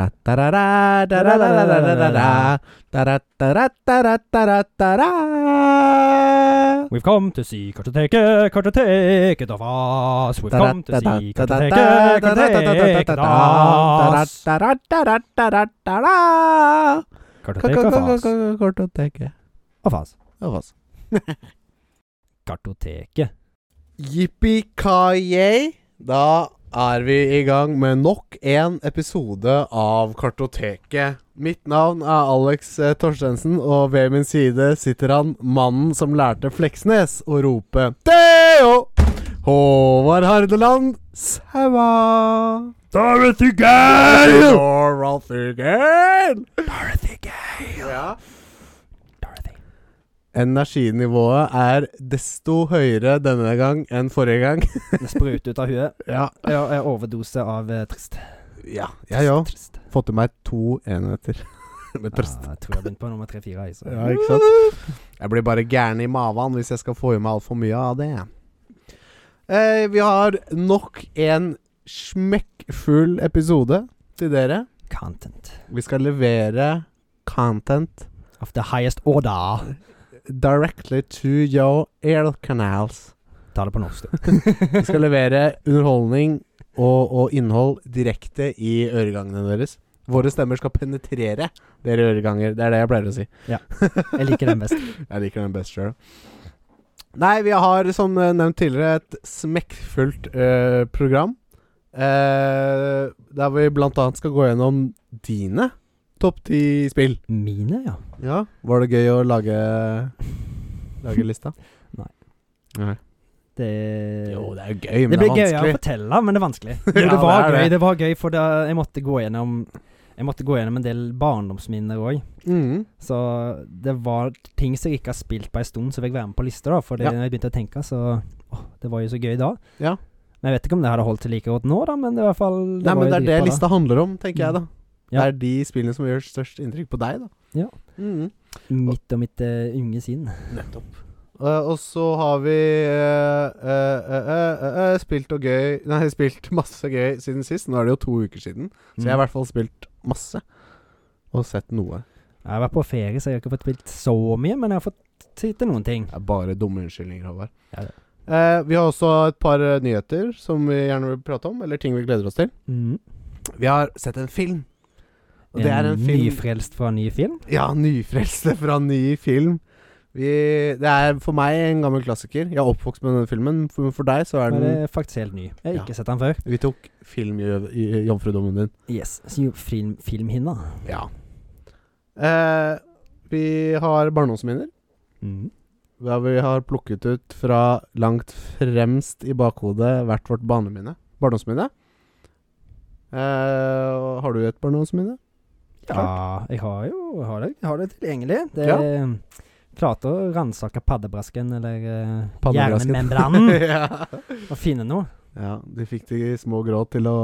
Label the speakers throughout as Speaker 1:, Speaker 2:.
Speaker 1: Da-da-da-da-da-da, da-da-da-da-da-da-da, da-da-da-da-da-da-da-da.
Speaker 2: We've come to see kartoteket, kartoteket of us. We've come to see kartoteket, kartoteket of us.
Speaker 1: Kartoteket
Speaker 2: Kartoteket of us. Of
Speaker 1: av
Speaker 2: us.
Speaker 1: oss.
Speaker 2: Kartoteket.
Speaker 1: Yippee-ki-yay! Da er vi i gang med nok en episode av Kartoteket. Mitt navn er Alex eh, Torstensen, og ved min side sitter han, mannen som lærte Fleksnes å rope Theo! Håvard Hardeland Saua!
Speaker 2: Dorothy
Speaker 1: Dorothy Gale!
Speaker 2: Dorothy Gale!
Speaker 1: Ja.
Speaker 2: Dorothy.
Speaker 1: Energinivået er desto høyere denne gang enn forrige gang.
Speaker 2: Det spruter ut av huet.
Speaker 1: Ja.
Speaker 2: Ja, jeg overdose av eh, trist.
Speaker 1: ja. Jeg òg.
Speaker 2: Trist.
Speaker 1: Fått i meg to enheter med trøst.
Speaker 2: Ja, jeg tror jeg begynte på nummer tre-fire. altså.
Speaker 1: Ja, ikke sant? Jeg blir bare gæren i maven hvis jeg skal få i meg altfor mye av det. Eh, vi har nok en smekkfull episode til dere.
Speaker 2: Content
Speaker 1: Vi skal levere content
Speaker 2: of the highest order.
Speaker 1: directly to your ear canals.
Speaker 2: Ta det på norsk, du.
Speaker 1: Vi skal levere underholdning og, og innhold direkte i øregangene deres. Våre stemmer skal penetrere dere øreganger. Det er det jeg pleier å si.
Speaker 2: Jeg liker den best.
Speaker 1: Jeg liker den best sjøl. Nei, vi har som eh, nevnt tidligere et smekkfullt eh, program. Eh, der vi blant annet skal gå gjennom dine topp ti spill.
Speaker 2: Mine, ja.
Speaker 1: Ja. Var det gøy å lage, lage lista?
Speaker 2: Det
Speaker 1: det er jo gøy,
Speaker 2: Det blir gøy å fortelle, men det er vanskelig. Jo,
Speaker 1: Ja,
Speaker 2: det var
Speaker 1: det er
Speaker 2: gøy,
Speaker 1: det.
Speaker 2: det var gøy, for da, jeg måtte gå gjennom Jeg måtte gå gjennom en del barndomsminner òg.
Speaker 1: Mm.
Speaker 2: Så det var ting som jeg ikke har spilt på en stund, som fikk være med på lista. da For det,
Speaker 1: Ja.
Speaker 2: når jeg begynte å tenke, så Åh, det var jo så gøy da.
Speaker 1: Ja.
Speaker 2: Men Jeg vet ikke om det hadde holdt til like godt nå, da, men det, var i hvert fall, det
Speaker 1: Nei,
Speaker 2: var
Speaker 1: men
Speaker 2: jo
Speaker 1: det er det
Speaker 2: dritbra da.
Speaker 1: lista handler om, tenker jeg, da.
Speaker 2: Ja.
Speaker 1: Det er de spillene som gjør størst inntrykk på deg, da.
Speaker 2: Ja.
Speaker 1: Mm.
Speaker 2: Mitt og mitt eh, unge sinn.
Speaker 1: Nettopp. Eh, og så har vi eh, eh, eh, eh, eh, spilt og gøy Nei, spilt masse gøy siden sist. Nå er det jo to uker siden, så
Speaker 2: Mm.
Speaker 1: jeg har i hvert fall spilt masse. Og sett noe.
Speaker 2: Jeg har vært på ferie, så jeg har ikke fått spilt så mye, men jeg har fått sitte noen ting.
Speaker 1: Det er bare dumme unnskyldninger, Håvard.
Speaker 2: Ja, det.
Speaker 1: Eh, vi har også et par eh, nyheter som vi gjerne vil prate om, eller ting vi gleder oss til.
Speaker 2: Mm.
Speaker 1: Vi har sett en film. Og
Speaker 2: En,
Speaker 1: det er en film
Speaker 2: Nyfrelst fra en ny film.
Speaker 1: Ja, nyfrelste fra en ny film. Vi, det er for meg en gammel klassiker. Jeg er oppvokst med denne filmen. For, for deg så er
Speaker 2: Men
Speaker 1: den
Speaker 2: det er faktisk helt ny. Jeg har
Speaker 1: Ja.
Speaker 2: ikke sett den før.
Speaker 1: Vi tok filmjomfrudommen din.
Speaker 2: Yes. Så jo, film, filmhinna.
Speaker 1: Ja. Eh, vi har barndomsminner.
Speaker 2: Mm.
Speaker 1: Der vi har plukket ut fra langt fremst i bakhodet hvert vårt barneminne. barndomsminne. Eh, har du et barndomsminne?
Speaker 2: Ja, jeg har jo jeg har det, jeg har det tilgjengelig. Det Klarte å ransake paddebrasken, eller eh,
Speaker 1: Paddebrasken.
Speaker 2: hjernemembranen,
Speaker 1: ja.
Speaker 2: og finne noe.
Speaker 1: ja. De fikk de små grå til å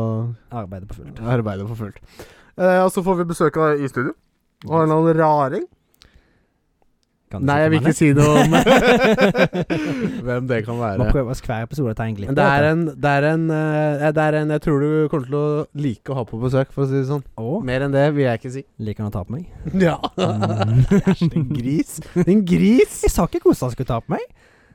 Speaker 2: Arbeide på fullt.
Speaker 1: arbeide for fullt. Eh, og så får vi besøk av i studio. Og en eller annen raring.
Speaker 2: Kan du
Speaker 1: Nei, jeg vil ikke
Speaker 2: sitte
Speaker 1: si noe om
Speaker 2: med
Speaker 1: hvem det kan
Speaker 2: det?
Speaker 1: være.
Speaker 2: Må prøve å hver episode ta en glipp.
Speaker 1: Men det er en, det er en eh, Det er en jeg tror du kommer til å like å ha på besøk, for å si det sånn.
Speaker 2: Og
Speaker 1: Mer enn det vil jeg ikke si.
Speaker 2: liker han å ta på meg? Mm.
Speaker 1: Ja. Æsj, din gris. Din gris!
Speaker 2: Jeg sa ikke hvordan han skulle ta på meg.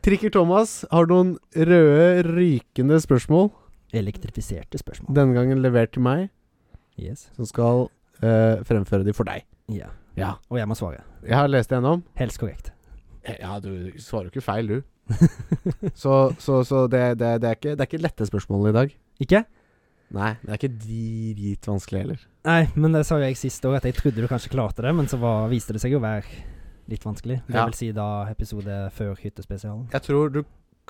Speaker 1: Trikker Thomas har noen røde, rykende spørsmål.
Speaker 2: Elektrifiserte spørsmål.
Speaker 1: Denne gangen levert til meg,
Speaker 2: Yes.
Speaker 1: som skal eh, fremføre de for deg.
Speaker 2: Ja.
Speaker 1: Ja.
Speaker 2: Og jeg må svare.
Speaker 1: Jeg har lest gjennom.
Speaker 2: Helst korrekt.
Speaker 1: Ja, du svarer jo ikke feil, du. Så, så, så det, det, det, er ikke, det er ikke lette spørsmål i dag.
Speaker 2: Ikke?
Speaker 1: Nei, det er ikke dritvanskelig heller.
Speaker 2: Nei, men det sa jo jeg sist òg, at jeg trodde du kanskje klarte det, men så var, viste det seg jo å være litt vanskelig. Det
Speaker 1: Ja.
Speaker 2: vil si da episode før hyttespesialen.
Speaker 1: Jeg tror du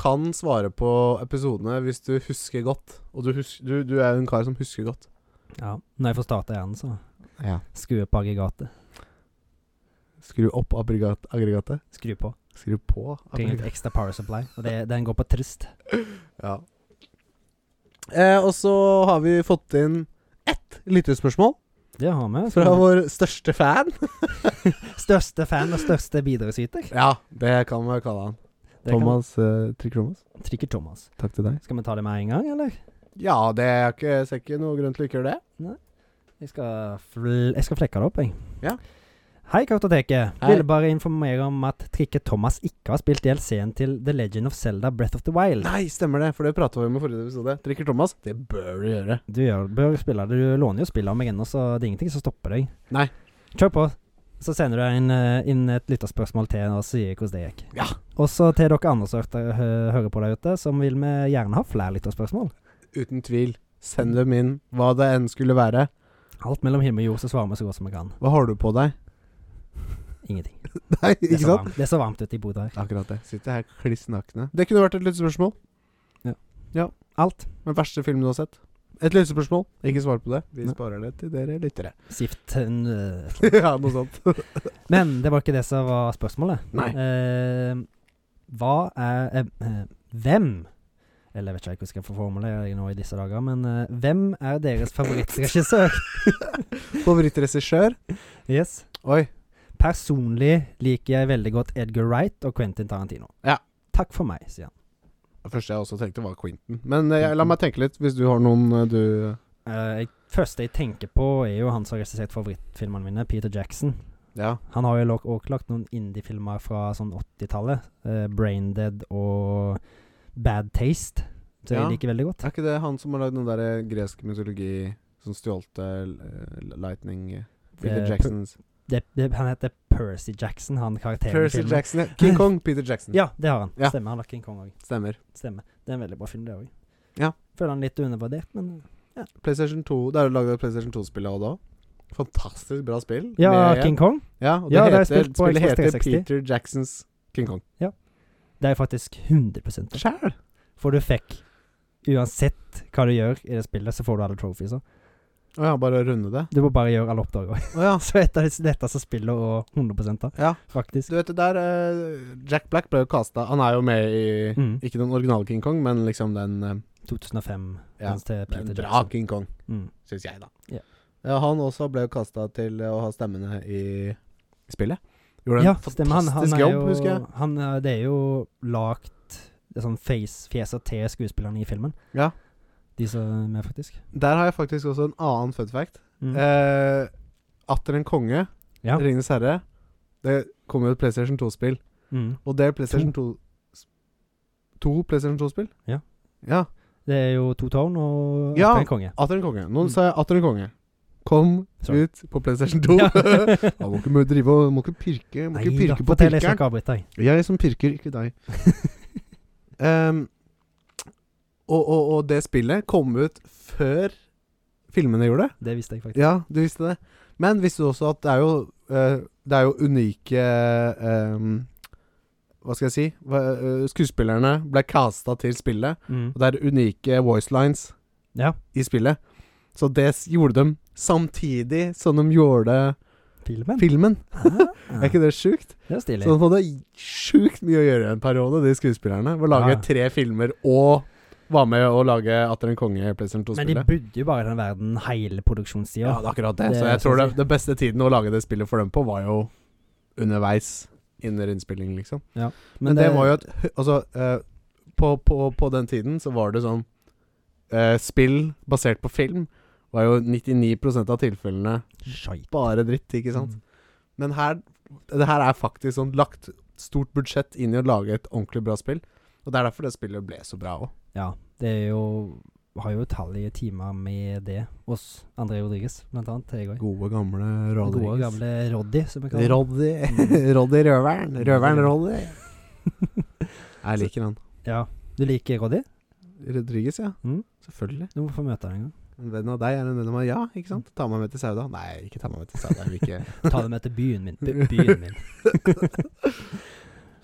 Speaker 1: kan svare på episodene hvis du husker godt. Og du, hus du, du er jo en kar som husker godt.
Speaker 2: Ja. Når jeg får starta igjen, så
Speaker 1: Ja.
Speaker 2: skru på aggregatet.
Speaker 1: Skru opp aggregat aggregatet.
Speaker 2: Skru på.
Speaker 1: Skru på
Speaker 2: Trenger litt
Speaker 1: aggregatet.
Speaker 2: ekstra power supply. Og det, den går på trist.
Speaker 1: Ja. Eh, og så har vi fått inn ett lyttespørsmål
Speaker 2: Det har vi. altså.
Speaker 1: fra vår største fan.
Speaker 2: Største fan og største bidragsyter.
Speaker 1: Ja, det kan vi kalle han.
Speaker 2: Det kan-
Speaker 1: Thomas eh, Trikk-Thomas.
Speaker 2: Trikker Thomas.
Speaker 1: Takk til deg.
Speaker 2: Skal vi ta det med en gang, eller?
Speaker 1: Ja, det er ikke, ser ikke noe grunn til å ikke gjøre det.
Speaker 2: Jeg skal, fl jeg skal flekke det opp, jeg.
Speaker 1: Ja.
Speaker 2: Hei, Kartoteket.
Speaker 1: Hei.
Speaker 2: Ville bare informere om at Trikke Thomas ikke har spilt DLC-en til The Legend of Zelda Breath of the Wild.
Speaker 1: Nei, stemmer det, for det prata vi om i forrige episode. Drikker Thomas? Det bør du gjøre.
Speaker 2: Du gjør, bør spille det. Du låner jo spillet av meg ennå, så det er ingenting som stopper deg.
Speaker 1: Nei.
Speaker 2: Kjør på. Så sender du inn, eh, inn et lytterspørsmål til og sier hvordan det gikk.
Speaker 1: Ja.
Speaker 2: Og så til dere andre som hø- hører på der ute, som vil vi gjerne ha flere lytterspørsmål.
Speaker 1: Uten tvil. Send dem inn, hva det enn skulle være.
Speaker 2: Alt mellom himmel og jord, så svarer vi så godt som vi kan.
Speaker 1: Hva har du på deg?
Speaker 2: Ingenting.
Speaker 1: Nei,
Speaker 2: Det er,
Speaker 1: ikke
Speaker 2: så
Speaker 1: sant?
Speaker 2: varmt, det er så varmt ute i Bodø her.
Speaker 1: Akkurat det. Sitter her kliss nakne. Det kunne vært et lyttespørsmål.
Speaker 2: Alt.
Speaker 1: Den verste filmen du har sett. Et lyttespørsmål. Ikke svar på det. Vi
Speaker 2: Nei.
Speaker 1: sparer det til dere lyttere.
Speaker 2: Sift øh.
Speaker 1: ja, noe sånt.
Speaker 2: Men det var ikke det som var spørsmålet.
Speaker 1: Nei.
Speaker 2: Eh, hva er eh, eh, Hvem Eller jeg vet ikke hvordan jeg skal formulere det nå i disse dager, men eh, hvem er deres favorittregissør?
Speaker 1: Favorittregissør?
Speaker 2: yes.
Speaker 1: Oi.
Speaker 2: Personlig liker jeg veldig godt Edgar Wright og Quentin Tarantino.
Speaker 1: Ja.
Speaker 2: Takk for meg, sier han.
Speaker 1: Det første jeg også tenkte, var Quentin. Men eh, la meg tenke litt, hvis du har noen eh, du
Speaker 2: Eh, jeg- første jeg tenker på, er jo han som har regissert favorittfilmene mine, Peter Jackson.
Speaker 1: Ja.
Speaker 2: Han har jo lagt- også lagt noen indie-filmer fra sånn 80-tallet. eh, 'Braindead' og 'Bad Taste', som
Speaker 1: Ja.
Speaker 2: jeg liker veldig godt.
Speaker 1: Er ikke det han som har lagd den der eh, gresk mytologi som stjålte eh, Lightning eh, Peter
Speaker 2: Eh,
Speaker 1: Jacksons
Speaker 2: det, det, han heter Percy Jackson, han karakteren i
Speaker 1: Percy
Speaker 2: filmen.
Speaker 1: Jackson. ja. King Kong, Peter Jackson.
Speaker 2: Ja, det har han.
Speaker 1: Ja.
Speaker 2: Stemmer. Han har King Kong òg.
Speaker 1: Stemmer.
Speaker 2: Stemmer. Det er en veldig bra film, det òg.
Speaker 1: Ja.
Speaker 2: Føler han litt undervurdert, men
Speaker 1: PlayStation 2 Det er jo laget et PlayStation 2-spill av da. Fantastisk bra spill.
Speaker 2: Ja,
Speaker 1: Med-
Speaker 2: King Kong.
Speaker 1: Ja, og det
Speaker 2: Ja, det har jeg
Speaker 1: heter,
Speaker 2: spilt på
Speaker 1: spillet
Speaker 2: Xbox
Speaker 1: heter
Speaker 2: 360.
Speaker 1: Peter Jacksons King Kong.
Speaker 2: Det er faktisk 100 det.
Speaker 1: Sjæl!
Speaker 2: For du fikk Uansett hva du gjør i det spillet, så får du alle trophiesa.
Speaker 1: Å ja, bare å runde det.
Speaker 2: Du må bare gjøre alle oppdragene.
Speaker 1: Å ja.
Speaker 2: Så et av de letteste spillene å 100 av,
Speaker 1: ja.
Speaker 2: faktisk.
Speaker 1: Du vet det der eh, Jack Black ble jo kasta Han er jo med i
Speaker 2: Mm.
Speaker 1: Ikke den originale King Kong, men liksom den, eh,
Speaker 2: 2005.
Speaker 1: Ja,
Speaker 2: mens til
Speaker 1: den
Speaker 2: Peter
Speaker 1: bra
Speaker 2: Jackson.
Speaker 1: King Kong,
Speaker 2: Mm.
Speaker 1: syns jeg, da.
Speaker 2: Ja.
Speaker 1: Ja, han også ble jo kasta til å ha stemmene i spillet. Gjorde en
Speaker 2: Ja,
Speaker 1: fantastisk
Speaker 2: stemmer. Han, han er
Speaker 1: jobb,
Speaker 2: jo,
Speaker 1: husker jeg.
Speaker 2: Han, eh, det er jo lagt det er sånn face, fjeset til skuespillerne i filmen.
Speaker 1: Ja.
Speaker 2: De som er med, faktisk.
Speaker 1: Der har jeg faktisk også en annen fun fact.
Speaker 2: Mm.
Speaker 1: Eh, Atter en konge,
Speaker 2: Ja.
Speaker 1: Ringenes herre. Det kom jo et PlayStation 2-spill.
Speaker 2: Mm.
Speaker 1: Og det er PlayStation 2 To PlayStation 2-spill?
Speaker 2: Ja.
Speaker 1: Ja.
Speaker 2: Det er jo to tårn og
Speaker 1: Ja.
Speaker 2: atter en konge.
Speaker 1: Atter en konge. Noen
Speaker 2: Mm.
Speaker 1: sa atter en konge. Kom
Speaker 2: Sorry.
Speaker 1: ut på PlayStation 2. Man må ikke må drive og Må ikke pirke Må ikke pirke på
Speaker 2: fortell, jeg
Speaker 1: pirkeren.
Speaker 2: skal ikke avbryte deg.
Speaker 1: Jeg som pirker, ikke deg. Ehm, og, og, og det spillet kom ut før filmene gjorde det.
Speaker 2: Det visste jeg faktisk.
Speaker 1: Ja, du visste det. Men visste du også at det er jo eh, Det er jo unike ehm, Hva skal jeg si? Hva- eh, skuespillerne ble casta til spillet.
Speaker 2: Mm.
Speaker 1: Og det er unike voice lines
Speaker 2: Ja.
Speaker 1: i spillet. Så det s- gjorde de samtidig som de gjorde
Speaker 2: Filmen?
Speaker 1: filmen.
Speaker 2: Ah,
Speaker 1: Er ikke det sånn sjukt?
Speaker 2: det er
Speaker 1: Så
Speaker 2: stilig.
Speaker 1: de hadde sjukt mye å gjøre i en periode, de skuespillerne. Ved å lage
Speaker 2: Ja.
Speaker 1: tre filmer og var med å lage Atter en konge, PlayStation
Speaker 2: Men de
Speaker 1: 2-spillet.
Speaker 2: bodde jo bare i den verden hele
Speaker 1: Ja,
Speaker 2: produksjonstida.
Speaker 1: det er akkurat det.
Speaker 2: Det
Speaker 1: Så jeg
Speaker 2: synes
Speaker 1: tror det,
Speaker 2: jeg.
Speaker 1: det beste tiden å lage det spillet for dem på, var jo underveis under innspilling, liksom. Men det, var jo et hø- Altså, eh, på, på, på den tiden så var det sånn eh, Spill basert på film var jo 99 av tilfellene
Speaker 2: Skjeit.
Speaker 1: bare dritt, ikke sant?
Speaker 2: Mm.
Speaker 1: Men her Det her er faktisk sånn lagt stort budsjett inn i å lage et ordentlig bra spill. Og det er derfor det spillet ble så bra òg.
Speaker 2: Ja. Det er jo Har jo utallige timer med det hos André Rodriguez, blant annet. Jeg òg.
Speaker 1: Gode, gamle
Speaker 2: Gode gamle Roddy, som vi kaller ham.
Speaker 1: Roddy.
Speaker 2: Mm.
Speaker 1: Roddy Røveren.
Speaker 2: Røveren
Speaker 1: Roddy. Jeg liker han.
Speaker 2: Ja. Du liker Roddy?
Speaker 1: Rodriguez, ja.
Speaker 2: Mm.
Speaker 1: Selvfølgelig.
Speaker 2: Du må få møte han en gang.
Speaker 1: En venn av deg er en venn av meg. Ja, ikke sant? Ta meg med til Sauda. Nei, ikke ta meg med til Sauda. Jeg vil ikke
Speaker 2: Ta det med til byen min. By byen min.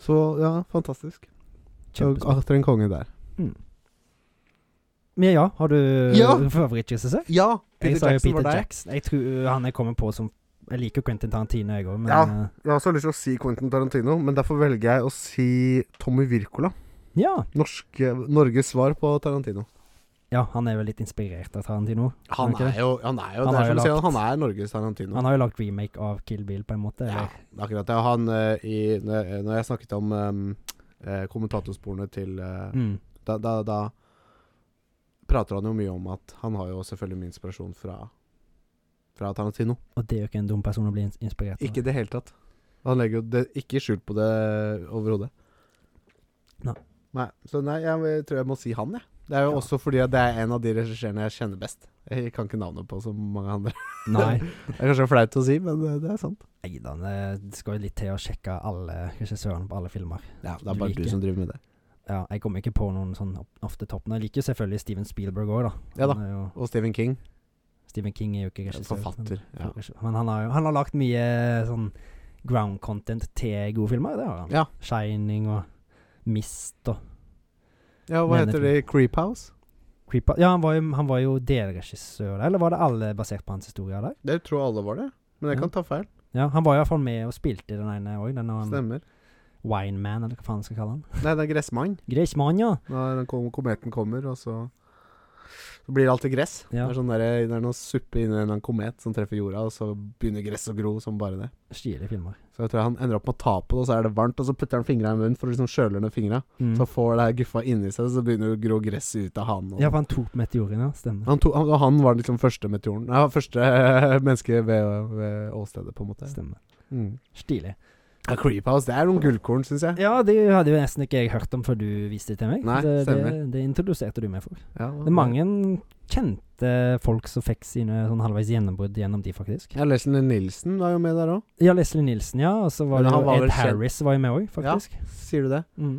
Speaker 1: Så ja, fantastisk. Og
Speaker 2: Kjempespennende.
Speaker 1: Atter en konge der.
Speaker 2: Men ja, har du
Speaker 1: Ja!
Speaker 2: favorittregissør?
Speaker 1: Ja!
Speaker 2: Jeg
Speaker 1: Peter
Speaker 2: sa jo
Speaker 1: Jackson
Speaker 2: Peter
Speaker 1: var deg.
Speaker 2: Jackson. Jeg tror øh, han jeg kommer på som Jeg liker jo Quentin Tarantino, jeg òg, men
Speaker 1: Ja.
Speaker 2: eh,
Speaker 1: Jeg har også lyst til å si Quentin Tarantino, men derfor velger jeg å si Tommy Wirkola.
Speaker 2: ja.
Speaker 1: Norsk, Norges svar på Tarantino.
Speaker 2: ja. Han er vel litt inspirert av Tarantino.
Speaker 1: Han
Speaker 2: Ok.
Speaker 1: er jo Han er jo,
Speaker 2: Han
Speaker 1: det
Speaker 2: har
Speaker 1: er
Speaker 2: jo
Speaker 1: som du sier,
Speaker 2: lagt-
Speaker 1: han er Norges Tarantino.
Speaker 2: Han har jo lagd remake av Kill Bill, på en måte.
Speaker 1: Ja,
Speaker 2: Eller?
Speaker 1: det er akkurat det. Han eh, i Når jeg- når jeg snakket om eh, eh, kommentatorsporene til eh,
Speaker 2: Mm.
Speaker 1: da, da, da prater han jo mye om at han har jo selvfølgelig mye inspirasjon fra fra Tarantino.
Speaker 2: Og det er jo ikke en dum person å bli ins- inspirert av.
Speaker 1: Ikke i det hele tatt. Han legger jo det, ikke skjul på det overhodet.
Speaker 2: Nei.
Speaker 1: Nei. Så nei, jeg tror jeg må si han, jeg. Det er jo
Speaker 2: Ja.
Speaker 1: også fordi at det er en av de regissørene jeg kjenner best. Jeg kan ikke navnet på så mange andre.
Speaker 2: Nei.
Speaker 1: Det er kanskje flaut å si, men det, det er sant.
Speaker 2: Neida, eh, det skal jo litt til å sjekke alle regissørene på alle filmer.
Speaker 1: Ja, Det er
Speaker 2: Du
Speaker 1: bare
Speaker 2: liker.
Speaker 1: du som driver med det.
Speaker 2: Ja, jeg kommer ikke på noen sånn opp- off the top. Men jeg liker jo selvfølgelig Steven Spielberg òg, da.
Speaker 1: Ja da.
Speaker 2: Han er jo,
Speaker 1: Og Stephen King,
Speaker 2: Stephen King er jo ikke regissør.
Speaker 1: forfatter. Ja.
Speaker 2: Men, men han har jo han har lagt mye sånn ground content til gode filmer. Det har han.
Speaker 1: Ja.
Speaker 2: Shining og Mist og
Speaker 1: ja, hva
Speaker 2: Mener
Speaker 1: heter det? Creep House?
Speaker 2: Creeper. Ja, han var jo, han var jo delregissør, eller var det alle basert på hans historie der?
Speaker 1: Det tror jeg alle var det, men jeg
Speaker 2: Ja.
Speaker 1: kan ta feil.
Speaker 2: Ja, han var i hvert fall med og spilte i den ene òg, den um,
Speaker 1: Stemmer.
Speaker 2: Wineman, eller hva faen skal kalle han.
Speaker 1: Nei, det er Gressmann.
Speaker 2: Greismann, ja.
Speaker 1: Når den kom, kometen kommer, og så så blir det alltid gress.
Speaker 2: Ja.
Speaker 1: Det, er sånn der, det er noe suppe inni en eller annen komet som treffer jorda, og så begynner gress å gro som bare det.
Speaker 2: Stilige filmer.
Speaker 1: Så jeg tror han ender opp med å ta på det, og så er det varmt, og så putter han fingra i munnen for å liksom kjøle ned fingra.
Speaker 2: Mm.
Speaker 1: Så får det her guffa inni seg, så begynner det å gro gress ut av han. Og
Speaker 2: Ja, for han tok meteoren, ja. Stemmer.
Speaker 1: han, to, han, og han var liksom første meteoren Nei, første eh, menneske ved, ved åstedet, på en måte.
Speaker 2: Stemmer.
Speaker 1: Mm.
Speaker 2: Stilig.
Speaker 1: Ja, Creephouse, det er noen gullkorn, syns jeg.
Speaker 2: Ja, det hadde jo nesten ikke jeg hørt om før du viste det til meg.
Speaker 1: Nei,
Speaker 2: det, det,
Speaker 1: stemmer.
Speaker 2: det introduserte du meg for.
Speaker 1: Ja,
Speaker 2: Det er mange kjente folk som fikk sine sånn halvveis gjennombrudd gjennom de, faktisk.
Speaker 1: Ja, Leslie Nilsen var jo med der òg.
Speaker 2: Ja, Leslie Nilsen, ja. Og så var
Speaker 1: Men
Speaker 2: det
Speaker 1: han
Speaker 2: jo
Speaker 1: var vel
Speaker 2: Ed
Speaker 1: kjent-
Speaker 2: Harris var jo med òg, faktisk.
Speaker 1: Sier du det?
Speaker 2: Mm.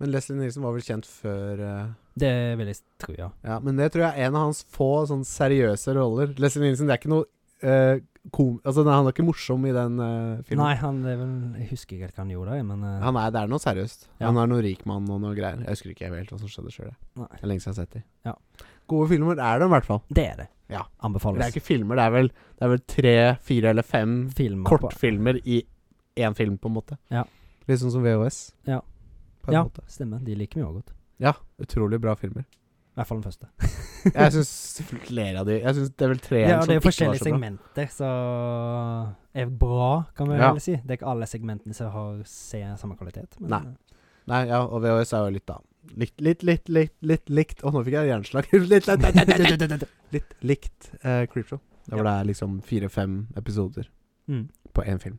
Speaker 1: Men Leslie Nilsen var vel kjent før eh,
Speaker 2: Det vil jeg tro, ja.
Speaker 1: Ja, men det tror jeg er en av hans få sånn seriøse roller. Leslie Nilsen, det er ikke noe eh, kom... Altså, nei, han er ikke morsom i den eh, filmen.
Speaker 2: Nei, han er vel Jeg husker ikke helt hva han gjorde, jeg, men eh,
Speaker 1: Han er, det er noe seriøst.
Speaker 2: Ja.
Speaker 1: Han er noen rik mann og noe greier. Jeg husker ikke helt hva som skjedde sjøl.
Speaker 2: Nei.
Speaker 1: Det er lenge siden jeg har sett de.
Speaker 2: Ja.
Speaker 1: Gode filmer er det i hvert fall.
Speaker 2: det er det.
Speaker 1: Ja.
Speaker 2: Anbefales.
Speaker 1: Det er ikke filmer, det er vel, det er vel tre, fire eller fem
Speaker 2: Filmer på-
Speaker 1: kortfilmer i én film, på en måte.
Speaker 2: Ja.
Speaker 1: Litt sånn som VHS.
Speaker 2: Ja.
Speaker 1: På en
Speaker 2: Ja,
Speaker 1: måte.
Speaker 2: stemmer. De liker vi òg godt.
Speaker 1: Ja. Utrolig bra filmer.
Speaker 2: I hvert fall den første.
Speaker 1: Jeg syns flere av de Jeg syns det er vel tre
Speaker 2: Ja,
Speaker 1: igjen
Speaker 2: det
Speaker 1: som
Speaker 2: er jo
Speaker 1: ikke var
Speaker 2: forskjellige
Speaker 1: så bra.
Speaker 2: segmenter, så er bra, kan vi
Speaker 1: Ja.
Speaker 2: vel si. Det er ikke alle segmentene som har ser samme kvalitet. Men eh,
Speaker 1: Nei. Nei, ja, og VHS er jo litt, da. Litt, litt, litt, litt, litt likt Å, nå fikk jeg hjerneslag. litt, litt, litt, litt likt eh, Creepshow. Der hvor det er liksom fire-fem episoder
Speaker 2: Mm.
Speaker 1: på én film.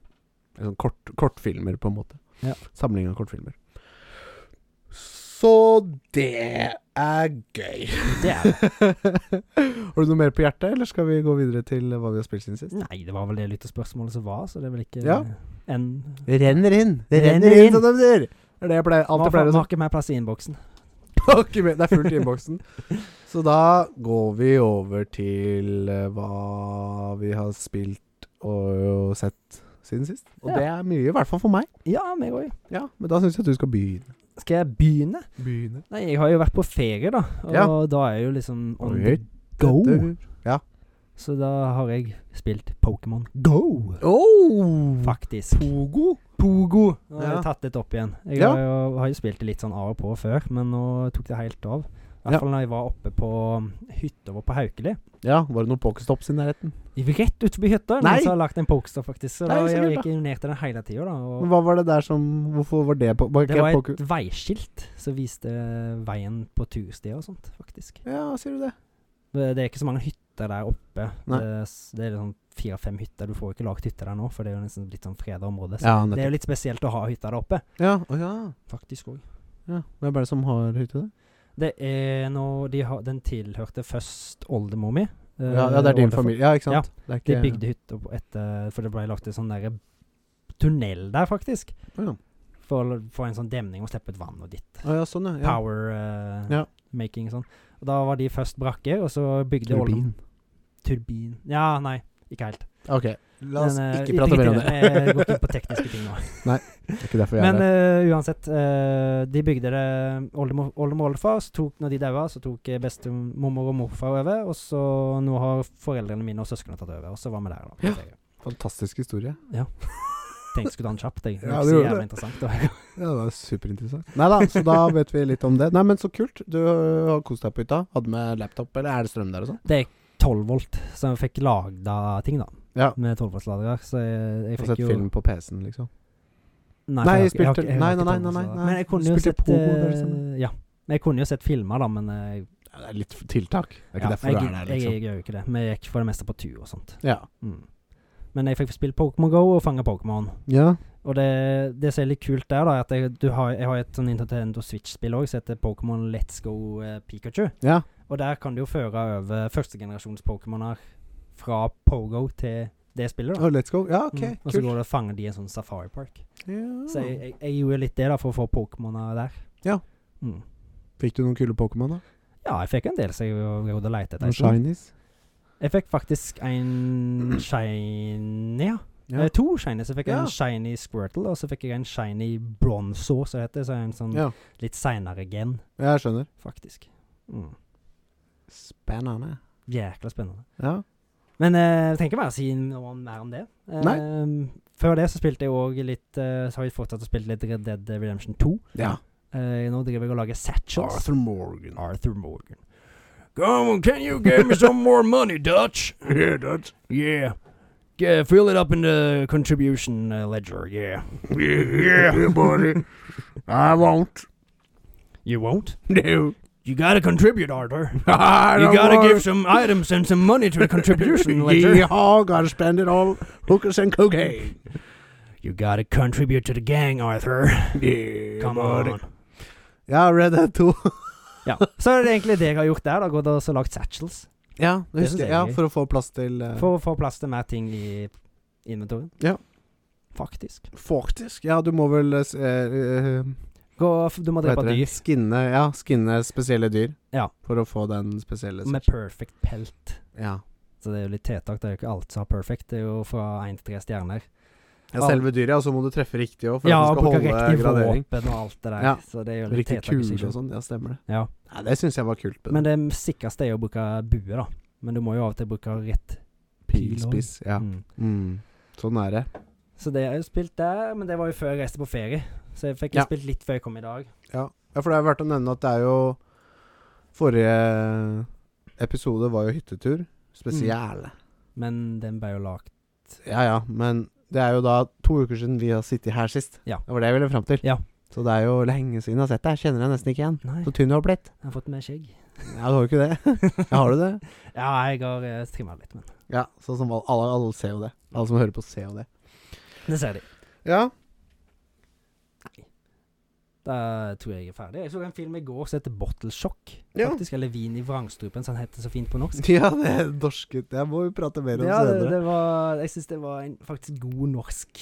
Speaker 1: Eller Sånn kort, kortfilmer, på en måte.
Speaker 2: Ja.
Speaker 1: Samling av kortfilmer. Så det er gøy.
Speaker 2: Det er det.
Speaker 1: Har du noe mer på hjertet, eller skal vi gå videre til hva vi har spilt siden sist?
Speaker 2: Nei, det var vel det lyttespørsmålet som var, så det er vel ikke
Speaker 1: Ja.
Speaker 2: en
Speaker 1: Det renner inn. Det
Speaker 2: Renner
Speaker 1: renner inn,
Speaker 2: inn.
Speaker 1: som de sier. Det er det jeg pleier, alt jeg
Speaker 2: Har
Speaker 1: pleier å si.
Speaker 2: har ikke mer plass i innboksen.
Speaker 1: Pakke med. Det er fullt i innboksen. Så da går vi over til eh, hva vi har spilt og sett siden sist. Og
Speaker 2: Ja.
Speaker 1: det er mye, i hvert fall for meg.
Speaker 2: Ja, meg òg.
Speaker 1: Ja, Men da syns jeg at du skal begynne.
Speaker 2: Skal jeg begynne?
Speaker 1: Begynne.
Speaker 2: Nei, jeg har jo vært på ferie, da. Og
Speaker 1: Ja.
Speaker 2: da er jeg jo liksom on
Speaker 1: Oi.
Speaker 2: the go. Så da har jeg spilt Pokémon Go,
Speaker 1: Oh,
Speaker 2: faktisk.
Speaker 1: Pogo.
Speaker 2: Pogo. Nå har
Speaker 1: Ja.
Speaker 2: jeg tatt litt opp igjen. Jeg
Speaker 1: Ja.
Speaker 2: har, jo, har jo spilt det litt sånn av og på før, men nå tok det helt av. I hvert
Speaker 1: Ja.
Speaker 2: fall da jeg var oppe på um, hytta vår på Haukeli.
Speaker 1: Ja, var det noen pokestops i nærheten?
Speaker 2: Rett utenfor hytta.
Speaker 1: Nei!
Speaker 2: Noen som har lagt en pokestop, faktisk. Så
Speaker 1: Nei,
Speaker 2: da
Speaker 1: så
Speaker 2: jeg
Speaker 1: kult,
Speaker 2: gikk jeg ned til den hele tida, da. Og
Speaker 1: Men hva var det der som Hvorfor var det po var
Speaker 2: det
Speaker 1: ikke
Speaker 2: var
Speaker 1: poke-
Speaker 2: et veiskilt som viste veien på turstier og sånt, faktisk.
Speaker 1: Ja, sier du det?
Speaker 2: Det det er ikke så mange hytter der oppe.
Speaker 1: Nei.
Speaker 2: Det, er s- det er sånn fire-fem hytter. Du får jo ikke lagt hytter der nå, for det er jo nesten litt sånn freda område. Så
Speaker 1: Ja,
Speaker 2: det er
Speaker 1: nettopp.
Speaker 2: jo litt spesielt å ha hytter der oppe,
Speaker 1: Ja, å ja.
Speaker 2: faktisk òg.
Speaker 1: ja. Hvem er det som har hytte der?
Speaker 2: Det er når de har, Den tilhørte først oldemor mi. eh,
Speaker 1: Ja, ja, det er din
Speaker 2: oldefar.
Speaker 1: familie. Ja, ikke sant? Det er
Speaker 2: De
Speaker 1: ikke-
Speaker 2: bygde hytta på etter For det ble lagt en sånn der tunnel der, faktisk.
Speaker 1: Å ja.
Speaker 2: For å få en sånn demning og slippe ut vann og ditt.
Speaker 1: Å ja, sånn, ja. ja.
Speaker 2: Power eh,
Speaker 1: Ja.
Speaker 2: making og sånn. Og da var de først brakker, og så bygde oldemor
Speaker 1: Turbin.
Speaker 2: Turbin. Ja, nei, ikke helt.
Speaker 1: Ok, la oss
Speaker 2: Men, eh,
Speaker 1: ikke prate mer om
Speaker 2: drit i
Speaker 1: det.
Speaker 2: Jeg går ikke inn på tekniske ting nå.
Speaker 1: Det er ikke derfor vi er
Speaker 2: Men
Speaker 1: her.
Speaker 2: eh, uansett, eh, de bygde det Oldemor oldemor og oldefar, så tok når de daua, så tok eh, bestemormor og morfar over, og så nå har foreldrene mine og søsknene tatt over, og så var vi der, da. på
Speaker 1: Ja.
Speaker 2: ferie.
Speaker 1: Fantastisk historie.
Speaker 2: Tenkte jeg skulle ta den kjapt, jeg. Det
Speaker 1: Ja, du
Speaker 2: er ikke så
Speaker 1: gjorde
Speaker 2: jævlig
Speaker 1: det.
Speaker 2: interessant. da.
Speaker 1: Ja, det var superinteressant. Nei da, så da vet vi litt om det. Nei, men så kult. Du øh, har kost deg på hytta. Hadde med laptop, eller er det strøm der og sånn?
Speaker 2: Det er 12 volt, så jeg fikk lagda ting, da.
Speaker 1: Ja.
Speaker 2: Med 12 volts-ladere. Så jeg, jeg
Speaker 1: Og
Speaker 2: fikk
Speaker 1: sett
Speaker 2: jo
Speaker 1: film på PC-en, liksom. Nei,
Speaker 2: Nei, for
Speaker 1: jeg
Speaker 2: jeg har
Speaker 1: spilte-
Speaker 2: ikke- jeg har ikke- jeg har
Speaker 1: nei, nei,
Speaker 2: ikke
Speaker 1: nei,
Speaker 2: 12 volts-ladere.
Speaker 1: nei, nei, nei.
Speaker 2: eh, Men jeg kunne
Speaker 1: Du
Speaker 2: jo
Speaker 1: spilte
Speaker 2: sett
Speaker 1: Pogo, det er det
Speaker 2: eh,
Speaker 1: samme.
Speaker 2: Ja. Men jeg kunne jo sett filmer, da, men eh,
Speaker 1: Ja, liksom? Det er litt for tiltak. Det er ikke
Speaker 2: Ja,
Speaker 1: derfor du
Speaker 2: jeg,
Speaker 1: er der,
Speaker 2: jeg,
Speaker 1: liksom.
Speaker 2: gjør jo ikke det. Vi gikk for det meste på tur og sånt.
Speaker 1: Ja.
Speaker 2: Mm. Men jeg fikk spilt Pokémon Go og fanget Pokémon.
Speaker 1: ja.
Speaker 2: Og det, det som er litt kult der, da, er at jeg, du har, jeg har et sånn Nintendo Switch-spill òg som heter Pokémon Let's Go eh, Pikachu.
Speaker 1: Ja.
Speaker 2: Og der kan du jo føre over førstegenerasjons Pokémoner fra Pogo til det spillet. da.
Speaker 1: Oh, let's go. Ja, OK.
Speaker 2: Mm. Og så
Speaker 1: Kult.
Speaker 2: går det og fanger de i en sånn safaripark. Så jeg,
Speaker 1: Ja.
Speaker 2: jeg, jeg gjorde litt det da for å få Pokémoner der.
Speaker 1: Ja.
Speaker 2: Mm.
Speaker 1: Fikk du noen kule Pokémon, da?
Speaker 2: Ja, jeg fikk en del som jeg gikk og lette etter. en
Speaker 1: Noen
Speaker 2: stund.
Speaker 1: shinies?
Speaker 2: Jeg fikk faktisk en shiny, ja.
Speaker 1: Ja.
Speaker 2: Eh, to shinies. Jeg fikk
Speaker 1: Ja.
Speaker 2: en shiny Squirtle, og så fikk jeg en shiny Bronzo, som det heter. Så er en sånn
Speaker 1: Ja.
Speaker 2: litt seinere gen,
Speaker 1: Jeg skjønner.
Speaker 2: faktisk. Mm.
Speaker 1: Spennende.
Speaker 2: Jækla spennende.
Speaker 1: Ja.
Speaker 2: Men eh, jeg tenker bare å si noe om- mer om det. Eh, Før det så spilte jeg òg litt eh, Så har jeg fortsatt å spille litt Red Dead Redemption 2.
Speaker 1: ja.
Speaker 2: Eh, nå driver jeg og lager satchels.
Speaker 1: Arthur Morgan.
Speaker 2: Arthur Morgan.
Speaker 3: Come on, Um, can you give me some more money, Dutch?
Speaker 1: Yeah, that's
Speaker 3: Yeah. Yeah, fill it up in the contribution uh, ledger, yeah.
Speaker 1: yeah, buddy. I won't.
Speaker 3: You won't?
Speaker 1: No.
Speaker 3: You gotta contribute, Arthur.
Speaker 1: I
Speaker 3: You gotta give some items and some money to the contribution ledger.
Speaker 1: Yeehaw, gotta spend it all. Hookers and cocaine.
Speaker 3: You gotta contribute to the gang, Arthur.
Speaker 1: Yeah,
Speaker 3: Come on.
Speaker 1: Ja, Red Dead 2.
Speaker 2: Ja. Så er det egentlig det jeg har gjort der. da Gått og så lagd satchels.
Speaker 1: ja, det
Speaker 2: synes
Speaker 1: husker
Speaker 2: jeg
Speaker 1: jeg. Ja,
Speaker 2: er gøy.
Speaker 1: for å få plass til eh,
Speaker 2: For å få plass til mer ting i inventoren.
Speaker 1: Ja.
Speaker 2: Faktisk.
Speaker 1: Faktisk. Ja, du må vel eh, s- eh, eh,
Speaker 2: Gå, f- du må
Speaker 1: Hva
Speaker 2: drepe
Speaker 1: heter det?
Speaker 2: dyr
Speaker 1: Skinne, ja, skinne spesielle dyr.
Speaker 2: Ja.
Speaker 1: For å få den spesielle
Speaker 2: med perfect pelt.
Speaker 1: Ja.
Speaker 2: Så det er jo litt tiltak. Det er jo ikke alt som har perfect. Det er jo fra én til tre stjerner.
Speaker 1: ja selve dyret, og så må du treffe riktig òg, for
Speaker 2: ja,
Speaker 1: at
Speaker 2: og
Speaker 1: det skal
Speaker 2: bruke
Speaker 1: holde
Speaker 2: riktig
Speaker 1: gradering.
Speaker 2: våpen og alt det der.
Speaker 1: Ja.
Speaker 2: Så det er jo litt
Speaker 1: Riktig
Speaker 2: tiltak i
Speaker 1: kule
Speaker 2: seg
Speaker 1: og
Speaker 2: selv.
Speaker 1: sånn. Ja, stemmer det.
Speaker 2: Ja.
Speaker 1: Ja, det syns jeg var kult.
Speaker 2: Men det sikreste er jo å bruke bue, da. Men du må jo av og til bruke rett
Speaker 1: pilspiss. Ja.
Speaker 2: Mm.
Speaker 1: Mm. Sånn er det.
Speaker 2: Så det har jeg jo spilt der, men det var jo før jeg reiste på ferie. Så jeg fikk
Speaker 1: Ja.
Speaker 2: jo spilt litt før jeg kom i dag.
Speaker 1: Ja, for det er verdt å nevne at det er jo Forrige episode var jo hyttetur. Spesial.
Speaker 2: Mm. Men den ble jo lagd
Speaker 1: Ja ja, men det er jo da to uker siden vi har sittet her sist.
Speaker 2: Ja.
Speaker 1: Det var det jeg ville fram til.
Speaker 2: Ja.
Speaker 1: Så det er jo lenge siden jeg har sett deg. Jeg Kjenner deg nesten ikke igjen.
Speaker 2: Nei,
Speaker 1: Så tynn du har blitt.
Speaker 2: jeg har fått med skjegg.
Speaker 1: Ja, du har jo ikke det. Ja, har du det?
Speaker 2: Ja, jeg har uh, trimma litt, men
Speaker 1: Ja, sånn som alle, alle, alle ser jo det. Alle som hører på, ser jo det.
Speaker 2: det ser de.
Speaker 1: Ja.
Speaker 2: Da tror jeg jeg er ferdig. Jeg så en film i går som heter Bottle Shock.
Speaker 1: Ja.
Speaker 2: Faktisk, Eller Vin i vrangstrupen, som den heter så fint på norsk.
Speaker 1: Ja, det er dorsket. Jeg må jo prate mer om
Speaker 2: Ja, det,
Speaker 1: senere.
Speaker 2: det var Jeg syns det var en faktisk god norsk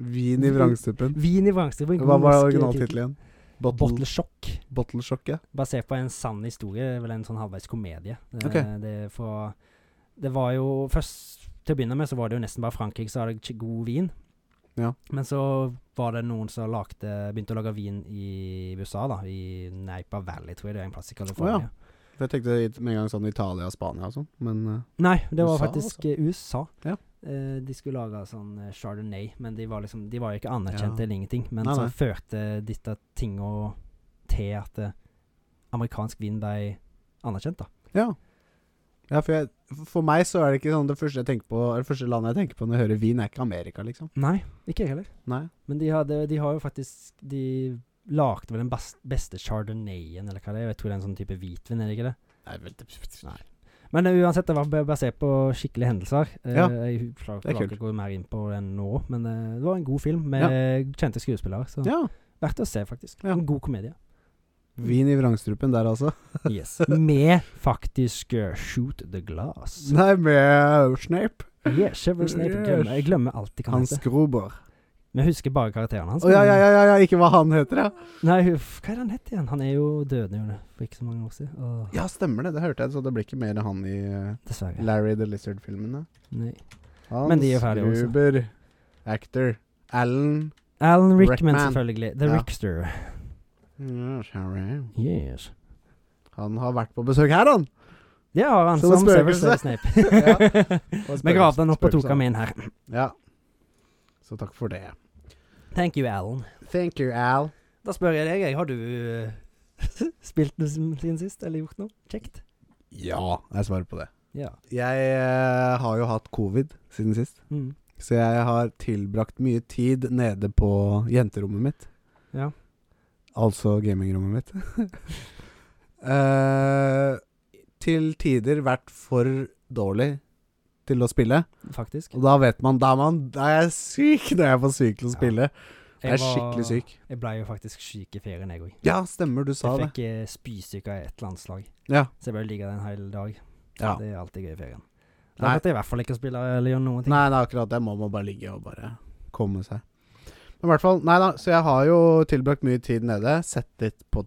Speaker 1: Vin i vrangstupen.
Speaker 2: Vin i vrangstrupen. en
Speaker 1: Hva
Speaker 2: god
Speaker 1: var
Speaker 2: norsk, eh,
Speaker 1: originaltittelen igjen? Bottle,
Speaker 2: Bottle Shock.
Speaker 1: bottle Shock, ja.
Speaker 2: Basert på en sann historie. det er Vel en sånn halvveis komedie. Det,
Speaker 1: Ok.
Speaker 2: det, er fra, det var jo Først til å begynne med så var det jo nesten bare Frankrike som hadde ikke god vin.
Speaker 1: Ja.
Speaker 2: Men så var det noen som lagde, begynte å lage vin i USA, da. I Napa Valley, tror jeg det er en plass i California.
Speaker 1: For jeg tenkte i- med en gang sånn Italia og Spania og sånn, men eh,
Speaker 2: Nei, det var
Speaker 1: USA,
Speaker 2: faktisk eh, USA.
Speaker 1: altså. Ja.
Speaker 2: Eh, de skulle lage sånn eh, Chardonnay, men de var liksom De var jo ikke anerkjente
Speaker 1: Ja.
Speaker 2: eller ingenting. Men
Speaker 1: Nei,
Speaker 2: så
Speaker 1: nei.
Speaker 2: førte disse tinga til at eh, amerikansk vin ble anerkjent, da.
Speaker 1: Ja. Ja, for, jeg, for meg så er det ikke sånn det første, jeg tenker på, eller første landet jeg tenker på når jeg hører vin, er ikke Amerika, liksom.
Speaker 2: Nei, ikke jeg heller.
Speaker 1: Nei.
Speaker 2: Men de, hadde, de har jo faktisk De lagde vel den best, beste chardonnayen, eller hva det er. Jeg tror det er en sånn type hvitvin, er det ikke det?
Speaker 1: Nei, vel, det,
Speaker 2: Nei. Men eh, uansett, det var ba- basert på skikkelige hendelser. Eh,
Speaker 1: Ja,
Speaker 2: jeg klarer
Speaker 1: det er
Speaker 2: klarer ikke å gå mer inn på den nå, men eh, det var en god film med kjente skuespillere. Så
Speaker 1: Ja.
Speaker 2: verdt å se, faktisk.
Speaker 1: Ja.
Speaker 2: En god komedie.
Speaker 1: Vin i vrangstrupen der, altså.
Speaker 2: Yes. med faktisk eh, Shoot the Glass.
Speaker 1: Nei, med Snape.
Speaker 2: Yeah, Severus Snape.
Speaker 1: Yes.
Speaker 2: Glemmer, jeg glemmer alltid hva han
Speaker 1: Hans
Speaker 2: heter.
Speaker 1: Gruber.
Speaker 2: Vi husker bare karakterene
Speaker 1: Å
Speaker 2: hans.
Speaker 1: ja,
Speaker 2: men-
Speaker 1: ja, ja, ja, ja, ikke hva han heter, ja.
Speaker 2: Nei, huff, hva er det han het igjen? Han er jo døende jo det, for ikke så mange år siden. Åh,
Speaker 1: Ja, stemmer det. Det hørte jeg, så det blir ikke mer han i eh,
Speaker 2: Dessverre.
Speaker 1: Larry the Lizard-filmene.
Speaker 2: Nei.
Speaker 1: Hans
Speaker 2: Men de er ferdige også.
Speaker 1: Gruber. Actor. Alan.
Speaker 2: Alan Rickman,
Speaker 1: Rickman.
Speaker 2: selvfølgelig. The
Speaker 1: Ja.
Speaker 2: Rickster.
Speaker 1: Ja, sorry.
Speaker 2: Yes.
Speaker 1: Han har vært på besøk her, han!
Speaker 2: Det har han
Speaker 1: Som
Speaker 2: som,
Speaker 1: en spøkelse.
Speaker 2: Severus Snape.
Speaker 1: Og
Speaker 2: Vi gravde han opp og
Speaker 1: spøkelse,
Speaker 2: tok ham inn her.
Speaker 1: Ja. Så takk for det.
Speaker 2: Thank you, Alan.
Speaker 1: Thank you, Al.
Speaker 2: Da spør jeg deg, jeg, har du eh, spilt noe som- siden sist, eller gjort noe kjekt?
Speaker 1: Ja, jeg svarer på det.
Speaker 2: Ja.
Speaker 1: Jeg eh, har jo hatt covid siden sist,
Speaker 2: Mm.
Speaker 1: så jeg har tilbrakt mye tid nede på jenterommet mitt.
Speaker 2: Ja.
Speaker 1: Altså gamingrommet mitt. Eh, til tider vært for dårlig til å spille.
Speaker 2: faktisk.
Speaker 1: Og da vet man Da er, man, da er jeg syk når jeg er for syk til å
Speaker 2: Ja.
Speaker 1: spille. Jeg er
Speaker 2: var-
Speaker 1: skikkelig syk.
Speaker 2: Jeg ble jo faktisk syk i ferien, jeg òg.
Speaker 1: Ja, stemmer, du sa
Speaker 2: Jeg
Speaker 1: det.
Speaker 2: fikk eh, spysyke i et landslag,
Speaker 1: Ja.
Speaker 2: så jeg ble ligget en hel dag.
Speaker 1: ja.
Speaker 2: Det er alltid gøy i ferien.
Speaker 1: Nei.
Speaker 2: Da fikk jeg i hvert fall ikke å spille eller gjøre noen ting.
Speaker 1: Nei, det er akkurat det. Man må bare ligge og bare komme seg. Men i hvert fall Nei da, så jeg har jo tilbrakt mye tid nede. Sett litt på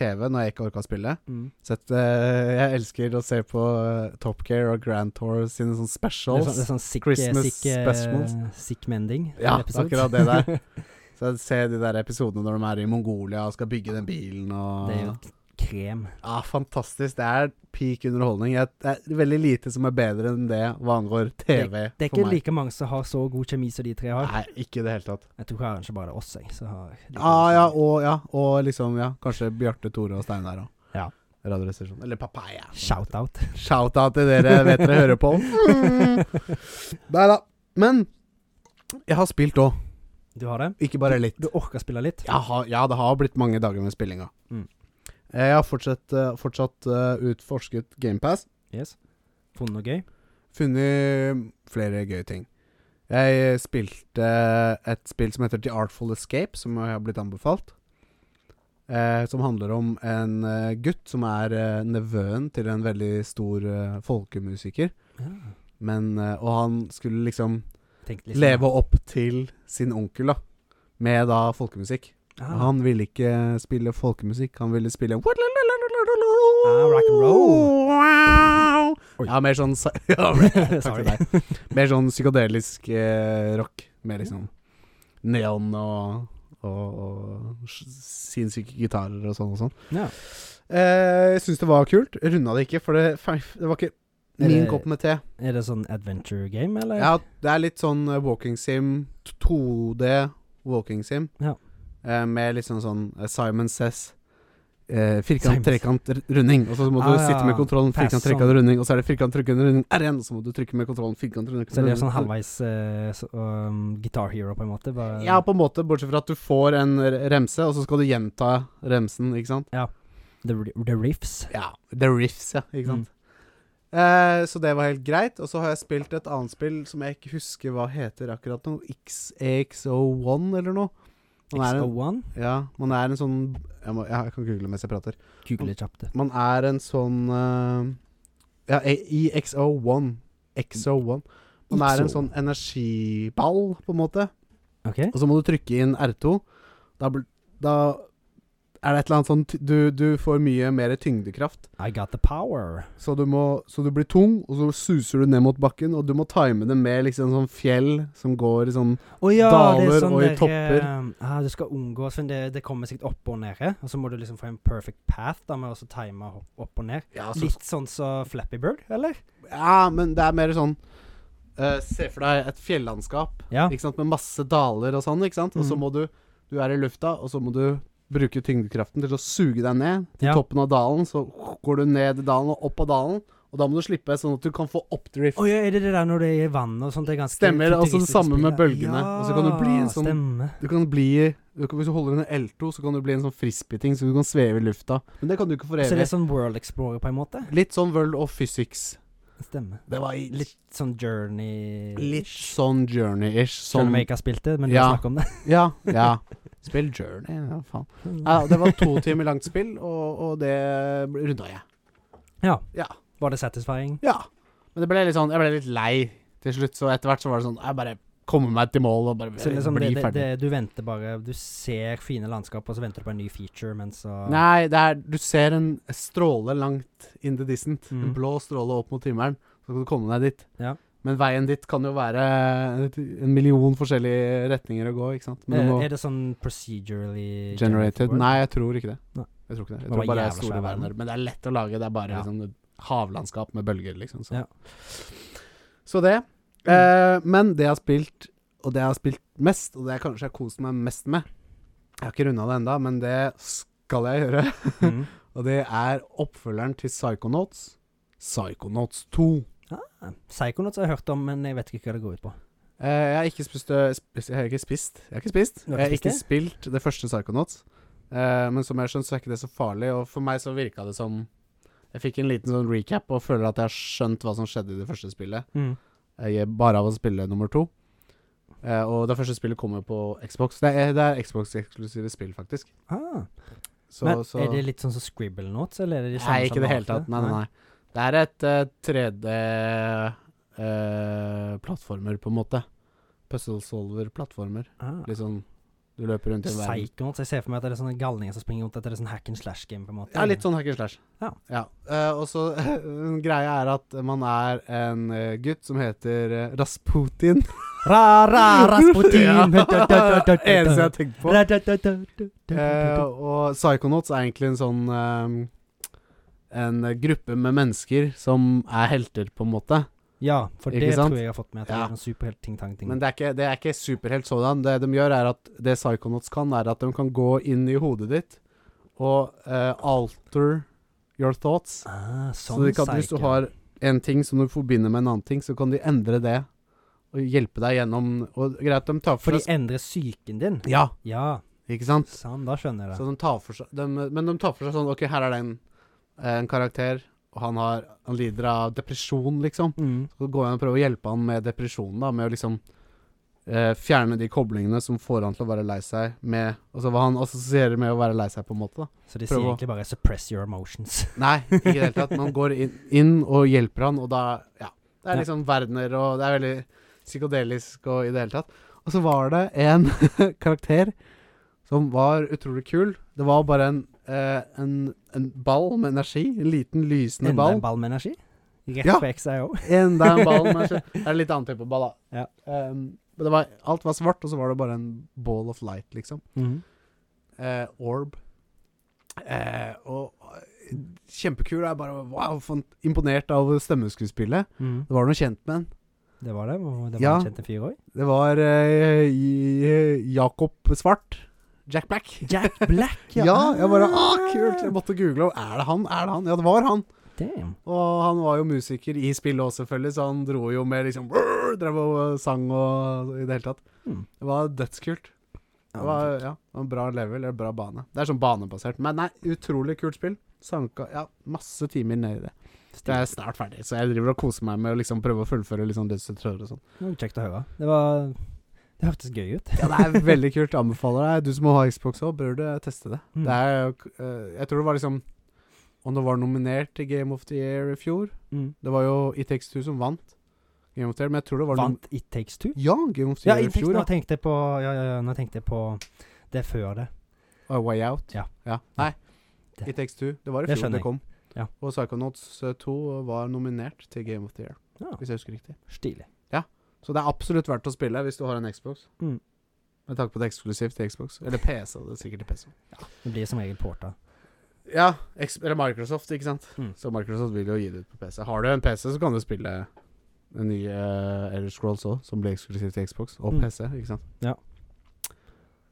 Speaker 1: TV når jeg ikke orka å spille.
Speaker 2: Mm.
Speaker 1: Sett, eh, jeg elsker å se på eh, Top Gear og Grand Tour sine sånne
Speaker 2: Det er sånn, det
Speaker 1: specials.
Speaker 2: er sånn sick,
Speaker 1: Christmas
Speaker 2: sick, eh,
Speaker 1: specials.
Speaker 2: sick mending.
Speaker 1: Ja,
Speaker 2: episode.
Speaker 1: akkurat det der. Så jeg ser de der episodene når de er i Mongolia og skal bygge den bilen og
Speaker 2: det er jo
Speaker 1: Ah.
Speaker 2: krem.
Speaker 1: Ja, fantastisk. Det er peak underholdning. Jeg, det er veldig lite som er bedre enn det hva angår TV
Speaker 2: Det er
Speaker 1: for
Speaker 2: ikke
Speaker 1: meg.
Speaker 2: like mange som har så god kjemi som de tre har.
Speaker 1: Nei, ikke i det hele tatt.
Speaker 2: Jeg tror kanskje bare det er oss, jeg. sånn som har like
Speaker 1: Ja,
Speaker 2: god
Speaker 1: Ah, ja,
Speaker 2: kjemi.
Speaker 1: og, ja, og liksom, ja, kanskje Bjarte, Tore og Steinar òg.
Speaker 2: Ja.
Speaker 1: Radioresepsjonen. Eller Papaya.
Speaker 2: Shout-out.
Speaker 1: Shout-out til dere, vet dere hører på. Nei da. Men jeg har spilt òg,
Speaker 2: Du har det?
Speaker 1: ikke bare litt.
Speaker 2: Du orker spille litt?
Speaker 1: Jeg har, ja, det har blitt mange dager med spillinga.
Speaker 2: Mm.
Speaker 1: Eh, Jeg har fortsatt, eh, fortsatt eh, utforsket GamePass.
Speaker 2: Yes. Funnet noe gøy?
Speaker 1: Funnet flere gøye ting. Jeg spilte et spill som heter The Artful Escape, som jeg har blitt anbefalt. Eh, som handler om en eh, gutt som er eh, nevøen til en veldig stor eh, folkemusiker.
Speaker 2: Ja.
Speaker 1: Men, eh, og han skulle liksom
Speaker 2: Tenkte liksom-
Speaker 1: leve opp til sin onkel, da. Med da folkemusikk.
Speaker 2: Ah.
Speaker 1: Han ville ikke spille folkemusikk, han ville spille
Speaker 2: Ah, rock and roll.
Speaker 1: Wow.
Speaker 2: Oi.
Speaker 1: Ja, mer sånn sa- ja, mer, takk
Speaker 2: Sorry.
Speaker 1: til deg. Mer sånn psykadelisk eh, rock. Med liksom neon og, og, og s- sinnssyke gitarer og sånn og sånn.
Speaker 2: Ja.
Speaker 1: Eh, jeg syns det var kult. Runda det ikke, for det, feif- det var ikke
Speaker 2: Er
Speaker 1: min
Speaker 2: det-
Speaker 1: kopp med te.
Speaker 2: Er det sånn adventure game, eller?
Speaker 1: Ja, det er litt sånn eh, walking sim. t- 2D walking sim.
Speaker 2: Ja.
Speaker 1: Eh, med litt sånn sånn eh, Simon Says. Eh,
Speaker 2: Simon
Speaker 1: firkant,
Speaker 2: Says.
Speaker 1: trekant, r- runding. Og så må du
Speaker 2: Ah, ja.
Speaker 1: sitte med kontrollen. Firkant,
Speaker 2: Pass on.
Speaker 1: trekant, runding. Og så er det firkant, trekant, runding. R1. Og så må du trykke med kontrollen. Firkant, trekant,
Speaker 2: Så det er sånn
Speaker 1: runding.
Speaker 2: halvveis eh, så, um, Guitar Hero, på en måte? Bare,
Speaker 1: Ja, på en måte, bortsett fra at du får en r- remse, og så skal du gjenta remsen, ikke sant?
Speaker 2: the, the Riffs.
Speaker 1: Ja. The riffs, ja, ikke sant? Eh, så det var helt greit. Og så har jeg spilt et annet spill som jeg ikke husker hva heter akkurat nå. XAXO1 eller noe. Man er en,
Speaker 2: XO1.
Speaker 1: ja, man er en sånn jeg, må, ja, jeg kan google mens jeg prater.
Speaker 2: Google kjapt det.
Speaker 1: Man er en sånn eh, Ja, EXO1. XO1. Man er en
Speaker 2: XO.
Speaker 1: sånn energiball, på en måte.
Speaker 2: OK?
Speaker 1: Og så må du trykke inn R2. Da, bl- da er det et eller annet sånn ty- du, du får mye mer tyngdekraft.
Speaker 2: I got the power.
Speaker 1: Så du, må, så du blir tung, og så suser du ned mot bakken. Og du må time det med liksom sånn fjell som går i sånn
Speaker 2: Å ja, det
Speaker 1: Daler
Speaker 2: er sånn
Speaker 1: og i
Speaker 2: der,
Speaker 1: topper.
Speaker 2: eh, ah, du skal unngå sånn det, det kommer sikkert opp og nede, og så må du liksom få en perfect path da, med å så time hopp opp og ned.
Speaker 1: Ja,
Speaker 2: Litt sånn som Flappy Bird, eller?
Speaker 1: men det er mer sånn eh, Se for deg et fjellandskap
Speaker 2: Ja.
Speaker 1: ikke sant? med masse daler og sånn. ikke sant? Og så
Speaker 2: Mhm.
Speaker 1: må du Du er i lufta, og så må du bruke tyngdekraften til å suge deg ned til
Speaker 2: Ja.
Speaker 1: toppen av dalen. Så går du ned i dalen og opp av dalen, og da må du slippe sånn at du kan få oppdrift.
Speaker 2: Å ja, er det det der når det er i vannet og sånt? Det er ganske
Speaker 1: Stemmer, altså det
Speaker 2: futuristisk
Speaker 1: samme
Speaker 2: spill,
Speaker 1: med
Speaker 2: ja.
Speaker 1: bølgene, og så kan du bli en sånn-
Speaker 2: Stemmer.
Speaker 1: Du kan bli du kan, Hvis du holder en L2, så kan du bli en sånn frisbee-ting, så du kan sveve i lufta. Men det kan du ikke for
Speaker 2: Så
Speaker 1: evig.
Speaker 2: det er sånn World Explorer på en måte?
Speaker 1: Litt sånn World of Physics.
Speaker 2: Stemmer.
Speaker 1: Det var i-
Speaker 2: Litt sånn journey
Speaker 1: Litt sånn journey-ish.
Speaker 2: Selv om
Speaker 1: Sånn
Speaker 2: jeg ikke har spilt det, men vi
Speaker 1: Ja.
Speaker 2: har snakket om det.
Speaker 1: Ja, ja. Spill journey, ja faen. Ja, det var to timer langt spill, og, og det runda jeg.
Speaker 2: Var det satisfying?
Speaker 1: Ja. Men det ble litt sånn Jeg ble litt lei til slutt, så etter hvert så var det sånn Jeg bare kommer meg til mål og bare
Speaker 2: Så liksom
Speaker 1: blir
Speaker 2: det, det,
Speaker 1: ferdig.
Speaker 2: det, du venter bare Du ser fine landskap, og så venter du på en ny feature, men så
Speaker 1: Nei, det er Du ser en stråle langt in the distant. En
Speaker 2: Mm.
Speaker 1: blå stråle opp mot himmelen. Så kan du komme deg dit.
Speaker 2: Ja.
Speaker 1: Men veien dit kan jo være en million forskjellige retninger å gå, ikke sant? Men du
Speaker 2: Eh,
Speaker 1: må
Speaker 2: Er det sånn procedurally
Speaker 1: generated
Speaker 2: word?
Speaker 1: Nei, jeg tror ikke det.
Speaker 2: Nei.
Speaker 1: Jeg tror ikke det. Jeg
Speaker 2: Det var
Speaker 1: tror bare det er
Speaker 2: jævla
Speaker 1: store
Speaker 2: svær verden.
Speaker 1: verdener. Men det er lett å lage. Det er bare
Speaker 2: Ja.
Speaker 1: liksom havlandskap med bølger, liksom. Så,
Speaker 2: Ja. Mm.
Speaker 1: så det. Eh, men det jeg har spilt, og det jeg har spilt mest, og det jeg kanskje har kost meg mest med Jeg har ikke runda det enda, men det skal jeg gjøre.
Speaker 2: Mm.
Speaker 1: Og det er oppfølgeren til Psychonauts. Psychonauts 2.
Speaker 2: Ah, Psychonauts har jeg hørt om, men jeg vet ikke hva det går ut på.
Speaker 1: Eh, jeg har ikke spist, øh, spist Jeg har ikke spist. Jeg har ikke spist.
Speaker 2: Du har
Speaker 1: jeg har
Speaker 2: ikke
Speaker 1: ikke spilt det første Psychonauts. Eh, men som jeg skjønner, så er ikke det så farlig. Og for meg så virka det som Jeg fikk en liten sånn recap og føler at jeg har skjønt hva som skjedde i det første spillet.
Speaker 2: Mm.
Speaker 1: Jeg gir bare av å spille nummer to. Eh, og det første spillet kommer på Xbox. Det er, det er Xbox-eksklusive spill, faktisk.
Speaker 2: Ah.
Speaker 1: Så,
Speaker 2: Men
Speaker 1: så
Speaker 2: er det litt sånn som Scribble Notes, eller er det de samme
Speaker 1: Nei, ikke i det hele
Speaker 2: sjablonene?
Speaker 1: tatt. Nei, nei, nei. Det er et eh, 3D-plattformer, eh, på en måte. Puzzle solver-plattformer.
Speaker 2: Ah.
Speaker 1: Litt sånn Du løper rundt i en verden.
Speaker 2: Psychonauts. Jeg ser for meg at det er sånne galninger som springer rundt etter sånn hack and slash-game. på en måte
Speaker 1: Ja, litt sånn hack and slash.
Speaker 2: Ja.
Speaker 1: Eh, og så greia er at man er en eh, gutt som heter eh, Rasputin.
Speaker 2: Ra, ra, Rasputin!
Speaker 1: Ja.
Speaker 2: Da, da, da, da, da.
Speaker 1: Eneste jeg har tenkt på.
Speaker 2: Ra, da, da, da, da, da, da,
Speaker 1: Eh,
Speaker 2: da.
Speaker 1: og Psychonauts er egentlig en sånn eh, En gruppe med mennesker som er helter, på en måte.
Speaker 2: Ja, for
Speaker 1: ikke
Speaker 2: det
Speaker 1: sant?
Speaker 2: tror jeg jeg har fått med. At det
Speaker 1: Ja.
Speaker 2: er en superhelt ting-tang-ting.
Speaker 1: Men det er ikke, det er ikke superhelt sådan. Det de gjør, er at det Psychonauts kan, er at de kan gå inn i hodet ditt og eh, alter your thoughts.
Speaker 2: Ah, sånn
Speaker 1: så de kan, hvis du
Speaker 2: psycho.
Speaker 1: har en ting som du forbinder med en annen ting, så kan de endre det og hjelpe deg gjennom Og greit, de tar
Speaker 2: For
Speaker 1: for
Speaker 2: de
Speaker 1: seg
Speaker 2: endrer psyken din?
Speaker 1: Ja,
Speaker 2: Ja,
Speaker 1: ikke sant?
Speaker 2: sann, Sånn, da skjønner jeg
Speaker 1: Så de
Speaker 2: det.
Speaker 1: tar for seg de, Men de tar for seg sånn OK, her er det en, eh, en karakter, og han, har, han lider av depresjon, liksom.
Speaker 2: Mm.
Speaker 1: Så går jeg og prøver å hjelpe han med depresjonen, da, med å liksom eh, fjerne de koblingene som får han til å være lei seg med Altså hva han assosierer med å være lei seg, på en måte. da.
Speaker 2: Så de
Speaker 1: Prøv
Speaker 2: sier
Speaker 1: å-
Speaker 2: egentlig bare 'suppress your emotions'.
Speaker 1: Nei, ikke i det hele tatt. Man går inn, inn og hjelper han, og da Ja. Det er
Speaker 2: Ja.
Speaker 1: liksom verdener, og det er veldig psykodelisk og i det hele tatt. Og så var det en karakter som var utrolig kul. Det var bare en, eh, en, en ball med energi. En liten, lysende
Speaker 2: Enda
Speaker 1: ball.
Speaker 2: en ball med energi? Rett
Speaker 1: Ja.
Speaker 2: på XIO.
Speaker 1: Enda en ball. Men så er det litt annen type ball, da.
Speaker 2: Ja.
Speaker 1: Ehm, men det var, alt var svart, og så var det bare en ball of light, liksom.
Speaker 2: Mhm.
Speaker 1: Eh, orb. Eh, og eh, kjempekul. Jeg er bare wow, fan, imponert av stemmeskuespillet.
Speaker 2: Mhm.
Speaker 1: Det var noe kjent med den.
Speaker 2: Det var det. Og det var
Speaker 1: Ja.
Speaker 2: en kjent fyr òg.
Speaker 1: Det var eh, J- Jakob Svart. Jack Black.
Speaker 2: Jack Black,
Speaker 1: Ja, jeg bare ah, kult! Jeg måtte google. og Er det han? Er det han? Ja, det var han.
Speaker 2: Damn.
Speaker 1: Og han var jo musiker i spillet også, selvfølgelig, så han dro jo med liksom brrr, Drev og sang og i det hele tatt.
Speaker 2: Mm.
Speaker 1: Det var dødskult. Det var, ja, det var en bra level, eller bra bane. Det er sånn banebasert. Men nei, utrolig kult spill. Sanka ja, masse timer ned i det. Det er snart ferdig, så jeg driver og koser meg med å liksom prøve å fullføre litt sånn dødsutøver og sånn.
Speaker 2: Det var kjekt å høre. Det var Det hørtes gøy ut.
Speaker 1: Ja, det er veldig kult. Anbefaler deg. Du som har Xbox òg, bør du teste det.
Speaker 2: Mm.
Speaker 1: Det er jo k- eh, Jeg tror det var liksom Om det var nominert til Game of the Year i fjor
Speaker 2: Mm.
Speaker 1: Det var jo It Takes Two som vant Game of the Year, men jeg tror det var nom-
Speaker 2: Vant It Takes Two?
Speaker 1: Ja, Game of the
Speaker 2: Ja,
Speaker 1: Year
Speaker 2: It
Speaker 1: i
Speaker 2: Takes
Speaker 1: fjor.
Speaker 2: Nå
Speaker 1: Ja.
Speaker 2: tenkte jeg på Ja, ja, ja, nå tenkte jeg på det før det.
Speaker 1: A Way Out.
Speaker 2: Ja.
Speaker 1: Nei.
Speaker 2: Det-
Speaker 1: It Takes Two. Det var i
Speaker 2: det
Speaker 1: fjor det
Speaker 2: skjønner jeg.
Speaker 1: kom.
Speaker 2: Ja.
Speaker 1: Og Psychonauts eh, 2 var nominert til Game of the Year,
Speaker 2: Ja,
Speaker 1: hvis jeg husker riktig.
Speaker 2: Stilig.
Speaker 1: Så det er absolutt verdt å spille hvis du har en Xbox.
Speaker 2: Mm.
Speaker 1: Med tanke på at det er eksklusivt til Xbox. Eller PC. Det er sikkert til PC.
Speaker 2: Det blir som regel porta.
Speaker 1: Ja, X eller Microsoft, ikke sant.
Speaker 2: Mm.
Speaker 1: Så Microsoft vil jo gi det ut på PC. Har du en PC, så kan du spille den nye uh, Elder Scrolls òg, som ble eksklusivt til Xbox og
Speaker 2: Mm.
Speaker 1: PC, ikke sant.
Speaker 2: Ja.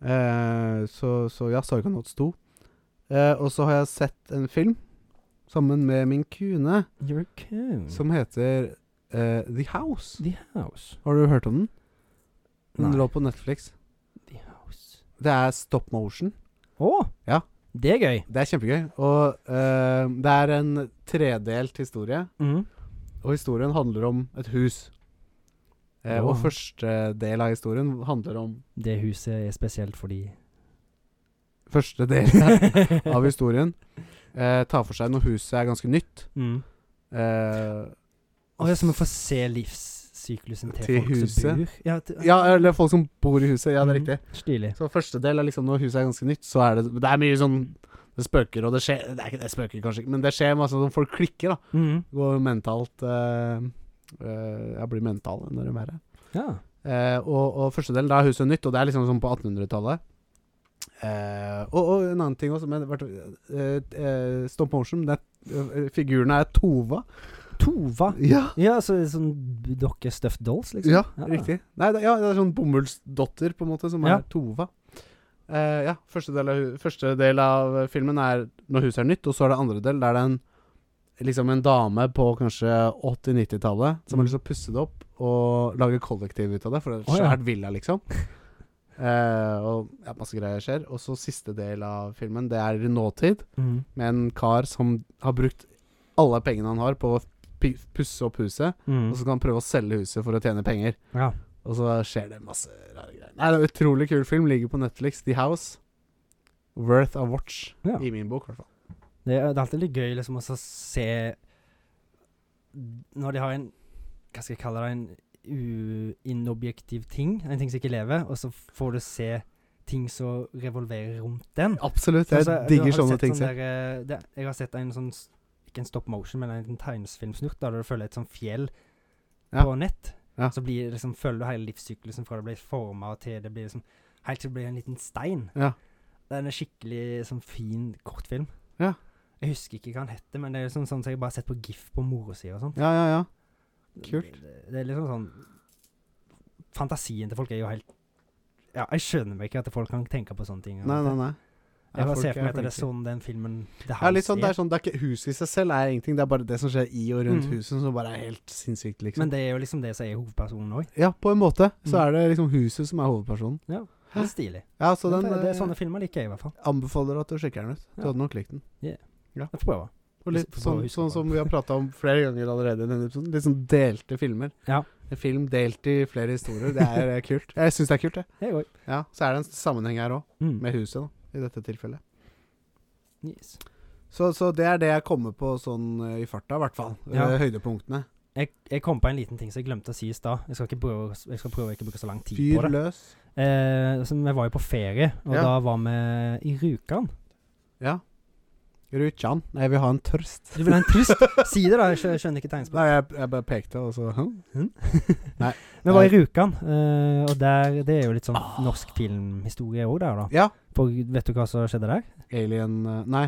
Speaker 1: Eh, så, så ja, Psychonauts 2. Eh, og så har jeg sett en film sammen med min kune
Speaker 2: You're a coon.
Speaker 1: som heter eh, The House.
Speaker 2: The House.
Speaker 1: Har du hørt om den? Den
Speaker 2: Nei.
Speaker 1: lå på Netflix.
Speaker 2: The House.
Speaker 1: Det er stop motion.
Speaker 2: Å!
Speaker 1: Ja.
Speaker 2: Det er gøy.
Speaker 1: Det er kjempegøy. Og eh, det er en tredelt historie.
Speaker 2: Mhm.
Speaker 1: Og historien handler om et hus. Eh, og
Speaker 2: Åh.
Speaker 1: første del av historien handler om
Speaker 2: Det huset er spesielt fordi Mm.
Speaker 1: Første del av historien eh, tar for seg når huset er ganske nytt.
Speaker 2: mm.
Speaker 1: Eh,
Speaker 2: Å, det er som å få se livssyklusen til,
Speaker 1: Til
Speaker 2: folk
Speaker 1: huset.
Speaker 2: som bor Ja, til,
Speaker 1: ja, eller folk som bor i huset. Ja, det er
Speaker 2: Mhm.
Speaker 1: riktig.
Speaker 2: Stilig.
Speaker 1: Så første del er liksom når huset er ganske nytt, så er det Det er mye sånn Det spøker, og det skjer Det, er ikke, det spøker kanskje ikke, men det skjer masse sånn folk klikker, da.
Speaker 2: Mhm.
Speaker 1: Går mentalt eh, eh, Ja, blir mentale når de er her.
Speaker 2: Ja.
Speaker 1: Eh, og, og første delen, da er huset nytt, og det er liksom sånn på 1800-tallet. Eh, og, og en annen ting også, men hvert- eh, eh, stop motion det, er- eh, Figurene er Tova.
Speaker 2: Tova.
Speaker 1: Ja,
Speaker 2: Ja, så sånn b- dokke stuffed dolls, liksom?
Speaker 1: ja, riktig. Nei, det, ja, det er sånn bomullsdotter, på en måte, som
Speaker 2: Ja.
Speaker 1: er Tova. Eh, ja, første del, av, hu- første del av filmen er når huset er nytt, og så er det andre del. Der det er en, liksom en dame på kanskje 80-90-tallet som har lyst til å pusse det opp og lage kollektiv ut av det, for det er
Speaker 2: Mm. Å,
Speaker 1: et
Speaker 2: ja.
Speaker 1: svært villa, liksom. Eh, og ja, masse greier skjer. Og så siste del av filmen, det er i nåtid,
Speaker 2: Mhm.
Speaker 1: med en kar som har brukt alle pengene han har på å pi- pusse opp huset,
Speaker 2: Mm.
Speaker 1: og så kan han prøve å selge huset for å tjene penger.
Speaker 2: Ja.
Speaker 1: Og så skjer det masse rare greier. Nei, det er en Utrolig kul film. Ligger på Netflix. The House. Worth a watch,
Speaker 2: Ja.
Speaker 1: i min bok, i hvert fall.
Speaker 2: Det, er- det er alltid litt gøy liksom også å se Når de har en Hva skal jeg kalle det? En uinobjektiv ting, en ting som ikke lever, og så får du se ting som revolverer rundt den.
Speaker 1: Absolutt. Jeg
Speaker 2: Altså, du har
Speaker 1: digger
Speaker 2: sett
Speaker 1: sånne ting
Speaker 2: sånn
Speaker 1: selv.
Speaker 2: der, eh, det, jeg har sett en sånn s- Ikke en stop motion, men en tegnefilmsnurt der du følger et sånt fjell
Speaker 1: Ja.
Speaker 2: på nett.
Speaker 1: Ja.
Speaker 2: Så blir, det liksom, følger du hele livssyklusen fra det blir forma til det blir liksom Helt til det blir en liten stein.
Speaker 1: Ja.
Speaker 2: Det er en skikkelig sånn fin kortfilm.
Speaker 1: Ja.
Speaker 2: Jeg husker ikke hva den heter, men det er liksom sånn som jeg bare har sett på GIF på morosida og sånn.
Speaker 1: Ja, ja, ja. Kult.
Speaker 2: Det, det er liksom sånn Fantasien til folk er jo helt Ja, jeg skjønner meg ikke at folk kan tenke på sånne ting. og
Speaker 1: Nei,
Speaker 2: at det-
Speaker 1: nei, nei. Nei,
Speaker 2: jeg bare
Speaker 1: folk
Speaker 2: ser for meg at det er
Speaker 1: flinke.
Speaker 2: sånn den filmen The
Speaker 1: Ja, litt sånn, det,
Speaker 2: er.
Speaker 1: er sånn, det er ikke huset i seg selv, er ingenting. Det er bare det som skjer i og rundt
Speaker 2: Mm.
Speaker 1: huset, som bare er helt sinnssykt, liksom.
Speaker 2: Men det er jo liksom det som er hovedpersonen òg.
Speaker 1: ja, på en måte. Så
Speaker 2: Mm.
Speaker 1: er det liksom huset som er hovedpersonen.
Speaker 2: Det er stilig.
Speaker 1: Ja, så
Speaker 2: det,
Speaker 1: den
Speaker 2: det, det er
Speaker 1: eh,
Speaker 2: sånne filmer liker jeg i hvert fall.
Speaker 1: anbefaler at du sjekker den ut. Du
Speaker 2: Ja.
Speaker 1: hadde nok likt den.
Speaker 2: Jeg får prøve.
Speaker 1: Og litt
Speaker 2: Hvis- for å
Speaker 1: sånn,
Speaker 2: huske
Speaker 1: sånn
Speaker 2: på
Speaker 1: som
Speaker 2: det.
Speaker 1: vi har prata om flere ganger allerede i denne episoden. Litt sånn delte filmer.
Speaker 2: Ja.
Speaker 1: En film delt i flere historier. Det er eh, kult. Jeg syns det er kult, det.
Speaker 2: Jeg òg.
Speaker 1: Ja, Så er det en sammenheng her òg,
Speaker 2: Mm.
Speaker 1: med huset, da, i dette tilfellet.
Speaker 2: Yes.
Speaker 1: Så, så det er det jeg kommer på sånn eh, i farta, i hvert fall.
Speaker 2: Ja.
Speaker 1: Eh, Høydepunktene.
Speaker 2: Jeg, jeg kom på en liten ting som jeg glemte å si i stad. Jeg skal ikke prøve, å- jeg skal prøve å ikke bruke så lang tid på
Speaker 1: Fyr
Speaker 2: det.
Speaker 1: løs.
Speaker 2: Eh, så vi var jo på ferie, og
Speaker 1: Ja.
Speaker 2: da var vi i Rjukan.
Speaker 1: Ja. Rutjan. Nei, jeg vil ha en tørst.
Speaker 2: Du vil ha en trist side, da? Jeg skjø- skjønner ikke tegnspråk.
Speaker 1: Nei, jeg, jeg bare pekte, og så hm?
Speaker 2: Vi var i Rjukan, eh, og der, det er jo litt sånn
Speaker 1: Ah.
Speaker 2: norsk filmhistorie òg der, da.
Speaker 1: Ja.
Speaker 2: For vet du hva som skjedde der?
Speaker 1: Alien eh, Nei.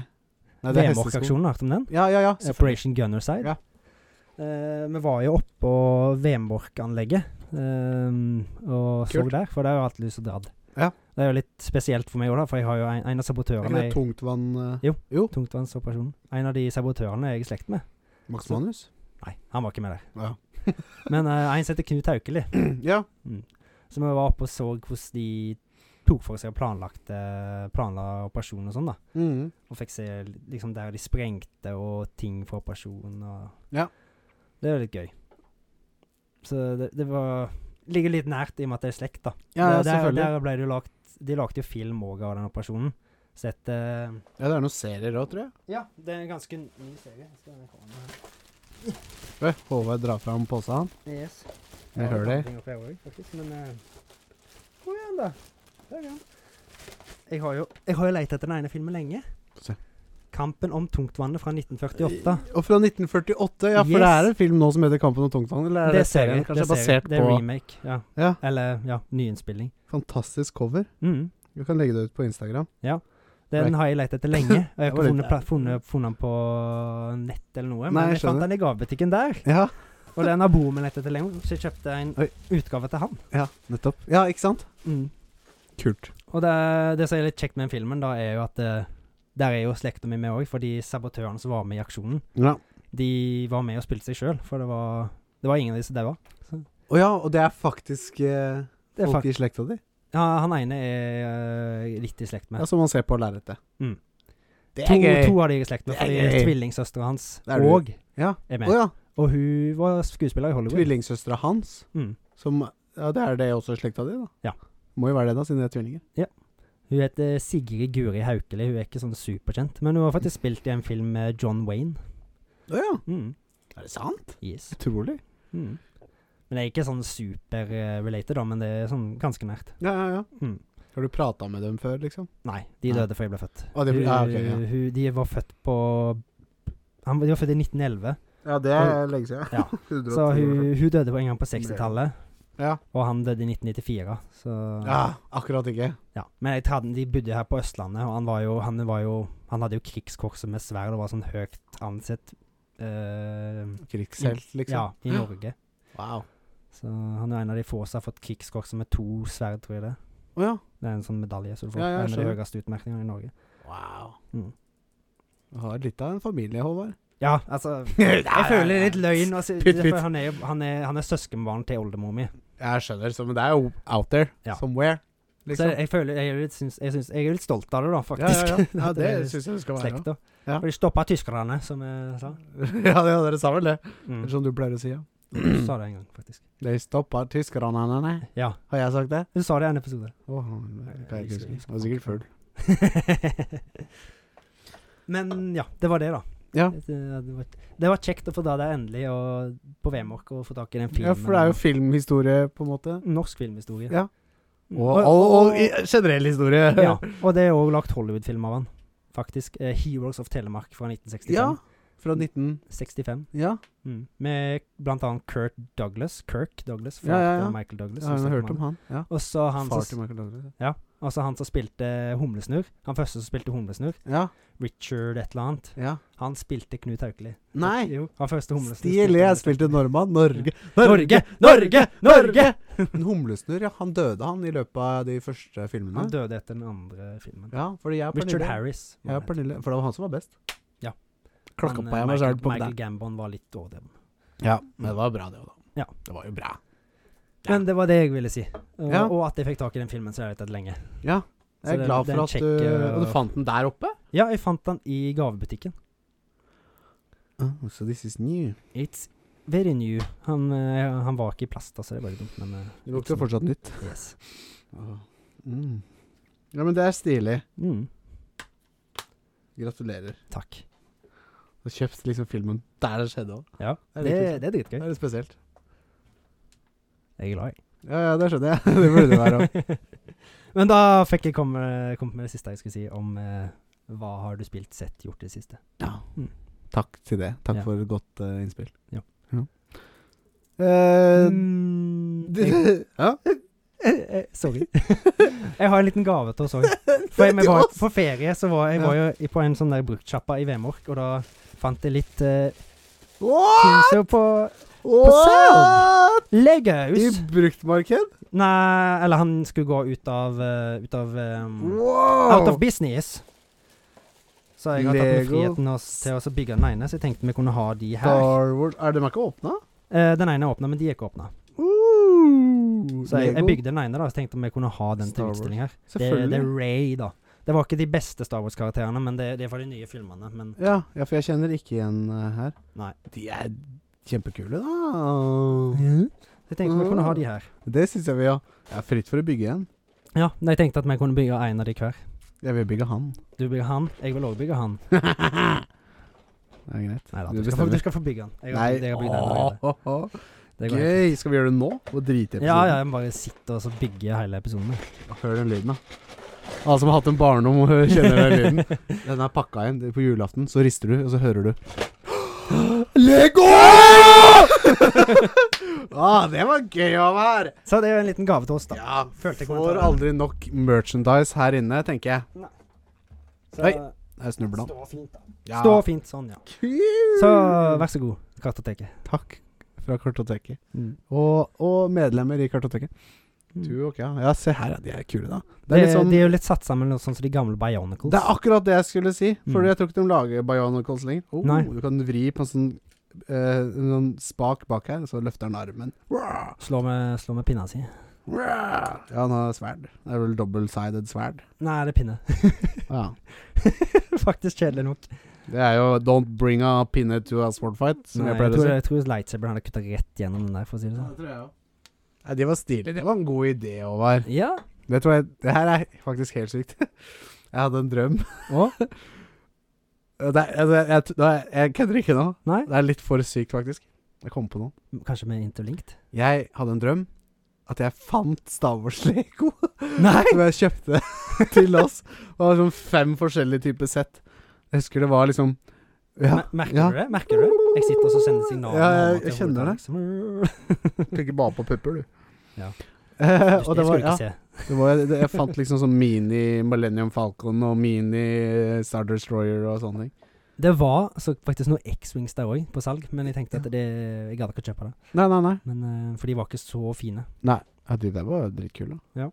Speaker 1: nei det er hestesko.
Speaker 2: VM-aksjonen, har du hørt om den?
Speaker 1: Ja, ja, ja. selvfølgelig.
Speaker 2: Operation Gunnerside.
Speaker 1: Ja.
Speaker 2: Eh, vi var jo oppå Vembork-anlegget eh, og så
Speaker 1: Kult.
Speaker 2: der, for det er jo alltid lyst og dradd.
Speaker 1: Ja.
Speaker 2: Det er jo litt spesielt for meg òg, da, for jeg har jo en, en av
Speaker 1: Er ikke
Speaker 2: sabotørene
Speaker 1: det
Speaker 2: i
Speaker 1: tungtvann eh,
Speaker 2: tungtvannsoperasjonen. En av de sabotørene er jeg i slekt med.
Speaker 1: Max
Speaker 2: Så-
Speaker 1: Manus?
Speaker 2: Nei, han var ikke med der.
Speaker 1: Ja.
Speaker 2: Men eh, en som heter Knut Haukeli.
Speaker 1: ja.
Speaker 2: Så vi var oppe og så hvordan de tok for seg og planlagte planla operasjonen og sånn, da.
Speaker 1: Mhm.
Speaker 2: Og fikk se liksom der de sprengte og ting for operasjonen og
Speaker 1: Ja.
Speaker 2: Det er litt gøy. Så det, det var Ligger litt nært i og med at det er slekt, da.
Speaker 1: Ja, ja,
Speaker 2: Det- der,
Speaker 1: selvfølgelig.
Speaker 2: Der ble det jo lagt De lagde jo film òg av den operasjonen. Så et eh,
Speaker 1: Ja, det er noen serier òg, tror jeg.
Speaker 2: Ja, det er en ganske ny serie. Skal jeg ha den her.
Speaker 1: Oi, Håvard drar fram posen.
Speaker 2: Yes.
Speaker 1: Jeg hører
Speaker 2: det.
Speaker 1: deg.
Speaker 2: ting oppi her også, faktisk, Men eh, Kom igjen, da. Der er han. Jeg har jo, jeg har jo lett etter den ene filmen lenge.
Speaker 1: Få se.
Speaker 2: 'Kampen om tungtvannet' fra 1948.
Speaker 1: Og fra 1948. Ja, for
Speaker 2: Yes.
Speaker 1: det er en film nå som heter 'Kampen om tungtvann'? Eller er det, serien?
Speaker 2: jeg,
Speaker 1: Kanskje
Speaker 2: det ser jeg.
Speaker 1: basert
Speaker 2: Det er
Speaker 1: på
Speaker 2: remake, ja.
Speaker 1: Ja.
Speaker 2: Eller ja, nyinnspilling.
Speaker 1: Fantastisk cover.
Speaker 2: Mm.
Speaker 1: Du kan legge det ut på Instagram.
Speaker 2: Den
Speaker 1: Nei.
Speaker 2: har jeg lett etter lenge.
Speaker 1: Det
Speaker 2: Og jeg har
Speaker 1: var
Speaker 2: ikke
Speaker 1: litt-
Speaker 2: funnet, pla- funnet, funnet den på nett eller noe. Men
Speaker 1: Nei, jeg
Speaker 2: jeg fant
Speaker 1: skjønner.
Speaker 2: den i gavebutikken der.
Speaker 1: Ja,
Speaker 2: Og den har broren min lett etter lenge, så jeg kjøpte en
Speaker 1: Oi. Mm.
Speaker 2: utgave til han.
Speaker 1: ja, nettopp. Ja, ikke sant? Kult.
Speaker 2: Og det, det som er litt kjekt med den filmen, da, er jo at eh, der er jo slekta mi med òg, for de sabotørene som var med i aksjonen,
Speaker 1: Ja.
Speaker 2: de var med og spilte seg sjøl. For det var, det var ingen av de som daua.
Speaker 1: Å ja, og det er faktisk eh,
Speaker 2: Det er
Speaker 1: folk
Speaker 2: fakt-
Speaker 1: i slekta di?
Speaker 2: Ja, han ene er eh, litt i slekt med.
Speaker 1: Ja, som man ser på lerretet.
Speaker 2: Mm.
Speaker 1: Det
Speaker 2: to,
Speaker 1: er gøy!
Speaker 2: to av de er i slekt med,
Speaker 1: Det er
Speaker 2: fordi
Speaker 1: gøy.
Speaker 2: tvillingsøstera hans
Speaker 1: Det er du.
Speaker 2: og
Speaker 1: Ja. Å
Speaker 2: er med.
Speaker 1: ja.
Speaker 2: Og hun var skuespiller i Hollywood.
Speaker 1: Tvillingsøstera hans,
Speaker 2: Mm.
Speaker 1: som Ja, det er det også i slekta di, da?
Speaker 2: Ja.
Speaker 1: Må jo være det, da, siden de er tvillinger.
Speaker 2: Hun heter Sigrid Guri Haukeli. Hun er ikke sånn superkjent, men hun har faktisk spilt i en film med John Wayne.
Speaker 1: Å ja.
Speaker 2: Mm.
Speaker 1: Er det sant?
Speaker 2: Yes.
Speaker 1: Utrolig.
Speaker 2: Mm. Men det er ikke sånn super-related, da, men det er sånn ganske nært.
Speaker 1: Ja, ja, ja.
Speaker 2: Mm.
Speaker 1: Har du prata med dem før, liksom?
Speaker 2: Nei, de
Speaker 1: Nei.
Speaker 2: døde før jeg ble født.
Speaker 1: Å, de ble-
Speaker 2: Hun-
Speaker 1: ja, ok, ja.
Speaker 2: hun, de var født på han, De var født i 1911,
Speaker 1: Ja, det
Speaker 2: er
Speaker 1: lenge siden.
Speaker 2: Ja. så hun, hun døde på en gang på 60-tallet.
Speaker 1: Ja. Ah,
Speaker 2: Og han døde i 1994, så
Speaker 1: ja, akkurat ikke.
Speaker 2: Ja, men jeg trodde de bodde her på Østlandet, og han var jo Han, var jo, han hadde jo krigskorset med sverd og var sånn høyt ansett eh,
Speaker 1: Krigshelt, liksom.
Speaker 2: Ja, i Norge.
Speaker 1: Wow.
Speaker 2: Så han er en av de få som har fått krigskorset med to sverd, tror jeg det. er.
Speaker 1: Å ja.
Speaker 2: Det er en sånn medalje, så du får
Speaker 1: Ja, ja, jeg
Speaker 2: en av de
Speaker 1: skjønner.
Speaker 2: høyeste utmerkningene i Norge.
Speaker 1: Wow.
Speaker 2: Mm.
Speaker 1: Du har litt av en familie, Håvard.
Speaker 2: Ja, altså Jeg føler det er litt løgn. å si-
Speaker 1: Pytt, pytt.
Speaker 2: for Han er, jo- han er, han er søskenbarn til oldemor mi.
Speaker 1: Jeg skjønner, så, men det er jo out there.
Speaker 2: Ja.
Speaker 1: Somewhere. liksom.
Speaker 2: Så jeg, jeg føler jeg er, litt, syns, jeg, syns, jeg er litt stolt av det, da,
Speaker 1: Ja, ja,
Speaker 2: faktisk.
Speaker 1: ja. ja det syns jeg du skal være.
Speaker 2: Slekta.
Speaker 1: ja. Ja.
Speaker 2: For de stoppa tyskerne, som jeg sa.
Speaker 1: ja, det- ja, dere sa vel det?
Speaker 2: Mm.
Speaker 1: Som du pleier å si, ja.
Speaker 2: Du sa det en gang, faktisk.
Speaker 1: De stoppa tyskerne, nei.
Speaker 2: Ja.
Speaker 1: Har jeg sagt det?
Speaker 2: Du sa det i en episode.
Speaker 1: Åh, det kan jeg ikke huske. Jeg var sikkert full.
Speaker 2: Men ja, det var det, da.
Speaker 1: Ja.
Speaker 2: Det, det, var, det var kjekt å få ta deg endelig og på Vemork og få tak i den filmen.
Speaker 1: Ja, for det er jo filmhistorie, på en måte.
Speaker 2: Norsk filmhistorie.
Speaker 1: Ja.
Speaker 2: Mm.
Speaker 1: Og, og, og i- generell historie.
Speaker 2: ja, og det er òg lagt Hollywood-film av han, faktisk. Eh, 'Heroes of Telemark' fra 1965.
Speaker 1: Ja, Fra 19...
Speaker 2: 65.
Speaker 1: Ja,
Speaker 2: Mm. Med blant annet Kurt Douglas. Kirk Douglas fra
Speaker 1: Ja, ja, ja.
Speaker 2: Michael Douglas.
Speaker 1: jeg har hørt om han. Ja.
Speaker 2: Og så han,
Speaker 1: Far
Speaker 2: som-
Speaker 1: til Michael Douglas.
Speaker 2: og så han som spilte Humlesnurr. Han første som spilte Humlesnurr.
Speaker 1: Ja,
Speaker 2: Richard et eller annet.
Speaker 1: ja.
Speaker 2: Han spilte Knut Haukeli.
Speaker 1: Nei!
Speaker 2: Jo, han første humlesnurr
Speaker 1: Stilig! Jeg spilte nordmann. Norge.
Speaker 2: Norge! Norge! Norge!
Speaker 1: En humlesnurr, ja. Han døde, han, i løpet av de første filmene.
Speaker 2: Han døde etter den andre filmen.
Speaker 1: Ja, fordi jeg og
Speaker 2: Richard
Speaker 1: Pernille-
Speaker 2: Harris. var
Speaker 1: Jeg og
Speaker 2: han het.
Speaker 1: Pernille For det var han som var best.
Speaker 2: Ja.
Speaker 1: Klokka
Speaker 2: Han,
Speaker 1: på
Speaker 2: eh,
Speaker 1: jeg meg
Speaker 2: Michael,
Speaker 1: sjøl på
Speaker 2: Michael
Speaker 1: det.
Speaker 2: Gambon var litt overdreven.
Speaker 1: Ja, men det var bra, det òg, da.
Speaker 2: Ja.
Speaker 1: Det var jo bra. Ja.
Speaker 2: Men det var det jeg ville si. Og,
Speaker 1: Ja.
Speaker 2: og at jeg fikk tak i den filmen som jeg har lett etter lenge.
Speaker 1: Ja.
Speaker 2: Så
Speaker 1: Jeg er
Speaker 2: den-
Speaker 1: glad
Speaker 2: den
Speaker 1: for at du
Speaker 2: sjekker-
Speaker 1: Og du fant den der oppe?
Speaker 2: Ja, jeg fant den i gavebutikken.
Speaker 1: Oh, so this is new.
Speaker 2: It's very new. Han, eh, han var ikke i plast, altså. Det var litt dumt, men eh,
Speaker 1: Det lukter fortsatt nytt.
Speaker 2: yes.
Speaker 1: Mm. Ja, men det er stilig.
Speaker 2: mm,
Speaker 1: Gratulerer.
Speaker 2: Takk.
Speaker 1: Du har kjøpt liksom filmen der det skjedde òg.
Speaker 2: Ja,
Speaker 1: Det er
Speaker 2: det, det,
Speaker 1: litt
Speaker 2: er dritgøy.
Speaker 1: Det er litt spesielt.
Speaker 2: Jeg er glad i
Speaker 1: Ja, ja, det skjønner jeg. det burde det være òg.
Speaker 2: Men da fikk jeg komme, komme med det siste jeg skulle si om eh, hva har du spilt, sett, gjort i det siste.
Speaker 1: Ja.
Speaker 2: Mm.
Speaker 1: Takk til det. Takk
Speaker 2: Ja.
Speaker 1: for et godt eh, innspill.
Speaker 2: Ja. Mm.
Speaker 1: Eh,
Speaker 2: jeg,
Speaker 1: ja.
Speaker 2: eh, eh, sorry. jeg har en liten gave til oss òg. For jeg, vi var, på ferie så var jeg var jo i- på en sånn der bruktsjappa i Vemork, og da fant jeg litt eh,
Speaker 1: What?
Speaker 2: ting som på
Speaker 1: What? I
Speaker 2: Legehus.
Speaker 1: bruktmarked?
Speaker 2: Nei, eller han skulle gå ut av eh, Ut av eh, Out
Speaker 1: Wow!
Speaker 2: of business. Så jeg har tatt med
Speaker 1: Lego.
Speaker 2: friheten oss til å bygge den ene, så jeg tenkte vi kunne ha de her.
Speaker 1: Star Wars Er de ikke åpna?
Speaker 2: Eh, den ene er åpna, men de er ikke åpna. Så jeg, jeg bygde den ene, da, så tenkte jeg om jeg kunne ha den
Speaker 1: Star
Speaker 2: til
Speaker 1: Wars.
Speaker 2: utstilling her. Det, det er
Speaker 1: Selvfølgelig.
Speaker 2: Ray, da. Det var ikke de beste Star Wars-karakterene, men det, det er fra de nye filmene. Men
Speaker 1: Ja, ja, for jeg kjenner ikke igjen eh, her.
Speaker 2: Nei.
Speaker 1: De er kjempekule, da.
Speaker 2: jeg tenkte vi kunne ha de her.
Speaker 1: Det syns jeg vi har. Jeg er fritt for å bygge en.
Speaker 2: Ja, men jeg tenkte at vi kunne bygge en av de hver.
Speaker 1: Jeg vil bygge han.
Speaker 2: Du bygger han, jeg vil òg bygge han.
Speaker 1: det er greit.
Speaker 2: Nei da,
Speaker 1: Du
Speaker 2: du, skal få-
Speaker 1: bestemmer.
Speaker 2: du skal få bygge han. Jeg, har-
Speaker 1: Nei,
Speaker 2: jeg har bygd den allerede.
Speaker 1: åh,
Speaker 2: Det går helt
Speaker 1: gøy. Skal vi gjøre det nå? Hvor driter
Speaker 2: fint. Ja, ja, jeg må bare sitte og så bygge hele episoden. jeg.
Speaker 1: Hør den lyden, da. Alle som har hatt en barndom, må høre- kjenne den lyden. Den er pakka igjen. Det- På julaften så rister du, og så hører du Lego! ah, det var gøy å være!
Speaker 2: Så det er jo en liten gave til oss, da.
Speaker 1: Ja,
Speaker 2: Følte jeg
Speaker 1: får
Speaker 2: kommentaren.
Speaker 1: aldri nok merchandise her inne, tenker jeg.
Speaker 2: Så,
Speaker 1: Oi. Jeg snubla.
Speaker 2: Stå fint, da.
Speaker 1: Ja.
Speaker 2: Stå fint sånn, ja. Så vær så god, Kartoteket.
Speaker 1: Takk fra Kartoteket. Og, og medlemmer i Kartoteket. Du og Kea. Ja, se her, ja. De er kule, da. Det er litt sånn
Speaker 2: Eh, De Mm. er jo litt satt sammen med sånn som de gamle Bionicles.
Speaker 1: Det er akkurat det jeg skulle si. Fordi
Speaker 2: Mm.
Speaker 1: jeg tror ikke de lager Bionicles lenger. Oh,
Speaker 2: Nei.
Speaker 1: Du kan vri på en sånn, eh, en sånn spak bak her, så løfter han armen. Rar,
Speaker 2: Slå med, slå med pinna si.
Speaker 1: rar. Ja, han har sverd. Det er vel double-sided sverd.
Speaker 2: Nei, det er pinne.
Speaker 1: Ja.
Speaker 2: Faktisk kjedelig nok.
Speaker 1: Det er jo 'Don't bring a pinne to a sword fight', som
Speaker 2: Nei,
Speaker 1: jeg
Speaker 2: jeg,
Speaker 1: pleier å
Speaker 2: tror,
Speaker 1: si.
Speaker 2: jeg tror lightsaberen hadde kutta rett gjennom den der, for å si det sånn.
Speaker 1: Nei, det var stilig. Det var en god idé, Håvard.
Speaker 2: Ja.
Speaker 1: Det tror jeg Det her er faktisk helt sykt. Jeg hadde en drøm.
Speaker 2: Og?
Speaker 1: Det er, altså, jeg, jeg, jeg, jeg kødder ikke nå.
Speaker 2: Nei?
Speaker 1: Det er litt for sykt, faktisk. Jeg kom på noe.
Speaker 2: Kanskje med interlinked?
Speaker 1: Jeg hadde en drøm at jeg fant Star Wars-lego
Speaker 2: Nei!
Speaker 1: som jeg kjøpte til oss. Det var sånn fem forskjellige typer sett. Jeg husker det var liksom Ja,
Speaker 2: Mer- Merker
Speaker 1: ja.
Speaker 2: du det? Merker du? Jeg sitter og så sender signaler.
Speaker 1: Ja,
Speaker 2: nå
Speaker 1: jeg-
Speaker 2: til
Speaker 1: jeg kjenner
Speaker 2: hodet,
Speaker 1: det.
Speaker 2: liksom.
Speaker 1: tenker bare på pupper, du.
Speaker 2: Ja.
Speaker 1: Eh,
Speaker 2: Du-
Speaker 1: og det var,
Speaker 2: det skulle du
Speaker 1: ja,
Speaker 2: ikke se.
Speaker 1: det var, det, jeg fant liksom sånn mini Millennium Falcon og mini Star Destroyer og sånne ting.
Speaker 2: Det var så faktisk noe X-Wings der òg, på salg, men jeg tenkte at det Jeg gadd ikke å kjøpe det.
Speaker 1: Nei, nei, nei.
Speaker 2: Men, eh, for de var ikke så fine.
Speaker 1: Ja, de der var dritkule.
Speaker 2: Ja.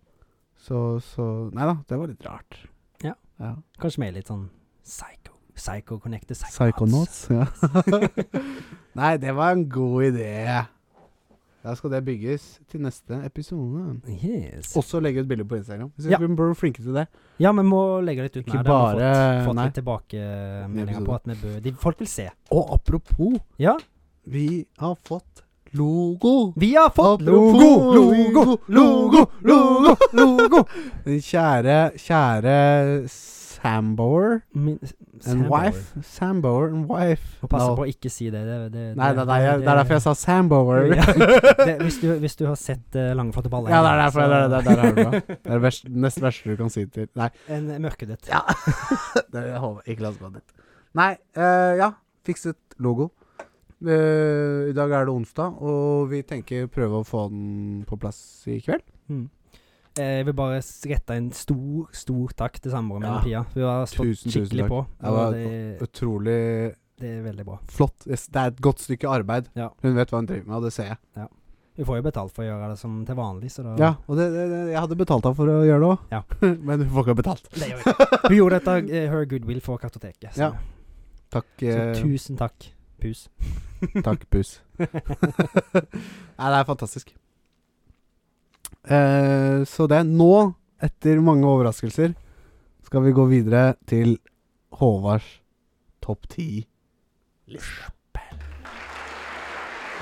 Speaker 1: Så, så Nei da, det var litt rart.
Speaker 2: Ja.
Speaker 1: ja.
Speaker 2: Kanskje vi er litt sånn psycho. Psycho connected psychonauts.
Speaker 1: Psychonauts. Ja. Nei, det var en god idé. Da skal det bygges til neste episode.
Speaker 2: Yes.
Speaker 1: Også legge ut bilder på Instagram. Jeg synes
Speaker 2: Ja.
Speaker 1: Vi burde bli flinke til det.
Speaker 2: Ja, men må legge litt ut
Speaker 1: Ikke
Speaker 2: mer. da. Vi
Speaker 1: bare
Speaker 2: har fått, fått
Speaker 1: Nei.
Speaker 2: litt tilbakemeldinger
Speaker 1: Episode.
Speaker 2: på at vi bør de, Folk vil se.
Speaker 1: Og apropos,
Speaker 2: Ja.
Speaker 1: vi har fått logo.
Speaker 2: Vi har fått
Speaker 1: Apropos
Speaker 2: logo! Logo! Logo! Logo! logo.
Speaker 1: Den kjære, kjære Samboer
Speaker 2: Min,
Speaker 1: and
Speaker 2: Sam
Speaker 1: wife. Samboer and wife.
Speaker 2: Og passe
Speaker 1: No.
Speaker 2: på å ikke si det. det, det, det
Speaker 1: Nei, det, er- det, er- det er derfor jeg sa Samboer.
Speaker 2: Ja. det, hvis, du, hvis du har sett uh, Langeflate baller
Speaker 1: Ja, det er derfor.
Speaker 2: så-
Speaker 1: Det er, det er, det er, det er, det er det verste, nest verste du kan si til Nei.
Speaker 2: En eh, mørkedøtt.
Speaker 1: Ja. det jeg håper ikke la oss gå dit. Nei, eh, ja. Fikset logo. Eh, I dag er det onsdag, og vi tenker prøve å få den på plass i kveld.
Speaker 2: Mm. Eh, Jeg vil bare s- rette en stor, stor takk til samboeren min,
Speaker 1: Ja.
Speaker 2: Pia. Hun har stått
Speaker 1: Tusen, tusen
Speaker 2: skikkelig
Speaker 1: takk.
Speaker 2: på.
Speaker 1: Ja,
Speaker 2: og
Speaker 1: det
Speaker 2: det,
Speaker 1: Utrolig
Speaker 2: det er veldig bra.
Speaker 1: flott. Yes, Det er et godt stykke arbeid.
Speaker 2: Ja.
Speaker 1: Hun vet hva hun driver med, og det ser jeg.
Speaker 2: Hun får jo betalt for å gjøre det som til vanlig, så da
Speaker 1: Ja, og det, det, det, Jeg hadde betalt henne for å gjøre det òg,
Speaker 2: Ja.
Speaker 1: men hun får ikke betalt.
Speaker 2: det gjør jeg. Hun gjorde dette eh, her goodwill for kartoteket. Så,
Speaker 1: Ja. Takk,
Speaker 2: så
Speaker 1: eh,
Speaker 2: tusen takk, pus.
Speaker 1: takk pus. Nei, det er fantastisk. Eh, så det Nå, etter mange overraskelser, skal vi gå videre til Håvards topp ti.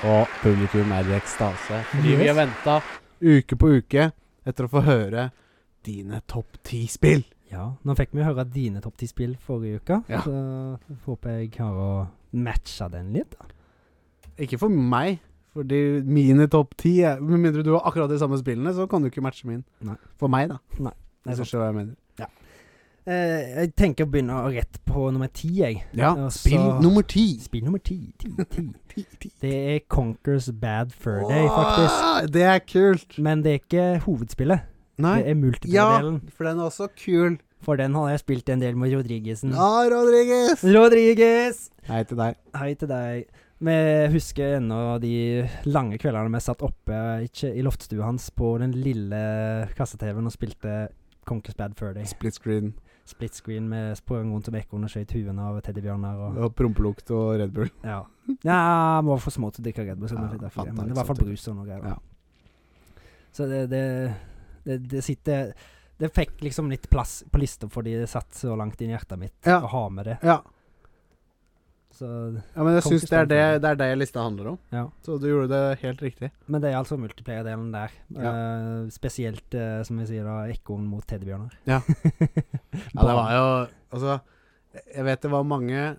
Speaker 1: Og publikum er i ekstase. Fordi vi har venta uke på uke etter å få høre dine topp ti-spill.
Speaker 2: Ja, nå fikk vi jo høre dine topp ti-spill forrige uke,
Speaker 1: Ja.
Speaker 2: så håper jeg klarer å matche den litt. da.
Speaker 1: Ikke for meg, fordi mine topp ti er- Med mindre du har akkurat de samme spillene, så kan du ikke matche min.
Speaker 2: Nei.
Speaker 1: For meg, da.
Speaker 2: Det er
Speaker 1: Hvis du
Speaker 2: sant.
Speaker 1: skjønner hva jeg mener.
Speaker 2: Eh, jeg tenker å begynne rett på nummer ti, jeg.
Speaker 1: Ja,
Speaker 2: Og
Speaker 1: spill
Speaker 2: så-
Speaker 1: nummer ti.
Speaker 2: Spill nummer ti, ti, ti.
Speaker 1: Ti, ti.
Speaker 2: Det er Conquers Bad Fur Day, faktisk.
Speaker 1: Åh, Det er kult.
Speaker 2: Men det er ikke hovedspillet. Det
Speaker 1: Nei.
Speaker 2: er
Speaker 1: Ja,
Speaker 2: multiplayer-delen.
Speaker 1: for den er også kul.
Speaker 2: For den har jeg spilt en del med Rodriguesen.
Speaker 1: Ja, Rodriguez.
Speaker 2: Rodriguez!
Speaker 1: Hei til deg.
Speaker 2: Hei til deg. Vi husker ennå de lange kveldene vi satt oppe ikke i loftstua hans på den lille kasse-TV-en og spilte Conquers Bad Fur Day.
Speaker 1: Split screen
Speaker 2: Split screen med sprang rundt om ekorn og skjøt huene av teddybjørner og
Speaker 1: og prompelukt og Red Bull.
Speaker 2: Ja. ja vi var for små til å drikke Red Bull, så vi
Speaker 1: Ja,
Speaker 2: fikk
Speaker 1: fant
Speaker 2: derfor det.
Speaker 1: han
Speaker 2: Men det
Speaker 1: ikke
Speaker 2: var i hvert
Speaker 1: sant,
Speaker 2: fall brus og noe greier.
Speaker 1: Ja.
Speaker 2: da. Så det, det, det, det sitter Det fikk liksom litt plass på lista fordi det satt så langt inn i hjertet mitt
Speaker 1: Ja.
Speaker 2: å ha med det.
Speaker 1: Ja,
Speaker 2: Så
Speaker 1: ja men jeg
Speaker 2: Kan ikke
Speaker 1: syns det er
Speaker 2: stemme for
Speaker 1: det, det er det lista handler om.
Speaker 2: ja.
Speaker 1: Så du gjorde det helt riktig.
Speaker 2: Men det er altså multiplayer-delen der. Eh, spesielt, eh, som jeg sier, da, ekorn mot teddybjørner.
Speaker 1: Ja. Ja, det var jo Altså, jeg vet det var mange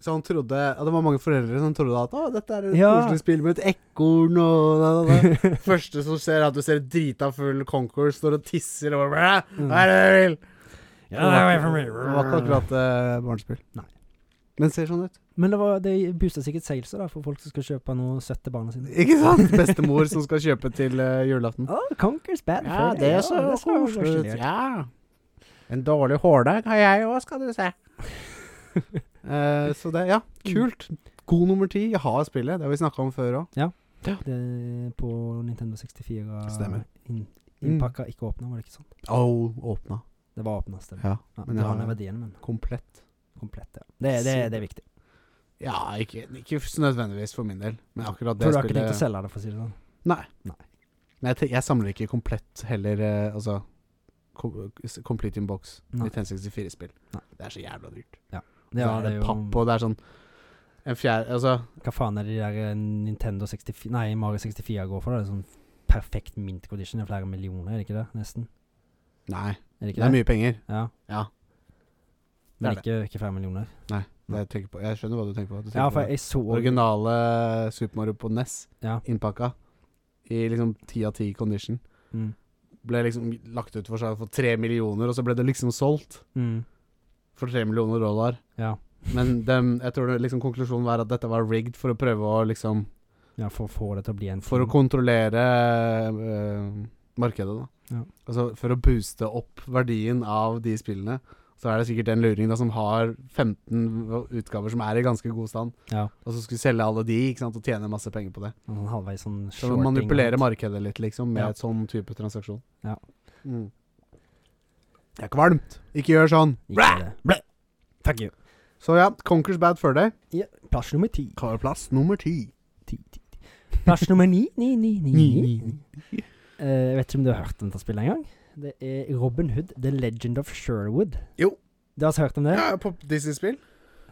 Speaker 1: som trodde Ja, det var mange foreldre som trodde at å, dette er et
Speaker 2: Ja.
Speaker 1: koselig spill med et ekorn og da, da, da. Første som ser er at du ser et drita full Concourse står og tisser og bare "Bæ, Hva er det du vil?
Speaker 2: Mm. Ja,
Speaker 1: det var
Speaker 2: det var-
Speaker 1: ikke, det var ikke akkurat eh, barnespill.
Speaker 2: Nei.
Speaker 1: Men ser sånn ut.
Speaker 2: Men det, var, det booster sikkert salesa da, for folk som skal kjøpe noe søtt til barna sine.
Speaker 1: Ikke sant? Bestemor som skal kjøpe til eh, julaften.
Speaker 2: Oh, Conquers Bad
Speaker 1: Ja,
Speaker 2: Fur Day,
Speaker 1: det så
Speaker 2: det så
Speaker 1: koselig ut.
Speaker 2: koselig ut.
Speaker 1: Ja. En dårlig hårdag har jeg òg, skal du se. Eh, så det, ja.
Speaker 2: Mm.
Speaker 1: Kult. God nummer ti. Jeg har spillet. Det har vi snakka om før òg.
Speaker 2: Det er på Nintendo 64
Speaker 1: Stemmer.
Speaker 2: inn,
Speaker 1: Mm.
Speaker 2: innpakka, ikke åpna, var det ikke sånn?
Speaker 1: Au, åpna.
Speaker 2: Det var åpna, stemmer.
Speaker 1: Ja.
Speaker 2: Ja,
Speaker 1: men
Speaker 2: det
Speaker 1: jeg
Speaker 2: har
Speaker 1: har-
Speaker 2: den verdien, men
Speaker 1: Komplett.
Speaker 2: komplett, ja. Det, det, det, er viktig.
Speaker 1: Ja, ikke, ikke nødvendigvis for min del, men akkurat det
Speaker 2: For du har ikke tenkt å
Speaker 1: spillet
Speaker 2: selge det, for å si det sånn?
Speaker 1: Nei, jeg, te- jeg samler ikke komplett heller, eh, altså kom, s- Complete in box.
Speaker 2: Nei.
Speaker 1: 1964-spill.
Speaker 2: Nei.
Speaker 1: Det er så jævla dyrt.
Speaker 2: Ja,
Speaker 1: så er
Speaker 2: det er jo
Speaker 1: papp, og det er sånn En fjerde Altså,
Speaker 2: Hva faen er det de der eh, Nintendo 64 Nei, Mario 64 går for? da? Det er sånn perfekt mint condition. Det er flere millioner, er det ikke det? Nesten.
Speaker 1: nei.
Speaker 2: Er det
Speaker 1: Det
Speaker 2: ikke
Speaker 1: er
Speaker 2: det?
Speaker 1: mye penger.
Speaker 2: Ja.
Speaker 1: Ja.
Speaker 2: Men
Speaker 1: Det er
Speaker 2: ikke, ikke flere millioner.
Speaker 1: Det jeg, tenker på. jeg skjønner hva du tenker på. Du tenker
Speaker 2: Ja, for
Speaker 1: på det
Speaker 2: jeg så
Speaker 1: originale Super Mario på NES,
Speaker 2: Ja.
Speaker 1: innpakka, i liksom ti av ti condition,
Speaker 2: mm.
Speaker 1: ble liksom lagt ut for salg for tre millioner, og så ble det liksom solgt
Speaker 2: Mm.
Speaker 1: for tre millioner dollar.
Speaker 2: Ja.
Speaker 1: Men dem, jeg tror det, liksom konklusjonen var at dette var rigged for å prøve å liksom
Speaker 2: ja, for å få det til å bli en
Speaker 1: For å
Speaker 2: ting.
Speaker 1: kontrollere eh, markedet, da.
Speaker 2: Ja.
Speaker 1: Altså for å booste opp verdien av de spillene. Så er det sikkert en luring da som har 15 utgaver som er i ganske god stand,
Speaker 2: Ja.
Speaker 1: og så skulle selge alle de ikke sant, og tjene masse penger på det.
Speaker 2: Sånn halvveis sånn
Speaker 1: Så
Speaker 2: shorting,
Speaker 1: manipulere markedet litt, liksom, med
Speaker 2: Ja.
Speaker 1: et sånn type transaksjon.
Speaker 2: Ja.
Speaker 1: Mm. Det er kvalmt! Ikke gjør sånn!
Speaker 2: Ikke det. Fuck you.
Speaker 1: Så ja, Conquers Bad Fur Day.
Speaker 2: Ja, plass nummer ti.
Speaker 1: Plass nummer ti.
Speaker 2: Ti, ti, ti. Vers nummer ni. ni, ni, ni,
Speaker 1: Ni,
Speaker 2: ni.
Speaker 1: ni, ni.
Speaker 2: Eh, jeg vet ikke om du har hørt dette spillet engang? Det er Robin Hood, The Legend of Sherwood.
Speaker 1: Jo.
Speaker 2: Du har altså hørt om det?
Speaker 1: Ja, på Disney-spill.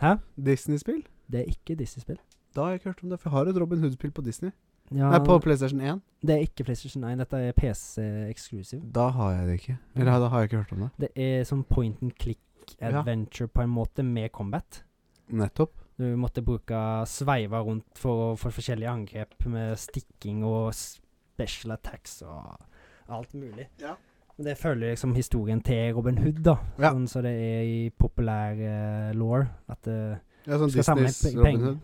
Speaker 2: Hæ?
Speaker 1: Disney-spill?
Speaker 2: Det er ikke Disney-spill.
Speaker 1: Da har jeg ikke hørt om det, for jeg har et Robin Hood-spill på Disney.
Speaker 2: Ja,
Speaker 1: Nei, på PlayStation 1.
Speaker 2: det er ikke PlayStation 1, dette er PC exclusive.
Speaker 1: Da har jeg det ikke. Eller da har jeg ikke hørt om det.
Speaker 2: Det er sånn point and click
Speaker 1: Ja.
Speaker 2: adventure på en måte, med combat.
Speaker 1: Nettopp.
Speaker 2: Du måtte bruke sveiva rundt for, å- for forskjellige angrep med stikking og special attacks og alt mulig.
Speaker 1: Ja.
Speaker 2: Men Det følger liksom historien til Robin Hood, da.
Speaker 1: Ja.
Speaker 2: Sånn som det er i populær eh, law. At eh,
Speaker 1: Ja, sånn
Speaker 2: Skal samle
Speaker 1: Disneys
Speaker 2: pe-
Speaker 1: Robin
Speaker 2: penger.
Speaker 1: Hood.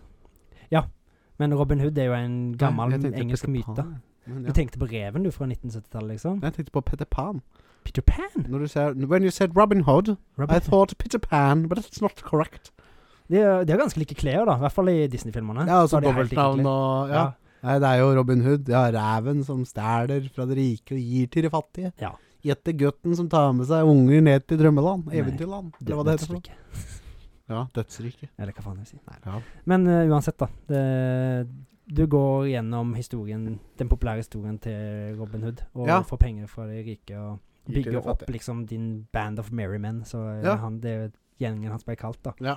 Speaker 2: Men Robin Hood er jo en
Speaker 1: Nei,
Speaker 2: gammel
Speaker 1: jeg tenkte
Speaker 2: engelsk
Speaker 1: Peter
Speaker 2: myte.
Speaker 1: Pan, jeg. Men
Speaker 2: Du
Speaker 1: ja.
Speaker 2: tenkte på reven, du, fra 1970-tallet, liksom?
Speaker 1: Jeg tenkte på Peter Pan.
Speaker 2: Peter Pan!
Speaker 1: Når du ser, when you said Robin Hood,
Speaker 2: Robin
Speaker 1: I
Speaker 2: Hood.
Speaker 1: thought Peter Pan, but it's not correct.
Speaker 2: De er, de er ganske like klær, da. I hvert fall i Disney-filmene.
Speaker 1: Ja, altså
Speaker 2: Så har de helt like
Speaker 1: dobbeltnavn
Speaker 2: klær.
Speaker 1: og ja. Nei, det er jo Robin Hood. Ja, reven som stjeler fra de rike og gir til de fattige.
Speaker 2: Ja.
Speaker 1: Gjette gutten som tar med seg unger ned til drømmeland.
Speaker 2: Nei,
Speaker 1: Eventyrland.
Speaker 2: det
Speaker 1: Eller hva det heter for noe. Ja, dødsriket.
Speaker 2: Eller hva faen jeg sier. Nei.
Speaker 1: Ja.
Speaker 2: Men eh, uansett, da. Det, du går gjennom historien, den populære historien til Robin Hood, og
Speaker 1: Ja.
Speaker 2: får penger fra de rike, og
Speaker 1: Gir til de
Speaker 2: bygger opp
Speaker 1: fattige.
Speaker 2: liksom din band of merry men, så eh,
Speaker 1: Ja.
Speaker 2: han, det er gjengen hans ble kalt, da.
Speaker 1: Ja.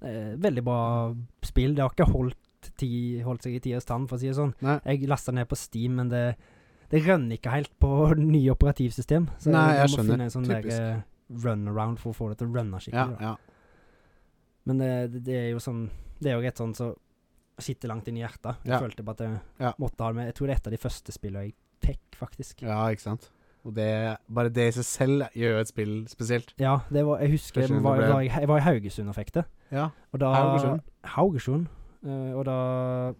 Speaker 2: Eh, veldig bra spill. Det har ikke holdt, ti, holdt seg i tidas stand, for å si det sånn.
Speaker 1: Nei.
Speaker 2: Jeg lasta ned på Steam, men det, det rønner ikke helt på nye operativsystem. Så
Speaker 1: Nei,
Speaker 2: du
Speaker 1: jeg
Speaker 2: må
Speaker 1: skjønner.
Speaker 2: finne en sånn
Speaker 1: Typisk.
Speaker 2: der, eh, runaround for å få det til å runne
Speaker 1: Ja,
Speaker 2: skikkelig. da.
Speaker 1: ja.
Speaker 2: Men det, det- det er jo sånn Det er jo rett sånn som sitter langt inn i hjertet. Jeg
Speaker 1: Ja.
Speaker 2: følte på at jeg
Speaker 1: Ja.
Speaker 2: måtte ha det med. Jeg tror det er et av de første spillene jeg fikk, faktisk. Ja,
Speaker 1: ja, ikke sant. Og det, bare det i seg selv gjør jo et spill spesielt.
Speaker 2: det var Jeg husker
Speaker 1: Første
Speaker 2: jeg
Speaker 1: gang
Speaker 2: var,
Speaker 1: det ble-
Speaker 2: da jeg, jeg var i Haugesund og fikk det.
Speaker 1: Ja.
Speaker 2: Og da
Speaker 1: Haugesund.
Speaker 2: Haugesund. Eh, og da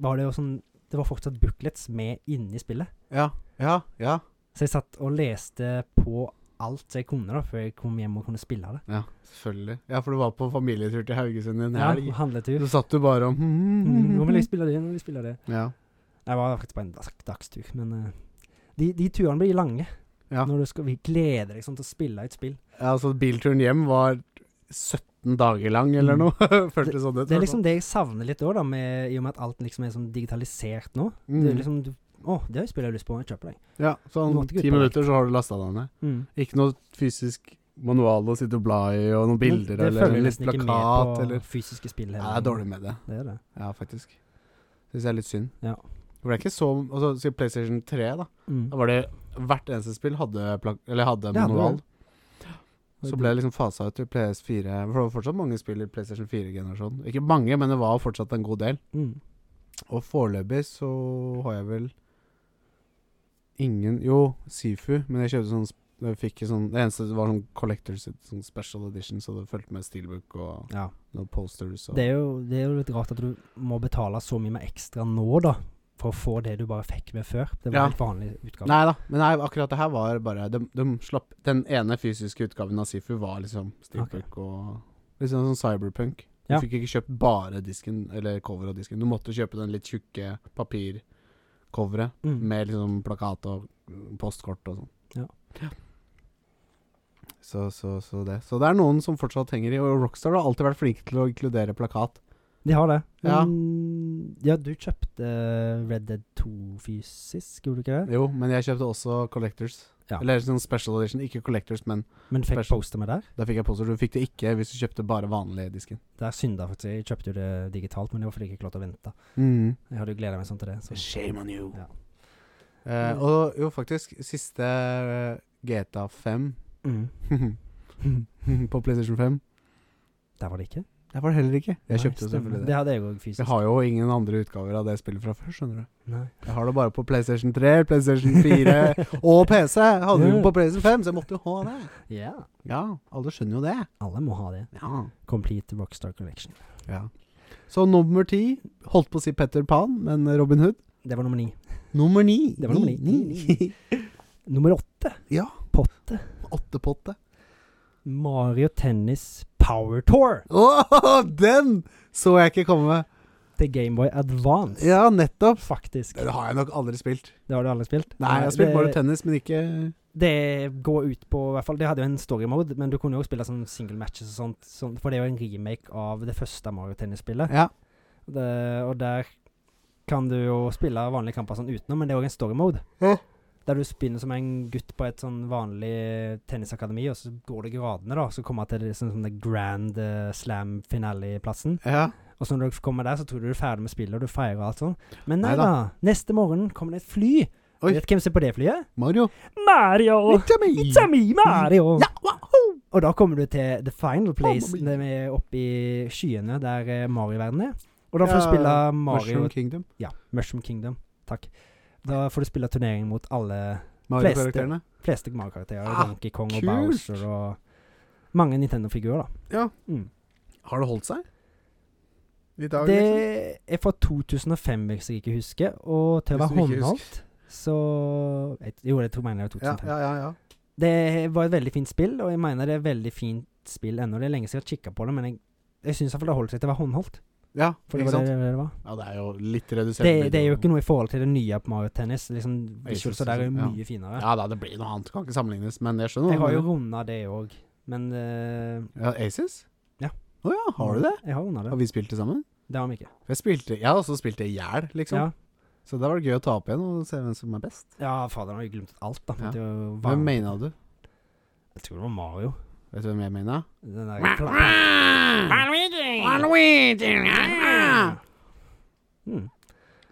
Speaker 2: var det jo sånn Det var fortsatt booklets med inni spillet.
Speaker 1: Ja, ja, ja.
Speaker 2: Så jeg satt og leste på alt jeg kunne da, før jeg kom hjem og kunne spille det.
Speaker 1: Ja, selvfølgelig. Ja, for du var på familietur til Haugesund i en
Speaker 2: Ja,
Speaker 1: helg.
Speaker 2: handletur.
Speaker 1: Så satt du bare og
Speaker 2: Mm, nå vil jeg spille det, nå vil jeg spille det.
Speaker 1: Ja.
Speaker 2: Jeg var faktisk på en dag- dagstur, men eh, de, de turene blir lange.
Speaker 1: Ja.
Speaker 2: Når du skal vi gleder deg sånn til å spille et spill.
Speaker 1: ja, altså bilturen hjem var 17 dager lang eller
Speaker 2: Mm.
Speaker 1: noe. Føltes sånn ut.
Speaker 2: Det
Speaker 1: i
Speaker 2: er
Speaker 1: hvert
Speaker 2: liksom det jeg savner litt òg, i og med at alt liksom er sånn digitalisert nå.
Speaker 1: fall.
Speaker 2: Det er
Speaker 1: Mm.
Speaker 2: liksom du, Å, det er jo spillet jeg har lyst på, jeg kjøper det. Mm.
Speaker 1: Ja,
Speaker 2: Du
Speaker 1: sånn
Speaker 2: måtte ikke
Speaker 1: ti
Speaker 2: ut på
Speaker 1: minutter så har du lasta deg ned. Ikke noe fysisk manual å sitte og bla i, og noen bilder
Speaker 2: det
Speaker 1: eller
Speaker 2: følger
Speaker 1: en litt
Speaker 2: nesten ikke med
Speaker 1: plakat
Speaker 2: på
Speaker 1: eller
Speaker 2: fysiske spill.
Speaker 1: Ja,
Speaker 2: heller.
Speaker 1: det er dårlig med det.
Speaker 2: Det er det.
Speaker 1: Ja, faktisk. Syns jeg er litt synd.
Speaker 2: Ja.
Speaker 1: For det er ikke så Altså, siden PlayStation 3, da,
Speaker 2: Mm.
Speaker 1: da var det hvert eneste spill hadde, plak eller hadde
Speaker 2: Det hadde
Speaker 1: manual.
Speaker 2: det.
Speaker 1: Så ble det liksom fasa ut til PS4. For det var fortsatt mange spill i PlayStation 4-generasjonen. Ikke mange, men det var fortsatt en god del.
Speaker 2: mm.
Speaker 1: Og foreløpig så har jeg vel ingen Jo, Sifu, men jeg kjøpte sånn sp- jeg fikk en sånn, Det eneste var sånn collectors sånn special edition, så det fulgte med steelbook og
Speaker 2: Ja.
Speaker 1: noen posters. Og,
Speaker 2: Det, er jo, det er jo litt rart at du må betale så mye mer ekstra nå, da. For å få det du bare fikk med før. Det var
Speaker 1: Ja.
Speaker 2: helt vanlig utgave.
Speaker 1: Nei da, men nei, akkurat det her var bare de, de slapp Den ene fysiske utgaven av Sifu var liksom steelbook og Litt sånn som cyberpunk. Du
Speaker 2: Ja.
Speaker 1: fikk ikke kjøpt bare disken, eller cover av disken. Du måtte kjøpe den litt tjukke papircoveret
Speaker 2: Mm.
Speaker 1: med liksom plakat og mm, postkort og sånn.
Speaker 2: Ja.
Speaker 1: Så, så, så det. Så det er noen som fortsatt henger i, og Rockstar har alltid vært flinke til å inkludere plakat.
Speaker 2: De har det.
Speaker 1: Ja.
Speaker 2: Men, ja, du kjøpte Red Dead 2 fysisk, gjorde du ikke det?
Speaker 1: Jo, men jeg kjøpte også Collectors.
Speaker 2: Ja.
Speaker 1: Eller sånn special edition. Ikke Collectors, men
Speaker 2: Men du fikk
Speaker 1: Special.
Speaker 2: poster med der?
Speaker 1: da fikk jeg poster. Du fikk det ikke hvis du kjøpte bare vanlig disken.
Speaker 2: Der synda faktisk. Jeg kjøpte jo det digitalt, men det var fordi jeg ikke klarte å vente. Jeg hadde jo gleda meg sånn til det. Så.
Speaker 1: Mm. Shame on you.
Speaker 2: Ja. Mm.
Speaker 1: Eh, og jo, faktisk, siste eh, GTA 5
Speaker 2: Mm.
Speaker 1: på PlayStation 5
Speaker 2: Der var det ikke.
Speaker 1: Der var det heller ikke. Jeg
Speaker 2: Nei,
Speaker 1: kjøpte jo
Speaker 2: stemmer.
Speaker 1: selvfølgelig
Speaker 2: Det
Speaker 1: det.
Speaker 2: hadde jeg òg fysisk.
Speaker 1: Jeg har jo ingen andre utgaver av det spillet fra før, skjønner du.
Speaker 2: Nei.
Speaker 1: Jeg har det bare på PlayStation 3, PlayStation 4 og PC. Jeg hadde jo på PlayStation 5, så jeg måtte jo ha det.
Speaker 2: Ja.
Speaker 1: Ja, alle skjønner jo det.
Speaker 2: Alle må ha det.
Speaker 1: Ja.
Speaker 2: Complete Rockstar Collection.
Speaker 1: ja. Så nummer ti Holdt på å si Petter Pan, men Robin Hood.
Speaker 2: Det var nummer ni.
Speaker 1: Nummer ni.
Speaker 2: Det var nummer ni.
Speaker 1: ni.
Speaker 2: Nummer åtte.
Speaker 1: Ja.
Speaker 2: Potte.
Speaker 1: Åttepotte.
Speaker 2: Mario Tennis Power Tour
Speaker 1: Åh, den så jeg ikke komme.
Speaker 2: til Gameboy Advance.
Speaker 1: Ja, nettopp.
Speaker 2: Faktisk.
Speaker 1: Den har jeg nok aldri spilt.
Speaker 2: Det har du aldri spilt?
Speaker 1: Nei, jeg har spilt
Speaker 2: det-
Speaker 1: bare tennis, men ikke
Speaker 2: Det går ut på i hvert fall, Det hadde jo en story mode, men du kunne jo også spille sånn single matches og sånt. sånn- for det er jo en remake av det første Mario Tennis-spillet.
Speaker 1: Ja.
Speaker 2: Det- Og der kan du jo spille vanlige kamper sånn utenom, men det er òg en story mode.
Speaker 1: Ja.
Speaker 2: Der du spinner som en gutt på et sånn vanlig tennisakademi, og så går du gradene, da. Så kommer du til det, sånn, sånn det grand eh, slam finale-plassen.
Speaker 1: Ja.
Speaker 2: Og så når du kommer der, så tror du du er ferdig med spillet, og du feirer og alt sånn. Men nei
Speaker 1: Neida.
Speaker 2: da. Neste morgen kommer det et fly.
Speaker 1: Oi.
Speaker 2: Vet du hvem som er på det flyet?
Speaker 1: Mario.
Speaker 2: Mario!
Speaker 1: It's a me.
Speaker 2: It's a me, Mario!
Speaker 1: Ja, wahoo.
Speaker 2: Og da kommer du til the final place,
Speaker 1: Mamma
Speaker 2: der vi er oppe i skyene, der eh, Mario-verden er. Og da får du
Speaker 1: Ja,
Speaker 2: spille Mario
Speaker 1: Mushroom Kingdom.
Speaker 2: Ja, Mushroom Kingdom. Takk. Da får du spille turnering mot alle
Speaker 1: Mario-karakterene.
Speaker 2: fleste Mario-karakterer.
Speaker 1: Ah,
Speaker 2: Donkey Kong og
Speaker 1: kult!
Speaker 2: Bowser og mange Nintendo-figurer, da.
Speaker 1: Ja.
Speaker 2: Mm.
Speaker 1: Har det holdt seg? I dag,
Speaker 2: Det
Speaker 1: liksom?
Speaker 2: er fra 2005, hvis jeg ikke husker, og til å
Speaker 1: Hvis
Speaker 2: være
Speaker 1: du ikke
Speaker 2: håndholdt så jeg, Jo, det tror jeg mener det var
Speaker 1: Ja,
Speaker 2: 2005.
Speaker 1: ja, ja. ja.
Speaker 2: Det var et veldig fint spill, og jeg mener det er et veldig fint spill ennå. Det er lenge siden jeg har kikka på det, men jeg, jeg syns iallfall det holdt seg til å være håndholdt.
Speaker 1: Ja,
Speaker 2: For det
Speaker 1: ikke
Speaker 2: var det,
Speaker 1: sant?
Speaker 2: det, det var.
Speaker 1: Ja, det er jo litt redusert.
Speaker 2: Det,
Speaker 1: video.
Speaker 2: det er jo ikke noe i forhold til det nye på Mario Tennis. Liksom, Visualsa der er jo
Speaker 1: Ja.
Speaker 2: mye finere.
Speaker 1: Ja da, det blir noe annet. Kan ikke sammenlignes, men jeg skjønner.
Speaker 2: Jeg
Speaker 1: hva
Speaker 2: har
Speaker 1: du
Speaker 2: jo
Speaker 1: mener.
Speaker 2: runda det òg, men eh,
Speaker 1: ja, Aces?
Speaker 2: Ja.
Speaker 1: Å ja, har du det?
Speaker 2: Jeg har runda
Speaker 1: Har
Speaker 2: det.
Speaker 1: vi spilt det sammen?
Speaker 2: Det har vi ikke.
Speaker 1: Jeg, spilte, jeg har også spilt det i hjel, liksom.
Speaker 2: Ja,
Speaker 1: Så da var det gøy å ta opp igjen og se hvem som er best.
Speaker 2: ja fader, nå har jeg glemt alt, da.
Speaker 1: Ja.
Speaker 2: Det var jo
Speaker 1: Hvem
Speaker 2: varm-
Speaker 1: mena du?
Speaker 2: Jeg tror det var Mario.
Speaker 1: Vet du hvem jeg mena?
Speaker 2: Den der pla-
Speaker 1: Waluigi!
Speaker 2: mm.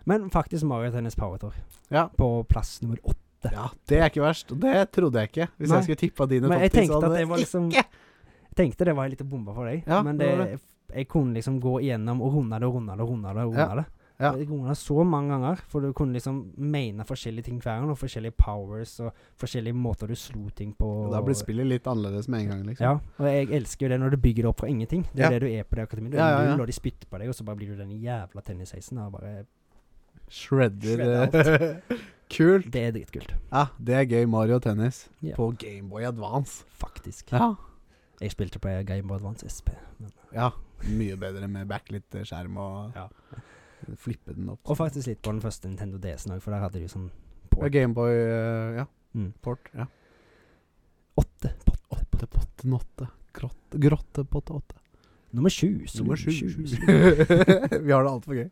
Speaker 2: Men faktisk Mario Tennis Power Tour.
Speaker 1: Ja.
Speaker 2: På plass nummer åtte.
Speaker 1: Ja, det er ikke verst. Og det trodde jeg ikke. Hvis
Speaker 2: Nei.
Speaker 1: jeg skulle tippa dine
Speaker 2: Men jeg
Speaker 1: topp ti, så
Speaker 2: tenkte at
Speaker 1: hadde
Speaker 2: det var liksom
Speaker 1: ikke.
Speaker 2: Tenkte det var en liten bombe for deg,
Speaker 1: Ja,
Speaker 2: men
Speaker 1: det
Speaker 2: det,
Speaker 1: var
Speaker 2: jeg kunne liksom gå igjennom og runde det og runde det og runde det. Og runde
Speaker 1: Ja,
Speaker 2: det.
Speaker 1: ja.
Speaker 2: Jeg runde det så mange ganger, for du kunne liksom mene forskjellige ting hver gang, og forskjellige powers og forskjellige måter du slo ting på.
Speaker 1: Da blir spillet litt annerledes med en gang, liksom.
Speaker 2: Ja, og jeg elsker jo det når du bygger det opp fra ingenting. Det er
Speaker 1: Ja.
Speaker 2: det du er på det akademiet. Du
Speaker 1: Ja,
Speaker 2: er
Speaker 1: ja, ja.
Speaker 2: null, og de spytter på deg, og så bare blir du den jævla tennisheisen. og bare-
Speaker 1: Shredder eh,
Speaker 2: Shredder
Speaker 1: Kult.
Speaker 2: Det er dritkult,
Speaker 1: Ja, det er gøy. Mario tennis
Speaker 2: Ja.
Speaker 1: på Gameboy Advance.
Speaker 2: faktisk.
Speaker 1: Ja.
Speaker 2: Jeg spilte på Game Boy Advance SP. Men,
Speaker 1: ja. Mye bedre med backlit-skjerm og
Speaker 2: Ja.
Speaker 1: flippe den opp.
Speaker 2: og faktisk litt på den første Nintendo DS-en òg, for der hadde du sånn
Speaker 1: Ja, Gameboy eh, Ja.
Speaker 2: Mm.
Speaker 1: Port. Ja.
Speaker 2: åtte potter.
Speaker 1: Pottepotten åtte. Grotte, grottepott åtte.
Speaker 2: Nummer sju. slu,
Speaker 1: Nummer sju.
Speaker 2: sju, slu.
Speaker 1: Vi har det altfor gøy.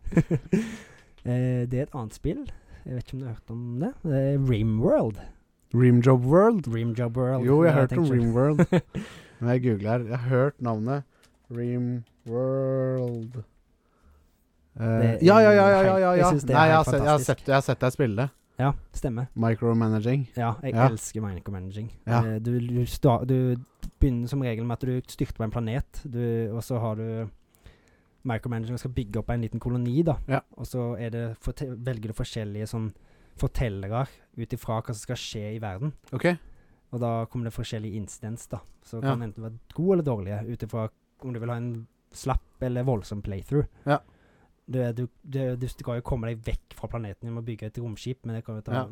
Speaker 2: Eh, det er et annet spill. Jeg vet ikke om du har hørt om det. det er Rimworld.
Speaker 1: Rimjob World.
Speaker 2: Rimjob World.
Speaker 1: Jo, jeg
Speaker 2: Ja,
Speaker 1: har hørt om
Speaker 2: tenker-
Speaker 1: Rimworld. Men jeg googler her. Jeg har hørt navnet Rimworld. Eh,
Speaker 2: Det er
Speaker 1: ja, ja, ja, ja, ja, ja,
Speaker 2: helt- jeg
Speaker 1: ja.
Speaker 2: synes det er
Speaker 1: Nei, jeg
Speaker 2: helt
Speaker 1: har, sett, jeg, har
Speaker 2: fantastisk.
Speaker 1: sett, jeg har sett deg spille.
Speaker 2: Ja, stemmer.
Speaker 1: Micromanaging.
Speaker 2: Ja, jeg
Speaker 1: Ja.
Speaker 2: elsker micromanaging.
Speaker 1: Ja.
Speaker 2: Eh, Du, du, sta, du begynner som regel med at du styrter på en planet, du, og så har du micromanaging og skal bygge opp en liten koloni, da.
Speaker 1: Ja.
Speaker 2: Og så er det, forte- velger du forskjellige sånn fortellere ut ifra hva som skal skje i verden.
Speaker 1: Ok.
Speaker 2: Og da kommer det forskjellige incidents, da. Så
Speaker 1: Ja.
Speaker 2: kan enten være gode eller dårlige, ut ifra om du vil ha en slapp eller voldsom playthrough.
Speaker 1: Ja.
Speaker 2: Du, er- du, du, du skal jo komme deg vekk fra planeten gjennom å bygge et romskip, men det kan jo ta
Speaker 1: Ja.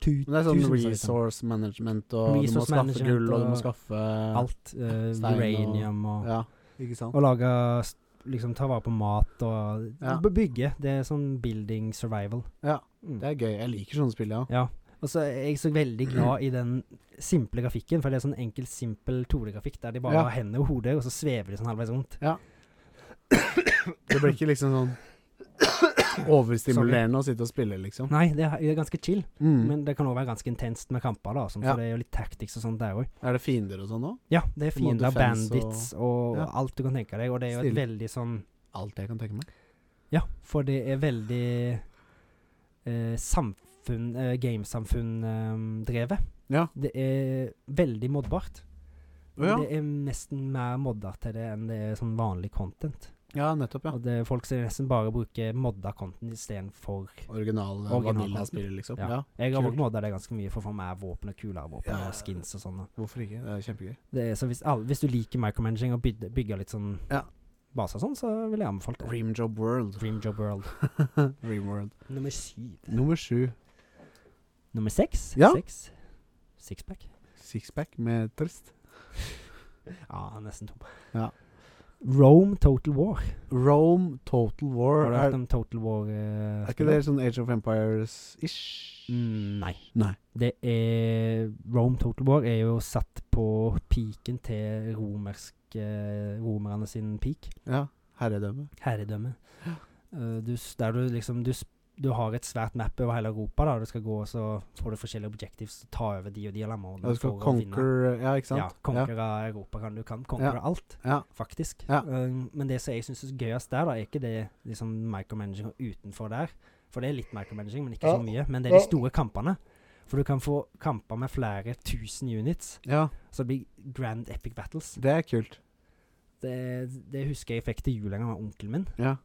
Speaker 2: tu-
Speaker 1: Men det er sånn
Speaker 2: tusenvis av liksom.
Speaker 1: resource management, og
Speaker 2: Resource
Speaker 1: du må skaffe
Speaker 2: management
Speaker 1: gull, og du må
Speaker 2: og
Speaker 1: skaffe
Speaker 2: Alt. eh,
Speaker 1: Stein og-
Speaker 2: uranium og
Speaker 1: Ja, ikke sant?
Speaker 2: Og lage s- Liksom ta vare på mat og
Speaker 1: Ja.
Speaker 2: b- bygge. Det er sånn building survival.
Speaker 1: Ja,
Speaker 2: Mm.
Speaker 1: det er gøy. Jeg liker sånne spill, ja.
Speaker 2: Og så er jeg så veldig glad i den simple grafikken, for det er sånn enkel, simpel 2D-grafikk der de bare
Speaker 1: Ja.
Speaker 2: har hender og hode, og så svever de sånn halvveis rundt.
Speaker 1: Det blir ikke liksom sånn overstimulerende å sitte og spille, liksom.
Speaker 2: Nei, det er, det er ganske chill,
Speaker 1: Mm.
Speaker 2: men det kan òg være ganske intenst med kamper, da, sånn,
Speaker 1: Ja.
Speaker 2: for det er jo litt tactics og sånt der òg.
Speaker 1: Er det fiender og sånn òg?
Speaker 2: Ja, det er
Speaker 1: Du må
Speaker 2: fiender,
Speaker 1: defense og-
Speaker 2: bandits og,
Speaker 1: Ja.
Speaker 2: alt du kan tenke deg, og det er jo et
Speaker 1: Stilig.
Speaker 2: veldig sånn
Speaker 1: Alt jeg kan tenke meg.
Speaker 2: Ja, for det er veldig eh, samfunn, eh, gamesamfunn-drevet.
Speaker 1: Ja.
Speaker 2: Det er veldig moddbart.
Speaker 1: Å ja.
Speaker 2: Det er nesten mer modder til det enn det er sånn vanlig content.
Speaker 1: ja, nettopp, ja.
Speaker 2: Og det er folk som nesten bare bruker modda content istedenfor
Speaker 1: Originale
Speaker 2: Original-
Speaker 1: vaniljaspillet, liksom.
Speaker 2: Ja.
Speaker 1: Ja.
Speaker 2: Jeg har
Speaker 1: Kult.
Speaker 2: brukt modda det ganske mye for å få mer våpen og kulere våpen
Speaker 1: Ja.
Speaker 2: og skins og sånn. da.
Speaker 1: Hvorfor ikke? Det er kjempegøy.
Speaker 2: Det er, så hvis, alle, hvis du liker micromanaging og bygge, bygge litt sånn
Speaker 1: Ja.
Speaker 2: baser og sånn, så vil jeg anbefale det.
Speaker 1: Dreamjob World.
Speaker 2: Dream Job World.
Speaker 1: Dreamworld.
Speaker 2: Nummer syv.
Speaker 1: Nummer sju.
Speaker 2: Nummer seks.
Speaker 1: Ja.
Speaker 2: Seks. Sixpack.
Speaker 1: Sixpack med trist.
Speaker 2: Ja, nesten to.
Speaker 1: Ja.
Speaker 2: Rome Total War.
Speaker 1: Rome Total War.
Speaker 2: Har du
Speaker 1: Er,
Speaker 2: hørt om Total War? eh,
Speaker 1: er ikke det sånn Age of Empires-ish?
Speaker 2: Mm, Nei.
Speaker 1: Nei.
Speaker 2: Det er Rome Total War er jo satt på piken til romersk, eh, romerne sin peak.
Speaker 1: Ja. Herredømme.
Speaker 2: Herredømme. eh, du, s- der du liksom du, s- du har et svært map over hele Europa, da. Du skal gå, og så får du forskjellige objectives, ta over de og de alarmordene.
Speaker 1: Ja, du skal
Speaker 2: for å finne-
Speaker 1: conquer Ja, ikke sant?
Speaker 2: Ja, konkurrere Europa kan du kan konkurrere alt,
Speaker 1: Ja.
Speaker 2: faktisk.
Speaker 1: Ja.
Speaker 2: Eh, men det som jeg syns er gøyest der, da, er ikke det liksom micromanaging utenfor der. For det er litt micromanaging, men ikke
Speaker 1: Ja.
Speaker 2: så mye. Men det er de store kampene. For du kan få kamper med flere tusen units.
Speaker 1: ja,
Speaker 2: Så det blir grand epic battles.
Speaker 1: det er kult.
Speaker 2: Det, det husker jeg fikk til jul en gang av onkelen min.
Speaker 1: Ja.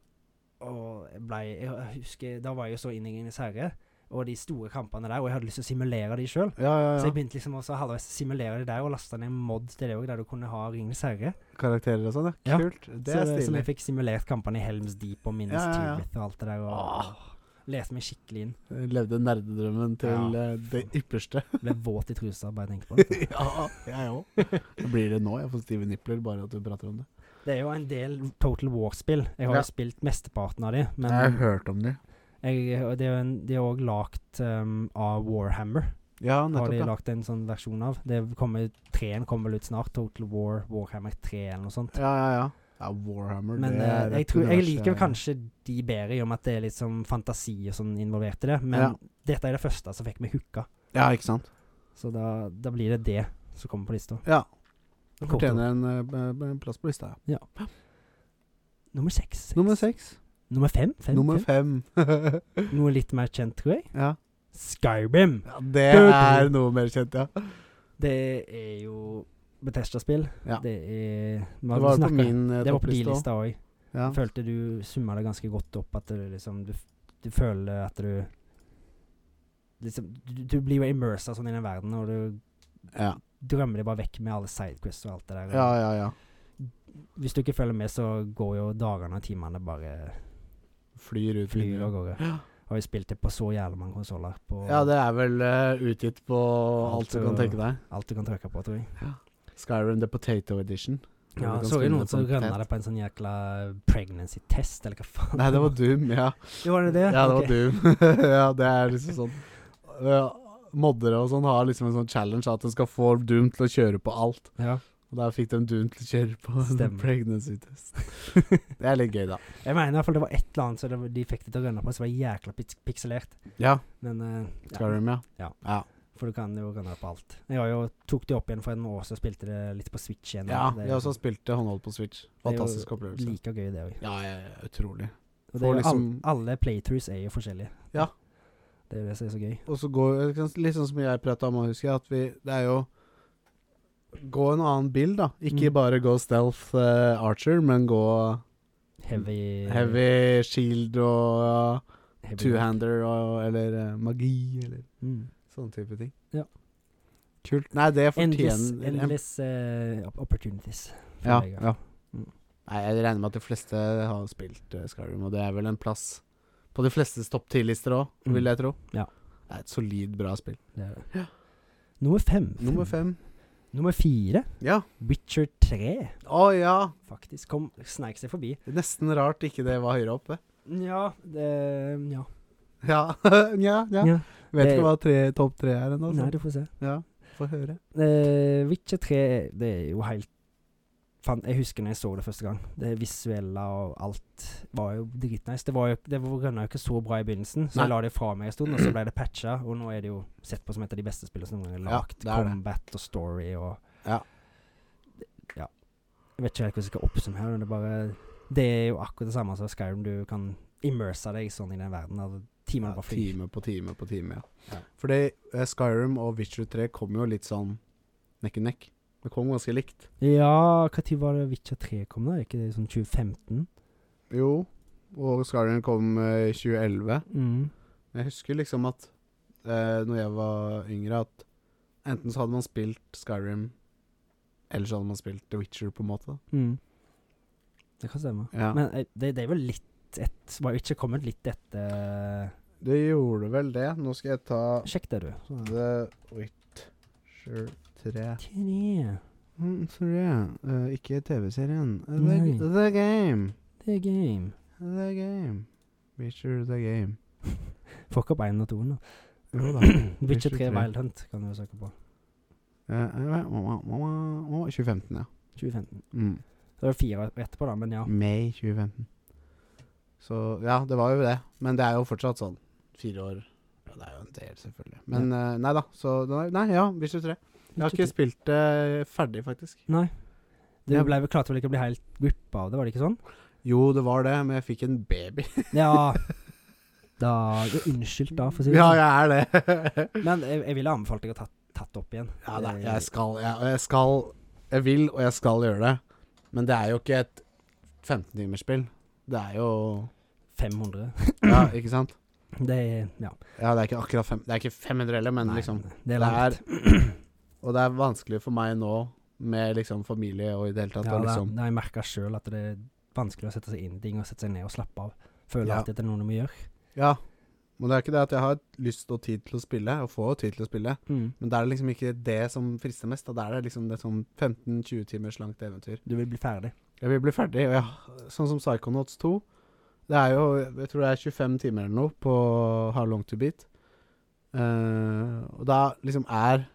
Speaker 2: Og jeg ble, jeg husker, Da var jeg jo så inne i Ringenes herre, og de store kampene der, og jeg hadde lyst til å simulere de sjøl.
Speaker 1: Ja, ja,
Speaker 2: Så jeg
Speaker 1: ja.
Speaker 2: begynte liksom også halvveis å simulere det der, og lasta ned en mod til det òg, der du kunne ha Ringenes herre.
Speaker 1: Karakterer og sånn, ja.
Speaker 2: Ja.
Speaker 1: Kult. Det er
Speaker 2: så, som
Speaker 1: stilig.
Speaker 2: jeg fikk simulert kampene i Helms Deep og Minnes
Speaker 1: Ja, ja, ja.
Speaker 2: Tirith og alt det der.
Speaker 1: Åh.
Speaker 2: Og, og leste meg skikkelig inn.
Speaker 1: Jeg Levde nerdedrømmen til
Speaker 2: Ja.
Speaker 1: eh, det ypperste.
Speaker 2: Ble våt i trusa bare jeg tenker på det.
Speaker 1: ja, jeg òg. Det blir det nå. Jeg får stive nipler bare at du prater om det.
Speaker 2: Det er jo en del Total War-spill. Jeg har
Speaker 1: Ja.
Speaker 2: jo spilt mesteparten av de, men
Speaker 1: jeg har hørt om det.
Speaker 2: jeg, og det er jo en, de er òg lagd um, av Warhammer.
Speaker 1: Ja,
Speaker 2: Har
Speaker 1: nettopp.
Speaker 2: de
Speaker 1: Ja.
Speaker 2: lagt en sånn versjon av. Det kommer, Treen kommer vel ut snart. Total War, Warhammer 3 eller noe sånt.
Speaker 1: ja, ja, ja. ja Warhammer,
Speaker 2: Men
Speaker 1: det
Speaker 2: eh,
Speaker 1: er
Speaker 2: jeg,
Speaker 1: et
Speaker 2: tror, jeg
Speaker 1: univers,
Speaker 2: liker
Speaker 1: eh,
Speaker 2: kanskje de bedre, i og med at det er litt sånn fantasi og sånn involvert i det. Men
Speaker 1: Ja.
Speaker 2: dette er det første som fikk meg hooka.
Speaker 1: Ja, ikke sant.
Speaker 2: Så da, da blir det det som kommer på lista.
Speaker 1: Ja.
Speaker 2: Kort opp.
Speaker 1: Fortjener en eh, b- b- plass på lista. ja.
Speaker 2: Nummer seks. seks.
Speaker 1: Nummer seks.
Speaker 2: Nummer fem, fem,
Speaker 1: Nummer
Speaker 2: fem.
Speaker 1: fem.
Speaker 2: Noe litt mer kjent, tror jeg.
Speaker 1: ja.
Speaker 2: Skyrim.
Speaker 1: ja, det er noe mer kjent, ja.
Speaker 2: Det er jo Betesta-spill.
Speaker 1: Ja.
Speaker 2: Det er
Speaker 1: Det var på min eh,
Speaker 2: Det var på de
Speaker 1: toppliste òg.
Speaker 2: lista òg.
Speaker 1: Ja.
Speaker 2: Følte du summa det ganske godt opp, at du liksom Du, du føler at du Liksom Du, du blir jo immersa sånn i den verden, og du
Speaker 1: Ja.
Speaker 2: drømmer deg bare vekk med alle sidequests og alt det der. og
Speaker 1: ja, ja, ja.
Speaker 2: Hvis du ikke følger med, så går jo dagene og timene bare
Speaker 1: Flyr ut.
Speaker 2: flyr
Speaker 1: vinduet.
Speaker 2: av gårde. Har jo spilt det på så jævlig mange konsoller. På
Speaker 1: Ja, det er vel eh, utgitt på alt,
Speaker 2: Alt
Speaker 1: du kan
Speaker 2: og-
Speaker 1: tenke deg.
Speaker 2: alt du kan trykke på, tror jeg.
Speaker 1: Skyrim The Potato Edition. Hvor
Speaker 2: Ja,
Speaker 1: du kan
Speaker 2: så jo
Speaker 1: spille
Speaker 2: noen som
Speaker 1: på en
Speaker 2: rønna
Speaker 1: potet.
Speaker 2: det på en sånn jækla pregnancy test, eller hva faen.
Speaker 1: Nei, det var Doom, ja.
Speaker 2: Jo, var det det?
Speaker 1: Ja, det
Speaker 2: Ok.
Speaker 1: var Doom. ja, det er liksom sånn ja, Moddere og sånn har liksom en sånn challenge at en skal få Doom til å kjøre på alt.
Speaker 2: Ja.
Speaker 1: Og der fikk de Doom til å kjøre på en
Speaker 2: Stemmer.
Speaker 1: pregnancy test. Det er litt gøy, da.
Speaker 2: Jeg mener i hvert fall det var et eller annet så det, var- de fikk det til å rønne på som var jækla pix pikselert.
Speaker 1: Ja,
Speaker 2: Men eh, ja,
Speaker 1: Skyrim, ja.
Speaker 2: Ja.
Speaker 1: ja.
Speaker 2: For du kan jo rønne på alt. Jeg har jo tok det opp igjen for en år så spilte det litt på Switch igjen.
Speaker 1: Ja,
Speaker 2: Det er
Speaker 1: vi
Speaker 2: jo
Speaker 1: har også spilt det håndholdt på Switch.
Speaker 2: er jo
Speaker 1: Fantastisk opplevelse.
Speaker 2: Like gøy, det òg.
Speaker 1: Ja, ja, ja, utrolig.
Speaker 2: Og det
Speaker 1: Får
Speaker 2: er jo
Speaker 1: liksom-
Speaker 2: all, alle playthroughs er jo forskjellige.
Speaker 1: Ja.
Speaker 2: Det er jo det som er så gøy.
Speaker 1: Og så går ikke sant, Litt sånn som jeg prata om, husker jeg, at vi Det er jo Gå en annen bil, da. Ikke
Speaker 2: Mm.
Speaker 1: bare gå stealth eh, archer, men gå
Speaker 2: Heavy
Speaker 1: heavy shield og
Speaker 2: heavy-
Speaker 1: two-hander og eller eh, magi eller
Speaker 2: Mm.
Speaker 1: sånne type ting.
Speaker 2: Ja.
Speaker 1: Kult. Nei, det
Speaker 2: Endless,
Speaker 1: fortjener en-
Speaker 2: endless eh, op- opportunities. for
Speaker 1: Ja,
Speaker 2: deg, i hvert
Speaker 1: ja.
Speaker 2: Mm.
Speaker 1: Nei, jeg regner med at de fleste har spilt eh, Skyrim, og det er vel en plass på de flestes topp ti-lister òg,
Speaker 2: Mm.
Speaker 1: vil jeg tro.
Speaker 2: Ja.
Speaker 1: Det er et solid, bra spill.
Speaker 2: Det er det. Nummer fem.
Speaker 1: Nummer fem.
Speaker 2: Nummer fire.
Speaker 1: Ja.
Speaker 2: Witcher 3,
Speaker 1: Å ja!
Speaker 2: faktisk. Kom, sneik seg forbi.
Speaker 1: Det er nesten rart ikke det var høyere oppe.
Speaker 2: Nja det, ja.
Speaker 1: Ja, nja, nja.
Speaker 2: Nja.
Speaker 1: Vet
Speaker 2: Det-
Speaker 1: ikke hva tre, topp tre er ennå.
Speaker 2: Nei,
Speaker 1: så-
Speaker 2: du får se.
Speaker 1: Ja, få høre.
Speaker 2: Eh, Witcher 3, er- det er jo helt fan, Jeg husker når jeg så det første gang. Det visuelle og alt var jo dritnice. Det var jo det var- rønna jo ikke så bra i begynnelsen, så
Speaker 1: Nei.
Speaker 2: jeg la det fra meg en stund, og så ble det patcha, og nå er det jo sett på som et av de beste spillene som noen gang er
Speaker 1: Ja,
Speaker 2: lagd.
Speaker 1: det er det.
Speaker 2: Combat og story og
Speaker 1: Ja.
Speaker 2: Ja. Jeg vet ikke helt hvordan jeg skal oppsummere, men det er bare Det er jo akkurat det samme som Skyrim. Du kan immerse deg sånn i den verden. at Timene
Speaker 1: Ja,
Speaker 2: bare flyr.
Speaker 1: time på time på time, ja.
Speaker 2: Ja.
Speaker 1: Fordi eh, Skyrim og Witcher 3 kom jo litt sånn nekk i nekk. Det kom ganske likt.
Speaker 2: Ja, når var det Witcher 3 kom, da? Er ikke det sånn 2015?
Speaker 1: Jo, og Skyrim kom eh, i 2011. Men
Speaker 2: Mm.
Speaker 1: jeg husker liksom at eh, når jeg var yngre, at enten så hadde man spilt Skyrim, eller så hadde man spilt The Witcher, på en måte.
Speaker 2: Mm. Det kan stemme.
Speaker 1: Ja.
Speaker 2: Men eh, det, det er vel litt et Var jo ikke kommet litt etter eh,
Speaker 1: Det gjorde vel det. Nå skal jeg ta
Speaker 2: Sjekk det, du. Så-
Speaker 1: The Witcher 3.
Speaker 2: Tre.
Speaker 1: Mm, sorry. Eh, ikke TV-serien. Eh,
Speaker 2: Nei.
Speaker 1: the, the Game.
Speaker 2: Det er game.
Speaker 1: The Game. Witcher The Game.
Speaker 2: Fuck opp én og toen, da.
Speaker 1: Jo da.
Speaker 2: Witcher 3
Speaker 1: 3.
Speaker 2: Wild Hunt kan du søke på.
Speaker 1: Eh, eh, wah, wah, wah, wah, wah, 2015, ja.
Speaker 2: 2015.
Speaker 1: Mm.
Speaker 2: Det var fire etterpå, da, men ja.
Speaker 1: May 2015. Så ja, det var jo det. Men det er jo fortsatt sånn fire år. Ja, det er jo en del, selvfølgelig. Men eh, nei da. Så nei, nei ja, Witcher 3. Jeg har ikke spilt det ferdig, faktisk.
Speaker 2: Nei. Du
Speaker 1: Jeg-
Speaker 2: ble vel klarte vel ikke å bli helt vippa av det, var det ikke sånn?
Speaker 1: Jo, det var det, men jeg fikk en baby.
Speaker 2: Ja. Da jo, Unnskyld, da, for å si det
Speaker 1: ja,
Speaker 2: sånn.
Speaker 1: jeg er det.
Speaker 2: Men jeg, jeg ville anbefalt deg å ta tatt opp igjen. Eh,
Speaker 1: ja, nei, jeg skal, jeg, og jeg skal Jeg vil, og jeg skal gjøre det. Men det er jo ikke et 15-timersspill. Det er jo
Speaker 2: 500.
Speaker 1: Ja, ikke sant?
Speaker 2: Det er Ja.
Speaker 1: Ja, det er ikke akkurat fem, Det er ikke 500 heller, men
Speaker 2: Nei,
Speaker 1: liksom
Speaker 2: Det er
Speaker 1: det
Speaker 2: langt.
Speaker 1: er, Og det er vanskelig for meg nå, med liksom familie og i det hele tatt,
Speaker 2: Ja,
Speaker 1: og
Speaker 2: det,
Speaker 1: liksom
Speaker 2: det har jeg merka sjøl at det er vanskelig å sette seg inn i ting og sette seg ned og slappe av. Føler
Speaker 1: Ja.
Speaker 2: alltid at det er noe du må gjøre.
Speaker 1: Ja. Men det er ikke det at jeg har lyst og tid til å spille, og får jo tid til å spille, men da er det liksom ikke det som frister mest. Da Da er det liksom det sånn 15-20 timers langt eventyr.
Speaker 2: Du vil bli ferdig.
Speaker 1: Jeg vil bli ferdig, og jeg, sånn som Psychonauts 2 Det er jo, jeg tror det er 25 timer eller noe på How Long To Beat. Eh, og da liksom er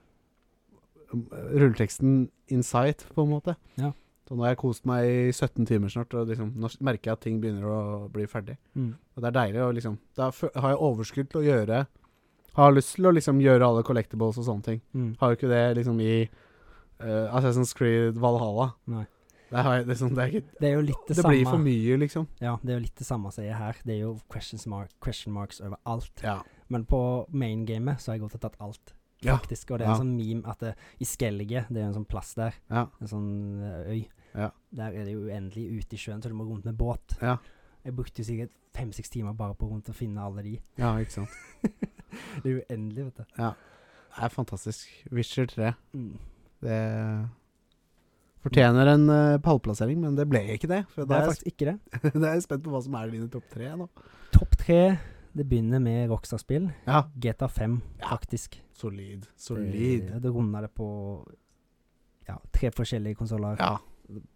Speaker 1: eh, rulleteksten insight, på en måte.
Speaker 2: Ja.
Speaker 1: Så nå har jeg kost meg i 17 timer snart, og liksom, nå merker jeg at ting begynner å bli ferdig. Og det er deilig å liksom Da fø- har jeg overskudd til å gjøre Har lyst til å liksom gjøre alle collectibles og sånne ting. Har jo ikke det liksom i eh, Assassin's Creed Valhalla.
Speaker 2: Nei.
Speaker 1: Der har jeg, det, er sånn, det, er ikke,
Speaker 2: Det er jo litt det,
Speaker 1: det
Speaker 2: samme.
Speaker 1: blir for mye, liksom.
Speaker 2: Ja, det er jo litt det samme som jeg er her. Det er jo questions mark, question marks overalt.
Speaker 1: Ja.
Speaker 2: Men på maingamet så har jeg gått og tatt alt,
Speaker 1: Ja.
Speaker 2: faktisk. Og det
Speaker 1: Ja.
Speaker 2: er en sånn meme at det, i Skellige, det er en sånn plass der,
Speaker 1: Ja.
Speaker 2: en sånn eh, øy,
Speaker 1: Ja.
Speaker 2: der er det jo uendelig ute i sjøen, så du må rundt med båt.
Speaker 1: Ja.
Speaker 2: Jeg brukte jo sikkert fem-seks timer bare på rundt å finne alle de.
Speaker 1: ja, ikke sant.
Speaker 2: Det er jo uendelig, vet du.
Speaker 1: Det er fantastisk. Witcher 3.
Speaker 2: Mm.
Speaker 1: Det fortjener en eh, pallplassering, men det ble ikke det. For
Speaker 2: Det
Speaker 1: da
Speaker 2: er
Speaker 1: er
Speaker 2: faktisk ikke det.
Speaker 1: jeg, da er jeg spent på hva som er dine topp tre nå.
Speaker 2: Topp tre, det begynner med Rockstar-spill.
Speaker 1: Ja.
Speaker 2: GTA 5,
Speaker 1: Ja.
Speaker 2: faktisk. Eh,
Speaker 1: Solid. Solid.
Speaker 2: Det, det runder det på ja, tre forskjellige konsoller.
Speaker 1: Ja.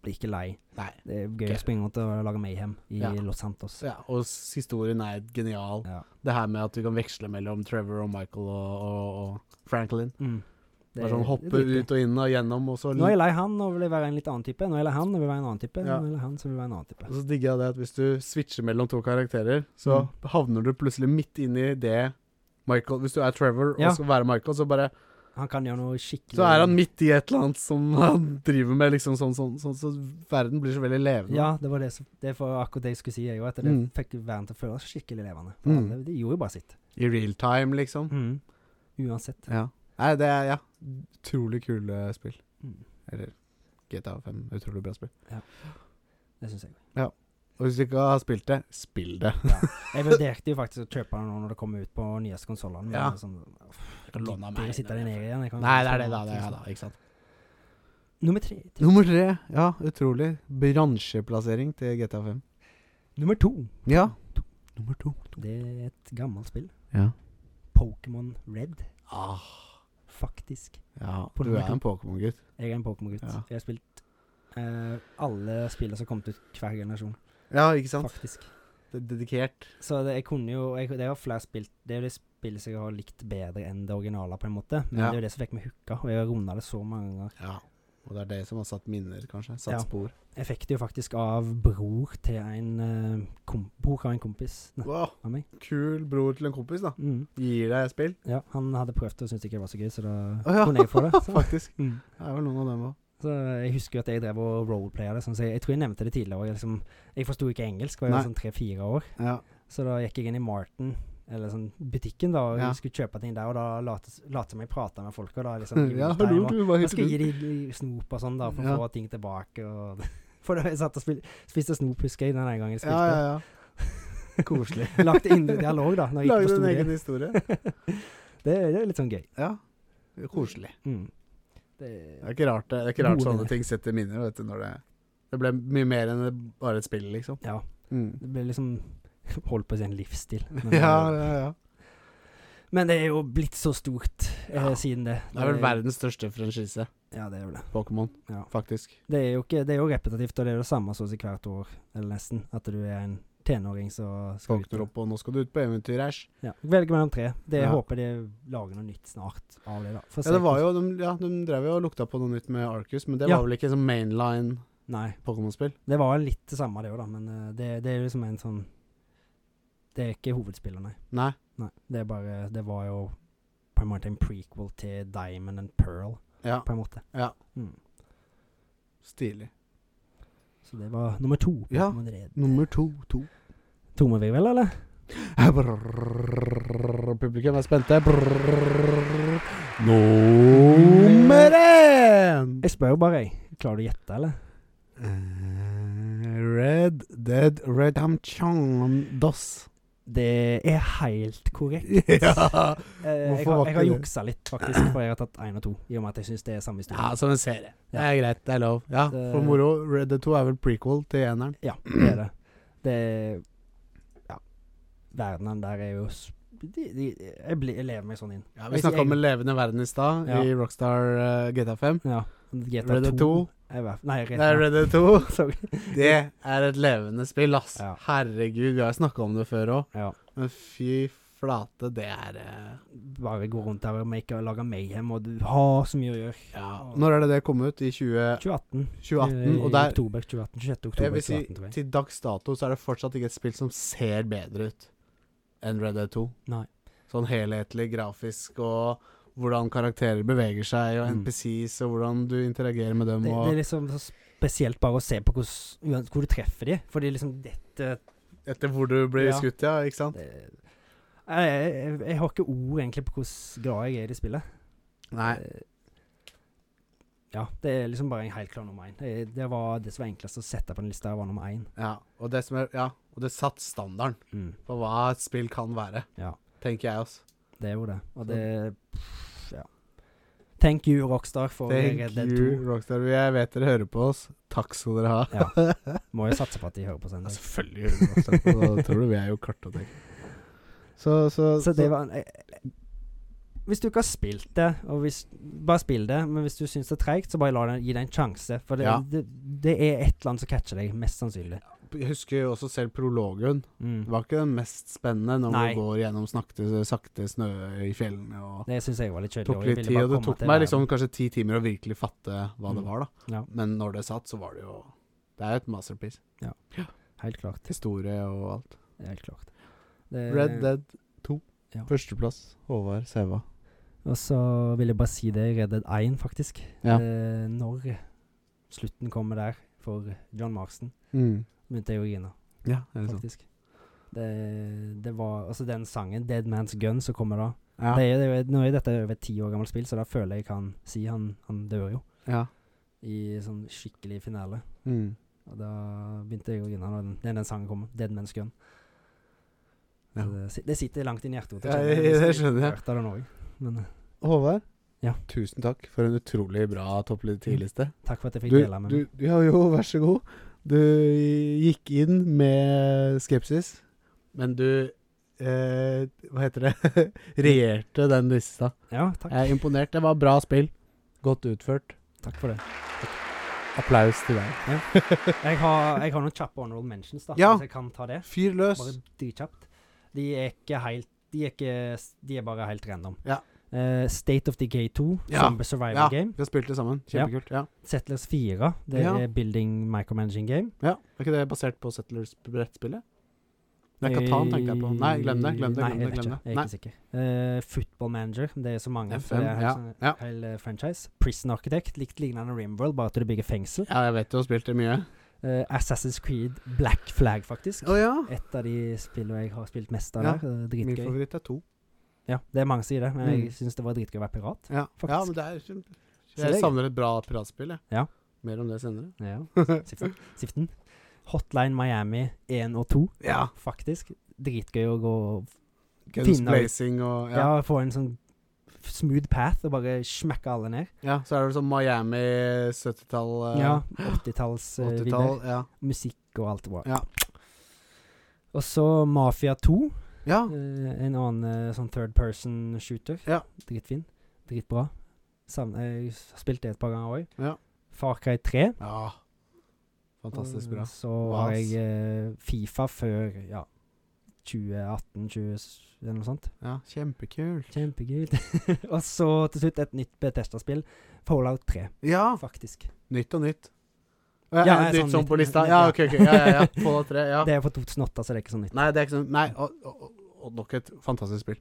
Speaker 2: Blir ikke lei.
Speaker 1: Nei.
Speaker 2: Det er
Speaker 1: Ok.
Speaker 2: gøy å springe rundt og lage mayhem i
Speaker 1: Ja.
Speaker 2: Los Santos.
Speaker 1: Så ja, og s- historien er genial.
Speaker 2: Ja.
Speaker 1: Det her med at du kan veksle mellom Trevor og Michael og, og, og Franklin.
Speaker 2: Mm.
Speaker 1: Bare sånn hoppe
Speaker 2: det er dritgøy.
Speaker 1: ut og inn og gjennom, og så,
Speaker 2: Nå er jeg lei han, nå vil jeg være en litt annen type. Nå er jeg lei han, nå vil jeg være en annen type.
Speaker 1: Ja.
Speaker 2: Nå er jeg lei han, så vil jeg være en annen type.
Speaker 1: og så digger jeg det at hvis du switcher mellom to karakterer, så
Speaker 2: Mm.
Speaker 1: havner du plutselig midt inn i det Michael Hvis du er Trevor
Speaker 2: Ja.
Speaker 1: og skal være Michael, så bare
Speaker 2: Han kan gjøre noe skikkelig
Speaker 1: Så er han midt i et eller annet som han driver med, liksom sånn sånn, sånn så verden blir så veldig levende.
Speaker 2: Ja, det var det, som, det var akkurat det jeg skulle si, jeg òg. At det
Speaker 1: Mm.
Speaker 2: fikk verden til å føles skikkelig levende. For
Speaker 1: Mm.
Speaker 2: alle, de gjorde jo bare sitt.
Speaker 1: I real time, liksom.
Speaker 2: Mm. Uansett.
Speaker 1: Ja. Nei, det er ja. Utrolig kule spill.
Speaker 2: Mm.
Speaker 1: Eller GTA 5. Utrolig bra spill.
Speaker 2: Det syns jeg.
Speaker 1: Og hvis du ikke har spilt det, spill det.
Speaker 2: Jeg vurderte jo faktisk å kjøpe den nå når det kom ut på nyeste konsollene. Men
Speaker 1: Ja.
Speaker 2: sånn, gidder jeg sitte der nede igjen. Jeg kan
Speaker 1: Nei, det
Speaker 2: spille
Speaker 1: er det, da.
Speaker 2: noe
Speaker 1: Det er,
Speaker 2: annet,
Speaker 1: da ikke sant?
Speaker 2: liksom. Nummer tre. til-
Speaker 1: Nummer tre. Ja, utrolig. Bransjeplassering til GTA 5.
Speaker 2: Nummer to.
Speaker 1: Ja. Nummer to.
Speaker 2: Det er et gammelt spill.
Speaker 1: Ja.
Speaker 2: Pokémon Red,
Speaker 1: Ah,
Speaker 2: faktisk.
Speaker 1: ja.
Speaker 2: På
Speaker 1: Du
Speaker 2: nummer
Speaker 1: er
Speaker 2: to.
Speaker 1: en Pokémon-gutt.
Speaker 2: Jeg er en Pokémon-gutt.
Speaker 1: Ja.
Speaker 2: Jeg har spilt eh, alle spillene som har kommet ut hver generasjon,
Speaker 1: Ja, ikke sant?
Speaker 2: faktisk.
Speaker 1: Det er dedikert.
Speaker 2: Så det, jeg kunne jo jeg, Det er jo flere spill Det er jo det spillet som jeg har likt bedre enn det originale, på en måte. Men
Speaker 1: Ja.
Speaker 2: det er jo det som fikk meg hooka, og jeg har runda det så mange ganger.
Speaker 1: Ja. Og det er det som har satt minner, kanskje. Satt
Speaker 2: Ja.
Speaker 1: spor.
Speaker 2: Jeg fikk det jo faktisk av bror til en eh, kom, Bror av en kompis nei,
Speaker 1: Wow,
Speaker 2: av meg.
Speaker 1: kul bror til en kompis, da.
Speaker 2: Mm.
Speaker 1: Gir deg spill.
Speaker 2: Ja, han hadde prøvd det og syntes ikke det var så gøy, så da
Speaker 1: Å ja.
Speaker 2: kunne jeg få det. Så.
Speaker 1: Faktisk.
Speaker 2: Mm.
Speaker 1: Det er vel noen av dem òg.
Speaker 2: så jeg husker jo at jeg drev og roleplaya det. Sånn, så jeg, jeg tror jeg nevnte det tidligere. og Jeg, liksom, jeg forsto ikke engelsk, var
Speaker 1: Nei.
Speaker 2: jo sånn tre-fire år.
Speaker 1: Ja.
Speaker 2: Så da gikk jeg inn i Martin, eller sånn butikken, da, og
Speaker 1: Ja.
Speaker 2: skulle kjøpe ting der. Og da lot lot som jeg prata med folk, og da liksom
Speaker 1: ja,
Speaker 2: gjorde jeg
Speaker 1: hallo,
Speaker 2: meg-
Speaker 1: du var
Speaker 2: Jeg
Speaker 1: helt
Speaker 2: skal gi dem snop og sånn, da, for
Speaker 1: Ja.
Speaker 2: å få ting tilbake. Og for da jeg satt og spil, spiste snop, husker jeg, den ene gangen jeg
Speaker 1: Ja,
Speaker 2: spilte.
Speaker 1: ja, ja. Koselig.
Speaker 2: Lagde indre dialog, da. Når jeg ikke
Speaker 1: Lagde en
Speaker 2: forsto
Speaker 1: egen
Speaker 2: det.
Speaker 1: historie.
Speaker 2: Det, er- det er litt sånn gøy.
Speaker 1: Ja. Koselig.
Speaker 2: Mm. Det,
Speaker 1: Det er ikke rart, det det er ikke rart
Speaker 2: Gode
Speaker 1: sånne
Speaker 2: minner.
Speaker 1: ting setter minner, vet du, når det Det ble mye mer enn det- bare et spill, liksom.
Speaker 2: ja. Det ble liksom Holdt på å si en livsstil. Men, det-
Speaker 1: Ja, ja, ja.
Speaker 2: men det er jo blitt så stort eh,
Speaker 1: Ja.
Speaker 2: siden det.
Speaker 1: Det er vel verdens største franchise,
Speaker 2: Ja, det er vel det.
Speaker 1: Pokémon,
Speaker 2: Ja.
Speaker 1: faktisk.
Speaker 2: Det er jo, ikke, det er jo repetitivt, og det er det samme så å si hvert år, eller nesten. At du er en tenåring som skal ut.
Speaker 1: Våkner opp, og nå skal du ut på eventyr, æsj.
Speaker 2: Ja. Velge mellom tre. Det
Speaker 1: Ja.
Speaker 2: håper de lager noe nytt snart av det, da. For å
Speaker 1: Ja,
Speaker 2: se
Speaker 1: det var
Speaker 2: hvordan-
Speaker 1: jo, de, ja, de drev jo og lukta på noe nytt med Arcus, men det
Speaker 2: Ja.
Speaker 1: var vel ikke sånn mainline
Speaker 2: Nei.
Speaker 1: Pokémon-spill?
Speaker 2: Det var litt det samme, det òg, da. Men eh, det, det er jo liksom en sånn Det er ikke hovedspiller, nei.
Speaker 1: Nei.
Speaker 2: nei. Det er bare Det var jo på en måte en prequel til Diamond and Pearl,
Speaker 1: Ja.
Speaker 2: på en måte.
Speaker 1: Ja.
Speaker 2: Mm.
Speaker 1: Stilig.
Speaker 2: Så det var nummer to. på
Speaker 1: Ja.
Speaker 2: Pokémon Red.
Speaker 1: Nummer to. to.
Speaker 2: Tomme vi vel, eller?
Speaker 1: Brrrr, Publikum er spente. Brrrr. Nummer én!
Speaker 2: Jeg spør jo bare, jeg. Klarer du å gjette, eller?
Speaker 1: Eh, Red Dead Redemption Dos.
Speaker 2: Det er helt korrekt.
Speaker 1: ja.
Speaker 2: Eh,
Speaker 1: Hvorfor
Speaker 2: jeg, har,
Speaker 1: var ikke
Speaker 2: jeg har
Speaker 1: det?
Speaker 2: juksa litt, faktisk, for jeg har tatt én og to, i og med at jeg syns det er samme historie.
Speaker 1: ja, som en serie. Det er greit, det er lov. Ja, for
Speaker 2: Det-
Speaker 1: moro. Red Dead 2 er vel prequel til eneren.
Speaker 2: Ja, det er det. Det er Ja. Verdenen der er jo s- de, de, jeg, blir, jeg lever meg sånn inn.
Speaker 1: vi snakka om en levende verden i stad,
Speaker 2: Ja.
Speaker 1: i Rockstar eh, GTA 5.
Speaker 2: Ja. GTA
Speaker 1: Red Dead
Speaker 2: 2
Speaker 1: 2.
Speaker 2: er hver- Nei,
Speaker 1: Det
Speaker 2: Red
Speaker 1: er
Speaker 2: Dead
Speaker 1: Red Dead 2.
Speaker 2: Sorry.
Speaker 1: Det er et levende spill, ass.
Speaker 2: Ja.
Speaker 1: Herregud, vi har snakka om det før òg.
Speaker 2: Ja.
Speaker 1: Men fy flate, det er eh,
Speaker 2: Bare gå rundt der og make, lage mayhem, og du har så mye å gjøre.
Speaker 1: ja. Når er det det kom ut? I 20,
Speaker 2: 2018.
Speaker 1: 2018?
Speaker 2: eh,
Speaker 1: Og
Speaker 2: i
Speaker 1: der,
Speaker 2: oktober 2018. 26. oktober
Speaker 1: jeg vil si,
Speaker 2: 2018, tror jeg.
Speaker 1: til dags dato så er det fortsatt ikke et spill som ser bedre ut enn Red Dead 2.
Speaker 2: Nei.
Speaker 1: Sånn helhetlig grafisk og hvordan karakterer beveger seg, og
Speaker 2: Mm.
Speaker 1: NPCs, og hvordan du interagerer med dem.
Speaker 2: Det, det
Speaker 1: Og
Speaker 2: er liksom så spesielt bare å se på hvordan- uansett hvor du treffer de, fordi liksom dette
Speaker 1: etter hvor du blir
Speaker 2: Ja.
Speaker 1: skutt, ja. Ikke sant?
Speaker 2: det, jeg, jeg, jeg har ikke ord egentlig på hvordan glad jeg er i det spillet.
Speaker 1: Nei.
Speaker 2: Eh, Ja, det er liksom bare en helt klar nummer én. Det, det var det som var enklest å sette på den lista, var nummer én. Mm,
Speaker 1: Ja. Og det som er Ja, og det satte standarden for hva et spill kan være,
Speaker 2: Ja.
Speaker 1: tenker jeg også.
Speaker 2: Det er jo det.
Speaker 1: Så-
Speaker 2: Og det Ja. Thank you, Rockstar, for Red
Speaker 1: Thank
Speaker 2: Dead
Speaker 1: you,
Speaker 2: 2.
Speaker 1: Rockstar. Jeg vet dere hører på oss. Takk skal dere ha.
Speaker 2: Ja. Må jo satse på at de hører på oss en
Speaker 1: Ja,
Speaker 2: dag.
Speaker 1: selvfølgelig gjør dere Rockstar. på det. Da tror du vi er jo kartotek. Så, så,
Speaker 2: Så det var en, eh, eh, Hvis du ikke har spilt det, og hvis, bare spill det, men hvis du syns det er treigt, så bare la det, gi det en sjanse. For det,
Speaker 1: Ja.
Speaker 2: det, det er et eller annet som catcher deg, mest sannsynlig.
Speaker 1: Jeg husker jo også selv prologen.
Speaker 2: Mm.
Speaker 1: Det var ikke den mest spennende når
Speaker 2: Nei.
Speaker 1: du går gjennom snakte, sakte snø i fjellene. Og
Speaker 2: Det syns jeg var litt
Speaker 1: det
Speaker 2: kjedelig.
Speaker 1: tok
Speaker 2: og jeg
Speaker 1: litt tid,
Speaker 2: ville bare
Speaker 1: og det
Speaker 2: komme
Speaker 1: tok
Speaker 2: til
Speaker 1: meg
Speaker 2: verden.
Speaker 1: liksom kanskje ti timer å virkelig fatte hva
Speaker 2: Mm.
Speaker 1: det var, da.
Speaker 2: Ja.
Speaker 1: Men når det satt, så var det jo Det er jo et masterpiece.
Speaker 2: Helt klart.
Speaker 1: Historie og alt.
Speaker 2: Helt klart. Det-
Speaker 1: Red Dead 2.
Speaker 2: Eh, Ja.
Speaker 1: Førsteplass. Håvard Seva.
Speaker 2: Og så vil jeg bare si det i Red Dead 1, faktisk.
Speaker 1: Ja.
Speaker 2: Eh, når slutten kommer der for John Marston,
Speaker 1: Mm.
Speaker 2: begynte jeg å grine,
Speaker 1: Ja, er det sånn?
Speaker 2: faktisk. Det, det var Altså, den sangen, 'Dead Man's Gun', som kommer da
Speaker 1: Ja.
Speaker 2: det er, det er, Nå er dette over et ti år gammelt spill, så da føler jeg han si han, han dør jo.
Speaker 1: ja.
Speaker 2: I sånn skikkelig finale.
Speaker 1: Mm.
Speaker 2: Og da begynte jeg å grine når den, når den sangen kom. 'Dead Man's Gun'.
Speaker 1: Ja.
Speaker 2: Så det, si- det sitter langt inn i hjertet.
Speaker 1: Ja, det skjønner jeg.
Speaker 2: Hørte den også. Men eh,
Speaker 1: Håvard,
Speaker 2: Ja.
Speaker 1: tusen takk for en utrolig bra toppliste.
Speaker 2: takk for at jeg
Speaker 1: Du,
Speaker 2: fikk dele med
Speaker 1: du,
Speaker 2: meg.
Speaker 1: ja, jo, vær så god. Du gikk inn med skepsis, men du eh, Hva heter det? Regjerte den lista.
Speaker 2: Ja, takk.
Speaker 1: Jeg er imponert. Det var bra spill. Godt utført.
Speaker 2: Takk for det.
Speaker 1: Applaus til deg.
Speaker 2: Jeg har, jeg har noen kjappe honorable mentions, da,
Speaker 1: Ja.
Speaker 2: hvis jeg kan ta det.
Speaker 1: Fyr løs.
Speaker 2: Bare dritkjapt. De er ikke helt De er, ikke, de er bare helt random.
Speaker 1: Ja.
Speaker 2: Eh, State of Decay 2,
Speaker 1: Ja.
Speaker 2: Zombie Survival
Speaker 1: Ja, vi
Speaker 2: Game.
Speaker 1: har spilt det sammen.
Speaker 2: Ja.
Speaker 1: Kjempekult. Ja.
Speaker 2: Settlers 4, det
Speaker 1: Ja.
Speaker 2: er Building Micromanaging Game.
Speaker 1: ja. Er ikke det basert på Settlers-brettspillet? Det er Katan, tenkte jeg på. Nei, glem det. Glem det.
Speaker 2: Nei,
Speaker 1: Glem det.
Speaker 2: jeg
Speaker 1: Glem
Speaker 2: vet ikke.
Speaker 1: det.
Speaker 2: Jeg er
Speaker 1: Nei.
Speaker 2: ikke sikker. Eh, Football Manager, det er så mange. så
Speaker 1: FM,
Speaker 2: det er
Speaker 1: ja,
Speaker 2: sånn-
Speaker 1: ja.
Speaker 2: Hel eh, franchise. Prison Architect, likt lignende Rimworld, bare at du bygger fengsel.
Speaker 1: Ja, jeg vet du har spilt det mye.
Speaker 2: Eh, Assassin's Creed, Black Flag, faktisk.
Speaker 1: Å ja.
Speaker 2: Et av de spillene jeg har spilt mest av
Speaker 1: Ja,
Speaker 2: der. eh,
Speaker 1: Min
Speaker 2: Dritgøy.
Speaker 1: favoritt er to.
Speaker 2: Ja, det er mange som sier det, men
Speaker 1: Mm.
Speaker 2: jeg syns det var dritgøy å være pirat.
Speaker 1: Ja,
Speaker 2: Faktisk.
Speaker 1: ja men det er
Speaker 2: det er
Speaker 1: Jeg
Speaker 2: gøy.
Speaker 1: savner et bra piratspill, jeg.
Speaker 2: Ja.
Speaker 1: Mer om det senere.
Speaker 2: Ja. Siften. Siften. Hotline Miami 1 og 2,
Speaker 1: Ja.
Speaker 2: faktisk. Dritgøy å gå
Speaker 1: Guns
Speaker 2: Finner-
Speaker 1: Blazing og ja.
Speaker 2: Ja, få en sånn smooth path og bare smekke alle ned.
Speaker 1: ja. Så er det sånn Miami 70-tall, eh,
Speaker 2: Ja. 80-tallsvidder.
Speaker 1: 80-tall. Ja.
Speaker 2: Musikk og alt det bra.
Speaker 1: Ja.
Speaker 2: Og så Mafia 2.
Speaker 1: ja.
Speaker 2: eh, en annen eh, sånn third person shooter.
Speaker 1: Ja.
Speaker 2: Dritfin. Dritbra. Sam jeg har spilt det et par ganger òg.
Speaker 1: Ja.
Speaker 2: Far Cry 3.
Speaker 1: ja. Fantastisk
Speaker 2: Og
Speaker 1: bra.
Speaker 2: Mm, Så
Speaker 1: Vas.
Speaker 2: har jeg eh, Fifa før ja, 2018, 20, eller noe sånt.
Speaker 1: Ja, Kjempekult.
Speaker 2: Kjempekult. og så til slutt et nytt Betesta-spill. Fallout 3,
Speaker 1: Ja.
Speaker 2: faktisk.
Speaker 1: Nytt og nytt. Ja,
Speaker 2: Ja,
Speaker 1: nytt
Speaker 2: sånn
Speaker 1: sånn på
Speaker 2: nytt-
Speaker 1: lista? Ja,
Speaker 2: ja.
Speaker 1: ok, ok. Ja, ja, ja. Fallout 3. Ja.
Speaker 2: Det er fra 2008, så det er ikke så nytt.
Speaker 1: Nei, det er ikke sånn Nei, og, og, og nok et fantastisk spill.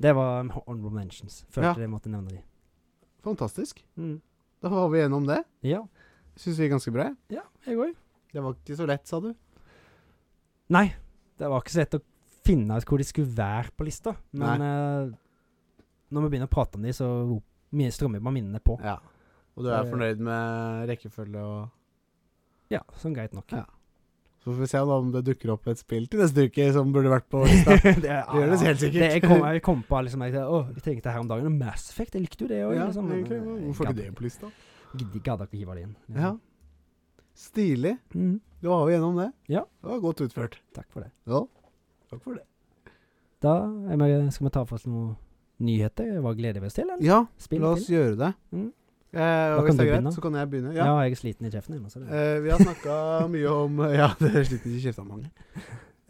Speaker 2: Det var um, honorable mentions.
Speaker 1: Ja. Mm.
Speaker 2: Følte jeg måtte nevne de.
Speaker 1: Fantastisk. Da var vi gjennom det.
Speaker 2: Ja.
Speaker 1: Syns vi er ganske bra. jeg.
Speaker 2: ja, jeg òg.
Speaker 1: Det var ikke så lett, sa du.
Speaker 2: Nei, det var ikke så lett å finne ut hvor de skulle være på lista. Men eh, når vi begynner å prate om de, så mye strømmer bare minnene på.
Speaker 1: Ja. Og du er fornøyd med rekkefølge og
Speaker 2: Ja, sånn greit nok.
Speaker 1: Ja. Så får vi se da om det dukker opp et spill til neste uke som burde vært på lista.
Speaker 2: det, er-
Speaker 1: Det gjør det helt sikkert.
Speaker 2: Det, jeg, kom, jeg kom på liksom, jeg, Å, jeg tenkte her om dagen Og Mass Effect, jeg likte jo det òg.
Speaker 1: Ja,
Speaker 2: liksom, men,
Speaker 1: egentlig.
Speaker 2: eh,
Speaker 1: Hvorfor
Speaker 2: gadd-
Speaker 1: ikke det på lista?
Speaker 2: Gidde gadd ikke å hive det inn. liksom.
Speaker 1: Ja. Stilig.
Speaker 2: Mm,
Speaker 1: Da var vi gjennom det.
Speaker 2: Ja.
Speaker 1: Det var godt utført.
Speaker 2: takk for det.
Speaker 1: Ja. Takk for det.
Speaker 2: Da er vi, skal vi ta for oss noen nyheter. Hva gleder vi oss til? Eller?
Speaker 1: Ja,
Speaker 2: Spill
Speaker 1: la oss
Speaker 2: til?
Speaker 1: gjøre det.
Speaker 2: Mm.
Speaker 1: Eh,
Speaker 2: Da
Speaker 1: og
Speaker 2: kan
Speaker 1: hvis det er
Speaker 2: du
Speaker 1: greit,
Speaker 2: begynne.
Speaker 1: så kan jeg begynne.
Speaker 2: Ja.
Speaker 1: Ja.
Speaker 2: jeg er sliten i kjeften ennå. så det-
Speaker 1: Eh, vi har snakka mye om Ja, det sliter ikke kjefta mange.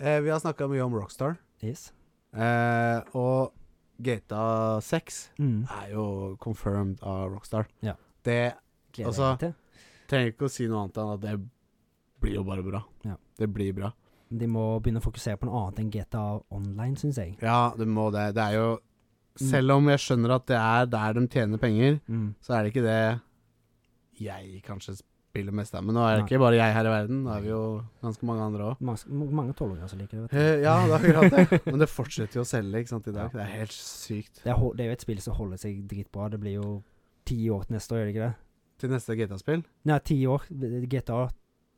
Speaker 1: Eh, vi har snakka mye om Rockstar.
Speaker 2: Yes.
Speaker 1: Eh, og GTA 6
Speaker 2: Mm,
Speaker 1: er jo confirmed av Rockstar.
Speaker 2: Ja.
Speaker 1: Det
Speaker 2: gleder
Speaker 1: Altså,
Speaker 2: jeg meg til.
Speaker 1: trenger ikke å si noe annet enn at det blir jo bare bra.
Speaker 2: Ja.
Speaker 1: Det blir bra.
Speaker 2: De må begynne å fokusere på noe annet enn GTA Online, syns jeg.
Speaker 1: Ja, det må det. Det er jo
Speaker 2: Mm.
Speaker 1: Selv om jeg skjønner at det er der de tjener penger,
Speaker 2: Mm.
Speaker 1: så er det ikke det jeg kanskje spiller mest av. Men nå er det ikke bare jeg her i verden, nå er vi jo ganske mange andre òg.
Speaker 2: Mange, mange tolvåringer som liker det. Vet du.
Speaker 1: ja, det er akkurat det. Men det fortsetter jo å selge ikke sant, i dag. Det er helt sykt.
Speaker 2: Det, er, hol- det er jo et spill som holder seg dritbra. Det blir jo ti år til neste år, gjør det ikke det?
Speaker 1: Til neste GTA-spill?
Speaker 2: Nei, ti år. GTA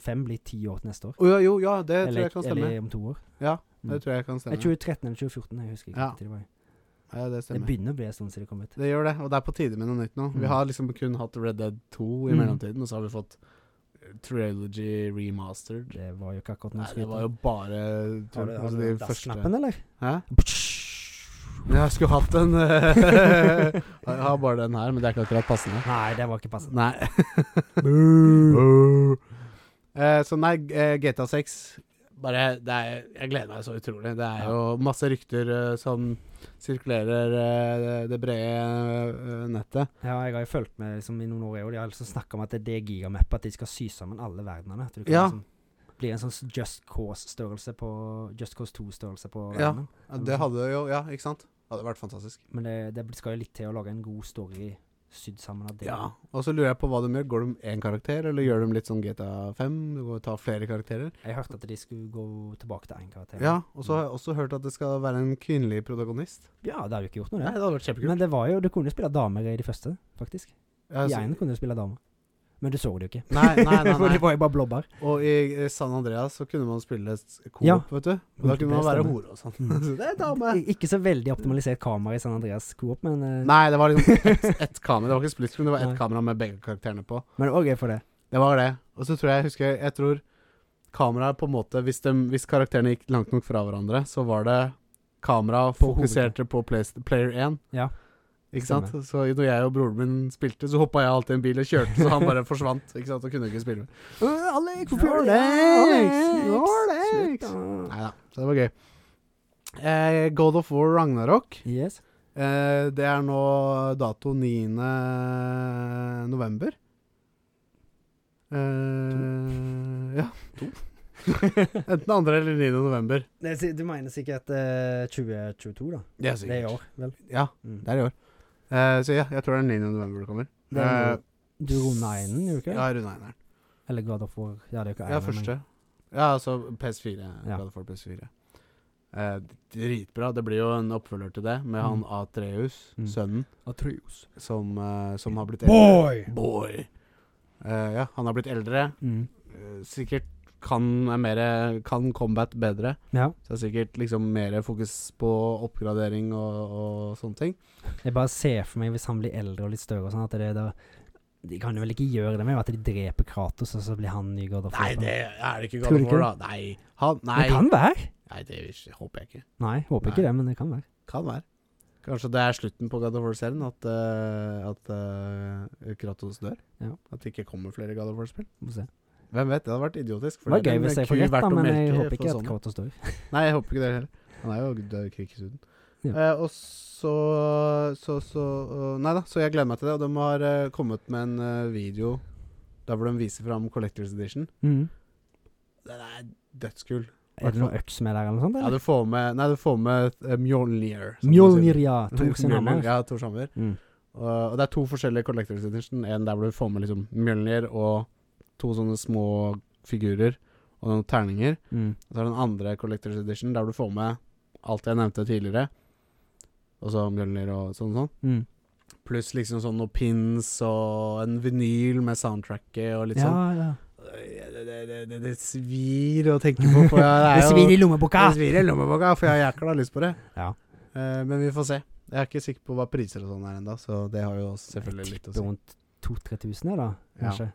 Speaker 2: 5 blir ti år til neste år.
Speaker 1: Å ja, jo, ja, det tror
Speaker 2: Eller,
Speaker 1: jeg kan stemme.
Speaker 2: eller om to år.
Speaker 1: Ja,
Speaker 2: Mm.
Speaker 1: det tror jeg kan
Speaker 2: Nei,
Speaker 1: stemme.
Speaker 2: 2013 eller 2014, jeg husker ikke.
Speaker 1: Ja.
Speaker 2: når Det, var.
Speaker 1: Ja, det
Speaker 2: det
Speaker 1: stemmer.
Speaker 2: begynner å bli en stund siden det kom ut.
Speaker 1: Det gjør det, og det er på tide med noe nytt nå.
Speaker 2: Mm.
Speaker 1: Vi har liksom kun hatt Red Dead 2 i
Speaker 2: Mm.
Speaker 1: mellomtiden, og så har vi fått Trilogy Remastered.
Speaker 2: Det var jo ikke akkurat noe
Speaker 1: Nei, det var jo bare
Speaker 2: Har du, har
Speaker 1: altså,
Speaker 2: du
Speaker 1: de
Speaker 2: dassknappen, eller?
Speaker 1: Hæ? Men jeg skulle hatt en eh, Jeg har bare den her, men det er ikke akkurat passende.
Speaker 2: Nei, det var ikke passende.
Speaker 1: Nei. Eh, så nei, eh, GTA 6 bare, det er, Jeg gleder meg så utrolig. Det er
Speaker 2: Ja.
Speaker 1: jo masse rykter eh, som sirkulerer eh, det- det brede eh, nettet.
Speaker 2: Ja, jeg har jo fulgt med liksom, i noen år, jeg òg. De har liksom snakka om at det er gigamappet, at de skal sy sammen alle verdenene. At du kan
Speaker 1: Ja.
Speaker 2: liksom bli en sånn Just Cause-størrelse på Just Cause 2-størrelse på
Speaker 1: Ja.
Speaker 2: verdenen.
Speaker 1: Ja, Det hadde jo Ja, ikke sant? Hadde vært fantastisk.
Speaker 2: Men det, det skal jo litt til å lage en god story sydd sammen av det.
Speaker 1: Ja. Og så lurer jeg på hva de gjør. Går de én karakter, eller gjør de litt sånn GTA5? Du går og tar flere karakterer?
Speaker 2: Jeg hørte at de skulle gå tilbake til én karakter.
Speaker 1: Ja. Og så har jeg også hørt at det skal være en kvinnelig protagonist.
Speaker 2: Ja, det har jo ikke gjort noe, det.
Speaker 1: Nei, det hadde vært kjempekult.
Speaker 2: Men det var jo, du kunne jo spille damer i de første, faktisk.
Speaker 1: Ja,
Speaker 2: I
Speaker 1: så-
Speaker 2: einen kunne du spille damer. Men du så det jo ikke.
Speaker 1: Nei, nei, nei,
Speaker 2: For
Speaker 1: nei.
Speaker 2: de var jo bare blobber.
Speaker 1: Og i eh, San Andreas så kunne man spille s- coop,
Speaker 2: Ja.
Speaker 1: vet du. Og da kunne man være
Speaker 2: Multiplayer, stemmer.
Speaker 1: hore og sånn. Så det er dame.
Speaker 2: Ik- Ikke så veldig optimalisert kamera i San Andreas Coop, men eh,
Speaker 1: Nei, det var liksom ett et kamera. Det var ikke split screen, det var ett
Speaker 2: Nei.
Speaker 1: kamera med begge karakterene på.
Speaker 2: Men det var gøy for det.
Speaker 1: Det var det. Og så tror jeg, husker jeg, jeg tror kameraet på en måte hvis, dem- hvis karakterene gikk langt nok fra hverandre, så var det kamera
Speaker 2: På
Speaker 1: fokuserte på play, player 1.
Speaker 2: Ja.
Speaker 1: Ikke sant? Så når jeg og broren min spilte, så hoppa jeg alltid i en bil og kjørte, så han bare forsvant. Ikke sant? Og kunne ikke spille med.
Speaker 2: Uh, Alex,
Speaker 1: hvorfor gjør du det? Alex,
Speaker 2: Slutt, da.
Speaker 1: Nei da, så det var gøy. Eh, God of War Ragnarok.
Speaker 2: Yes.
Speaker 1: Eh, det er nå dato 9. november. Eh, ja. Enten 2. eller 9. november.
Speaker 2: Nei, si- Du mener sikkert eh, 2022, da?
Speaker 1: Det er
Speaker 2: Det er i år, vel?
Speaker 1: Ja,
Speaker 2: Mm.
Speaker 1: det er i år. Eh, så ja, jeg tror det er 9. november det kommer.
Speaker 2: Det er
Speaker 1: Eh,
Speaker 2: jo- du runda einen, gjorde du ikke?
Speaker 1: Ja, runde eineren.
Speaker 2: Eller God of War? Ja, det er jo ikke
Speaker 1: Ja,
Speaker 2: einen, men-
Speaker 1: første. Ja, altså PS4.
Speaker 2: Ja.
Speaker 1: God of War PS4. Eh, dritbra. Det blir jo en oppfølger til det, med han
Speaker 2: Mm.
Speaker 1: Atreus,
Speaker 2: Mm.
Speaker 1: sønnen,
Speaker 2: Atreus.
Speaker 1: som, eh, som har blitt
Speaker 3: Boy!
Speaker 1: Boy. Eh, ja, han har blitt eldre.
Speaker 2: Mm.
Speaker 1: Eh, sikkert kan, er mere, kan combat bedre.
Speaker 2: Ja.
Speaker 1: Så det er sikkert liksom mer fokus på oppgradering og, og sånne ting.
Speaker 2: Jeg bare ser for meg hvis han blir eldre og litt større og sånn, at det er da De kan jo vel ikke gjøre det med at de dreper Kratos, og så blir han ny God of War?
Speaker 1: Nei, det er det ikke
Speaker 2: Tror
Speaker 1: God
Speaker 2: du
Speaker 1: of War, da. Nei. Han, nei.
Speaker 2: Det kan være!
Speaker 1: nei, det håper jeg ikke.
Speaker 2: Nei, håper
Speaker 1: Nei.
Speaker 2: ikke det, men det kan være.
Speaker 1: Kan være. Kanskje det er slutten på God of War-serien, at, eh, at eh, Kratos dør?
Speaker 2: Ja.
Speaker 1: At det ikke kommer flere God of War-spill?
Speaker 2: Vi får se.
Speaker 1: Hvem vet, det hadde vært idiotisk. for
Speaker 2: Det var
Speaker 1: er
Speaker 2: gøy
Speaker 1: en
Speaker 2: hvis jeg
Speaker 1: ku
Speaker 2: får rett,
Speaker 1: verdt
Speaker 2: da,
Speaker 1: å
Speaker 2: men jeg
Speaker 1: melke
Speaker 2: håper
Speaker 1: for
Speaker 2: ikke
Speaker 1: sånne.
Speaker 2: at Kratos dør.
Speaker 1: Nei, jeg håper ikke det heller. Han er jo død i krigsuden.
Speaker 2: Ja.
Speaker 1: Eh, og så, så, så eh, Nei da, så jeg gleder meg til det. Og de har eh, kommet med en eh, video Der hvor de viser fram Collectors Edition.
Speaker 2: Mm.
Speaker 1: Den er dødskul.
Speaker 2: Er det noe øks med der, eller noe sånt?
Speaker 1: Ja,
Speaker 2: Eller?
Speaker 1: du får med Nei, du får med eh, Mjolnir. som de sier.
Speaker 2: Mjolnir, ja. Tok sin hammer.
Speaker 1: Ja, Thors hammer.
Speaker 2: Mm.
Speaker 1: Og, og det er to forskjellige Collectors Edition. En der hvor du får med liksom Mjølnir og to sånne små figurer og noen terninger.
Speaker 2: Mm.
Speaker 1: Og så er det den andre Collectors Edition der du får med alt jeg nevnte tidligere. Og så Mjølnir og sånn og sånn.
Speaker 2: Mm.
Speaker 1: Pluss liksom sånn noen pins og en vinyl med soundtracket og litt
Speaker 2: Ja,
Speaker 1: sånn.
Speaker 2: ja.
Speaker 1: Det, det, det, det, det svir å tenke på. For jeg, det
Speaker 2: Det
Speaker 1: er jo,
Speaker 2: svir i lommeboka!
Speaker 1: det svir i lommeboka, for jeg har jækla lyst på det.
Speaker 2: Ja.
Speaker 1: Eh, men vi får se. Jeg er ikke sikker på hva priser og sånn er ennå, så det har jo selvfølgelig litt å si.
Speaker 2: Rundt 2000-3000,
Speaker 1: Ja.
Speaker 2: da, kanskje?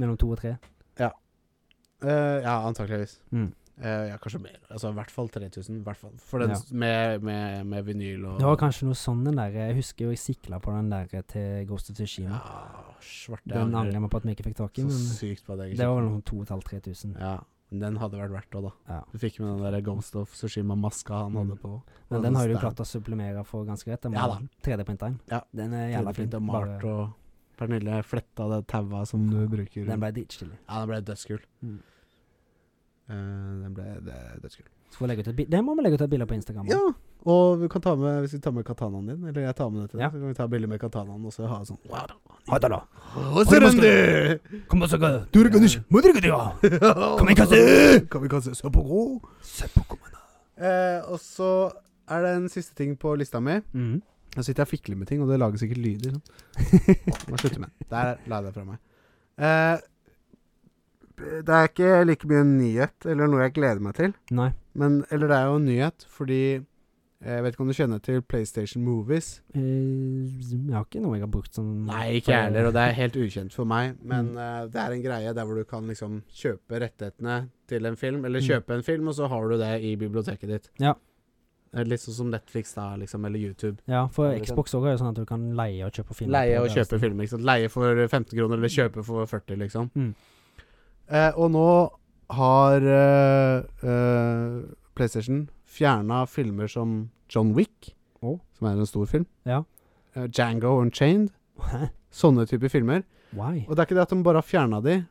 Speaker 2: Mellom to og tre?
Speaker 1: Eh, ja, antakeligvis.
Speaker 2: Mm.
Speaker 1: Eh, ja, kanskje mer. Altså i hvert fall 3000. i Hvert fall. For den
Speaker 2: Ja.
Speaker 1: s- med, med, med vinyl og
Speaker 2: Det var kanskje noe sånn den der Jeg husker jo jeg sikla på den der til Ghost of Tsushima.
Speaker 1: Ja, svarte
Speaker 2: den
Speaker 1: angrer
Speaker 2: angrer jeg meg på at vi ikke fikk tak i,
Speaker 1: Så
Speaker 2: men
Speaker 1: sykt på at jeg ikke
Speaker 2: det var vel
Speaker 1: kjøpte
Speaker 2: noen 2500-3000.
Speaker 1: den. Ja, men den hadde vært verdt det, da.
Speaker 2: Ja.
Speaker 1: Du fikk med den der Ghost of Sushima-maska han hadde
Speaker 2: Mm.
Speaker 1: på.
Speaker 2: Men den har du
Speaker 1: sterk.
Speaker 2: klart å supplemere for ganske greit. Den
Speaker 1: Ja
Speaker 2: var 3D-printeren.
Speaker 1: Ja.
Speaker 2: Den er jævla fin.
Speaker 1: Tredjeprint og
Speaker 2: bare-
Speaker 1: malt og Pernille fletta det taua som du bruker.
Speaker 2: Den ble dritstilig.
Speaker 1: ja, den ble dødskul.
Speaker 2: Mm.
Speaker 1: Eh, den ble det- dødskul.
Speaker 2: Så får vi legge ut et bi- Den må vi legge ut et bilde på Instagram.
Speaker 1: Ja, og vi kan ta med, hvis vi tar med katanaen din, eller jeg tar med det til deg,
Speaker 2: Ja.
Speaker 1: så kan vi ta bilde med katanaen og så ha sånn wow,
Speaker 3: 아, 달라.
Speaker 1: Hva ser den det?
Speaker 3: 검사가 누르거든요. 못 누르거든요. 가미카세!
Speaker 1: Kamikaze Sepoko. Eh, og så er det en siste ting på lista mi.
Speaker 2: Mhm.
Speaker 1: Nå sitter jeg og fikler med ting, og det lager sikkert lyder. Sånn. Må slutte med det. Der la jeg det fra meg. Eh, det er ikke like mye en nyhet, eller noe jeg gleder meg til.
Speaker 2: Nei.
Speaker 1: Men, eller det er jo en nyhet, fordi eh, Jeg vet ikke om du kjenner til PlayStation Movies?
Speaker 2: Eh, Jeg har ikke noe jeg har brukt sånn- som
Speaker 1: Nei, ikke jeg heller, og det er helt ukjent for meg. Men
Speaker 2: Mm.
Speaker 1: eh, det er en greie der hvor du kan liksom kjøpe rettighetene til en film, eller
Speaker 2: Mm.
Speaker 1: kjøpe en film, og så har du det i biblioteket ditt.
Speaker 2: Ja.
Speaker 1: Eh, Litt sånn som Netflix da, liksom, eller YouTube.
Speaker 2: Ja, for
Speaker 1: Eller sånn.
Speaker 2: Xbox også er jo sånn at du kan leie og kjøpe filmer.
Speaker 1: Leie
Speaker 2: på altså.
Speaker 1: og
Speaker 2: deres-
Speaker 1: kjøpe filmer, ikke sant. Leie for 15 kroner, eller kjøpe for 40, liksom.
Speaker 2: Mm.
Speaker 1: Eh, og nå har eh, eh, PlayStation fjerna filmer som John Wick,
Speaker 2: Å.
Speaker 1: som er en stor film,
Speaker 2: Ja.
Speaker 1: eh, Django Unchained,
Speaker 2: Hæ?
Speaker 1: sånne typer filmer.
Speaker 2: Why?
Speaker 1: Og det er ikke det at de bare har fjerna de,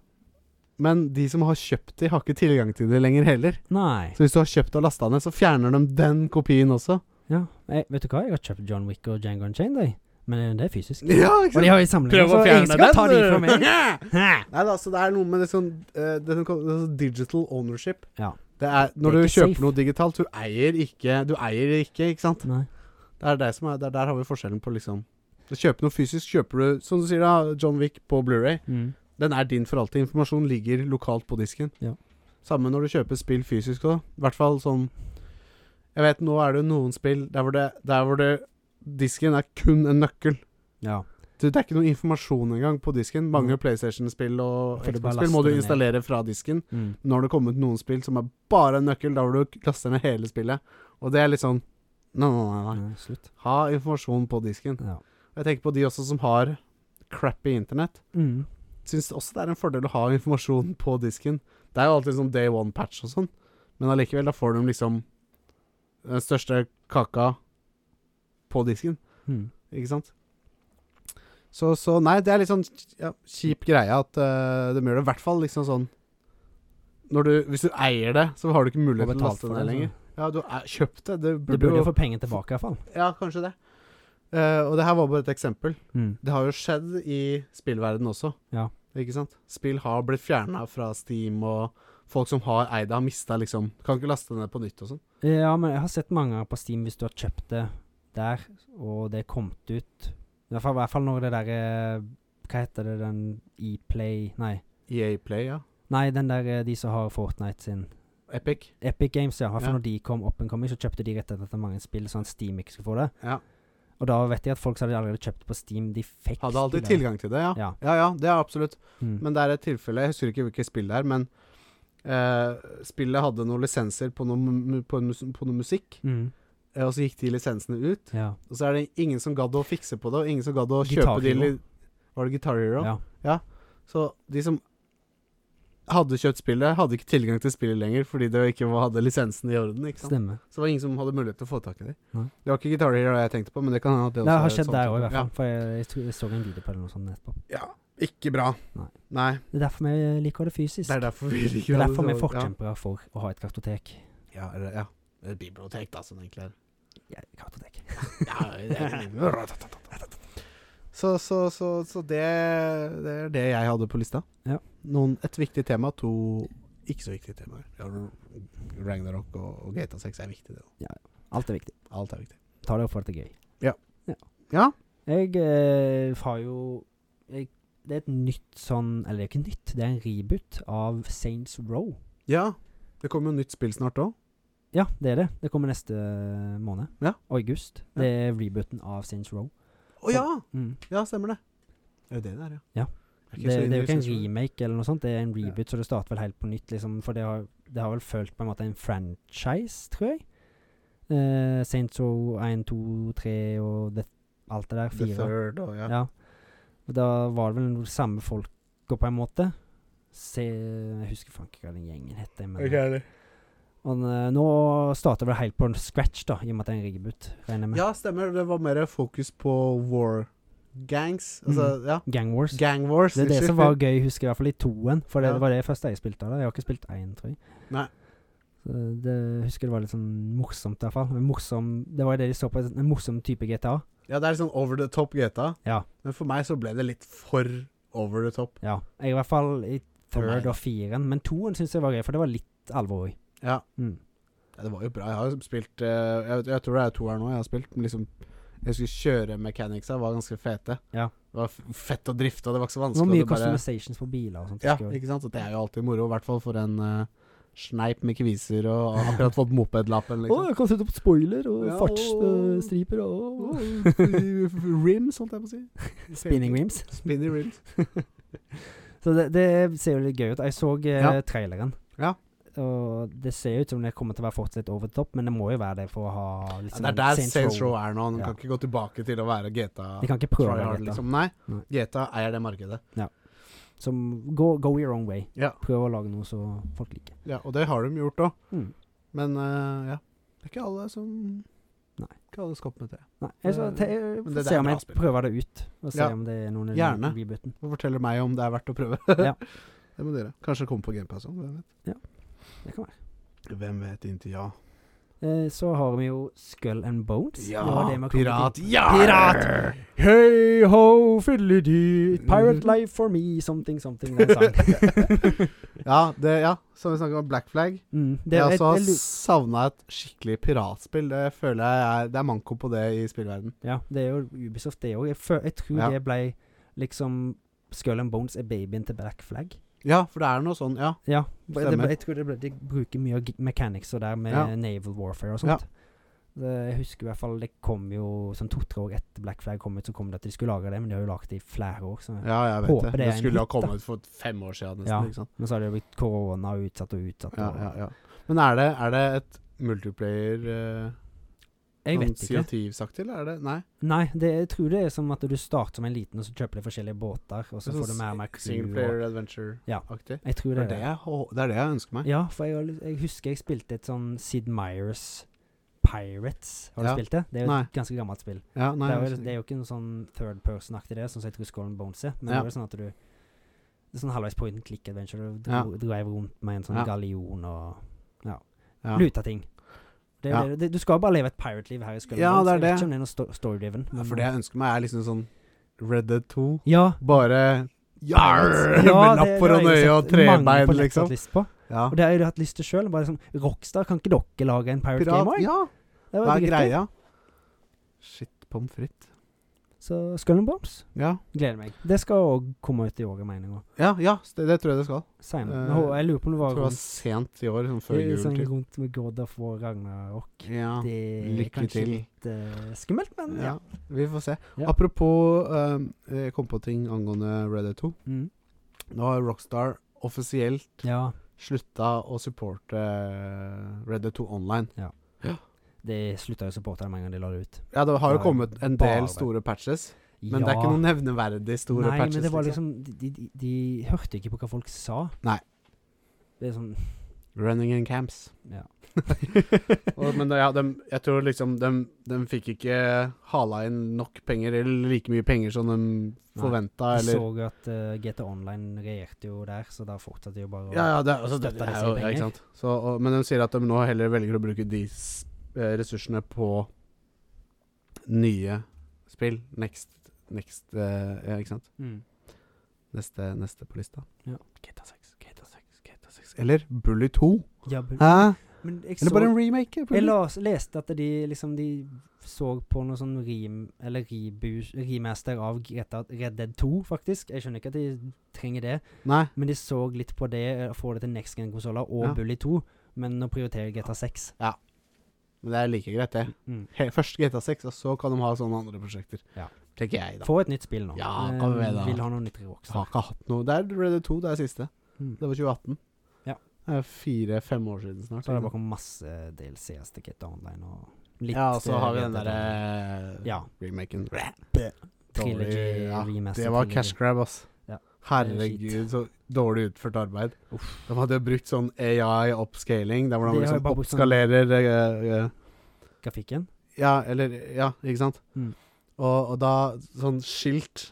Speaker 1: men de som har kjøpt de, har ikke tilgang til de lenger heller.
Speaker 2: Nei.
Speaker 1: Så hvis du har kjøpt og lasta ned, så fjerner de den kopien også.
Speaker 2: Ja. Jeg, vet du hva, jeg har kjøpt John Wick og Django Unchained, jeg. Men det er fysisk.
Speaker 1: Ja,
Speaker 2: Og de har jo samling, så jeg skal ta de fra meg. Hæ?
Speaker 1: Nei da, så det er noe med det sånn eh, det som kalles det sånn digital ownership.
Speaker 2: Ja.
Speaker 1: Det er, når
Speaker 2: Det er
Speaker 1: du
Speaker 2: ikke
Speaker 1: kjøper
Speaker 2: safe.
Speaker 1: noe digitalt, du eier ikke Du eier det ikke, ikke sant?
Speaker 2: Nei.
Speaker 1: Det er det som er, der, der har vi forskjellen på liksom Du kjøper noe fysisk, kjøper du, som du sier, da, John Wick på Blu-ray
Speaker 2: Mm.
Speaker 1: Den er din for alltid. Informasjon ligger lokalt på disken.
Speaker 2: Ja.
Speaker 1: Samme når du kjøper spill fysisk òg. I hvert fall sånn Jeg vet, nå er det jo noen spill der hvor det, der hvor det Disken er kun en nøkkel.
Speaker 2: Ja.
Speaker 1: Du, det er ikke noe informasjon engang på disken. Mange
Speaker 2: Mm.
Speaker 1: PlayStation-spill og
Speaker 2: For du bare
Speaker 1: Xbox-spill må du
Speaker 2: laster det ned.
Speaker 1: installere fra disken.
Speaker 2: Mm.
Speaker 1: Nå har det kommet noen spill som er bare en nøkkel, der hvor du laster ned hele spillet. Og det er litt sånn Nei, nei, nei. nei.
Speaker 2: Nei, slutt.
Speaker 1: Ha informasjon på disken.
Speaker 2: Ja.
Speaker 1: Jeg tenker på de også som har crappy internett
Speaker 2: Mm.
Speaker 1: syns også det er en fordel å ha informasjon på disken. Det er jo alltid sånn day one-patch og sånn, men allikevel, da får de liksom den største kaka på disken,
Speaker 2: Mm.
Speaker 1: ikke sant? Så, så nei, det er litt sånn ja, kjip greie at uh, de gjør det. I hvert fall liksom sånn når du, Hvis du eier det, så har du ikke mulighet til å
Speaker 2: Og betalt
Speaker 1: laste
Speaker 2: for
Speaker 1: det ned
Speaker 2: det,
Speaker 1: lenger. Ja, du har kjøpt det. Det
Speaker 2: Du
Speaker 1: burde,
Speaker 2: burde jo
Speaker 1: jo
Speaker 2: få penger tilbake, iallfall.
Speaker 1: Ja, kanskje det. Eh, og det her var bare et eksempel.
Speaker 2: Mm.
Speaker 1: Det har jo skjedd i spillverden også.
Speaker 2: Ja.
Speaker 1: Ikke sant? Spill har blitt fjerna fra Steam, og folk som har eid det, har mista liksom Kan ikke laste det ned på nytt og sånn.
Speaker 2: Ja, men jeg har sett mange på Steam hvis du har kjøpt det der, og det er kommet ut I hvert fall, i hvert fall når det derre Hva heter det, den Eplay Nei.
Speaker 1: EA E Play, ja.
Speaker 2: Nei, den der eh, de som har Fortnite sin.
Speaker 1: Epic.
Speaker 2: Epic Games, ja. I hvert fall
Speaker 1: Ja.
Speaker 2: når de kom opp and coming, så kjøpte de rett etter mange spill, sånn at Steam ikke skulle få det.
Speaker 1: Ja.
Speaker 2: Og da vet jeg at folk som hadde allerede kjøpt på Steam, de fikk
Speaker 1: Hadde alltid
Speaker 2: spillet.
Speaker 1: tilgang til det, ja.
Speaker 2: Ja.
Speaker 1: Ja ja, det er absolutt.
Speaker 2: Mm.
Speaker 1: Men det er et tilfelle, jeg husker ikke hvilket spill det er, men eh, spillet hadde noen lisenser på noe, mu- på, en mus- på noe musikk,
Speaker 2: mm.
Speaker 1: eh, og så gikk de lisensene ut.
Speaker 2: Ja.
Speaker 1: Og så er det ingen som gadd å fikse på det, og ingen som gadd å
Speaker 2: Guitar
Speaker 1: kjøpe de
Speaker 2: Hero.
Speaker 1: li- Var det Guitar Hero?
Speaker 2: ja.
Speaker 1: Så de som hadde kjøpt spillet, hadde ikke tilgang til spillet lenger fordi det ikke var, hadde lisensen i orden. Ikke sant?
Speaker 2: Stemmer.
Speaker 1: Så det var ingen som hadde mulighet til å få tak i dem.
Speaker 2: Nei.
Speaker 1: Det var ikke Guitar Hero jeg tenkte på, men det kan hende at det
Speaker 2: Det
Speaker 1: også
Speaker 2: har
Speaker 1: er
Speaker 2: skjedd
Speaker 1: sånn
Speaker 2: der
Speaker 1: type-
Speaker 2: òg, i hvert
Speaker 1: Ja.
Speaker 2: fall. For jeg, jeg, tror jeg så en video på det eller noe sånt etterpå.
Speaker 1: Ja. Ikke bra.
Speaker 2: Nei.
Speaker 1: Nei.
Speaker 2: Det er derfor vi liker det fysisk.
Speaker 1: Det er derfor vi
Speaker 2: Det
Speaker 1: liker
Speaker 2: er
Speaker 1: alle
Speaker 2: derfor vi
Speaker 1: disse-
Speaker 2: forkjempere for å ha et kartotek.
Speaker 1: Ja, ja, eller, ja. Et bibliotek, da, som det egentlig er.
Speaker 2: Ja, kartotek.
Speaker 1: Ja, det er- så, så, så, så det, det er det jeg hadde på lista.
Speaker 2: Ja.
Speaker 1: Noen, et viktig tema, to ikke så viktige temaer. Ja, Ragnarok og, og GTA 6 er viktig, det også.
Speaker 2: Alt er viktig.
Speaker 1: Alt er viktig.
Speaker 2: Ta det opp for at det er gøy.
Speaker 1: Ja.
Speaker 2: Jeg eh, har jo jeg, Det er et nytt sånn Eller det er ikke nytt, det er en reboot av Saints Row.
Speaker 1: ja. Det kommer jo nytt spill snart òg.
Speaker 2: Ja, det er det. Det kommer neste eh, måned.
Speaker 1: Ja.
Speaker 2: August.
Speaker 1: Ja.
Speaker 2: Det er rebooten av Saints Row.
Speaker 1: Å ja!
Speaker 2: Mm.
Speaker 1: Ja, stemmer det. Det er jo det det er,
Speaker 2: Ja.
Speaker 1: Jeg
Speaker 2: Det,
Speaker 1: ikke så
Speaker 2: det
Speaker 1: inne
Speaker 2: er jo
Speaker 1: i
Speaker 2: ikke en
Speaker 1: sensor.
Speaker 2: remake eller noe sånt, det er en reboot, så det starter vel helt på nytt, liksom. For det har, det har vel følt på en måte en franchise, tror jeg. Eh, Saints Row 1, 2, 3 og det, alt det der.
Speaker 1: The
Speaker 2: Fire.
Speaker 1: Third og ja.
Speaker 2: Ja. Og Da var det vel samme folka på en måte. Se, jeg husker faen ikke hva den gjengen het. Men, og, eh, nå starter det helt på en scratch, da, i og med at det er en reboot, regner jeg med.
Speaker 1: ja, stemmer. Det var mer fokus på war gangs. Altså, ja.
Speaker 2: Gang Wars.
Speaker 1: Gang wars.
Speaker 2: Mm. det er det
Speaker 1: unnskyld.
Speaker 2: som var gøy, husker jeg i hvert fall i toen. For det,
Speaker 1: Ja.
Speaker 2: det var det første jeg spilte av det. Jeg har ikke spilt én, tror jeg.
Speaker 1: Nei.
Speaker 2: Så det jeg husker det var litt sånn morsomt, i hvert fall. En Morsom, det var jo det de så på, en morsom type GTA.
Speaker 1: Ja, det er litt sånn over the top GTA.
Speaker 2: Ja.
Speaker 1: Men for meg så ble det litt for over the top.
Speaker 2: Ja. Jeg, I hvert fall i
Speaker 1: For meg.
Speaker 2: third og firen. Men toen syns jeg var gøy, for det var litt alvor òg.
Speaker 1: Ja.
Speaker 2: Mm.
Speaker 1: ja, det var jo bra. Jeg har jo spilt eh, jeg, jeg tror det er to her nå jeg har spilt, men liksom Jeg skulle kjøre mechanicsa, var ganske fete.
Speaker 2: Ja.
Speaker 1: Det var f- fett å drifte, og det var ikke så
Speaker 2: Det
Speaker 1: vanskelig.
Speaker 2: var mye
Speaker 1: og det bare-
Speaker 2: customizations på biler og sånt.
Speaker 1: Ja,
Speaker 2: husker jeg.
Speaker 1: ikke sant? Og det er jo alltid moro, i hvert fall for en eh, sneip med kviser og har akkurat fått mopedlappen, liksom.
Speaker 3: jeg kan sette opp spoiler og
Speaker 1: Ja,
Speaker 3: fartsstriper og
Speaker 1: rims, holdt jeg på å si.
Speaker 2: Spinning rims.
Speaker 1: Spinning rims.
Speaker 2: Så det, det ser jo litt gøy ut. Jeg så eh,
Speaker 1: Ja.
Speaker 2: traileren.
Speaker 1: Ja.
Speaker 2: Og det ser ut som det kommer til å være fortsatt litt over the top, men det må jo være det for å ha litt
Speaker 1: Ja, det er
Speaker 2: sånn
Speaker 1: der
Speaker 2: Saints
Speaker 1: Saints
Speaker 2: Row.
Speaker 1: Row er nå. Den
Speaker 2: Ja.
Speaker 1: kan ikke gå tilbake til å være GTA.
Speaker 2: De kan ikke prøve
Speaker 1: tryhard,
Speaker 2: dette.
Speaker 1: liksom. Nei,
Speaker 2: Nei.
Speaker 1: GTA eier det markedet.
Speaker 2: Som go, go your own way.
Speaker 1: Ja.
Speaker 2: Prøv å lage noe så folk liker.
Speaker 1: ja, og det har de gjort òg.
Speaker 2: Mm.
Speaker 1: Men eh, ja, det er ikke alle som
Speaker 2: Nei.
Speaker 1: Ikke alle skopper med det.
Speaker 2: Nei, jeg så,
Speaker 1: Det-
Speaker 2: te,
Speaker 1: Eh,
Speaker 2: jeg
Speaker 1: men
Speaker 2: får
Speaker 1: det der
Speaker 2: se
Speaker 1: er
Speaker 2: om
Speaker 1: bra
Speaker 2: jeg
Speaker 1: spill.
Speaker 2: prøver det ut, og se
Speaker 1: Ja.
Speaker 2: om det er noen i
Speaker 1: Gjerne.
Speaker 2: rebooten.
Speaker 1: Og forteller meg om det er verdt å prøve.
Speaker 2: Ja.
Speaker 1: Det må dere. Kanskje komme på GamePass òg, hvem vet.
Speaker 2: Det kan være.
Speaker 1: Hvem vet inntil ja.
Speaker 2: Eh, så har vi jo Skull and Bones. Det var det vi kom til.
Speaker 1: pirat. Ja!
Speaker 2: Pirat! Hey ho, fiddly-dee, pirate
Speaker 1: Mhm.
Speaker 2: life for me, something, something. Det er en sang.
Speaker 1: ja, det, ja, som vi snakket om, Black Flag.
Speaker 2: Mm, det,
Speaker 1: jeg
Speaker 2: jeg,
Speaker 1: også har
Speaker 2: jeg lu-
Speaker 1: savna et skikkelig piratspill. Det føler jeg er, det er manko på det i spillverden
Speaker 2: ja, det er jo Ubisoft, det òg. Jeg, fø- jeg tror
Speaker 1: Ja.
Speaker 2: det ble liksom Skull and Bones er babyen til Black Flag.
Speaker 1: Ja, for det er noe sånn, ja.
Speaker 2: Ja, det
Speaker 1: Stemmer.
Speaker 2: ble, jeg tror det ble, de bruker mye av gi- mechanics og der med
Speaker 1: Ja.
Speaker 2: naval warfare og
Speaker 1: Ja.
Speaker 2: sånt. Det, jeg husker i hvert fall det kom jo sånn to-tre år etter Black Flag kom ut, så kom det at de skulle lage det, men de har jo laget det i flere år. Så,
Speaker 1: Ja, jeg vet det.
Speaker 2: Håper det
Speaker 1: Det,
Speaker 2: er en
Speaker 1: skulle ha
Speaker 2: hit, da.
Speaker 1: kommet for fem år siden, nesten.
Speaker 2: Ja.
Speaker 1: Ikke sant?
Speaker 2: Men så har det jo blitt korona og utsatt og utsatt.
Speaker 1: Ja,
Speaker 2: og,
Speaker 1: ja, ja. Men er det, er det et multiplayer eh,
Speaker 2: Jeg
Speaker 1: sånn
Speaker 2: vet ikke.
Speaker 1: CO2-saktig, eller er det Nei.
Speaker 2: Nei, det, jeg tror det er som at du starter som en liten, og så kjøper du forskjellige båter, og så
Speaker 1: Sånn
Speaker 2: får du mer og mer
Speaker 1: Single
Speaker 2: crew.
Speaker 1: player
Speaker 2: Ja.
Speaker 1: adventure-aktig.
Speaker 2: og- Jeg tror
Speaker 1: Det, er
Speaker 2: det er
Speaker 1: det, jeg hå- det er det jeg ønsker meg.
Speaker 2: Ja, for jeg, har lyst- jeg husker jeg spilte et sånn Sid Meyers Pirates. Har du
Speaker 1: Ja.
Speaker 2: spilt det? Det er jo
Speaker 1: Nei.
Speaker 2: et ganske gammelt spill.
Speaker 1: Ja, nei,
Speaker 2: det, er
Speaker 1: jeg
Speaker 2: jo,
Speaker 1: synes-
Speaker 2: det er jo ikke noe sånn third person-aktig det, sånn som jeg tror Skull and Bones er. Men
Speaker 1: Ja.
Speaker 2: det er jo sånn at du Det er sånn halvveis point and click adventure. Du
Speaker 1: Ja.
Speaker 2: dro, dreiv rundt med en sånn
Speaker 1: Ja.
Speaker 2: gallion og
Speaker 1: ja.
Speaker 2: luta ting. Det er
Speaker 1: Ja.
Speaker 2: jo det, det, du skal bare leve et pirate-liv her i Skull and
Speaker 1: Ja,
Speaker 2: Bones.
Speaker 1: det er
Speaker 2: Jeg vet
Speaker 1: det.
Speaker 2: ikke om det er noe sto story-driven.
Speaker 1: Ja,
Speaker 2: men-
Speaker 1: For det jeg ønsker meg, er liksom sånn Red Dead 2.
Speaker 2: ja,
Speaker 1: Bare Jarr! Med
Speaker 2: det- det
Speaker 1: lapp
Speaker 2: har
Speaker 1: foran
Speaker 2: jeg
Speaker 1: øyet
Speaker 2: sett
Speaker 1: og
Speaker 2: mange på
Speaker 1: trebein,
Speaker 2: nett hatt
Speaker 1: liksom.
Speaker 2: lyst på.
Speaker 1: Ja.
Speaker 2: Og det har jeg hatt lyst til sjøl. Sånn, Rockstar, kan ikke dere lage en Pirate Game
Speaker 1: Pirat,
Speaker 2: òg?
Speaker 1: ja.
Speaker 2: Det
Speaker 1: Hva
Speaker 2: var
Speaker 1: er
Speaker 2: dritgøy.
Speaker 1: greia? Shit, pommes frites.
Speaker 2: Så Skull and Bombs.
Speaker 1: Ja.
Speaker 2: Gleder meg. Det skal òg komme ut i året, mener jeg. også.
Speaker 1: Ja, ja s- det, det tror jeg det skal.
Speaker 2: Seinere.
Speaker 1: Eh,
Speaker 2: Nå, jeg lurer på om det
Speaker 1: Jeg tror
Speaker 2: var
Speaker 1: det var
Speaker 2: rundt,
Speaker 1: sent i år, sånn før
Speaker 2: det er
Speaker 1: jul.
Speaker 2: sånn
Speaker 1: Typ.
Speaker 2: rundt med God of War Ragnarok.
Speaker 1: Ja.
Speaker 2: Det er
Speaker 1: lykke
Speaker 2: kanskje
Speaker 1: til.
Speaker 2: litt eh, skummelt, men ja.
Speaker 1: ja. Vi får se.
Speaker 2: Ja.
Speaker 1: Apropos um, Jeg kom på ting angående Red Dead 2.
Speaker 2: Mm.
Speaker 1: Nå har Rockstar offisielt
Speaker 2: ja.
Speaker 1: slutta å supporte eh, Red Dead 2 online.
Speaker 2: Det slutta jo supporterne med en gang de la det ut.
Speaker 1: Ja, det har jo
Speaker 2: Nei,
Speaker 1: kommet en del
Speaker 2: bare.
Speaker 1: store patches, men
Speaker 2: ja.
Speaker 1: det er ikke noen nevneverdig store
Speaker 2: Nei, liksom-
Speaker 1: patches.
Speaker 2: men det var liksom de, de, de, de hørte ikke på hva folk sa.
Speaker 1: Nei.
Speaker 2: Det er sånn
Speaker 1: liksom. Running in camps.
Speaker 2: Ja.
Speaker 1: Og, men ja, dem- jeg tror liksom de, fikk ikke hala inn nok penger, eller like mye penger som de forventa,
Speaker 2: Vi
Speaker 1: eller
Speaker 2: så jo at eh, GT Online regjerte jo der, så da fortsatte de jo bare å
Speaker 1: Ja, ja, det, altså, det,
Speaker 2: Støtter
Speaker 1: det er
Speaker 2: de sine
Speaker 1: jo ja,
Speaker 2: penger?
Speaker 1: ikke sant. Så, og, men de sier at de nå heller velger å bruke de s eh, ressursene på nye spill. Next, next eh, Ja, ikke sant.
Speaker 2: Mm.
Speaker 1: Neste, neste på lista.
Speaker 2: Ja.
Speaker 1: GTA 6, GTA 6, GTA 6 Eller Bully 2.
Speaker 2: ja men,
Speaker 1: Hæ?
Speaker 2: men jeg
Speaker 1: Eller bare
Speaker 2: så
Speaker 1: en remake?
Speaker 2: Jeg
Speaker 1: Bully.
Speaker 2: las, leste at de liksom De så på noe sånn rim, eller rebus, remaster av GTA Red Dead 2, faktisk. Jeg skjønner ikke at de trenger det,
Speaker 1: Nei.
Speaker 2: men de så litt på det, eh, få det til next gen-konsoller og
Speaker 1: Ja.
Speaker 2: Bully 2, men å prioritere GTA 6.
Speaker 1: Men det er like greit, det.
Speaker 2: Mm.
Speaker 1: He, først GTA 6, og så kan de ha sånne andre prosjekter.
Speaker 2: Ja.
Speaker 1: Tenker jeg, da.
Speaker 2: Få et nytt spill nå.
Speaker 1: Ja,
Speaker 2: Eh,
Speaker 1: kom igjen da.
Speaker 2: Vil ha noe nytt Rockstar.
Speaker 1: Har ikke hatt noe. Det er Red Dead 2, det er siste.
Speaker 2: Mm.
Speaker 1: Det var 2018.
Speaker 2: Ja.
Speaker 1: Det er fire-fem år siden snart.
Speaker 2: Så har det bare kommet masse DLCs til GTA Online og litt
Speaker 1: ja, og så
Speaker 2: eh,
Speaker 1: har vi den eh,
Speaker 2: GTA
Speaker 1: derre
Speaker 2: Online. Ja.
Speaker 1: remaken.
Speaker 2: Trilogy,
Speaker 1: Dårlig, ja.
Speaker 2: remaster
Speaker 1: Det var
Speaker 2: trilogy.
Speaker 1: cash grab, ass.
Speaker 2: Ja.
Speaker 1: Herregud, så dårlig utført arbeid. De hadde brukt sånn AI upscaling, der hvor de
Speaker 2: De har jo
Speaker 1: liksom
Speaker 2: bare brukt sånn-
Speaker 1: oppskalerer eh, eh,
Speaker 2: Grafikken.
Speaker 1: Ja, eller Ja, ikke sant?
Speaker 2: Mm.
Speaker 1: Og, og da sånn skilt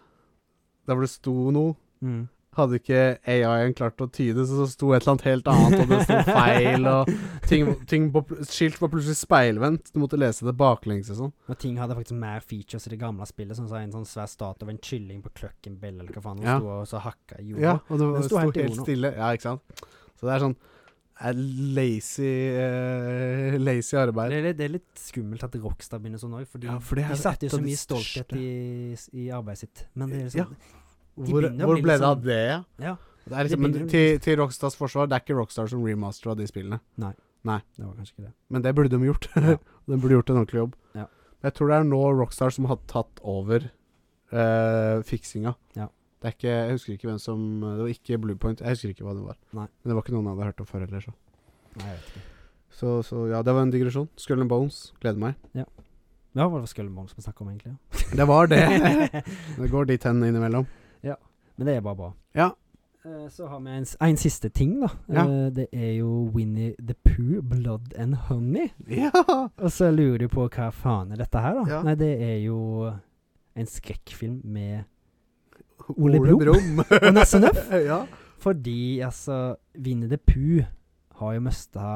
Speaker 1: der hvor det sto noe
Speaker 2: Mm.
Speaker 1: hadde ikke AI-en klart å tyde, så det sto et eller annet helt annet, og det sto feil, og ting, ting på, pl- Skilt var plutselig speilvendt, du måtte lese det baklengs og sånn.
Speaker 2: Og ting hadde faktisk mer features i det gamle spillet, sånn som en sånn svær statue av en kylling på kløkkenbell, eller hva faen,
Speaker 1: Ja.
Speaker 2: som sto og så hakka i jorda.
Speaker 1: Ja, og det
Speaker 2: Den
Speaker 1: var,
Speaker 2: sto
Speaker 1: sto
Speaker 2: helt
Speaker 1: helt,
Speaker 2: i ro nå.
Speaker 1: stille. Ja, ikke sant. Så det er sånn eh, lazy eh, Lazy
Speaker 2: Det,
Speaker 1: arbeid.
Speaker 2: er litt, det er litt skummelt at Rockstar begynner sånn òg, for de,
Speaker 1: for det
Speaker 2: de satte jo
Speaker 1: et av
Speaker 2: så
Speaker 1: de
Speaker 2: mye stolthet
Speaker 1: største.
Speaker 2: i, i arbeidet sitt. Men det er
Speaker 1: Ja.
Speaker 2: liksom
Speaker 1: Hvor,
Speaker 2: begynner å
Speaker 1: hvor
Speaker 2: bli
Speaker 1: ble
Speaker 2: litt
Speaker 1: det av
Speaker 2: sånn-
Speaker 1: det, ja?
Speaker 2: Ja.
Speaker 1: Det er
Speaker 2: De
Speaker 1: liksom, men
Speaker 2: begynner å bli
Speaker 1: til, til Rockstars forsvar, det er ikke Rockstar som remastera de spillene.
Speaker 2: Det var kanskje ikke det.
Speaker 1: Men det burde de gjort.
Speaker 2: Ja.
Speaker 1: de burde gjort en ordentlig jobb.
Speaker 2: Ja.
Speaker 1: Jeg tror det er nå Rockstar som har tatt over eh, fiksinga.
Speaker 2: Ja.
Speaker 1: Det er ikke, jeg husker ikke hvem som Det var ikke Bluepoint. Jeg husker ikke hva det var.
Speaker 2: Nei.
Speaker 1: Men det var ikke noen jeg hadde hørt om før heller, så.
Speaker 2: Nei, jeg vet ikke.
Speaker 1: så. Så ja, det var en digresjon. Skull and Bones. Gleder meg.
Speaker 2: Ja, hva var det Skullmons vi snakket om, egentlig? ja.
Speaker 1: Det var det. det går dit hen innimellom.
Speaker 2: Men det er bare bra.
Speaker 1: Ja.
Speaker 2: Eh, Så har vi en, s- en siste ting, da.
Speaker 1: Ja.
Speaker 2: Eh, Det er jo Winnie the Pooh, Blood and Honey.
Speaker 1: Ja!
Speaker 2: Og så lurer du på hva faen er dette her, da?
Speaker 1: Ja.
Speaker 2: Nei, det er jo en skrekkfilm med
Speaker 1: Ole
Speaker 2: Brom.
Speaker 1: Brom.
Speaker 2: Og Nasse Nøff.
Speaker 1: ja.
Speaker 2: Fordi, altså, Winnie the Pooh har jo mista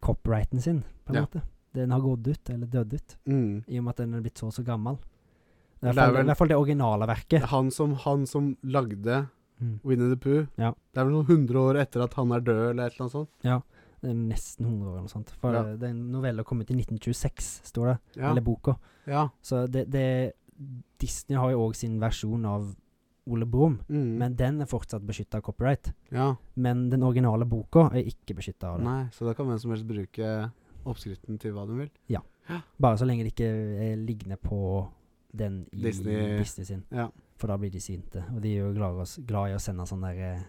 Speaker 2: copyrighten sin, på en
Speaker 1: Ja.
Speaker 2: måte. Den har gått ut, eller dødd ut,
Speaker 1: Mm.
Speaker 2: i og med at den er blitt så og så gammel. I
Speaker 1: Det er
Speaker 2: hvert fall,
Speaker 1: vel-
Speaker 2: i hvert fall det originale verket.
Speaker 1: Han som, han som lagde
Speaker 2: Mm.
Speaker 1: Winnie the Pooh.
Speaker 2: Ja.
Speaker 1: Det er vel noen hundre år etter at han er død, eller et eller annet sånt.
Speaker 2: Det er Nesten 100 år eller noe sånt. For
Speaker 1: Ja.
Speaker 2: eh, den novella kom ut i 1926, står det.
Speaker 1: Ja.
Speaker 2: Eller boka.
Speaker 1: ja.
Speaker 2: Så det, det Disney har jo òg sin versjon av Ole Brumm,
Speaker 1: Mm.
Speaker 2: men den er fortsatt beskytta av copyright.
Speaker 1: ja.
Speaker 2: Men den originale boka er ikke beskytta av det.
Speaker 1: Nei, så da kan hvem som helst bruke oppskriften til hva de vil.
Speaker 2: Bare så lenge det ikke er liggende på den i
Speaker 1: Disney- eh,
Speaker 2: Disney, sin.
Speaker 1: ja.
Speaker 2: For da blir de sinte. Og de er jo glad, i oss, glad i å sende sånn der eh,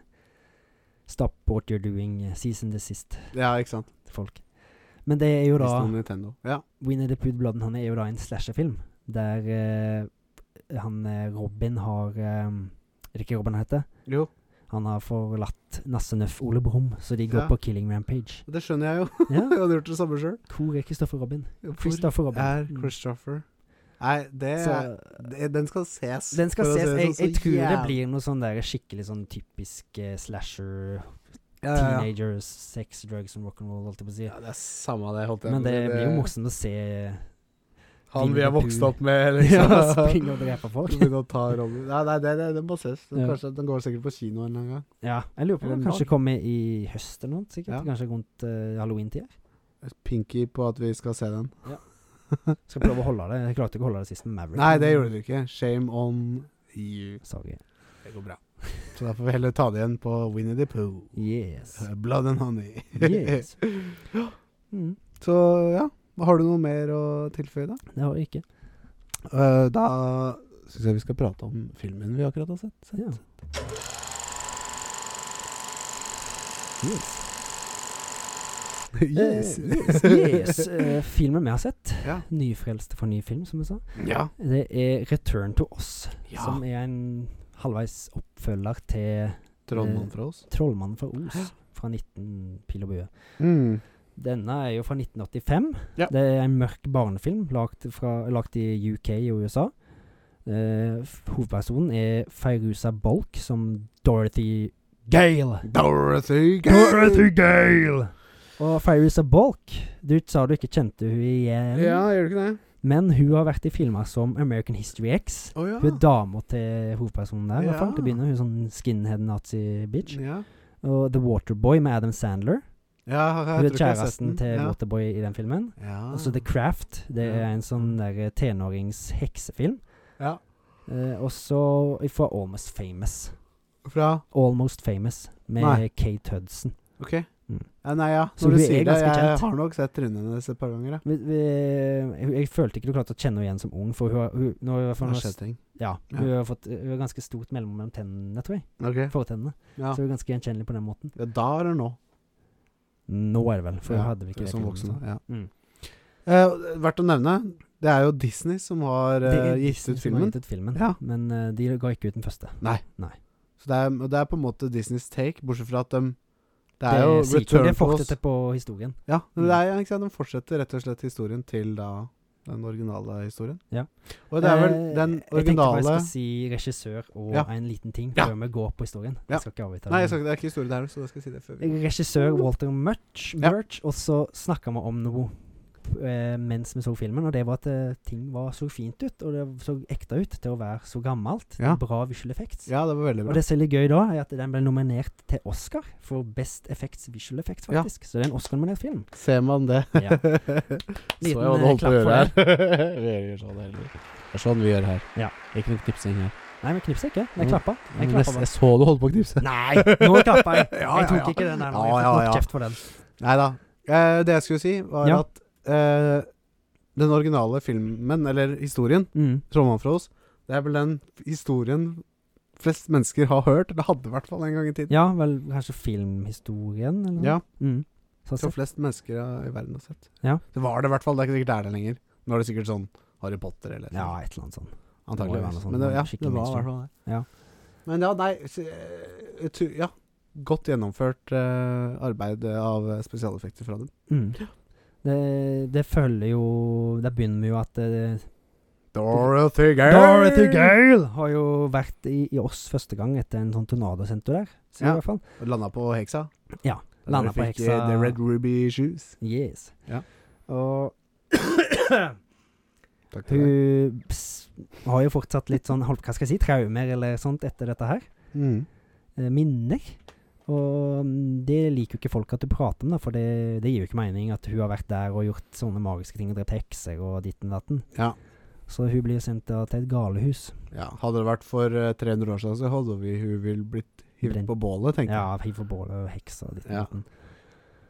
Speaker 2: Stop what you're doing, eh, cease and desist
Speaker 1: Ja, ikke sant.
Speaker 2: til folk. Men det er jo da
Speaker 1: Hvis noen Nintendo. Ja.
Speaker 2: Winnie the Pooh Blood han er jo da en slasherfilm der eh, han eh, Robin har eh, Er det ikke Robin han heter?
Speaker 1: Jo,
Speaker 2: Han har forlatt Nasse Nøff Ole Brumm, så de går
Speaker 1: Ja.
Speaker 2: på Killing Rampage.
Speaker 1: det skjønner jeg jo.
Speaker 2: Ja,
Speaker 1: jeg hadde gjort det samme sjøl.
Speaker 2: Hvor er Christopher Robin? Christopher Robin.
Speaker 1: Er
Speaker 2: Mm.
Speaker 1: Christopher Nei, det,
Speaker 2: Så,
Speaker 1: er, det Den skal ses.
Speaker 2: den skal
Speaker 1: for å si
Speaker 2: ses.
Speaker 1: det
Speaker 2: Jeg,
Speaker 1: sånn,
Speaker 2: jeg
Speaker 1: så
Speaker 2: tror det
Speaker 1: jæv-
Speaker 2: blir noe sånn der skikkelig sånn typisk eh, slasher,
Speaker 1: ja, ja, ja.
Speaker 2: teenagers, sex, drugs and rock'n'roll, holdt jeg på å si.
Speaker 1: ja, det er samme det, holdt jeg
Speaker 2: Men
Speaker 1: på å
Speaker 2: det
Speaker 1: si.
Speaker 2: blir jo morsomt å se
Speaker 1: Han vi har vokst opp med,
Speaker 2: ja,
Speaker 1: liksom.
Speaker 2: springe og drepe folk.
Speaker 1: Begynne å ta Robin. Nei, nei, det, det, den må ses. Den,
Speaker 2: Ja.
Speaker 1: kanskje, den går sikkert på kino en eller annen gang.
Speaker 2: Ja, jeg lurer på om
Speaker 1: Eller
Speaker 2: den kanskje kommer i høst eller noe, sikkert.
Speaker 1: Ja.
Speaker 2: Kanskje rundt eh, halloween-tida.
Speaker 1: Pinky på at vi skal se den.
Speaker 2: Skal prøve å holde det. Jeg klarte ikke å holde det sist med Maverick.
Speaker 1: Nei, det gjorde du ikke. Shame on you.
Speaker 2: Sorry.
Speaker 1: Det går bra. Så da får vi heller ta det igjen på Winnie the Pooh.
Speaker 2: Yes.
Speaker 1: Eh, Blood and honey.
Speaker 2: yes. Mm,
Speaker 1: Så ja, har du noe mer å tilføye da?
Speaker 2: det har jeg ikke.
Speaker 1: Eh, da syns jeg vi skal prate om filmen vi akkurat har sett. sett.
Speaker 2: Ja. Yes.
Speaker 1: yes.
Speaker 2: Eh, yes, yes. Eh, filmen vi har sett,
Speaker 1: Ja.
Speaker 2: 'Nyfrelste for ny film', som vi sa,
Speaker 1: Ja.
Speaker 2: det er 'Return to Us',
Speaker 1: Ja.
Speaker 2: som er en halvveis oppfølger til eh,
Speaker 1: Trollmann fra oss.
Speaker 2: 'Trollmannen fra Os'. fra 19 Pil og bue.
Speaker 1: Mm.
Speaker 2: Denne er jo fra 1985.
Speaker 1: Ja.
Speaker 2: Det er en mørk barnefilm lagt, fra, lagt i UK og USA. Eh, f- hovedpersonen er Feiruza Bolk som Dorothy Gale.
Speaker 1: Dorothy
Speaker 2: Gale! Og Feiruza Bolk Du sa du ikke kjente hun igjen,
Speaker 1: Ja, gjør du ikke det?
Speaker 2: men hun har vært i filmer som American History X.
Speaker 1: Å ja.
Speaker 2: Hun er dama til hovedpersonen der. i hvert fall.
Speaker 1: Ah. Ja.
Speaker 2: Det begynner hun er sånn skinhead nazi-bitch.
Speaker 1: Ja.
Speaker 2: Og The Waterboy med Adam Sandler.
Speaker 1: Ja, jeg
Speaker 2: Hun
Speaker 1: tror ikke jeg
Speaker 2: er
Speaker 1: har sett
Speaker 2: kjæresten
Speaker 1: den.
Speaker 2: til
Speaker 1: ja.
Speaker 2: Waterboy i den filmen.
Speaker 1: Ja.
Speaker 2: Altså The Craft. Det
Speaker 1: Ja.
Speaker 2: er en sånn der tenårings-heksefilm.
Speaker 1: ja.
Speaker 2: Eh, og så fra Almost Famous.
Speaker 1: Fra
Speaker 2: Almost Famous med
Speaker 1: Nei.
Speaker 2: Kate Hudson.
Speaker 1: OK.
Speaker 2: Mm.
Speaker 1: Ja, nei, ja.
Speaker 2: Så
Speaker 1: Når du
Speaker 2: hun er
Speaker 1: sier det,
Speaker 2: ganske
Speaker 1: jeg
Speaker 2: kjent.
Speaker 1: har nok sett trynet hennes et par ganger. Ja.
Speaker 2: Vi, vi, jeg, jeg følte ikke du klarte å kjenne henne igjen som ung, for hun har, hun, nå, har hun,
Speaker 1: Har
Speaker 2: fått-
Speaker 1: skjedd ting.
Speaker 2: ja,
Speaker 1: Ja.
Speaker 2: hun har fått hun har ganske stort mellom mellom tennene, tror jeg.
Speaker 1: OK.
Speaker 2: Fortennene.
Speaker 1: Ja.
Speaker 2: Så hun er ganske gjenkjennelig på den måten.
Speaker 1: ja. Da eller nå?
Speaker 2: Nå er det vel, for
Speaker 1: Ja,
Speaker 2: hun hadde vi ikke det
Speaker 1: Som
Speaker 2: filmen,
Speaker 1: voksen.
Speaker 2: så.
Speaker 1: Ja.
Speaker 2: Mm.
Speaker 1: Eh, verdt å nevne, det er jo Disney som har
Speaker 2: Det
Speaker 1: eh,
Speaker 2: er
Speaker 1: gitt
Speaker 2: Disney
Speaker 1: ut
Speaker 2: som har
Speaker 1: filmen.
Speaker 2: gitt ut filmen.
Speaker 1: Ja.
Speaker 2: Men eh, de ga ikke ut den første.
Speaker 1: Så det er, og det er på en måte Disneys take, bortsett fra at de Det
Speaker 2: Det
Speaker 1: er jo
Speaker 2: sier-
Speaker 1: Return
Speaker 2: det
Speaker 1: to Oz.
Speaker 2: fortsetter på historien.
Speaker 1: Ja, men
Speaker 2: Mm.
Speaker 1: det er, ja, ikke sant? De fortsetter rett og slett historien til da den originale historien.
Speaker 2: Ja.
Speaker 1: Og det er vel
Speaker 2: Eh,
Speaker 1: den
Speaker 2: Jeg
Speaker 1: originale
Speaker 2: tenkte bare jeg skulle si regissør og
Speaker 1: Ja.
Speaker 2: en liten ting
Speaker 1: Ja.
Speaker 2: før vi går på historien.
Speaker 1: Ja.
Speaker 2: Jeg skal ikke
Speaker 1: Nei,
Speaker 2: avbryte. deg.
Speaker 1: jeg skal, det er ikke historie der, så da skal jeg si det før vi
Speaker 2: Regissør Walter Murch,
Speaker 1: Ja.
Speaker 2: Murch og så snakka vi om noe eh, mens vi så filmen, og det var at eh, ting var så fint ut, og det så ekte ut til å være så gammelt.
Speaker 1: Ja.
Speaker 2: Bra visual effects.
Speaker 1: Ja, det var veldig
Speaker 2: Og
Speaker 1: bra.
Speaker 2: det som er litt gøy da, er at den ble nominert til Oscar for Best Effects Visual Effects,
Speaker 1: Ja.
Speaker 2: faktisk. Så det er en Oscar-nominert film.
Speaker 1: Ser man det?
Speaker 2: Ja.
Speaker 1: Så jeg
Speaker 2: Liten,
Speaker 1: hva du
Speaker 2: eh,
Speaker 1: holdt på å
Speaker 2: klapp
Speaker 1: gjøre
Speaker 2: for
Speaker 1: her. vi gjør sånn hele tiden. Det er sånn vi gjør her.
Speaker 2: Ja.
Speaker 1: Ikke noe knipsing her.
Speaker 2: Nei, men knipser ikke.
Speaker 1: Mm.
Speaker 2: Jeg klappa. Jeg
Speaker 1: Jeg,
Speaker 2: klappa bare.
Speaker 1: jeg så du holdt på å knipse.
Speaker 2: Nei, nå klappa jeg.
Speaker 1: Ja, ja,
Speaker 2: Jeg tok
Speaker 1: ja.
Speaker 2: ikke den der. nå.
Speaker 1: Ja,
Speaker 2: Jeg
Speaker 1: ja,
Speaker 2: fikk
Speaker 1: ja.
Speaker 2: nok kjeft for den.
Speaker 1: Nei da. Eh, det jeg skulle si, var
Speaker 2: Ja.
Speaker 1: at eh, den originale filmen, eller historien,
Speaker 2: Mm.
Speaker 1: 'Trollmannen fra Oz', det er vel den historien flest mennesker har hørt. Det hadde i hvert fall en gang i tiden.
Speaker 2: Ja, vel kanskje filmhistorien, eller noe?
Speaker 1: Ja.
Speaker 2: Mm. Så
Speaker 1: Som
Speaker 2: sett.
Speaker 1: flest mennesker ja, i verden har sett.
Speaker 2: Ja.
Speaker 1: Det var det i hvert fall. Det er ikke sikkert det er det lenger. Nå er det sikkert sånn Harry Potter eller
Speaker 2: ja, et eller annet sånt. Det var
Speaker 1: Antakeligvis.
Speaker 2: noe sånt,
Speaker 1: Men det, ja,
Speaker 2: skikkelig
Speaker 1: det var i hvert
Speaker 2: mainstream.
Speaker 1: fall det.
Speaker 2: Ja.
Speaker 1: Men ja, nei s- eh, jeg tror- Ja. Godt gjennomført eh, arbeid av eh, spesialeffekter fra dem.
Speaker 2: Mm. Det, det følger jo Der begynner vi jo at eh,
Speaker 1: Dorothy Gale!
Speaker 2: Gale har jo vært i, i oss første gang etter en sånn tornadosenter der. Så
Speaker 1: Ja.
Speaker 2: i hvert fall.
Speaker 1: Landa på heksa.
Speaker 2: Ja,
Speaker 1: Da dere
Speaker 2: landet på
Speaker 1: fikk, eh,
Speaker 2: heksa.
Speaker 1: The Red Ruby Shoes.
Speaker 2: Yes.
Speaker 1: Ja.
Speaker 2: Og
Speaker 1: Takk til deg.
Speaker 2: hun s- har jo fortsatt litt sånn, holdt, hva skal jeg si, traumer eller sånt etter dette her.
Speaker 1: Mm.
Speaker 2: eh, minner. Og mm, det liker jo ikke folk at du prater om, da, for det, det gir jo ikke mening at hun har vært der og gjort sånne magiske ting og drept hekser og ditten og datten.
Speaker 1: Ja.
Speaker 2: Så hun blir sendt da til et galehus.
Speaker 1: ja. Hadde det vært for eh, 300 år siden, så hadde vi hun vil blitt hivd
Speaker 2: Brent.
Speaker 1: på bålet, tenkte jeg.
Speaker 2: Ja, hiver bål og hekser og ditten og
Speaker 1: Ja.
Speaker 2: datten.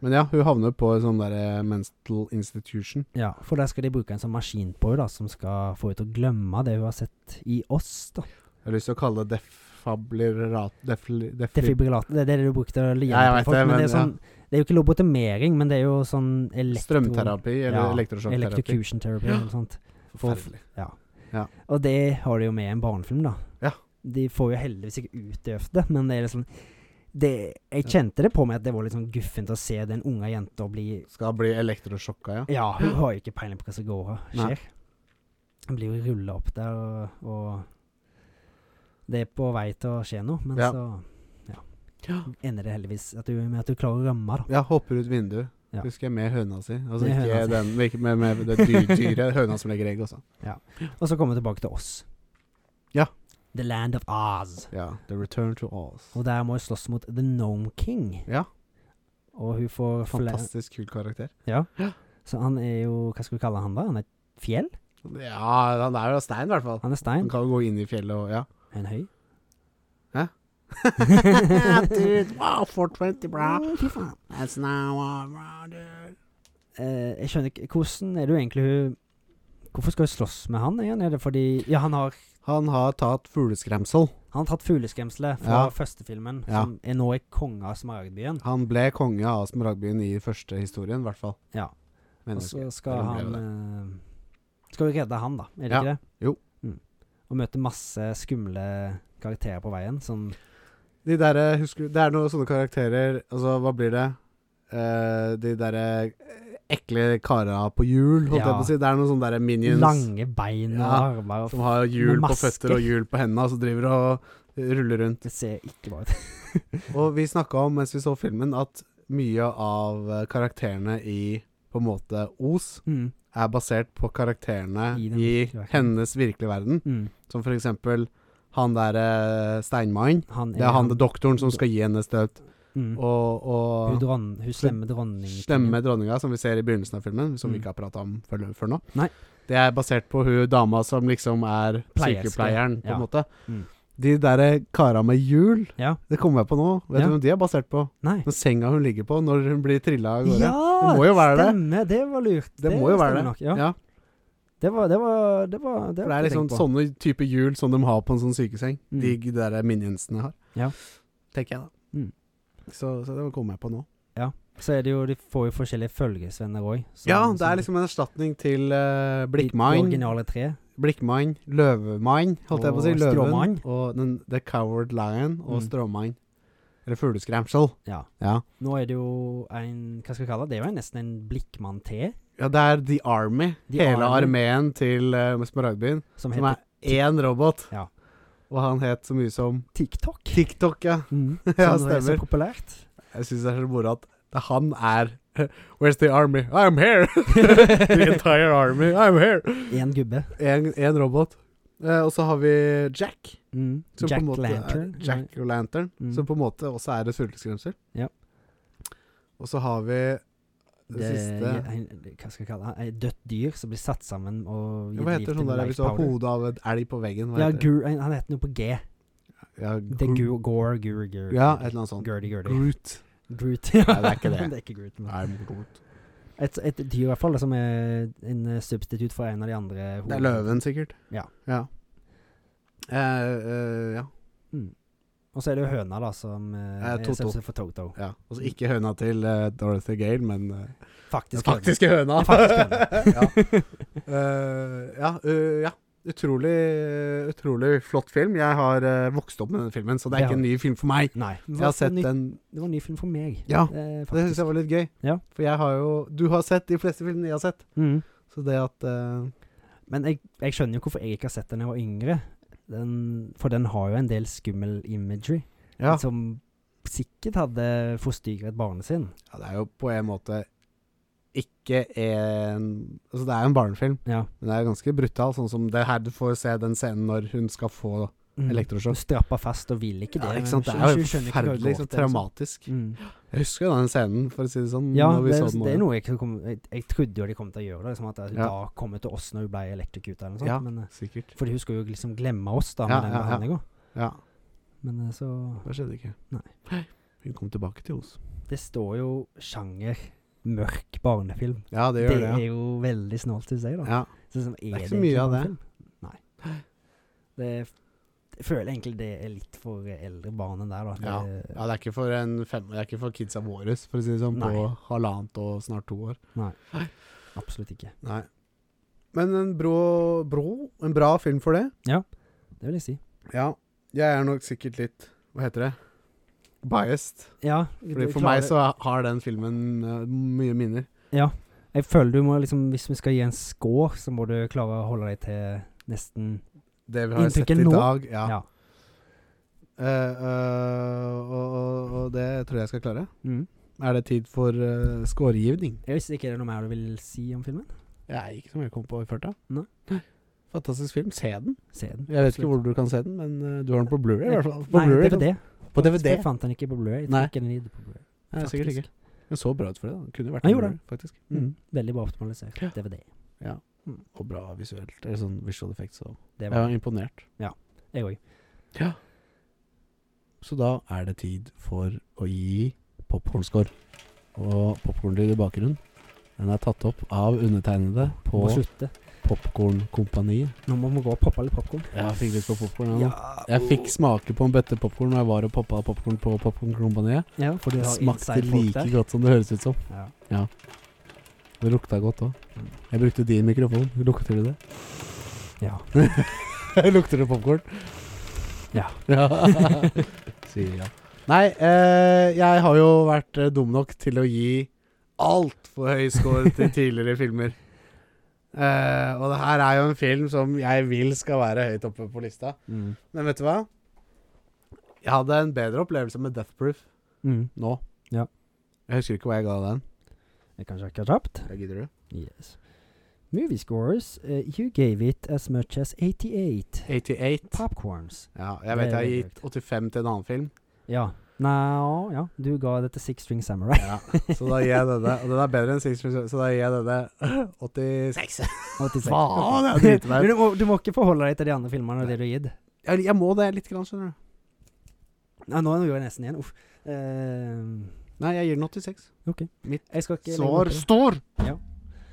Speaker 1: Men ja, hun havner på en sånn der eh, mental institution.
Speaker 2: Ja, for der skal de bruke en sånn maskin på henne da, som skal få henne til å glemme det hun har sett i oss. da.
Speaker 1: Jeg har lyst til å kalle det defablerat... Defli... defli
Speaker 2: Defibrillator. Det er det du bruker til å ligne
Speaker 1: Ja, jeg vet
Speaker 2: på folk.
Speaker 1: det,
Speaker 2: Men, det,
Speaker 1: men
Speaker 2: er sånn, det er jo ikke lobotomering, men det er jo sånn elektro...
Speaker 1: strømterapi, eller
Speaker 2: Ja,
Speaker 1: elektrosjokkterapi.
Speaker 2: Electrocution therapy eller noe sånt. For-
Speaker 1: Forferdelig.
Speaker 2: Og det har de jo med i en barnefilm, da.
Speaker 1: Ja.
Speaker 2: De får jo heldigvis ikke utøvd det, men det er liksom det, Jeg kjente det på meg at det var litt sånn guffent å se den unge jenta bli
Speaker 1: Skal bli elektrosjokka, ja.
Speaker 2: Ja, hun har jo ikke peiling på hva som går her,
Speaker 1: Nei.
Speaker 2: skjer. Hun blir jo rulla opp der, og, og Det er på vei til å skje noe, men
Speaker 1: Ja.
Speaker 2: så ja.
Speaker 1: Ja.
Speaker 2: ender det heldigvis at hun, med at hun klarer å rømme, da.
Speaker 1: Ja, hopper ut vinduet.
Speaker 2: Ja.
Speaker 1: Husker jeg med høna si. Altså
Speaker 2: Med
Speaker 1: ikke
Speaker 2: høna si.
Speaker 1: den, men ikke med, med det dy- dyret. høna som legger egg, også.
Speaker 2: Og så kommer hun tilbake til oss.
Speaker 1: Ja.
Speaker 2: The Land of Oz.
Speaker 1: Ja. The return to Oz.
Speaker 2: Og der må hun slåss mot The Gnome King.
Speaker 1: Ja.
Speaker 2: Og hun får fle-
Speaker 1: Fantastisk kul karakter.
Speaker 2: Ja.
Speaker 1: Ja.
Speaker 2: Så han er jo Hva skal vi kalle han da? Han er et fjell?
Speaker 1: Ja, han er jo av stein, i hvert fall.
Speaker 2: Han er
Speaker 1: Han
Speaker 2: stein?
Speaker 1: kan jo gå inn i fjellet og Ja.
Speaker 2: Er han høy?
Speaker 1: Dude, wow, 420, bra.
Speaker 2: Mm, Fy faen.
Speaker 1: That's now, uh, bra, dude.
Speaker 2: Eh, jeg skjønner ikke Hvordan er det jo egentlig hun Hvorfor skal hun slåss med han igjen? Er det fordi Ja, han har
Speaker 1: Han har tatt fugleskremsel.
Speaker 2: han har tatt fugleskremselet fra
Speaker 1: Ja.
Speaker 2: første filmen,
Speaker 1: Ja.
Speaker 2: som er nå i konge av Smaragdbyen.
Speaker 1: Han ble konge av Smaragdbyen i første historien, i hvert fall.
Speaker 2: Ja.
Speaker 1: Mener
Speaker 2: Og
Speaker 1: jeg.
Speaker 2: så skal
Speaker 1: Eller
Speaker 2: han
Speaker 1: ble
Speaker 2: eh, Skal jo redde han, da. Er det
Speaker 1: Ja.
Speaker 2: ikke det?
Speaker 1: Jo.
Speaker 2: Mm. Og møte masse skumle karakterer på veien, som
Speaker 1: De derre Husker du Det er noen sånne karakterer Altså, hva blir det? Eh, de derre eh, ekle kara på hjul, holdt jeg
Speaker 2: Ja.
Speaker 1: på å si. Det er noen sånne derre minions
Speaker 2: Lange bein og
Speaker 1: Ja,
Speaker 2: armer. Og
Speaker 1: som har hjul på
Speaker 2: masker.
Speaker 1: føtter og hjul på hendene, og så driver og ruller rundt.
Speaker 2: det ser ikke bra ut.
Speaker 1: Og vi snakka om mens vi så filmen, at mye av eh, karakterene i på en måte Os
Speaker 2: Mm.
Speaker 1: er basert på karakterene i,
Speaker 2: I den virkelige verden.
Speaker 1: hennes virkelige verden.
Speaker 2: Mm.
Speaker 1: Som for eksempel han derre Steinmann.
Speaker 2: Han
Speaker 1: Det er han doktoren som skal gi henne støt.
Speaker 2: mm.
Speaker 1: Og,
Speaker 2: hun,
Speaker 1: og
Speaker 2: dron, hun slemme dronning.
Speaker 1: slemme dronninga, som vi ser i begynnelsen av filmen, som vi
Speaker 2: Mm.
Speaker 1: ikke har prata om før, før nå.
Speaker 2: Nei.
Speaker 1: Det er basert på hun dama som liksom er
Speaker 2: Pleierske.
Speaker 1: sykepleieren, på en
Speaker 2: Ja.
Speaker 1: måte.
Speaker 2: Mm.
Speaker 1: De derre kara med hjul,
Speaker 2: Ja.
Speaker 1: det kommer jeg på nå. Vet
Speaker 2: Ja.
Speaker 1: du hvem de er basert på?
Speaker 2: Nei.
Speaker 1: Den senga hun ligger på når hun blir trilla av gårde.
Speaker 2: Ja,
Speaker 1: Det må jo være det.
Speaker 2: stemmer. Det var lurt.
Speaker 1: Det må jo være
Speaker 2: stemmer
Speaker 1: det.
Speaker 2: Nok, ja.
Speaker 1: Ja,
Speaker 2: Det var Det var Det, var, det,
Speaker 1: for
Speaker 2: har
Speaker 1: det er
Speaker 2: jeg ikke
Speaker 1: liksom
Speaker 2: tenkt på.
Speaker 1: sånne type hjul som de har på en sånn sykeseng.
Speaker 2: Mm.
Speaker 1: De g- der minionsene har.
Speaker 2: Ja.
Speaker 1: Tenker jeg, da.
Speaker 2: Mm.
Speaker 1: Så, så det kommer jeg på nå.
Speaker 2: Så er det jo De får jo forskjellige følgesvenner òg.
Speaker 1: sånn- ja, det
Speaker 2: sånn
Speaker 1: er liksom en erstatning til uh, Blikkmann.
Speaker 2: Originale tre.
Speaker 1: Blikkmann, Løvemann, holdt jeg på å si.
Speaker 2: Og
Speaker 1: Løven.
Speaker 2: Stråmann.
Speaker 1: Og den, The Coward Lion og
Speaker 2: Mm.
Speaker 1: Stråmann. Eller Fugleskremsel.
Speaker 2: Ja.
Speaker 1: Ja.
Speaker 2: Nå er det jo en Hva skal vi kalle det? Det er jo nesten en blikkmann-te
Speaker 1: ja, det er The Army.
Speaker 2: The
Speaker 1: Hele
Speaker 2: Army.
Speaker 1: armeen til uh, Smaragdbyen.
Speaker 2: som
Speaker 1: Som
Speaker 2: heter
Speaker 1: er én robot.
Speaker 2: Ja.
Speaker 1: Og han het så mye som
Speaker 2: TikTok.
Speaker 1: TikTok, ja.
Speaker 2: Mm.
Speaker 1: Ja,
Speaker 2: som er så
Speaker 1: stemmer.
Speaker 2: populært.
Speaker 1: Jeg syns det er så moro at det- han er Where's the army? I'm here! the entire army, I'm here!
Speaker 2: Én gubbe.
Speaker 1: En, en robot. Eh, og så har vi Jack.
Speaker 2: Mm.
Speaker 1: som på
Speaker 2: Jack
Speaker 1: en måte er-
Speaker 2: Lantern.
Speaker 1: Jack og Lantern,
Speaker 2: Mm.
Speaker 1: som på en måte også er et sulteskremsel.
Speaker 2: Ja.
Speaker 1: Og så har vi det,
Speaker 2: det,
Speaker 1: siste
Speaker 2: ja, en, hva skal jeg kalle det? Et dødt dyr som blir satt sammen og
Speaker 1: Hva heter sånn der hvis du har hodet av en elg på veggen? Hva
Speaker 2: Ja,
Speaker 1: heter det?
Speaker 2: gur, han heter noe på G.
Speaker 1: Ja,
Speaker 2: Det er gu, Gore, Gur, Gur.
Speaker 1: Ja, et eller annet sånt.
Speaker 2: Gurdy, Gurdy.
Speaker 1: Groot.
Speaker 2: Groot.
Speaker 1: Nei, det er ikke det.
Speaker 2: det er ikke Groot. Men.
Speaker 1: I'm Groot.
Speaker 2: Et, et dyr i hvert fall som er en eh, substitutt for en av de andre
Speaker 1: Det er løven, sikkert.
Speaker 2: Ja.
Speaker 1: ja. Eh, eh, ja.
Speaker 2: Mm. Og så er det jo høna, da, som eh,
Speaker 1: Eh,
Speaker 2: er
Speaker 1: Toto.
Speaker 2: substitutt for Toto.
Speaker 1: Ja, altså ikke høna til eh, Dorothy Gale, men eh, den
Speaker 2: Faktisk. høna.
Speaker 1: faktiske høna.
Speaker 2: Den faktiske
Speaker 1: ja. Eh, ja, eh, ja. Utrolig, eh, utrolig flott film. Jeg har eh, vokst opp med den filmen, så det er
Speaker 2: Ja.
Speaker 1: ikke en ny film for meg.
Speaker 2: Nei.
Speaker 1: Jeg har sett
Speaker 2: det, var ny,
Speaker 1: den
Speaker 2: det var en ny film for meg.
Speaker 1: Ja,
Speaker 2: eh,
Speaker 1: det syns
Speaker 2: faktisk.
Speaker 1: jeg var litt gøy.
Speaker 2: Ja.
Speaker 1: For jeg har jo Du har sett de fleste filmene jeg har sett,
Speaker 2: Mm.
Speaker 1: så det at eh,
Speaker 2: Men jeg, jeg skjønner jo hvorfor jeg ikke har sett den da jeg var yngre. Den, for den har jo en del skummel imagery.
Speaker 1: ja.
Speaker 2: Som sikkert hadde forstyrret barnet sin.
Speaker 1: ja, det er jo på en måte ikke en Altså, det er jo en barnefilm,
Speaker 2: Ja.
Speaker 1: men det er ganske brutal. Sånn som det her du får se den scenen når hun skal få
Speaker 2: Mm.
Speaker 1: elektrosjokk.
Speaker 2: Hun strappa fast og vil ikke det.
Speaker 1: Ja,
Speaker 2: men
Speaker 1: ikke sant? Det
Speaker 2: hun
Speaker 1: er
Speaker 2: skjønner
Speaker 1: jo
Speaker 2: ikke hva
Speaker 1: forferdelig
Speaker 2: det går
Speaker 1: liksom,
Speaker 2: til, liksom.
Speaker 1: traumatisk.
Speaker 2: Mm.
Speaker 1: Jeg husker jo den scenen, for å si det sånn.
Speaker 2: Ja,
Speaker 1: når vi
Speaker 2: det,
Speaker 1: så
Speaker 2: er-
Speaker 1: den
Speaker 2: det er
Speaker 1: også.
Speaker 2: noe jeg, ikke kom, jeg, jeg trodde jo de kom til å gjøre det. Liksom at hun
Speaker 1: Ja.
Speaker 2: da kom til oss når hun ble electrocuta eller noe sånt.
Speaker 1: Ja.
Speaker 2: Men, eh,
Speaker 1: Sikkert.
Speaker 2: fordi hun skulle jo liksom glemme oss da med
Speaker 1: Ja,
Speaker 2: den
Speaker 1: ja, ja.
Speaker 2: behandlinga.
Speaker 1: Ja,
Speaker 2: Men eh, så
Speaker 1: det skjedde ikke.
Speaker 2: Nei.
Speaker 1: Hun kom tilbake til oss.
Speaker 2: Det står jo sjanger mørk barnefilm.
Speaker 1: Ja, det
Speaker 2: Det,
Speaker 1: gjør det.
Speaker 2: er jo veldig snålt, syns jeg. da
Speaker 1: ja. ja.
Speaker 2: Så sånn, er
Speaker 1: ikke så mye
Speaker 2: egentlig
Speaker 1: av det.
Speaker 2: barnefilm? Nei. Det, jeg føler egentlig det er litt for eldre barn enn der, da. Det,
Speaker 1: Ja, det er ikke for en fem, det er ikke for kidsa våre, for å si det sånn, på
Speaker 2: Nei.
Speaker 1: halvannet og snart to år.
Speaker 2: Absolutt ikke.
Speaker 1: Nei. Men en brå, brå En bra film for det.
Speaker 2: Det vil jeg si.
Speaker 1: Ja. Jeg er nok sikkert litt Hva heter det? Biased.
Speaker 2: Ja,
Speaker 1: Fordi
Speaker 2: du
Speaker 1: for
Speaker 2: klarer-
Speaker 1: meg så har den filmen eh, mye minner.
Speaker 2: Jeg føler du må liksom Hvis vi skal gi en score, så må du klare å holde deg til nesten
Speaker 1: Det vi har sett
Speaker 2: Inntrykket
Speaker 1: i
Speaker 2: nå?
Speaker 1: dag. Ja.
Speaker 2: Ja.
Speaker 1: Eh, eh, og, og, og det tror jeg jeg skal klare.
Speaker 2: Mm.
Speaker 1: Er det tid for uh, scoregivning?
Speaker 2: Jeg visste ikke er det noe mer du vil si om filmen.
Speaker 1: Jeg ikke så mye jeg kom på i farta.
Speaker 2: Nei.
Speaker 1: Fantastisk film. Se den.
Speaker 2: Se den.
Speaker 1: Jeg vet ikke
Speaker 2: Absolutt.
Speaker 1: hvor du kan se den, men eh, du har den på Blu-ray i hvert fall. På
Speaker 2: Nei,
Speaker 1: Blu-ray,
Speaker 2: DVD.
Speaker 1: kan- På DVD.
Speaker 2: Jeg fant den ikke på Blu-ray. Jeg
Speaker 1: Nei.
Speaker 2: fikk den ikke på Blu-ray,
Speaker 1: Nei, sikkert
Speaker 2: faktisk.
Speaker 1: ikke. Den så bra ut for det. da. Den kunne vært
Speaker 2: Den
Speaker 1: en
Speaker 2: gjorde
Speaker 1: Blu-ray, faktisk.
Speaker 2: Mm. Veldig bra optimalisert
Speaker 1: Ja.
Speaker 2: DVD.
Speaker 1: Og bra visuelt. Eller sånn visual effect, så
Speaker 2: Det
Speaker 1: Jeg
Speaker 2: var
Speaker 1: var imponert.
Speaker 2: jeg òg.
Speaker 1: Ja. Så da er det tid for å gi popkornscore. Og popkornlyd i bakgrunnen. Den er tatt opp av undertegnede
Speaker 2: Må
Speaker 1: på
Speaker 2: slutte.
Speaker 1: Popkornkompaniet.
Speaker 2: Nå må vi gå og poppe litt popkorn.
Speaker 1: Jeg fikk lyst på popkorn.
Speaker 2: Ja.
Speaker 1: Jeg fikk smake på en bøtte popkorn da jeg var og poppa popkorn på Popkornkompaniet.
Speaker 2: ja, for du
Speaker 1: Det
Speaker 2: har
Speaker 1: smakte
Speaker 2: inside folk
Speaker 1: like
Speaker 2: der.
Speaker 1: godt som det høres ut som.
Speaker 2: Ja.
Speaker 1: Det lukta godt òg.
Speaker 2: Mm.
Speaker 1: Jeg brukte din mikrofon. Lukter du det?
Speaker 2: ja.
Speaker 1: Lukter det popkorn?
Speaker 2: Ja.
Speaker 1: Sier ja. Nei, eh, jeg har jo vært eh, dum nok til å gi altfor høy score til tidligere filmer. Eh, og det her er jo en film som jeg vil skal være høyt oppe på lista.
Speaker 2: Mm.
Speaker 1: Men vet du hva? Jeg hadde en bedre opplevelse med Death Proof
Speaker 2: Mm.
Speaker 1: nå.
Speaker 2: Ja.
Speaker 1: Jeg husker ikke hva jeg ga den.
Speaker 2: Jeg kan sjekke kjapt.
Speaker 1: Jeg gidder du?
Speaker 2: Yes. Movie scores. eh, you gave it as much as 88
Speaker 1: 88.
Speaker 2: popcorns.
Speaker 1: Ja, jeg
Speaker 2: Det
Speaker 1: vet
Speaker 2: er
Speaker 1: jeg har
Speaker 2: veldig
Speaker 1: gitt 85 til en annen film.
Speaker 2: Ja. Nei, ja. Du ga det til Six String Samurai.
Speaker 1: Ja, så da gir jeg denne Og den er bedre enn Six Minutes, så da gir jeg denne 86.
Speaker 2: 86.
Speaker 1: Faen, det er
Speaker 2: Ok.
Speaker 1: dritbra.
Speaker 2: du, må, du må ikke forholde deg til de andre filmene og det du har gitt.
Speaker 1: Jeg, jeg må det litt, grann, skjønner du.
Speaker 2: Nei, nå gjør jeg nesten igjen. Uff. Eh,
Speaker 1: Nei, jeg gir den 86.
Speaker 2: jeg skal ikke legge meg
Speaker 1: Sår
Speaker 2: opp i det.
Speaker 1: står!
Speaker 2: Ja.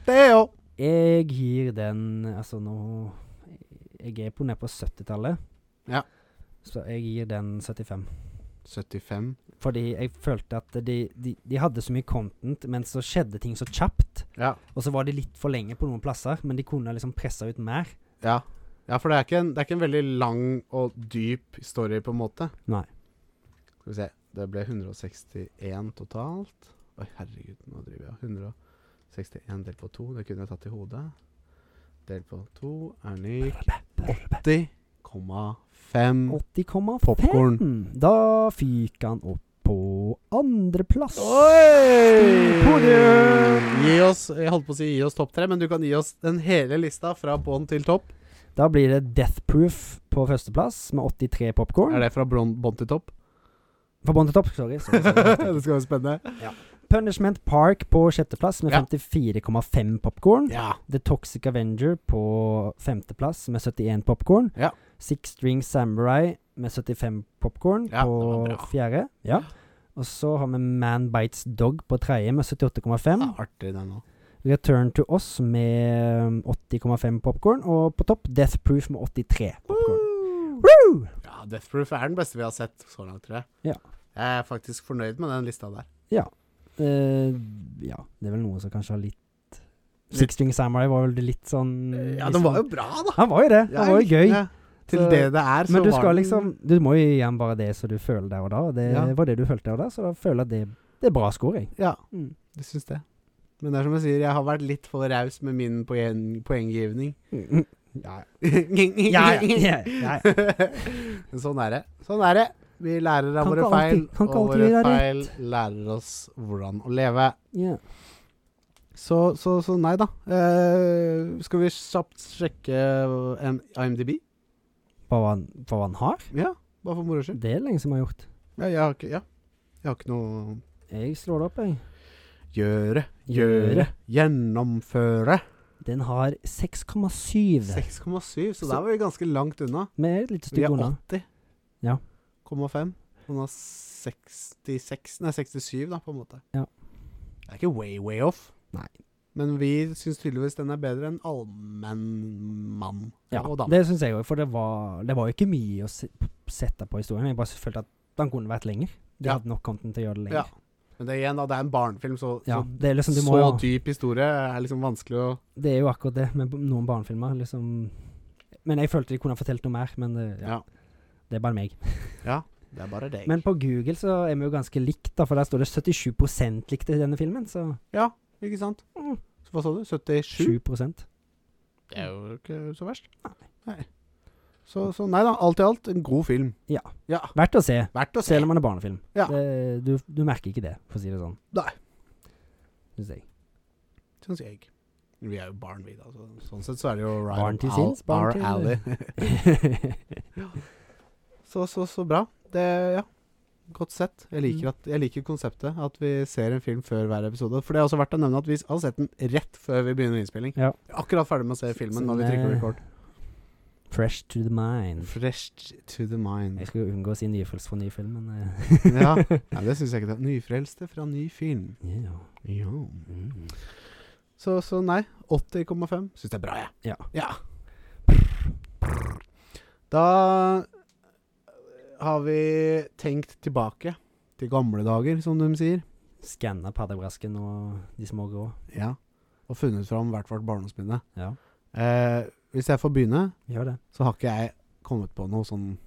Speaker 1: Det er jo
Speaker 2: Jeg gir den Altså, nå Jeg er på nede på 70-tallet.
Speaker 1: Ja.
Speaker 2: Så jeg gir den 75.
Speaker 1: 75.
Speaker 2: Fordi jeg følte at de, de, de hadde så mye content, men så skjedde ting så kjapt.
Speaker 1: Ja.
Speaker 2: Og så var de litt for lenge på noen plasser, men de kunne liksom pressa ut mer.
Speaker 1: Ja, ja for det er, ikke en, det er ikke en veldig lang og dyp story, på en måte.
Speaker 2: Nei.
Speaker 1: Skal vi se. Det ble 161 totalt. Oi, herregud, nå driver jeg og 161 delt på 2, det kunne jeg tatt i hodet. Delt på 2 er lik 80,5.
Speaker 2: 80,5.
Speaker 1: Popcorn.
Speaker 2: Da fyker han opp på andreplass.
Speaker 1: Oi!
Speaker 2: Podium!
Speaker 1: Gi oss, jeg holdt på å si gi oss topp tre, men du kan gi oss den hele lista fra bånn til topp.
Speaker 2: Da blir det Death Proof på førsteplass med 83 popkorn.
Speaker 1: Er det fra bånn bånn til topp?
Speaker 2: Fra bånn til topp, sorry. sorry, sorry.
Speaker 1: det skal være spennende.
Speaker 2: Punishment Park på sjetteplass med
Speaker 1: Ja.
Speaker 2: 54,5 popkorn.
Speaker 1: Ja.
Speaker 2: The Toxic Avenger på femteplass med 71 popkorn.
Speaker 1: Ja.
Speaker 2: Six String Samurai med 75 popkorn
Speaker 1: Ja, det var
Speaker 2: på
Speaker 1: bra.
Speaker 2: fjerde. Ja. Og så har vi Man Bites Dog på tredje med 78,5.
Speaker 1: Ja, artig den òg.
Speaker 2: Return to Us med um, 80,5 popkorn. Og på topp Death Proof med 83 popkorn. Woo!
Speaker 1: Ja, Death Proof er den beste vi har sett så langt, tror jeg.
Speaker 2: Ja.
Speaker 1: Jeg er faktisk fornøyd med den lista der.
Speaker 2: Eh, ja, det er vel noen som kanskje har litt Six String Samurai var vel det litt sånn liksom-
Speaker 1: Ja, den var jo bra, da.
Speaker 2: Han var jo det. Han var jo gøy.
Speaker 1: Til
Speaker 2: Så-
Speaker 1: det det er, så
Speaker 2: Men du
Speaker 1: var
Speaker 2: skal
Speaker 1: den-
Speaker 2: liksom Du må jo gi ham bare det som du føler der og da. og Det
Speaker 1: Ja.
Speaker 2: var det du følte der og da, så da føler jeg at det, det er bra score, jeg.
Speaker 1: Ja,
Speaker 2: Mm.
Speaker 1: du syns det. Men det er som jeg sier, jeg har vært litt for raus med min poeng poenggivning. ja,
Speaker 2: Ja, ja, ja, ja, ja.
Speaker 1: Men sånn er det. Sånn er det. Vi lærer av
Speaker 2: Kan
Speaker 1: våre
Speaker 2: ikke
Speaker 1: feil,
Speaker 2: alltid- kan ikke
Speaker 1: og
Speaker 2: alltid vi
Speaker 1: våre
Speaker 2: gjøre
Speaker 1: feil lærer oss hvordan å leve.
Speaker 2: ja.
Speaker 1: Så, så, så nei da. Eh, skal vi kjapt sjekke en IMDb?
Speaker 2: Hva han, hva han har?
Speaker 1: Ja, bare for moro skyld.
Speaker 2: Det er lenge siden vi har gjort.
Speaker 1: Ja, jeg har ikke Ja. Jeg har ikke noe
Speaker 2: Jeg slår det opp, jeg.
Speaker 1: Gjøre, gjøre, gjennomføre.
Speaker 2: Den har 6,7.
Speaker 1: 6,7, så der var vi ganske langt unna.
Speaker 2: Vi er et lite
Speaker 1: Vi
Speaker 2: stykke
Speaker 1: er
Speaker 2: unna.
Speaker 1: 80,5.
Speaker 2: Ja.
Speaker 1: Hun har 66 Nei, 67, da, på en måte.
Speaker 2: Ja.
Speaker 1: Det er ikke way, way off.
Speaker 2: Nei.
Speaker 1: Men vi syns tydeligvis den er bedre enn allmennmann
Speaker 2: Ja,
Speaker 1: og dame.
Speaker 2: det syns jeg òg, for det var, det var jo ikke mye å se, sette på historien. Jeg bare følte at den kunne vært lenger. De
Speaker 1: Ja.
Speaker 2: hadde nok content til å gjøre det
Speaker 1: Ja.
Speaker 2: lenger.
Speaker 1: Men det er igjen, da, det er en barnefilm, så,
Speaker 2: Ja,
Speaker 1: så,
Speaker 2: det er liksom, du må,
Speaker 1: så
Speaker 2: jo-
Speaker 1: dyp historie er liksom vanskelig å
Speaker 2: Det er jo akkurat det med b- noen barnefilmer. Liksom. Men jeg følte de kunne ha fortalt noe mer, men det, ja.
Speaker 1: Ja.
Speaker 2: det er bare meg.
Speaker 1: Det er bare deg.
Speaker 2: Men på Google så er vi jo ganske likt, da, for der står det 77 likt i denne filmen. Så
Speaker 1: ja, ikke sant?
Speaker 2: Mm.
Speaker 1: Så hva sa du? 77?
Speaker 2: 7
Speaker 1: Det er jo ikke så verst.
Speaker 2: Nei.
Speaker 1: Nei. Så, så nei da, alt i alt en god film.
Speaker 2: Ja.
Speaker 1: ja.
Speaker 2: Verdt å se,
Speaker 1: Verdt å se.
Speaker 2: selv om man er barnefilm.
Speaker 1: Ja.
Speaker 2: Det, du, du merker ikke det, for å si det sånn.
Speaker 1: Nei.
Speaker 2: Synes jeg.
Speaker 1: Syns jeg. Vi er jo barn, vi, da. Så, sånn sett så er det jo right
Speaker 2: Barn
Speaker 1: up
Speaker 2: til
Speaker 1: al-
Speaker 2: sinns, barn
Speaker 1: our
Speaker 2: til-
Speaker 1: alley. så, så, så bra. Det, ja. Godt sett. Jeg liker,
Speaker 2: Mm.
Speaker 1: at, jeg liker konseptet. At vi ser en film før hver episode. For det er også verdt å nevne at vi har sett den rett før vi begynner innspilling.
Speaker 2: Ja.
Speaker 1: Akkurat ferdig med å se filmen når vi
Speaker 2: Sånn,
Speaker 1: trykker
Speaker 2: eh,
Speaker 1: record.
Speaker 2: Fresh to the mind.
Speaker 1: Fresh to the
Speaker 2: Jeg
Speaker 1: mind.
Speaker 2: skal jo unngå å si nyfølelse for ny film, men eh,
Speaker 1: ja. Nei, det syns jeg ikke. det. Nyfrelste fra ny film.
Speaker 2: ja.
Speaker 1: Ja.
Speaker 2: Mm.
Speaker 1: Så, så nei, 80,5 syns det er bra, jeg.
Speaker 2: Ja.
Speaker 1: Da har vi tenkt tilbake til gamle dager, som de sier.
Speaker 2: Skanna paddebrasken og de små grå.
Speaker 1: Ja. Og funnet fram hvert vårt barndomsminne.
Speaker 2: Ja,
Speaker 1: Eh, hvis jeg får begynne,
Speaker 2: gjør det.
Speaker 1: så har ikke jeg kommet på noe sånn på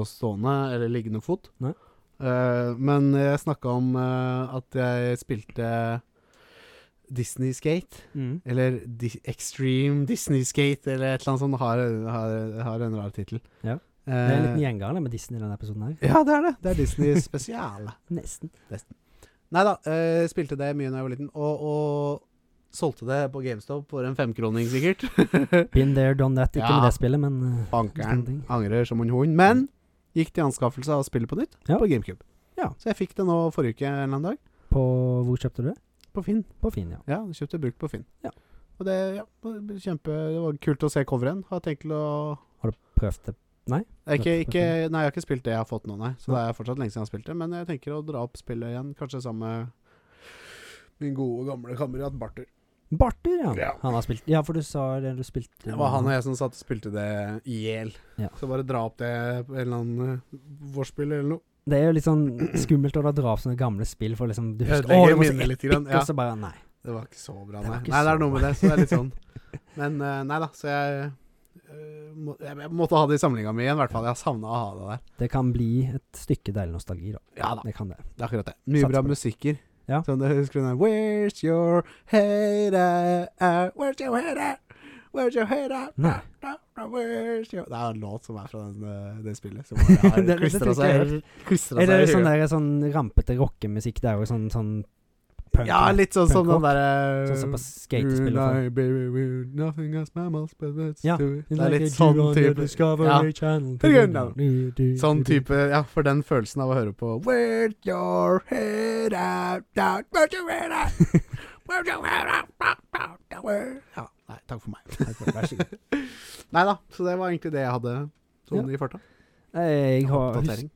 Speaker 1: på stående eller liggende fot.
Speaker 2: Nei.
Speaker 1: Eh, men jeg snakka om eh, at jeg spilte Disney Skate.
Speaker 2: Mm.
Speaker 1: Eller Di Extreme Disney Skate, eller et eller annet sånt. Har, har, har en rar tittel.
Speaker 2: Ja. Det er en
Speaker 1: Eh,
Speaker 2: liten gjenganger det, med Disney i denne episoden her.
Speaker 1: ja, det er det. Det er Disney spesial.
Speaker 2: Nesten.
Speaker 1: Nei da, eh, spilte det mye da jeg var liten, og, og solgte det på GameStop for en femkroning, sikkert.
Speaker 2: Been there, done that. Ikke
Speaker 1: Ja.
Speaker 2: med det spillet, men eh,
Speaker 1: Bankeren angrer som en hund. Men gikk til anskaffelse av spillet på nytt,
Speaker 2: Ja.
Speaker 1: på GameCube.
Speaker 2: Ja.
Speaker 1: Så jeg fikk det nå forrige uke en eller annen dag,
Speaker 2: på Hvor kjøpte du det?
Speaker 1: på Finn.
Speaker 2: På Finn, ja.
Speaker 1: Ja, jeg kjøpte brukt på Finn.
Speaker 2: Ja.
Speaker 1: Og det, ja, det ble kjempe, det var kult å se coveren. Har tenkt til å
Speaker 2: Har du prøvd det?
Speaker 1: Det er ikke,
Speaker 2: Nettopp,
Speaker 1: ikke, nei, jeg har ikke spilt det jeg har fått nå, nei. Så det er fortsatt lenge siden jeg har spilt det. Men jeg tenker å dra opp spillet igjen, kanskje sammen med min gode, gamle kamerat Barter.
Speaker 2: Barter, ja.
Speaker 1: Ja.
Speaker 2: Han har spilt Ja, for du sa det du spilte
Speaker 1: Det var han og jeg som satt og spilte det i hjel.
Speaker 2: Ja.
Speaker 1: Så bare dra opp det på en eller annen eh, vorspiel eller noe.
Speaker 2: Det er jo litt sånn skummelt å da dra opp sånne gamle spill, for liksom Du husker
Speaker 1: Ødelegger
Speaker 2: Å, det var så
Speaker 1: minnet litt
Speaker 2: epic,
Speaker 1: grann, ja.
Speaker 2: og så bare Nei.
Speaker 1: Det var ikke så bra,
Speaker 2: Det var
Speaker 1: nei.
Speaker 2: ikke
Speaker 1: nei, det
Speaker 2: så
Speaker 1: er noe med
Speaker 2: bra.
Speaker 1: det, så det er litt sånn. Men eh, nei da, så jeg eh, må, jeg, jeg måtte ha det i samlinga mi igjen, i hvert fall. Jeg har savna å ha det der.
Speaker 2: Det kan bli et stykke deilig nostalgi, da.
Speaker 1: Ja da.
Speaker 2: Det kan det.
Speaker 1: Det er akkurat det. Mye
Speaker 2: Satser
Speaker 1: bra
Speaker 2: på det.
Speaker 1: musikker.
Speaker 2: Ja.
Speaker 1: Sånn, det husker du den der, Where's your hater? Where's your hater? Where's your hater?
Speaker 2: Nei.
Speaker 1: Da, da, where's your Det er en låt som er fra den, eh, det spillet. Som bare
Speaker 2: Det- det
Speaker 1: har klistra
Speaker 2: tror jeg ikke
Speaker 1: seg klistra
Speaker 2: Er
Speaker 1: seg i
Speaker 2: det sånn
Speaker 1: huet.
Speaker 2: der sånn rampete rockemusikk? Det er jo sånn sånn punk
Speaker 1: Ja, litt øh, sånn som
Speaker 2: punkrock?
Speaker 1: den derre
Speaker 2: Sånn som på skatespill og sånn.
Speaker 1: baby, we're nothing as mammals, but let's
Speaker 2: Ja.
Speaker 1: do it.
Speaker 2: It's
Speaker 1: Det er
Speaker 2: like
Speaker 1: litt
Speaker 2: a
Speaker 1: sånn
Speaker 2: dude on the
Speaker 1: type
Speaker 2: Discovery Channel.
Speaker 1: Turn down.
Speaker 2: Du, du, du,
Speaker 1: Sånn
Speaker 2: du.
Speaker 1: type, ja, for den følelsen av å høre på Where's your head out, out, where's your head out? Where's your head out, out, out, out, where- Ja, nei, takk for meg.
Speaker 2: Ok, Vær så god.
Speaker 1: Nei da, så det var egentlig det jeg hadde sånn i farta.
Speaker 2: Jeg har
Speaker 1: Oppdatering.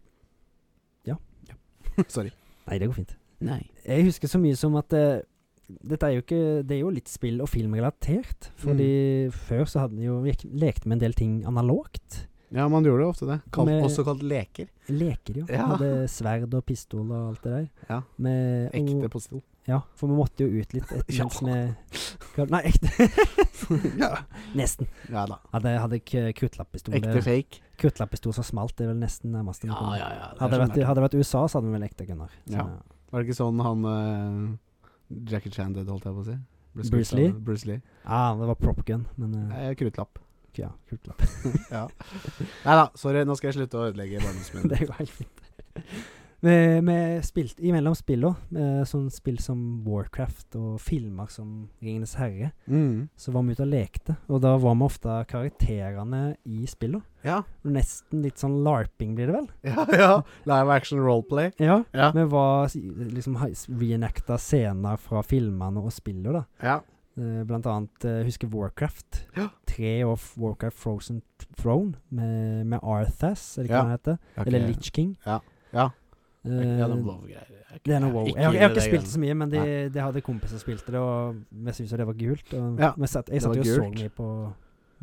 Speaker 2: Ja.
Speaker 1: Sorry.
Speaker 2: Nei, det går fint.
Speaker 1: Nei.
Speaker 2: Jeg husker så mye som at eh, dette er jo ikke Det er jo litt spill- og filmrelatert. Fordi
Speaker 1: Mm.
Speaker 2: før så hadde en jo gikk, lekte med en del ting analogt.
Speaker 1: Ja, man gjorde ofte det. Kalt,
Speaker 2: Med-
Speaker 1: også kalt leker.
Speaker 2: Leker, jo.
Speaker 1: Ja.
Speaker 2: Hadde sverd og pistol og alt det der.
Speaker 1: Ja.
Speaker 2: Med, og-
Speaker 1: Ekte pistol.
Speaker 2: Ja, for vi måtte jo ut litt et,
Speaker 1: Ja.
Speaker 2: mens vi Nei, ekte.
Speaker 1: ja.
Speaker 2: Nesten.
Speaker 1: ja da.
Speaker 2: Hadde, hadde k- kruttlappistol.
Speaker 1: Ekte fake.
Speaker 2: Kruttlappistol som smalt, det er vel nesten nærmest. en
Speaker 1: Ja,
Speaker 2: kom.
Speaker 1: ja, ja. det er
Speaker 2: Hadde det
Speaker 1: sånn
Speaker 2: vært,
Speaker 1: det er.
Speaker 2: hadde det vært USA, så hadde vi vel ekte gunner. Så,
Speaker 1: Ja. Var det ikke sånn han eh, Jackie Chan døde, holdt jeg på å si? Ble skutt
Speaker 2: Bruce Lee?
Speaker 1: av- Bruce Lee.
Speaker 2: Ah, det var prop gun, men eh,
Speaker 1: Eh, Kruttlapp.
Speaker 2: ja, kruttlapp.
Speaker 1: Nei da, sorry, nå skal jeg slutte å ødelegge barndommen min.
Speaker 2: det går helt fint. Vi, vi spilte imellom spillene, eh, sånn spill som Warcraft og filmer som Ringenes herre,
Speaker 1: Mm.
Speaker 2: så var vi ute og lekte. Og da var vi ofte karakterene i spillene.
Speaker 1: Ja,
Speaker 2: Nesten litt sånn larping, blir det vel?
Speaker 1: ja, ja. Live action roleplay.
Speaker 2: Ja.
Speaker 1: Ja.
Speaker 2: Vi var s- liksom ha- s- reenacta scener fra filmene og spillene, da.
Speaker 1: Ja.
Speaker 2: Eh, Blant annet eh, husker Warcraft.
Speaker 1: Ja.
Speaker 2: Tre og f- Warcraft Frozen Throne med, med Arthas, er det
Speaker 1: Ja.
Speaker 2: ikke hva han heter? Eller Litch King.
Speaker 1: Ja. Ja.
Speaker 2: Eh,
Speaker 1: Ja, noen wow-greier. Jeg er ikke-
Speaker 2: det er noe wow.
Speaker 1: jeg
Speaker 2: Jeg har, jeg har
Speaker 1: det
Speaker 2: ikke spilt
Speaker 1: greiene.
Speaker 2: så mye, men de, de hadde kompiser som spilte det, og vi syntes jo det var gult. Og
Speaker 1: Ja,
Speaker 2: vi satt, jeg
Speaker 1: det var
Speaker 2: satt jo og så
Speaker 1: gult.
Speaker 2: mye på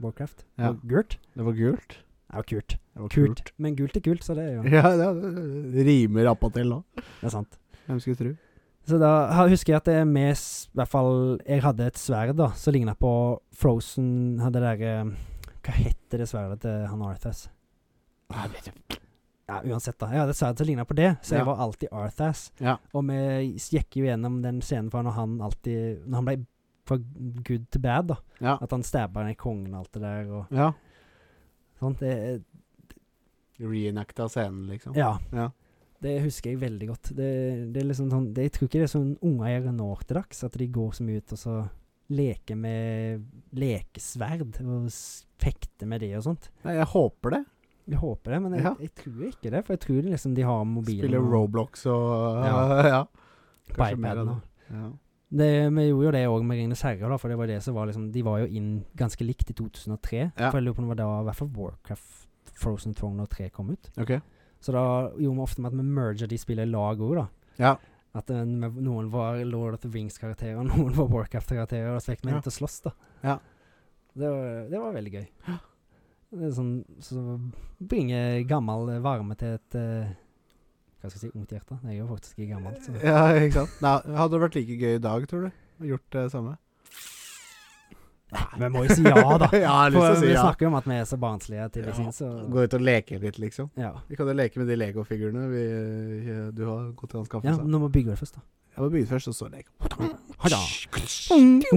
Speaker 2: Warcraft.
Speaker 1: Ja.
Speaker 2: Og Gult?
Speaker 1: Det var gult.
Speaker 2: Ja, kult.
Speaker 1: Det var
Speaker 2: kult. Men gult er kult, så det er jo
Speaker 1: Ja, det, det- det rimer appatil nå.
Speaker 2: det er sant.
Speaker 1: Hvem skulle tro.
Speaker 2: Så da ha- husker jeg at det er med s- I hvert fall Jeg hadde et sverd da som ligna på Frozen Hadde det derre Hva heter det sverdet til han Arthas?
Speaker 1: Ah,
Speaker 2: Ja, uansett, da. Jeg hadde et sverd som ligna på det, så jeg
Speaker 1: Ja.
Speaker 2: var alltid Arthas.
Speaker 1: Ja.
Speaker 2: Og vi s- gikk jo gjennom den scenen for når han alltid Når han ble fra good to bad, da.
Speaker 1: Ja.
Speaker 2: At han stabba ned kongen og alt det der og
Speaker 1: ja.
Speaker 2: sånt. Det,
Speaker 1: Reenacta scenen, liksom.
Speaker 2: ja.
Speaker 1: Ja.
Speaker 2: Det husker jeg veldig godt. Det, det er liksom sånn, det, jeg tror ikke det er sånn unger gjør nå til dags, at de går så mye ut og så leker med lekesverd og s- fekter med det og sånt.
Speaker 1: Nei, jeg håper det.
Speaker 2: Jeg håper det, men jeg,
Speaker 1: Ja.
Speaker 2: jeg tror ikke det. For jeg tror liksom de har mobilen
Speaker 1: Spiller Roblox og
Speaker 2: Ja.
Speaker 1: ja.
Speaker 2: på
Speaker 1: kanskje mer av
Speaker 2: iPaden.
Speaker 1: det.
Speaker 2: og-
Speaker 1: ja.
Speaker 2: Det, vi gjorde jo det òg med Ringenes herre, da, for det var det som var liksom De var jo inn ganske likt i 2003.
Speaker 1: Ja.
Speaker 2: For jeg lurer på om det var da i hvert fall Warcraft, Frozen Throne og 3 kom ut.
Speaker 1: Ok.
Speaker 2: Så da gjorde vi ofte med at vi merger de spillene i lag òg, da.
Speaker 1: Ja.
Speaker 2: At eh, med- noen var Lord of the Rings-karakterer, og noen var Warcraft-karakterer, og så fikk vi
Speaker 1: Ja.
Speaker 2: inn til å slåss, da.
Speaker 1: Ja.
Speaker 2: Det var, det var veldig gøy. Det er sånn så bringe gammel eh, varme til et eh, Hva skal jeg si ungt hjerte? Jeg er jo faktisk ikke gammel.
Speaker 1: Eh,
Speaker 2: Så.
Speaker 1: ja, ikke sant. Nei, hadde det vært like gøy i dag, tror du? Og Gjort det samme?
Speaker 2: Vi må jo si ja, da.
Speaker 1: ja, jeg har lyst til
Speaker 2: For
Speaker 1: å si
Speaker 2: vi
Speaker 1: ja.
Speaker 2: snakker jo om at vi er så barnslige til vi
Speaker 1: Ja.
Speaker 2: syns, så
Speaker 1: Gå ut og leke litt, liksom.
Speaker 2: ja.
Speaker 1: Vi kan jo leke med de legofigurene vi, eh, du har gått til
Speaker 2: ja.
Speaker 1: anskaffelse av.
Speaker 2: Nå må vi bygge det først, da.
Speaker 1: Jeg må begynne først, og så leke.
Speaker 2: Ha da.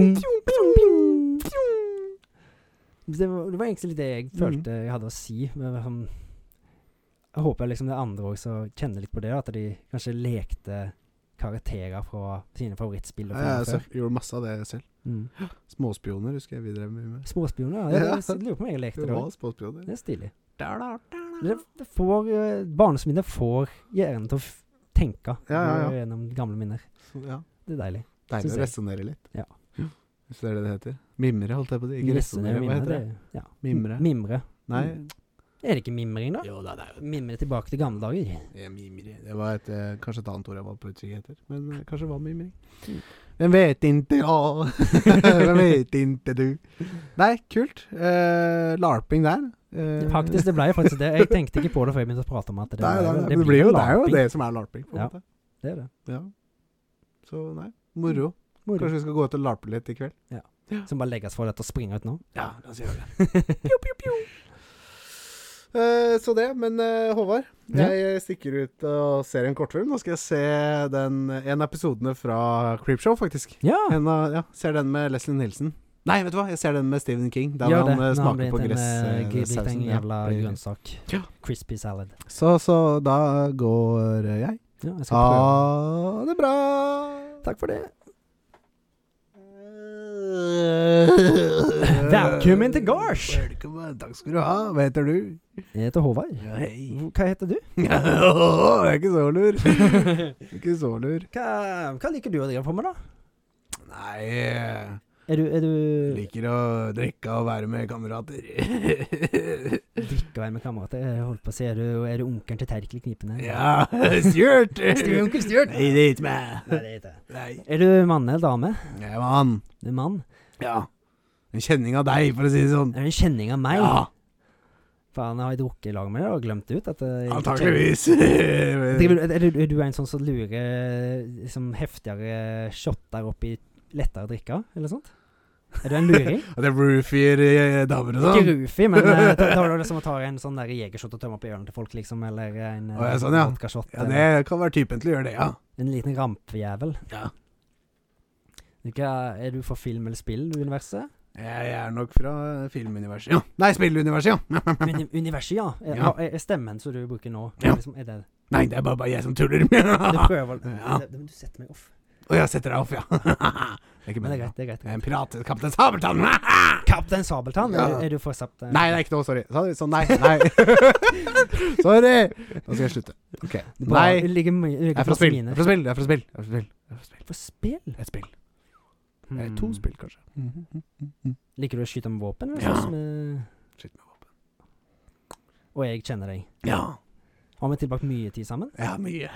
Speaker 2: Det var, det var egentlig litt det jeg
Speaker 1: Mm.
Speaker 2: følte jeg hadde å si. Men, liksom, jeg håper liksom det andre også kjenner litt på det, at de kanskje lekte karakterer fra sine favorittspill. og
Speaker 1: Ja,
Speaker 2: fra
Speaker 1: jeg
Speaker 2: før.
Speaker 1: så- gjorde masse av det selv.
Speaker 2: Mm.
Speaker 1: Småspioner husker jeg vi drev mye med.
Speaker 2: Småspioner? Ja,
Speaker 1: Ja.
Speaker 2: det- jeg lurer på om jeg lekte
Speaker 1: Det
Speaker 2: det
Speaker 1: var
Speaker 2: òg.
Speaker 1: småspioner.
Speaker 2: Det er stilig.
Speaker 1: Da, da, da, da.
Speaker 2: Det, det får, eh, barndomsminner får hjernen til å f tenke
Speaker 1: Ja, ja, ja.
Speaker 2: gjennom gamle minner.
Speaker 1: Så, Ja.
Speaker 2: Det er deilig.
Speaker 1: Deilig
Speaker 2: Synes
Speaker 1: å
Speaker 2: jeg.
Speaker 1: resonnere litt.
Speaker 2: Ja.
Speaker 1: Hvis det er det det heter. Mimre, holdt jeg på å si. Ikke
Speaker 2: Resonere
Speaker 1: resonnere, hva
Speaker 2: minner,
Speaker 1: heter det?
Speaker 2: det- Mm. Ja.
Speaker 1: Mimre.
Speaker 2: Mimre.
Speaker 1: Nei.
Speaker 2: Er det ikke mimring, da?
Speaker 1: Jo da, det er jo
Speaker 2: Mimre tilbake til gamle dager.
Speaker 1: Ja, Mimri. Det var et, eh, kanskje et annet ord jeg var på utkikk etter. Men eh, kanskje det var mimring.
Speaker 2: Mm.
Speaker 1: Hvem vet inte ja. Hvem vet inte du. Nei, kult. Eh, larping der. Eh,
Speaker 2: Faktisk, det ble jo faktisk det. Jeg tenkte ikke på det før jeg begynte å prate om at det,
Speaker 1: Nei,
Speaker 2: ble-
Speaker 1: nei, nei, det, blir jo, det er jo
Speaker 2: larping.
Speaker 1: det som er larping. På en
Speaker 2: Ja.
Speaker 1: måte.
Speaker 2: Det er det.
Speaker 1: Ja. Så nei, moro.
Speaker 2: Moro.
Speaker 1: Kanskje vi skal gå ut og larpe litt i kveld?
Speaker 2: Som bare legges for dette og springer ut nå.
Speaker 1: Ja, la oss gjøre det. Pjo, pjo, pjo. Eh, så det, men eh, Håvard.
Speaker 2: Ja.
Speaker 1: Jeg stikker ut og ser en kortfilm. Nå skal jeg se den, en av episodene fra Creepshow, faktisk.
Speaker 2: Ja!
Speaker 1: En av, ja, ser den med Leslie Nielsen. Nei, vet du hva, jeg ser den med Stephen King. Der
Speaker 2: Gjør
Speaker 1: hvor han eh,
Speaker 2: når han
Speaker 1: smaker
Speaker 2: blir
Speaker 1: på
Speaker 2: til en,
Speaker 1: gress.
Speaker 2: eh,
Speaker 1: eh,
Speaker 2: gri- blitt
Speaker 1: sausen.
Speaker 2: en
Speaker 1: Ja,
Speaker 2: jævla
Speaker 1: blir-
Speaker 2: grønnsak.
Speaker 1: Ja.
Speaker 2: Crispy salad.
Speaker 1: Så, så da går eh, jeg.
Speaker 2: Ja, jeg skal
Speaker 1: Ha
Speaker 2: prøve.
Speaker 1: det bra!
Speaker 2: Takk for det.
Speaker 1: Velkommen
Speaker 2: Velkommen til gards.
Speaker 1: Velkommen, Takk skal du ha. Hva heter du?
Speaker 2: Jeg heter Håvard.
Speaker 1: Ja, hei.
Speaker 2: Hva heter du?
Speaker 1: Jeg er ikke så lur. Ikke så lur.
Speaker 2: Hva, hva liker du å drive på med, da?
Speaker 1: Nei jeg
Speaker 2: Er du, er du
Speaker 1: Liker å drikke og være med kamerater.
Speaker 2: Drikke og være med kamerater? Jeg holdt på å si, er du, er du onkelen til Terkel i Knipene?
Speaker 1: Ja, Stjørt!
Speaker 2: Stu- Onkel Stjørt?
Speaker 1: Nei, det er ikke meg.
Speaker 2: Nei, det er ikke det.
Speaker 1: Nei.
Speaker 2: Er du mann eller dame?
Speaker 1: Jeg var han.
Speaker 2: Du er mann?
Speaker 1: Ja. En kjenning av deg, for å si det sånn.
Speaker 2: Er du en kjenning av meg?
Speaker 1: Ja,
Speaker 2: Faen, har jeg drukket i lag med deg og glemt ut at jeg ikke
Speaker 1: antakeligvis.
Speaker 2: Driver du- Er du, er du en sånn som lurer liksom, heftigere shotter opp i lettere drikker, eller sånt? Er du en luring?
Speaker 1: At det er roofier eh, damer og
Speaker 2: Ikke
Speaker 1: sånn.
Speaker 2: Rufi, men eh, ta- tar du det som å ta en sånn der jegershot og tømme opp i ørene til folk, liksom? Eller en eh,
Speaker 1: Å, ja, sånn, ja.
Speaker 2: vodkashot?
Speaker 1: Ja,
Speaker 2: eller
Speaker 1: det kan være typen til å gjøre det, ja.
Speaker 2: En liten rampejævel?
Speaker 1: Ja.
Speaker 2: Du, hva, er du for film eller spill-universet?
Speaker 1: Jeg er nok fra eh, filmuniverset, ja. Nei, spilluniverset, ja.
Speaker 2: Uni universet, ja. Er,
Speaker 1: Ja.
Speaker 2: er- er stemmen som du bruker nå,
Speaker 1: Ja.
Speaker 2: liksom, er det
Speaker 1: Nei, det er bare, bare jeg som tuller.
Speaker 2: Du
Speaker 1: Og
Speaker 2: prøver
Speaker 1: Ja.
Speaker 2: det, Men du setter meg off.
Speaker 1: jeg setter deg off, ja. Det er ikke
Speaker 2: Men det
Speaker 1: meningen.
Speaker 2: er greit. det er greit.
Speaker 1: Jeg er en pirat. Kaptein Sabeltann!
Speaker 2: Kaptein Sabeltann, er,
Speaker 1: Ja.
Speaker 2: du- er du fortsatt eh,
Speaker 1: Nei, det er ikke noe. Sorry. Sorry. Sånn, nei. nei. sorry. Nå skal jeg slutte. Ok.
Speaker 2: Bra,
Speaker 1: Nei.
Speaker 2: du ligger mye- du ligger
Speaker 1: Jeg er fra
Speaker 2: fast i
Speaker 1: spill. Jeg
Speaker 2: mine.
Speaker 1: er fra spill. Jeg er fra spill. Jeg er fra spill. Jeg er fra spill.
Speaker 2: For spill? Hmm.
Speaker 1: Et spill. Eh, To spill, kanskje. Mm-hmm.
Speaker 2: Liker du å skyte med våpen? Eller
Speaker 1: Ja.
Speaker 2: slåss med
Speaker 1: Skyt med våpen.
Speaker 2: Og jeg kjenner deg.
Speaker 1: Ja.
Speaker 2: Har vi tilbrakt mye tid sammen?
Speaker 1: Ja, mye.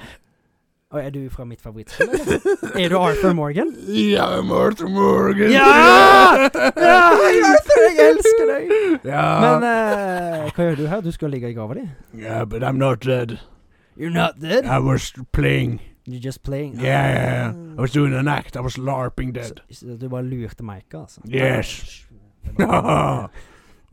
Speaker 2: Og er du fra mitt favorittspill? eller? er du Arthur Morgan?
Speaker 1: Ja, Martha Morgan.
Speaker 2: Ja! Ja, Arthur, jeg elsker deg!
Speaker 1: Ja.
Speaker 2: Men eh, hva gjør du her? Du skal ligge i grava di?
Speaker 1: yeah, but I'm not dead.
Speaker 2: You're not dead.
Speaker 1: I was playing.
Speaker 2: You're just playing. Ah.
Speaker 1: Yeah, yeah, yeah. I was doing an act. I was larping dead.
Speaker 2: Så, så du bare lurte Micah, altså?
Speaker 1: Yes.
Speaker 2: Det var-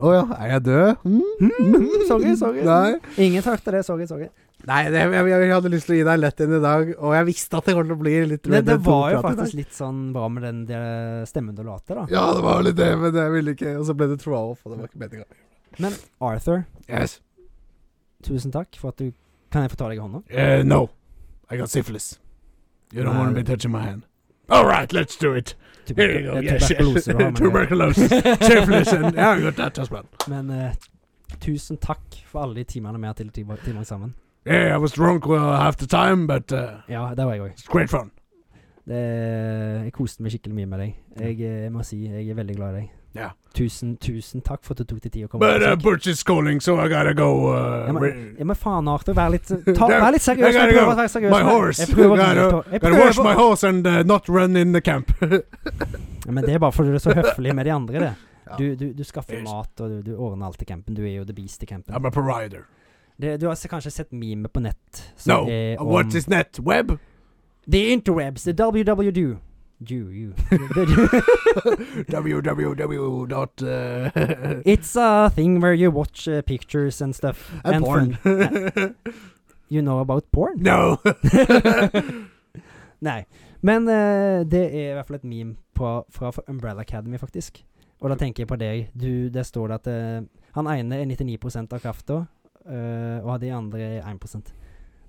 Speaker 1: Å ja, er jeg død? Hmm?
Speaker 2: Mm, sorry, sorry.
Speaker 1: Nei.
Speaker 2: Ingen takte det. Sorry, sorry.
Speaker 1: Nei, det, jeg, jeg, jeg hadde lyst til å gi deg lett en i dag, og jeg visste at det kom til å bli litt
Speaker 2: Men
Speaker 1: Red
Speaker 2: det
Speaker 1: Dead
Speaker 2: var jo
Speaker 1: 2-prat i dag.
Speaker 2: faktisk litt sånn bra med den der stemmen du la til, da.
Speaker 1: Ja, det var litt det, men jeg ville ikke Og så ble det troa off, og det var ikke meninga.
Speaker 2: Men Arthur,
Speaker 1: Yes.
Speaker 2: tusen takk for at du Kan jeg få ta deg i hånda?
Speaker 1: Uh, no. I got syphilis. You don't want to be touching my hand. All right, let's do it. Here you go.
Speaker 2: eh,
Speaker 1: Yes,
Speaker 2: Tuberkulose,
Speaker 1: yes.
Speaker 2: du har, men-
Speaker 1: Tuberculosis. syphilis and yeah, I got that as well.
Speaker 2: Men eh, tusen takk for alle de timene vi har til til- tilbrakt sammen.
Speaker 1: Yeah, I was drunk well, half the time, but uh,
Speaker 2: Ja, det var jeg òg.
Speaker 1: it's great fun.
Speaker 2: Jeg koste meg skikkelig mye med deg. Jeg, eh, må si jeg er veldig glad i deg.
Speaker 1: Ja.
Speaker 2: Tusen, tusen takk for at du tok deg tid å komme.
Speaker 1: But uh,
Speaker 2: på besøk.
Speaker 1: Butch is calling, so I gotta go. Uh,
Speaker 2: Ja, men-
Speaker 1: re-
Speaker 2: ja, men faen, Arthur, vær litt, ta, vær litt
Speaker 1: I
Speaker 2: seriøs.
Speaker 1: gotta
Speaker 2: Jeg prøver
Speaker 1: go.
Speaker 2: å være seriøs.
Speaker 1: My
Speaker 2: men-
Speaker 1: horse.
Speaker 2: Jeg prøver, å
Speaker 1: Gotta-
Speaker 2: delta. jeg
Speaker 1: gotta wash my
Speaker 2: prøver.
Speaker 1: horse and uh, not run in the camp.
Speaker 2: Ja, men det er bare fordi du er så høflig med de andre, det.
Speaker 1: Ja.
Speaker 2: Du, du, du skaffer
Speaker 1: Yes.
Speaker 2: mat, og du, du ordner alt i campen. Du er jo the beast i campen.
Speaker 1: I'm a parider.
Speaker 2: Det, du har s- kanskje sett meme på nett som
Speaker 1: No, Uh,
Speaker 3: eh,
Speaker 2: er
Speaker 3: um,
Speaker 1: what
Speaker 2: om
Speaker 1: is net web?
Speaker 2: The interwebs, the WWD. You, you.
Speaker 3: www dot uh,
Speaker 2: It's a thing where you watch uh, pictures and stuff.
Speaker 3: and
Speaker 2: fun.
Speaker 3: porn.
Speaker 2: You know about porn?
Speaker 3: no.
Speaker 2: Nei. Men eh, det er i hvert fall et meme på, fra fra Umbrella Academy, faktisk. Og da tenker jeg på deg. Du, der står det at eh, han ene er 99 av krafta, eh, og de andre er 1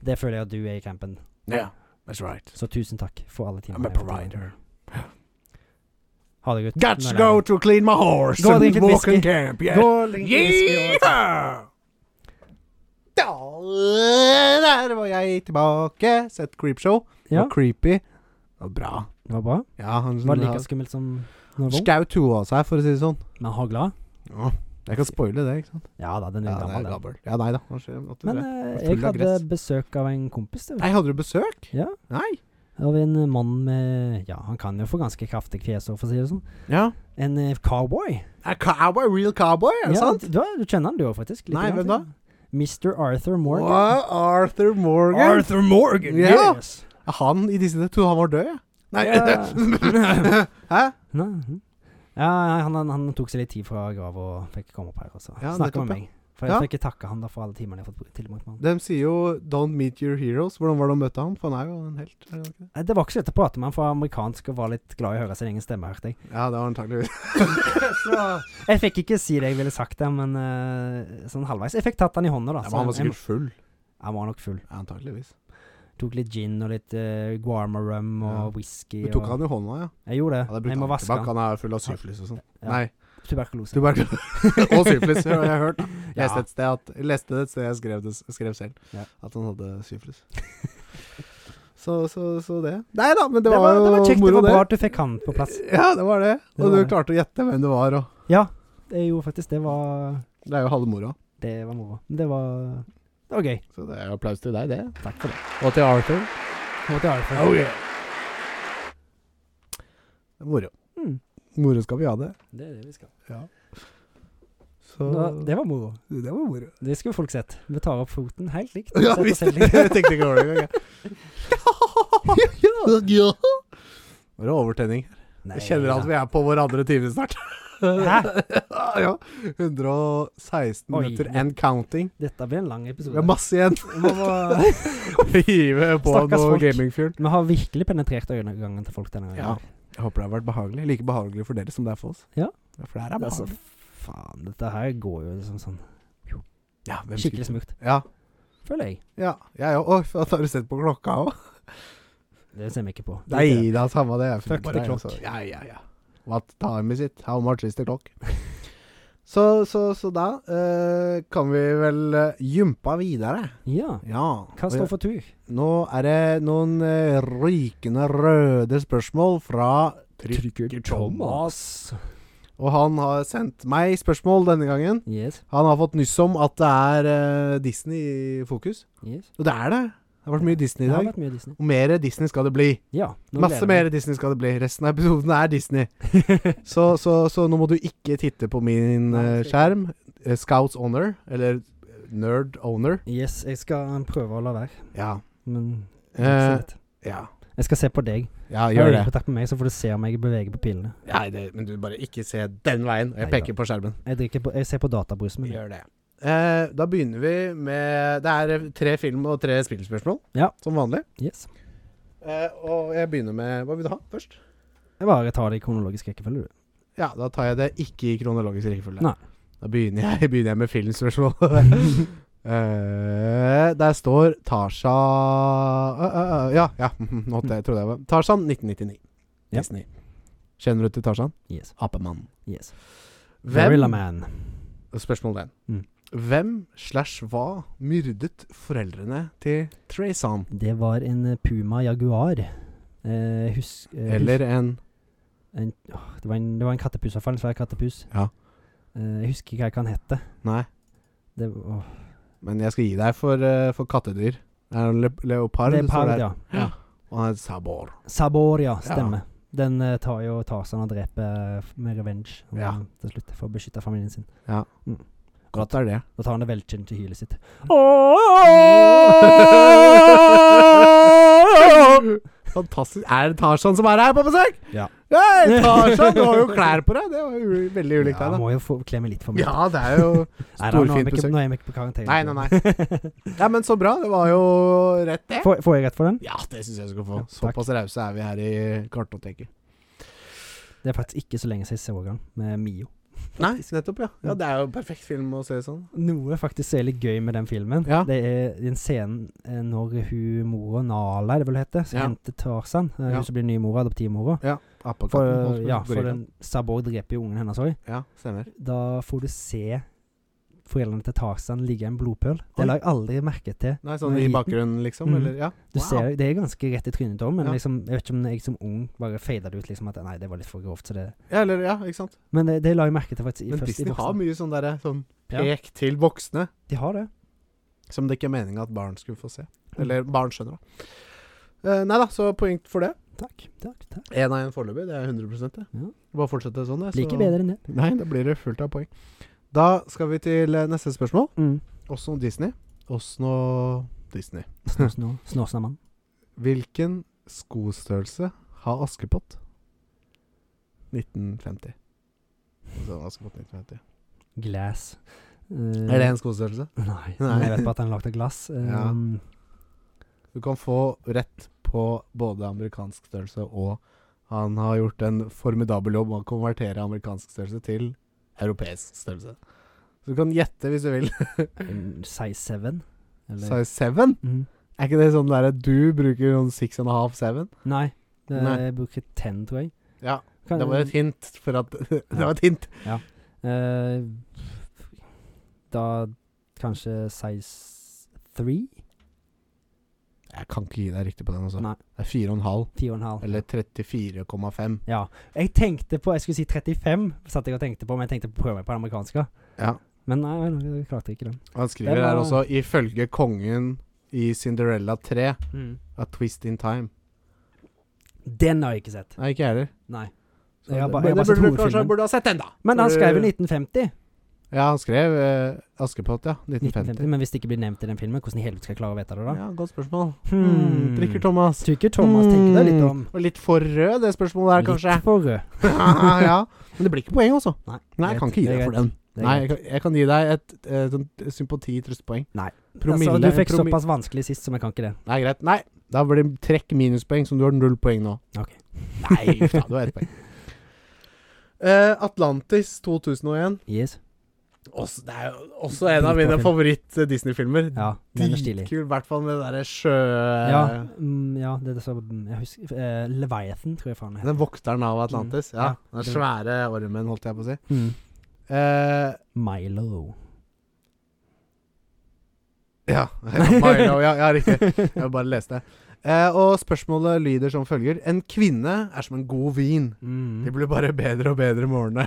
Speaker 2: Det føler jeg at du er i campen.
Speaker 3: yeah, that's right.
Speaker 2: Så tusen takk for alle timene.
Speaker 3: I'm a
Speaker 2: jeg har fått i dag.
Speaker 3: provider.
Speaker 2: Ha det godt. Nå er
Speaker 3: Got to
Speaker 2: det
Speaker 3: go
Speaker 2: helg.
Speaker 3: to clean my horse
Speaker 2: Go drink
Speaker 3: and
Speaker 2: it
Speaker 3: walk in
Speaker 2: whiskey.
Speaker 3: camp. Yeah.
Speaker 2: Gå og link til whisky og-
Speaker 3: yeah.
Speaker 1: Da, der var jeg tilbake. Sett Creepshow. Det
Speaker 2: Ja,
Speaker 1: var creepy. Det var bra.
Speaker 2: det var bra.
Speaker 1: Ja, han
Speaker 2: Var det like skummelt som når det var?
Speaker 1: skaut huet av seg, for å si det sånn.
Speaker 2: Men hagla?
Speaker 1: Ja, jeg kan spoile det, ikke sant?
Speaker 2: Ja da, den er gammel, den.
Speaker 1: gammel. Ja, nei da. Hva skjer om natt til
Speaker 2: Men
Speaker 1: det?
Speaker 2: eh,
Speaker 1: full
Speaker 2: jeg
Speaker 1: av
Speaker 2: hadde
Speaker 1: gress.
Speaker 2: besøk av en kompis. Du.
Speaker 1: Nei, hadde du besøk?
Speaker 2: Ja.
Speaker 1: Nei.
Speaker 2: Av en mann med Ja, han kan jo få ganske kraftig fjes, for å si det sånn.
Speaker 1: Ja.
Speaker 2: En eh, cowboy.
Speaker 1: Er cowboy real cowboy, er det sant?
Speaker 2: Du, du kjenner han du òg, faktisk. lite
Speaker 1: Nei,
Speaker 2: grann.
Speaker 1: hvem da?
Speaker 2: Mr. Arthur Morgan.
Speaker 1: Wow, Arthur Morgan.
Speaker 3: Arthur Morgan.
Speaker 1: Yeah.
Speaker 3: Yes.
Speaker 1: Er han i disse Jeg trodde han var død, jeg. Nei.
Speaker 2: Ja.
Speaker 1: Hæ?
Speaker 2: Nei, mhm. Ja, han, han, han tok seg litt tid fra grava og fikk komme opp her og
Speaker 1: Ja,
Speaker 2: snakke
Speaker 1: nettopp,
Speaker 2: med
Speaker 1: ja.
Speaker 2: meg. For jeg
Speaker 1: Ja.
Speaker 2: fikk ikke takke han da for alle timene jeg har fått tilbrakt med han.
Speaker 1: De sier jo 'don't meet your heroes'. Hvordan var det å møte han? For han er jo en helt. er han ikke det?
Speaker 2: Nei, Det var ikke så lett å prate med han, for han var amerikansk og var litt glad i å høre sin egen stemme, hørte jeg.
Speaker 1: Ja, det var antakeligvis.
Speaker 2: Jeg fikk ikke si det jeg ville sagt der, men eh, sånn halvveis. Jeg fikk tatt han i hånda, da.
Speaker 1: Ja,
Speaker 2: så
Speaker 1: men han var
Speaker 2: jeg-
Speaker 1: sikkert full.
Speaker 2: han var nok full.
Speaker 1: Ja, antakeligvis.
Speaker 2: Tok litt gin og litt uh, guarma rum og
Speaker 1: Ja.
Speaker 2: whisky.
Speaker 1: Du tok
Speaker 2: og-
Speaker 1: han i hånda, ja.
Speaker 2: Jeg gjorde det.
Speaker 1: ja det brukte
Speaker 2: jeg må
Speaker 1: han
Speaker 2: vaske
Speaker 1: tilbake.
Speaker 2: han.
Speaker 1: Han er full av syflis og sånn.
Speaker 2: Ja.
Speaker 1: Nei.
Speaker 2: Tuberkulose.
Speaker 1: Tuberkulose. og syfilis, har jeg hørt. Jeg
Speaker 2: Ja.
Speaker 1: leste et sted, at, jeg leste det et sted jeg skrev, det, skrev selv,
Speaker 2: Ja.
Speaker 1: at han hadde syfilis. så, så, så det. Nei da, men det,
Speaker 2: det,
Speaker 1: var
Speaker 2: var, det var
Speaker 1: jo
Speaker 2: kjekt. Det
Speaker 1: moro,
Speaker 2: var bra
Speaker 1: det.
Speaker 2: at du fikk han på plass.
Speaker 1: Ja, det var det.
Speaker 2: Det
Speaker 1: Og
Speaker 2: var
Speaker 1: du
Speaker 2: det.
Speaker 1: klarte å gjette hvem det var, og
Speaker 2: Ja, det gjorde faktisk Det var
Speaker 1: det er jo halve moroa.
Speaker 2: Det var moro. Det var Det var gøy.
Speaker 1: Så det er applaus til deg, det.
Speaker 2: Takk for det.
Speaker 1: Og til Arthur.
Speaker 2: Nå til Arif.
Speaker 3: Oh yeah.
Speaker 1: Moro.
Speaker 2: Mm.
Speaker 1: Moro skal vi ha det.
Speaker 2: Det er det vi skal.
Speaker 1: Så
Speaker 2: Nå, det var moro.
Speaker 1: det var moro.
Speaker 2: Det skulle folk sett. Vi tar opp foten helt likt.
Speaker 1: Ja, visst.
Speaker 2: Setter oss helt
Speaker 1: Jeg
Speaker 2: likt.
Speaker 1: tenkte ikke over det engang. jeg. Ja, ja. Nå er det overtenning.
Speaker 2: Nei,
Speaker 1: Jeg kjenner at
Speaker 2: da.
Speaker 1: vi er på vår andre time snart.
Speaker 2: Hæ?
Speaker 1: ja. 116
Speaker 2: Oi.
Speaker 1: minutter and counting.
Speaker 2: Dette blir en lang
Speaker 1: Vi har
Speaker 2: episode.
Speaker 1: masse igjen.
Speaker 2: Vi må-
Speaker 1: Hive på
Speaker 2: Stakkars
Speaker 1: noe
Speaker 2: folk.
Speaker 1: gamingfjøl.
Speaker 2: Vi har virkelig penetrert øyegangen til folk denne gangen.
Speaker 1: Ja. Jeg håper det har vært behagelig. Like behagelig for dere som det er for oss.
Speaker 2: Ja.
Speaker 1: For det her er
Speaker 2: Altså,
Speaker 1: behagelig.
Speaker 2: faen, dette her går jo liksom sånn
Speaker 1: Ja, hvem
Speaker 2: skikkelig smukt,
Speaker 1: skulle- Ja.
Speaker 2: føler jeg.
Speaker 1: Ja, jeg òg. Oi, faen, har du sett på klokka òg?
Speaker 2: Det ser vi ikke på. Det er ikke
Speaker 1: Nei
Speaker 2: det.
Speaker 1: da, samme det. Jeg
Speaker 2: Fuck
Speaker 1: finner
Speaker 2: the
Speaker 1: bare,
Speaker 2: clock.
Speaker 1: altså. Ja, ja, ja. What time is it? How much is the clock? så, så, så da eh, kan vi vel eh, jumpa videre.
Speaker 2: Ja.
Speaker 1: Ja.
Speaker 2: Hva står for tur?
Speaker 1: Nå er det noen eh, rykende røde spørsmål fra Trykker Og han har sendt meg spørsmål denne gangen.
Speaker 2: Yes.
Speaker 1: Han har fått nyss om at det er eh, Disney i fokus.
Speaker 2: yes.
Speaker 1: Og det er det. Det har vært mye Disney
Speaker 2: Det
Speaker 1: i
Speaker 2: har
Speaker 1: dag.
Speaker 2: vært mye Disney.
Speaker 1: Og mer Disney skal det bli.
Speaker 2: Ja. nå
Speaker 1: Masse
Speaker 2: gleder jeg
Speaker 1: mer Disney skal det bli. Resten av episoden er Disney. så, så, så nå må du ikke titte på min
Speaker 2: Nei,
Speaker 1: eh,
Speaker 2: jeg skal
Speaker 1: skjerm. Eh, Scouts Honor, eller eh, Nerd Honor.
Speaker 2: meg. Yes, jeg skal eh, prøve å la være,
Speaker 1: Ja.
Speaker 2: men det er ikke så
Speaker 1: Eh,
Speaker 2: lett.
Speaker 1: ja.
Speaker 2: Jeg skal se på deg.
Speaker 1: ja,
Speaker 2: Gjør
Speaker 1: gjør det.
Speaker 2: Takk på meg, så får du se om jeg beveger på pilene.
Speaker 1: Nei, det. Men du bare ikke se den veien. Jeg
Speaker 2: Neida.
Speaker 1: peker på skjermen.
Speaker 2: Jeg, drikker på, jeg ser på databrusen min.
Speaker 1: Gjør det. Eh, da begynner vi med Det er tre film- og tre spillspørsmål,
Speaker 2: Ja.
Speaker 1: som vanlig.
Speaker 2: Yes.
Speaker 1: Eh, og jeg begynner med Hva vil du ha først?
Speaker 2: Jeg bare tar det i kronologisk rekkefølge, du.
Speaker 1: Ja, da tar jeg det ikke i kronologisk rekkefølge.
Speaker 2: Nei.
Speaker 1: Da begynner jeg, begynner jeg med filmspørsmål. Eh, der står Tarzan eh, eh, eh, Ja, ja. Nå hadde jeg, trodde jeg var Tarzan 1999.
Speaker 2: Ja.
Speaker 1: Disney. Kjenner du til Tarzan?
Speaker 2: Yes.
Speaker 1: Apemannen.
Speaker 2: yes. Gorilla
Speaker 1: Hvem
Speaker 2: Man.
Speaker 1: Spørsmål den.
Speaker 2: Mm.
Speaker 1: Hvem slash hva myrdet foreldrene til Trazan?
Speaker 2: Det var en eh, Puma Jaguar. Eh, husk, eh,
Speaker 1: Eller en
Speaker 2: En, åh, det, var en, det var en kattepus, i hvert fall. En svær kattepus.
Speaker 1: Ja.
Speaker 2: Eh, jeg husker ikke hva han het.
Speaker 1: Nei,
Speaker 2: Det, åh,
Speaker 1: men jeg skal gi deg for, eh, for kattedyr. Det er en le leopard.
Speaker 2: det
Speaker 1: det
Speaker 2: er
Speaker 1: står
Speaker 2: Pard,
Speaker 1: der.
Speaker 2: ja.
Speaker 1: Ja. Og han heter Sabor.
Speaker 2: Sabor, ja. Stemmer. Den eh, tar jo Tarzan og dreper eh, f- med revenge og,
Speaker 1: Ja.
Speaker 2: til slutt for å beskytte familien sin.
Speaker 1: Godt er det.
Speaker 2: Da tar han det velkjente hylet sitt.
Speaker 1: Fantastisk. Er det Tarzan som er her på besøk?
Speaker 2: Ja.
Speaker 1: Hei, Tarzan, du har jo klær på deg. Det var jo u- veldig ulikt
Speaker 2: Ja,
Speaker 1: deg, da.
Speaker 2: må jo få klemme litt for meg.
Speaker 1: Ja, det er jo
Speaker 2: Nei, da, nå er
Speaker 1: storfint
Speaker 2: vi ikke-
Speaker 1: besøk.
Speaker 2: Nå er vi ikke på karakter.
Speaker 1: Nei, nei, Ja, men så bra. Det var jo rett, det.
Speaker 2: får, får jeg rett for den?
Speaker 1: Ja, det syns jeg du skal
Speaker 2: Ja,
Speaker 1: få.
Speaker 2: takk.
Speaker 1: Såpass rause er vi her i Kartoteket.
Speaker 2: Det er faktisk ikke så lenge siden jeg så den, med Mio.
Speaker 1: Nei, nettopp, ja. Ja, Det er jo en perfekt film å se sånn.
Speaker 2: Noe faktisk som er litt gøy med den filmen,
Speaker 1: Ja.
Speaker 2: det er den scenen eh, når hun mora, Nala er det vel hun heter, som
Speaker 1: Ja.
Speaker 2: henter Tarzan, eh, hun
Speaker 1: Ja.
Speaker 2: som blir ny mora, adoptivmora. For,
Speaker 1: Apekatten.
Speaker 2: ja, for den Sabor dreper jo ungen hennes òg.
Speaker 1: ja, stemmer.
Speaker 2: Da får du se foreldrene til Tarzan ligge i en blodpøl.
Speaker 1: Oi.
Speaker 2: Det la jeg aldri merke til.
Speaker 1: Nei, sånn
Speaker 2: Nei.
Speaker 1: i bakgrunnen, liksom?
Speaker 2: Mhm.
Speaker 1: Eller, ja.
Speaker 2: Du ser, det er ganske rett i trynet, da, men
Speaker 1: Ja.
Speaker 2: liksom, jeg vet ikke om jeg som ung bare fada det ut liksom at nei, det var litt for grovt. Så det
Speaker 1: ja, eller, ja, ikke sant.
Speaker 2: Men det, det la jeg merke til faktisk i-
Speaker 1: Men
Speaker 2: først i
Speaker 1: Disney
Speaker 2: voksen.
Speaker 1: har mye sånn derre sånn
Speaker 2: Ja.
Speaker 1: pek til voksne
Speaker 2: De har det.
Speaker 1: som det ikke er meninga at barn skulle få se.
Speaker 2: Mm.
Speaker 1: Eller barn skjønner, da. Eh, nei da, så poeng for det.
Speaker 2: Takk. takk, takk.
Speaker 1: Én av én foreløpig. Det er 100 det.
Speaker 2: Ja.
Speaker 1: Bare fortsette sånn, det. så-
Speaker 2: Liker bedre enn det.
Speaker 1: Nei, da blir det fullt av poeng. Da skal vi til eh, neste spørsmål.
Speaker 2: Mm.
Speaker 1: Også noe Disney. Også noe Disney.
Speaker 2: Snåsna- Snåsnamann.
Speaker 1: Hvilken skostørrelse har Askepott? 1950. Altså Askepott 1950.
Speaker 2: Glass. Eh,
Speaker 1: Er det en skostørrelse?
Speaker 2: Nei.
Speaker 1: Nei.
Speaker 2: men Jeg vet bare at han er lagd av glass. Eh,
Speaker 1: Ja. Du kan få rett på både amerikansk størrelse og han har gjort en formidabel jobb med å konvertere amerikansk størrelse til europeisk størrelse. Så du kan gjette hvis du vil.
Speaker 2: en Size 7? Eller?
Speaker 1: Size 7?
Speaker 2: Mm.
Speaker 1: Er ikke det sånn der at du bruker sånn six and a half seven?
Speaker 2: Nei. Det,
Speaker 1: Nei.
Speaker 2: Jeg bruker 10, tror jeg.
Speaker 1: Ja,
Speaker 2: Kan-
Speaker 1: det var et hint for at Det var et hint.
Speaker 2: Eh, da kanskje size 3?
Speaker 1: Jeg kan ikke gi deg riktig på den, altså.
Speaker 2: Nei.
Speaker 1: Det er fire og en halv.
Speaker 2: 4,5.
Speaker 1: Eller 34,5.
Speaker 2: Ja. Jeg tenkte på Jeg skulle si 35, satt jeg og tenkte på, men jeg tenkte på å prøve meg på den amerikanske.
Speaker 1: Ja.
Speaker 2: Men nei, jeg klarte ikke den.
Speaker 1: Han skriver
Speaker 2: Den
Speaker 1: her
Speaker 2: var-
Speaker 1: også ifølge kongen i Cinderella 3 A Twist in Time.
Speaker 2: Den har jeg ikke sett.
Speaker 1: Nei, ikke jeg heller.
Speaker 2: Nei.
Speaker 1: Så
Speaker 2: Jeg har
Speaker 1: det-
Speaker 2: ba-
Speaker 1: men
Speaker 2: jeg har
Speaker 1: det
Speaker 2: bare
Speaker 1: burde
Speaker 2: sett
Speaker 1: du kanskje-
Speaker 2: hovedfilmen.
Speaker 1: burde ha sett den, da.
Speaker 2: Men han
Speaker 1: Burde-
Speaker 2: skrev i 1950.
Speaker 1: Eh, Ja, han skrev eh, Askepott, ja.
Speaker 2: 1950.
Speaker 1: 1950.
Speaker 2: Men hvis det ikke blir nevnt i den filmen, hvordan i helvete skal jeg klare å vite det da?
Speaker 1: Ja, godt spørsmål.
Speaker 2: Hmm.
Speaker 1: Mm, drikker Thomas.
Speaker 2: Tror ikke Thomas tenker deg litt om.
Speaker 1: Mm, Og litt for rød, det spørsmålet der, kanskje.
Speaker 2: Litt for rød.
Speaker 1: ja. Men det blir ikke poeng, altså.
Speaker 2: Nei,
Speaker 1: Nei, jeg kan ikke gi
Speaker 2: det er
Speaker 1: deg for
Speaker 2: greit.
Speaker 1: den.
Speaker 2: Det er
Speaker 1: Nei,
Speaker 2: greit.
Speaker 1: jeg kan, jeg kan gi deg et, eh, sånt sympati-trøstepoeng.
Speaker 2: Nei.
Speaker 1: Promille.
Speaker 2: altså, du fikk
Speaker 1: promi-
Speaker 2: såpass vanskelig sist, som jeg kan ikke det.
Speaker 1: Nei, greit. Nei, da blir det trekk minuspoeng, som du har null poeng nå.
Speaker 2: Ok.
Speaker 1: Nei, uff da. Du har ett poeng. Eh, Atlantis 2001.
Speaker 2: Yes.
Speaker 1: Også, det er jo også en av mine
Speaker 2: Dritbra film.
Speaker 1: favoritt-Disney-filmer.
Speaker 2: Ja, den er stilig.
Speaker 1: Dritkul, i hvert fall med det derre sjø...
Speaker 2: Ja, mm, ja, det er så mm, Jeg husker eh, Leviathan, tror jeg faen det
Speaker 1: Den vokteren av Atlantis.
Speaker 2: Mm,
Speaker 1: Ja.
Speaker 2: ja.
Speaker 1: Den svære ormen, holdt jeg på å si.
Speaker 2: heter. Mm.
Speaker 1: Eh,
Speaker 2: Milo.
Speaker 1: ja. Milo, ja, ja, riktig. Jeg vil bare lese det. Eh, og spørsmålet lyder som følger En kvinne er som en god vin.
Speaker 2: Mm.
Speaker 1: De blir bare bedre og bedre med årene.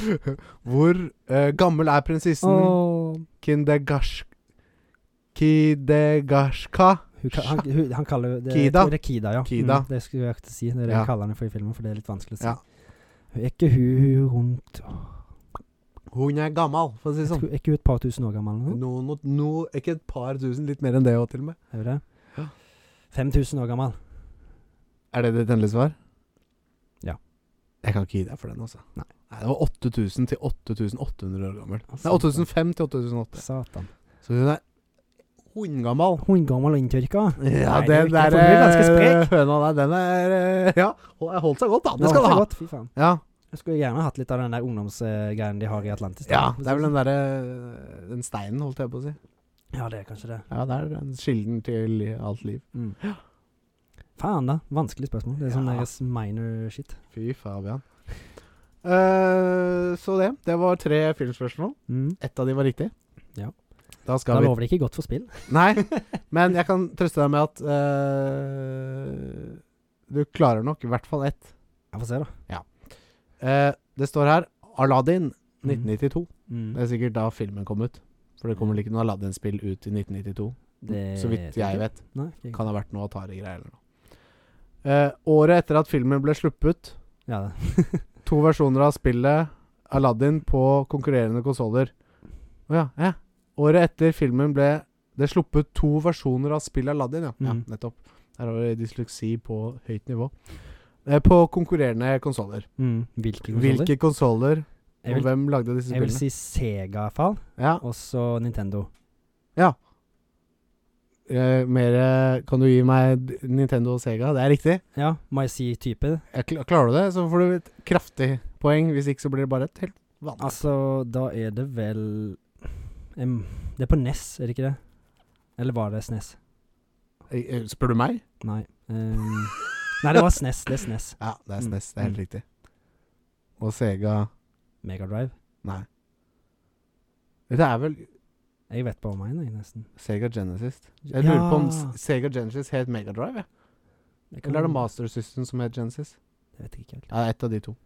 Speaker 1: Hvor eh, gammel er prinsessen
Speaker 2: Åh.
Speaker 1: Kindegash... Kidegashka?
Speaker 2: Hun, ka- han, hun, han kaller jo- det,
Speaker 1: Kida.
Speaker 2: Jeg tror det er Kida, ja.
Speaker 1: Kida.
Speaker 2: Mm, det skulle jeg ikke si. Det er det
Speaker 1: Ja.
Speaker 2: jeg kaller henne for i filmen, for det er litt vanskelig å si.
Speaker 1: Ja.
Speaker 2: Hun er ikke hun, hun rundt
Speaker 1: Hun er gammel, for å si det sånn.
Speaker 2: Er ikke hun et par tusen år gammel? nå?
Speaker 1: No, no, no, ikke et par tusen, litt mer enn det òg, til og med.
Speaker 2: Er hun det?
Speaker 1: Ja.
Speaker 2: 5000 år gammel.
Speaker 1: Er det ditt endelige svar?
Speaker 2: Ja.
Speaker 1: Jeg kan ikke gi deg for den, altså.
Speaker 2: Nei.
Speaker 1: det var 8000 til 8800 år gammel.
Speaker 2: Altså,
Speaker 1: Nei, 8005 til 8008.
Speaker 2: Satan.
Speaker 1: Så hun er hundgammal.
Speaker 2: Hun gammel og inntørka.
Speaker 1: Ja,
Speaker 2: Nei,
Speaker 1: den
Speaker 2: du er ikke-
Speaker 1: der
Speaker 2: for hun er ganske
Speaker 1: eh,
Speaker 2: sprek.
Speaker 1: høna der, den er eh, Ja, hol- holdt seg godt, da. Det
Speaker 2: Nå,
Speaker 1: skal
Speaker 2: så
Speaker 1: du ha.
Speaker 2: Godt, fy faen.
Speaker 1: Ja,
Speaker 2: Jeg skulle gjerne hatt litt av den der ungdomsgreien de har i Atlantis. da.
Speaker 1: ja, det er vel den derre Den steinen, holdt jeg på å si.
Speaker 2: Ja, det er kanskje det.
Speaker 1: Ja, det er den kilden til alt liv.
Speaker 2: Mm. Faen, da. Vanskelig spørsmål. Det er sånn
Speaker 1: Ja.
Speaker 2: deres minor shit.
Speaker 1: Fy Fabian. Eh, så det. Det var tre filmspørsmål.
Speaker 2: Mm.
Speaker 1: Ett av de var riktig.
Speaker 2: Ja.
Speaker 1: Da skal
Speaker 2: Da
Speaker 1: vi
Speaker 2: lover det ikke godt for spill.
Speaker 1: Nei, men jeg kan trøste deg med at eh, du klarer nok i hvert fall ett.
Speaker 2: Jeg får se, da.
Speaker 1: Eh, det står her Aladdin
Speaker 2: Mm.
Speaker 1: 1992.
Speaker 2: Mm.
Speaker 1: Det er sikkert da filmen kom ut. For det kommer vel ikke noe Aladdin-spill ut i 1992,
Speaker 2: Det
Speaker 1: så vidt jeg vet.
Speaker 2: Nei, ikke.
Speaker 1: Kan ha vært noe Atari-greier eller noe. Eh, året etter at filmen ble sluppet,
Speaker 2: Ja, det.
Speaker 1: to versjoner av spillet Aladdin på konkurrerende konsoller. Å ja, ja. Året etter filmen ble det sluppet to versjoner av spillet Aladdin, ja. ja
Speaker 2: Mhm.
Speaker 1: nettopp. Her har vi dysleksi på høyt nivå. Eh, På konkurrerende konsoller.
Speaker 2: Mm. Hvilke konsoller?
Speaker 1: Hvilke konsoller,
Speaker 2: Jeg
Speaker 1: og
Speaker 2: vil,
Speaker 1: hvem lagde disse
Speaker 2: jeg vil
Speaker 1: spillene?
Speaker 2: si Sega, iallfall.
Speaker 1: Ja,
Speaker 2: Og så Nintendo.
Speaker 1: eh, mer eh, Kan du gi meg d- Nintendo og Sega? Det er riktig.
Speaker 2: Ja, må jeg si type?
Speaker 1: Jeg kl- klarer du det, så får du et kraftig poeng. Hvis ikke så blir det bare et helt vanlig
Speaker 2: Altså, da er det vel em, Det er på NES, er det ikke det? Eller var det SNES?
Speaker 1: Eh, eh, Spør du meg?
Speaker 2: Nei. em, nei, det var SNES. Det er SNES.
Speaker 1: Ja, det er
Speaker 2: Mm,
Speaker 1: SNES. Det er helt
Speaker 2: mm.
Speaker 1: riktig. Og Sega
Speaker 2: Megadrive.
Speaker 1: Nei. Det er vel
Speaker 2: Jeg vet bare om én, jeg, nesten.
Speaker 1: Sega Genesis. Jeg lurer på om
Speaker 2: Ja,
Speaker 1: S- Sega Genesis het Megadrive. Ja.
Speaker 2: det kan-
Speaker 1: Eller er det Master System som het Genesis?
Speaker 2: Jeg vet ikke helt.
Speaker 1: Ja, det er ett av de to.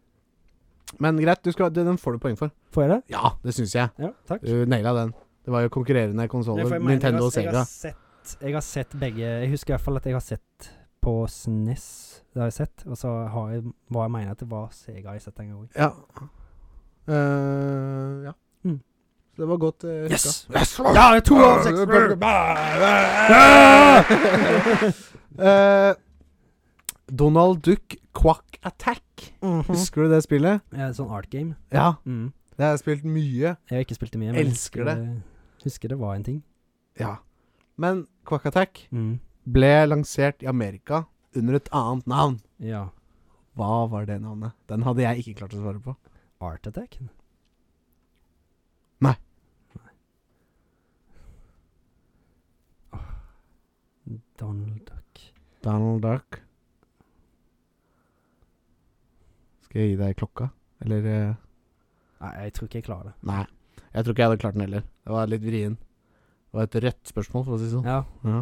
Speaker 1: Men greit, du skal, den får du poeng for.
Speaker 2: Får jeg det?
Speaker 1: Ja, det syns jeg.
Speaker 2: Ja, takk.
Speaker 1: Du naila den. Det var jo konkurrerende
Speaker 2: Nei, for
Speaker 1: konsoller.
Speaker 2: jeg mener,
Speaker 1: Nintendo og
Speaker 2: jeg
Speaker 1: Sega.
Speaker 2: har- Jeg har, sett, jeg har sett begge Jeg husker i hvert fall at jeg har sett på SNES. Det har jeg sett. Og så har jeg hva jeg mener at det var Sega jeg har sett en gang òg.
Speaker 1: Ja. Eh, ja.
Speaker 2: Mm.
Speaker 1: Så det var godt uh,
Speaker 2: Yes!
Speaker 1: yes!
Speaker 2: Ja, det er to av seks!
Speaker 1: Ah! Eh, Donald Duck Quack Attack.
Speaker 2: Husk-
Speaker 1: Husker du det spillet?
Speaker 2: Ja, sånn art game.
Speaker 1: Ja.
Speaker 2: Mm.
Speaker 1: Det har jeg spilt mye.
Speaker 2: Jeg har ikke spilt det mye, men
Speaker 1: Elsker
Speaker 2: husker det. Husker det var en ting.
Speaker 1: Ja. Men Quack Attack
Speaker 2: Mm.
Speaker 1: ble lansert i Amerika under et annet navn.
Speaker 2: Ja.
Speaker 1: Hva var det navnet? Den hadde jeg ikke klart å svare på.
Speaker 2: Art Attack?
Speaker 1: Nei.
Speaker 2: Nei. Åh. Donald Duck
Speaker 1: Donald Duck. Skal jeg gi deg klokka? Eller eh,
Speaker 2: Nei, jeg tror ikke jeg klarer det.
Speaker 1: Nei. Jeg tror ikke jeg hadde klart den heller. Det var litt vrien. Det var et rødt spørsmål, for å si det sånn.
Speaker 2: Ja.
Speaker 1: Ja.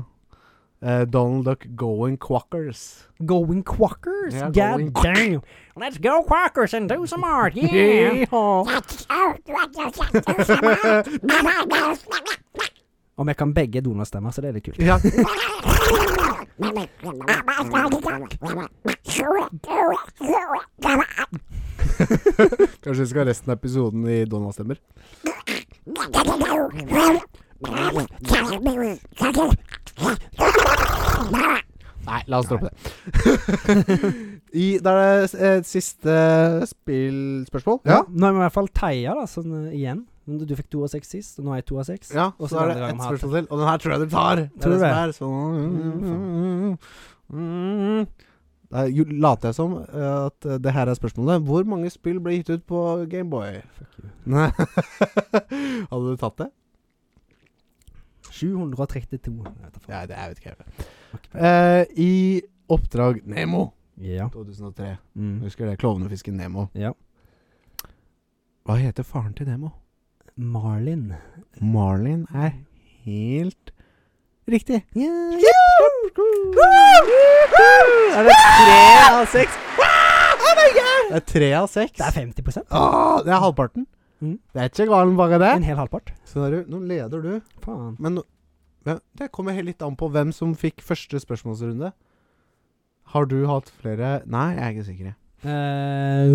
Speaker 1: Eh, Donald Duck Going Quackers.
Speaker 2: Going quackers?
Speaker 1: Yeah,
Speaker 2: God
Speaker 1: going-
Speaker 2: damn. Let's go quackers and do some art, yeah.
Speaker 1: Yeah.
Speaker 2: Om jeg kan begge Donald-stemmer, så det er litt kult.
Speaker 1: ja. Kanskje vi skal ha resten av episoden i Donald-stemmer? Nei, la oss droppe det. I, da er det s- et siste spillspørsmål.
Speaker 2: Nå er vi i hvert fall Theia, da, sånn eh, igjen. Men Du du fikk to av seks sist, og nå er jeg to av seks.
Speaker 1: Ja,
Speaker 2: Og
Speaker 1: så
Speaker 2: så
Speaker 1: er det
Speaker 2: den andre gangen
Speaker 1: ett
Speaker 2: har jeg
Speaker 1: spørsmål til. Og den her tror jeg du tar.
Speaker 2: Tror du
Speaker 1: det?
Speaker 2: det? Mm,
Speaker 1: er Sånn. Mm. Da jo- later jeg som eh, at eh, det her er spørsmålet. Hvor mange spill ble gitt ut på Gameboy?
Speaker 2: Fuck you.
Speaker 1: Nei. Hadde du tatt det?
Speaker 2: 732. Jeg vet da faen.
Speaker 1: Nei, det jeg vet ikke. Jeg. Eh, I Oppdrag Nemo
Speaker 2: Ja.
Speaker 1: 2003.
Speaker 2: Mm.
Speaker 1: Husker det? Klovnefisken Nemo.
Speaker 2: ja.
Speaker 1: Hva heter faren til Nemo?
Speaker 2: Marlin.
Speaker 1: Marlin er helt riktig. Er det tre av seks? Det er tre av seks.
Speaker 2: Det er 50
Speaker 1: Åh, det er halvparten.
Speaker 2: Mm.
Speaker 1: Det er ikke galen bare det.
Speaker 2: En hel halvpart.
Speaker 1: Så Sånn er du, nå leder du.
Speaker 2: Faen.
Speaker 1: Men nå- ja, det kommer helt litt an på hvem som fikk første spørsmålsrunde. Har du hatt flere Nei, jeg er ikke sikker. jeg.
Speaker 2: Eh,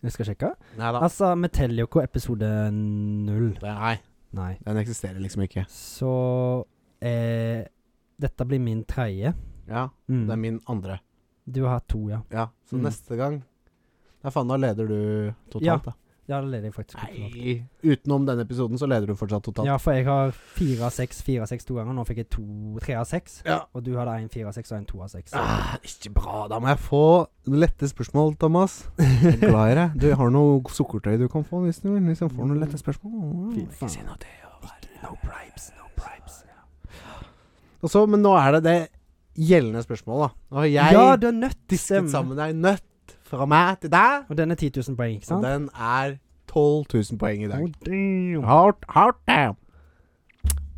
Speaker 2: jeg skal sjekke. Altså, Metellioco episode null.
Speaker 1: Det- Nei,
Speaker 2: Nei.
Speaker 1: den eksisterer liksom ikke.
Speaker 2: Så eh, Dette blir min tredje.
Speaker 1: Ja,
Speaker 2: Mm.
Speaker 1: det er min andre.
Speaker 2: Du har hatt to, ja.
Speaker 1: Ja, så
Speaker 2: Mm.
Speaker 1: neste gang Nei, faen, da leder du totalt,
Speaker 2: Ja,
Speaker 1: da.
Speaker 2: Ja, det leder jeg faktisk totalt.
Speaker 1: Nei. Utenom denne episoden, så leder du fortsatt totalt.
Speaker 2: Ja, for jeg har fire av seks, fire av seks to ganger. Nå fikk jeg to, tre av seks.
Speaker 1: Ja.
Speaker 2: Og du hadde en fire av seks og en to av seks.
Speaker 1: Ah, ikke bra. Da må jeg få lette spørsmål, Thomas. Jeg er glad i deg. Du har noe sukkertøy du kan få hvis du vil. Hvis jeg får noen lette spørsmål.
Speaker 2: Fy faen.
Speaker 1: noe til å være-
Speaker 2: No bribes, no bribes.
Speaker 1: Og så, men nå er det det gjeldende spørsmålet, da. Nå har jeg
Speaker 2: ja, du er nødt
Speaker 1: disket
Speaker 2: stemmer.
Speaker 1: sammen ei nøtt fra meg til deg,
Speaker 2: Og den er 10 000 poeng, ikke
Speaker 1: og
Speaker 2: sant?
Speaker 1: den er 12 000 poeng i dag.
Speaker 2: damn.
Speaker 1: Hard, hard damn.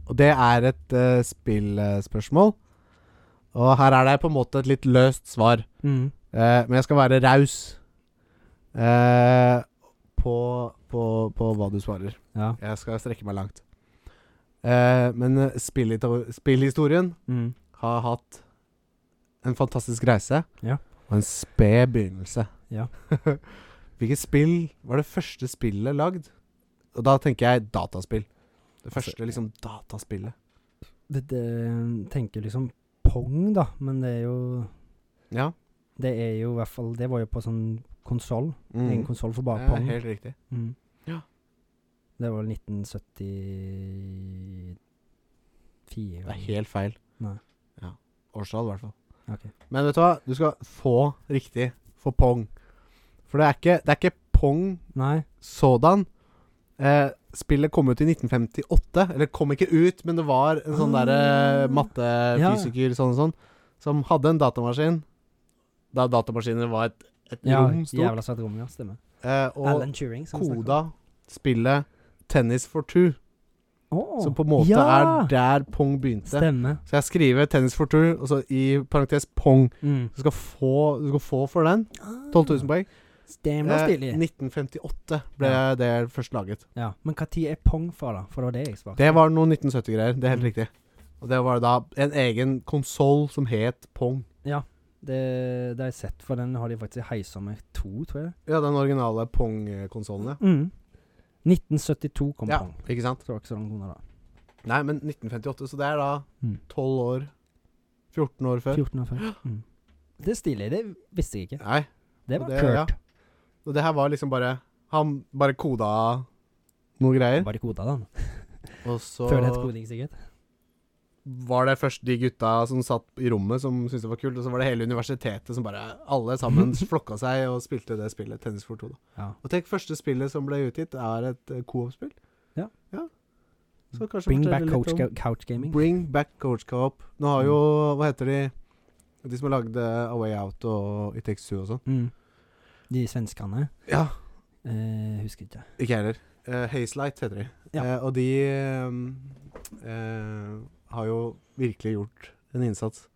Speaker 1: Og det er et eh, spillspørsmål. Og her er det på en måte et litt løst svar.
Speaker 2: Mm.
Speaker 1: Eh, men jeg skal være raus eh, på, på, på hva du svarer.
Speaker 2: Ja.
Speaker 1: Jeg skal strekke meg langt. Eh, men eh, spillhito- spillhistorien
Speaker 2: Mm.
Speaker 1: har hatt en fantastisk reise
Speaker 2: Ja.
Speaker 1: og en sped begynnelse.
Speaker 2: Ja.
Speaker 1: Hvilket spill var det første spillet lagd? Og da tenker jeg dataspill. Det
Speaker 2: Altså,
Speaker 1: første liksom dataspillet.
Speaker 2: Det, det, tenker liksom Pong, da, men det er jo
Speaker 1: Ja.
Speaker 2: Det er jo i hvert fall Det var jo på sånn konsoll. Ingen
Speaker 1: Mm.
Speaker 2: konsoll for bare
Speaker 1: Ja,
Speaker 2: Pong.
Speaker 1: helt riktig.
Speaker 2: Mm.
Speaker 1: Ja.
Speaker 2: Det var vel 1974
Speaker 1: Det er helt feil.
Speaker 2: Nei.
Speaker 1: Ja. Årstall, i hvert fall.
Speaker 2: Ok.
Speaker 1: Men vet du hva? Du skal få riktig for pong. For det er ikke, det er ikke pong
Speaker 2: Nei.
Speaker 1: sådan. Eh, spillet kom ut i 1958. Eller kom ikke ut, men det var en sånn derre
Speaker 2: Ah.
Speaker 1: mattefysiker sånn og sånn, som hadde en datamaskin. Da datamaskiner var et, et
Speaker 2: Ja,
Speaker 1: rom stort.
Speaker 2: jævla svært rom, ja. Stemmer.
Speaker 1: Eh, og
Speaker 2: Alan Turing. som vi snakket om.
Speaker 1: koda spillet Tennis for two,
Speaker 2: Åh,
Speaker 1: som på en måte
Speaker 2: ja!
Speaker 1: er der pong begynte.
Speaker 2: Stemmer.
Speaker 1: Så jeg skriver 'Tennis for two', og så i parentes pong.
Speaker 2: Mm.
Speaker 1: Du skal få, du skal få for den.
Speaker 2: Ah.
Speaker 1: 12 000 poeng. Eh,
Speaker 2: Stemmer stilig.
Speaker 1: 1958 ble
Speaker 2: Ja.
Speaker 1: det først laget.
Speaker 2: Ja, Men når er pong fra, da? For det var det jeg svarte.
Speaker 1: Det var noen 1970-greier. Det er helt
Speaker 2: Mm.
Speaker 1: riktig. Og det var da en egen konsoll som het Pong.
Speaker 2: Det, det har jeg sett, for den har de faktisk heisa med to, tror jeg.
Speaker 1: Ja, den originale Pong-konsollen, ja.
Speaker 2: Mm. 1972 kom
Speaker 1: Ja,
Speaker 2: pong.
Speaker 1: Ikke sant?
Speaker 2: Så det var ikke så langt unna, da.
Speaker 1: Nei, men 1958, så det er da
Speaker 2: Mm.
Speaker 1: 12 år 14 år før.
Speaker 2: 14 år før. Mm. Det er stilig. Det visste jeg ikke.
Speaker 1: Nei.
Speaker 2: Det
Speaker 1: og
Speaker 2: var
Speaker 1: det-
Speaker 2: kult.
Speaker 1: Og det her var liksom bare Han bare koda noen greier,
Speaker 2: Bare koda den.
Speaker 1: og så
Speaker 2: Før det het koding, sikkert.
Speaker 1: var det først de gutta som satt i rommet som syntes det var kult, og så var det hele universitetet som bare Alle sammen flokka seg og spilte det spillet, Tennis for to. da.
Speaker 2: Ja.
Speaker 1: Og tenk, første spillet som ble utgitt, er et eh, co-op-spill.
Speaker 2: Ja. Mm.
Speaker 1: Så kanskje
Speaker 2: Bring
Speaker 1: fortelle
Speaker 2: back
Speaker 1: litt
Speaker 2: couch,
Speaker 1: om-
Speaker 2: ga- couch gaming. Mm.
Speaker 1: Bring back coach co-op. Nå har jo Hva heter de De som har lagd eh, A Way Out og It Takes Two og sånn?
Speaker 2: Mm. De svenskene
Speaker 1: Ja.
Speaker 2: eh, Husker ikke.
Speaker 1: Ikke jeg heller. Uh, Hazelight heter de.
Speaker 2: Ja.
Speaker 1: Eh, og de eh, eh, har jo virkelig gjort en innsats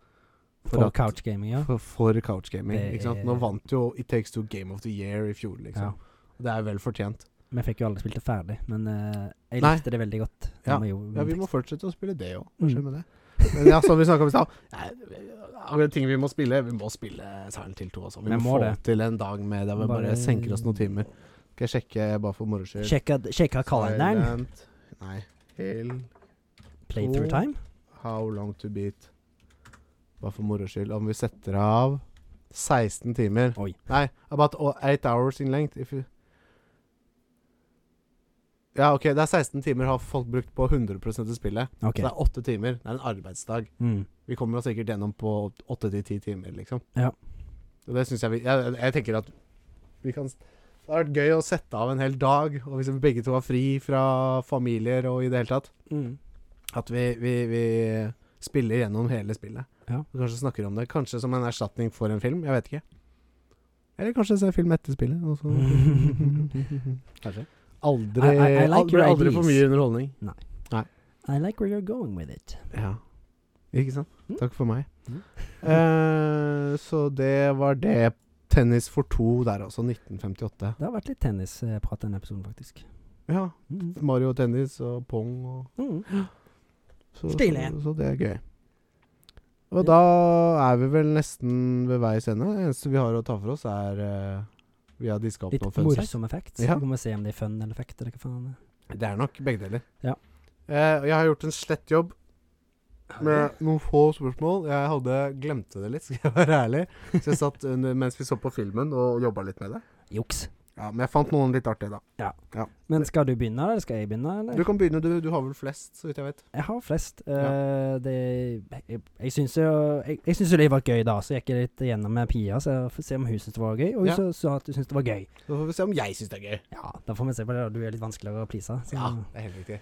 Speaker 2: For
Speaker 1: at-
Speaker 2: couch gaming, ja.
Speaker 1: for, for couchgaming.
Speaker 2: Det
Speaker 1: ikke sant?
Speaker 2: er-
Speaker 1: Nå vant jo It Takes Two Game of the Year i fjor, liksom. Det er vel fortjent.
Speaker 2: Vi fikk jo aldri spilt det ferdig, men eh, jeg
Speaker 1: Nei.
Speaker 2: likte det veldig godt.
Speaker 1: Ja.
Speaker 2: Vi gjorde
Speaker 1: Ja, vi
Speaker 2: den
Speaker 1: må
Speaker 2: teksten.
Speaker 1: fortsette å spille det òg.
Speaker 2: Mm.
Speaker 1: Skjønner med det. Men ja, som vi snakka om i stad nei, Akkurat ting vi må spille Vi må spille Silent Hill 2 også. Vi
Speaker 2: Men
Speaker 1: må,
Speaker 2: må
Speaker 1: få
Speaker 2: det.
Speaker 1: til en dag med der vi bare, senker oss noen timer. Skal jeg sjekke bare for moro skyld?
Speaker 2: Sjekka, sjekka kalenderen.
Speaker 1: Silent- Nei. Hill
Speaker 2: Playthrough
Speaker 1: to.
Speaker 2: time.
Speaker 1: How long to beat? Bare for moro skyld. Om vi setter av 16 timer
Speaker 2: Oi.
Speaker 1: Nei, about o- 8 hours in length if you Ja, OK, det er 16 timer har folk brukt på 100 av spillet.
Speaker 2: Ok.
Speaker 1: Så det er 8 timer. Det er en arbeidsdag.
Speaker 2: Mm.
Speaker 1: Vi kommer oss sikkert gjennom på 8-10 timer, liksom.
Speaker 2: Ja.
Speaker 1: Og det syns jeg vi jeg, jeg tenker at vi kan s- Det hadde vært gøy å sette av en hel dag, og hvis vi begge to har fri fra familier og i det hele tatt
Speaker 2: Mm.
Speaker 1: at vi, vi, vi spiller gjennom hele spillet.
Speaker 2: Ja.
Speaker 1: Og kanskje snakker om det. Kanskje som en erstatning for en film. Jeg vet ikke. Eller kanskje se film etter spillet. Og så kanskje. Aldri,
Speaker 2: I- I- I like
Speaker 1: al-
Speaker 2: your
Speaker 1: blir aldri for
Speaker 2: ideas.
Speaker 1: mye underholdning.
Speaker 2: I like where you're going with it.
Speaker 1: Ja. Ikke sant?
Speaker 2: Mm.
Speaker 1: Takk for meg.
Speaker 2: Mm.
Speaker 1: Eh, så det var det. Tennis for to der altså. også, 1958.
Speaker 2: Det har vært litt tennisprat i denne episoden, faktisk.
Speaker 1: Ja.
Speaker 2: Mm.
Speaker 1: Mario Tennis og pong og
Speaker 2: Mm.
Speaker 1: Så,
Speaker 2: Stilig.
Speaker 1: Så, så det er gøy. Og
Speaker 2: Ja.
Speaker 1: da er vi vel nesten ved veis ende. Det eneste vi har å ta for oss, er eh, Vi har diska opp
Speaker 2: Litt
Speaker 1: noen fun facts.
Speaker 2: morsomme facts.
Speaker 1: Ja.
Speaker 2: Så kan vi se om det er fun eller fact eller hva faen. det er.
Speaker 1: Det er nok begge deler.
Speaker 2: Ja.
Speaker 1: Eh, og jeg har gjort en slett jobb med noen få spørsmål. Jeg hadde glemte det litt, skal jeg være ærlig. Så jeg satt under, mens vi så på filmen og jobba litt med det.
Speaker 2: Juks.
Speaker 1: Ja, Men jeg fant noen litt artige, da.
Speaker 2: Men skal du begynne, eller skal jeg begynne? Eller?
Speaker 1: Du kan begynne, du. Du har vel flest, så vidt jeg vet.
Speaker 2: Jeg har flest. eh, det, jeg, jeg syns jo jeg, jeg syns jo det var gøy, da. Så jeg gikk litt gjennom med Pia, så jeg får se om hun syns det var gøy, og hun
Speaker 1: Ja.
Speaker 2: sa- sa at hun syns det var gøy.
Speaker 1: Så får vi se om jeg syns det er gøy.
Speaker 2: Ja, da får vi se på det. da. Du er litt vanskeligere å please. så-
Speaker 1: Ja, det er helt riktig.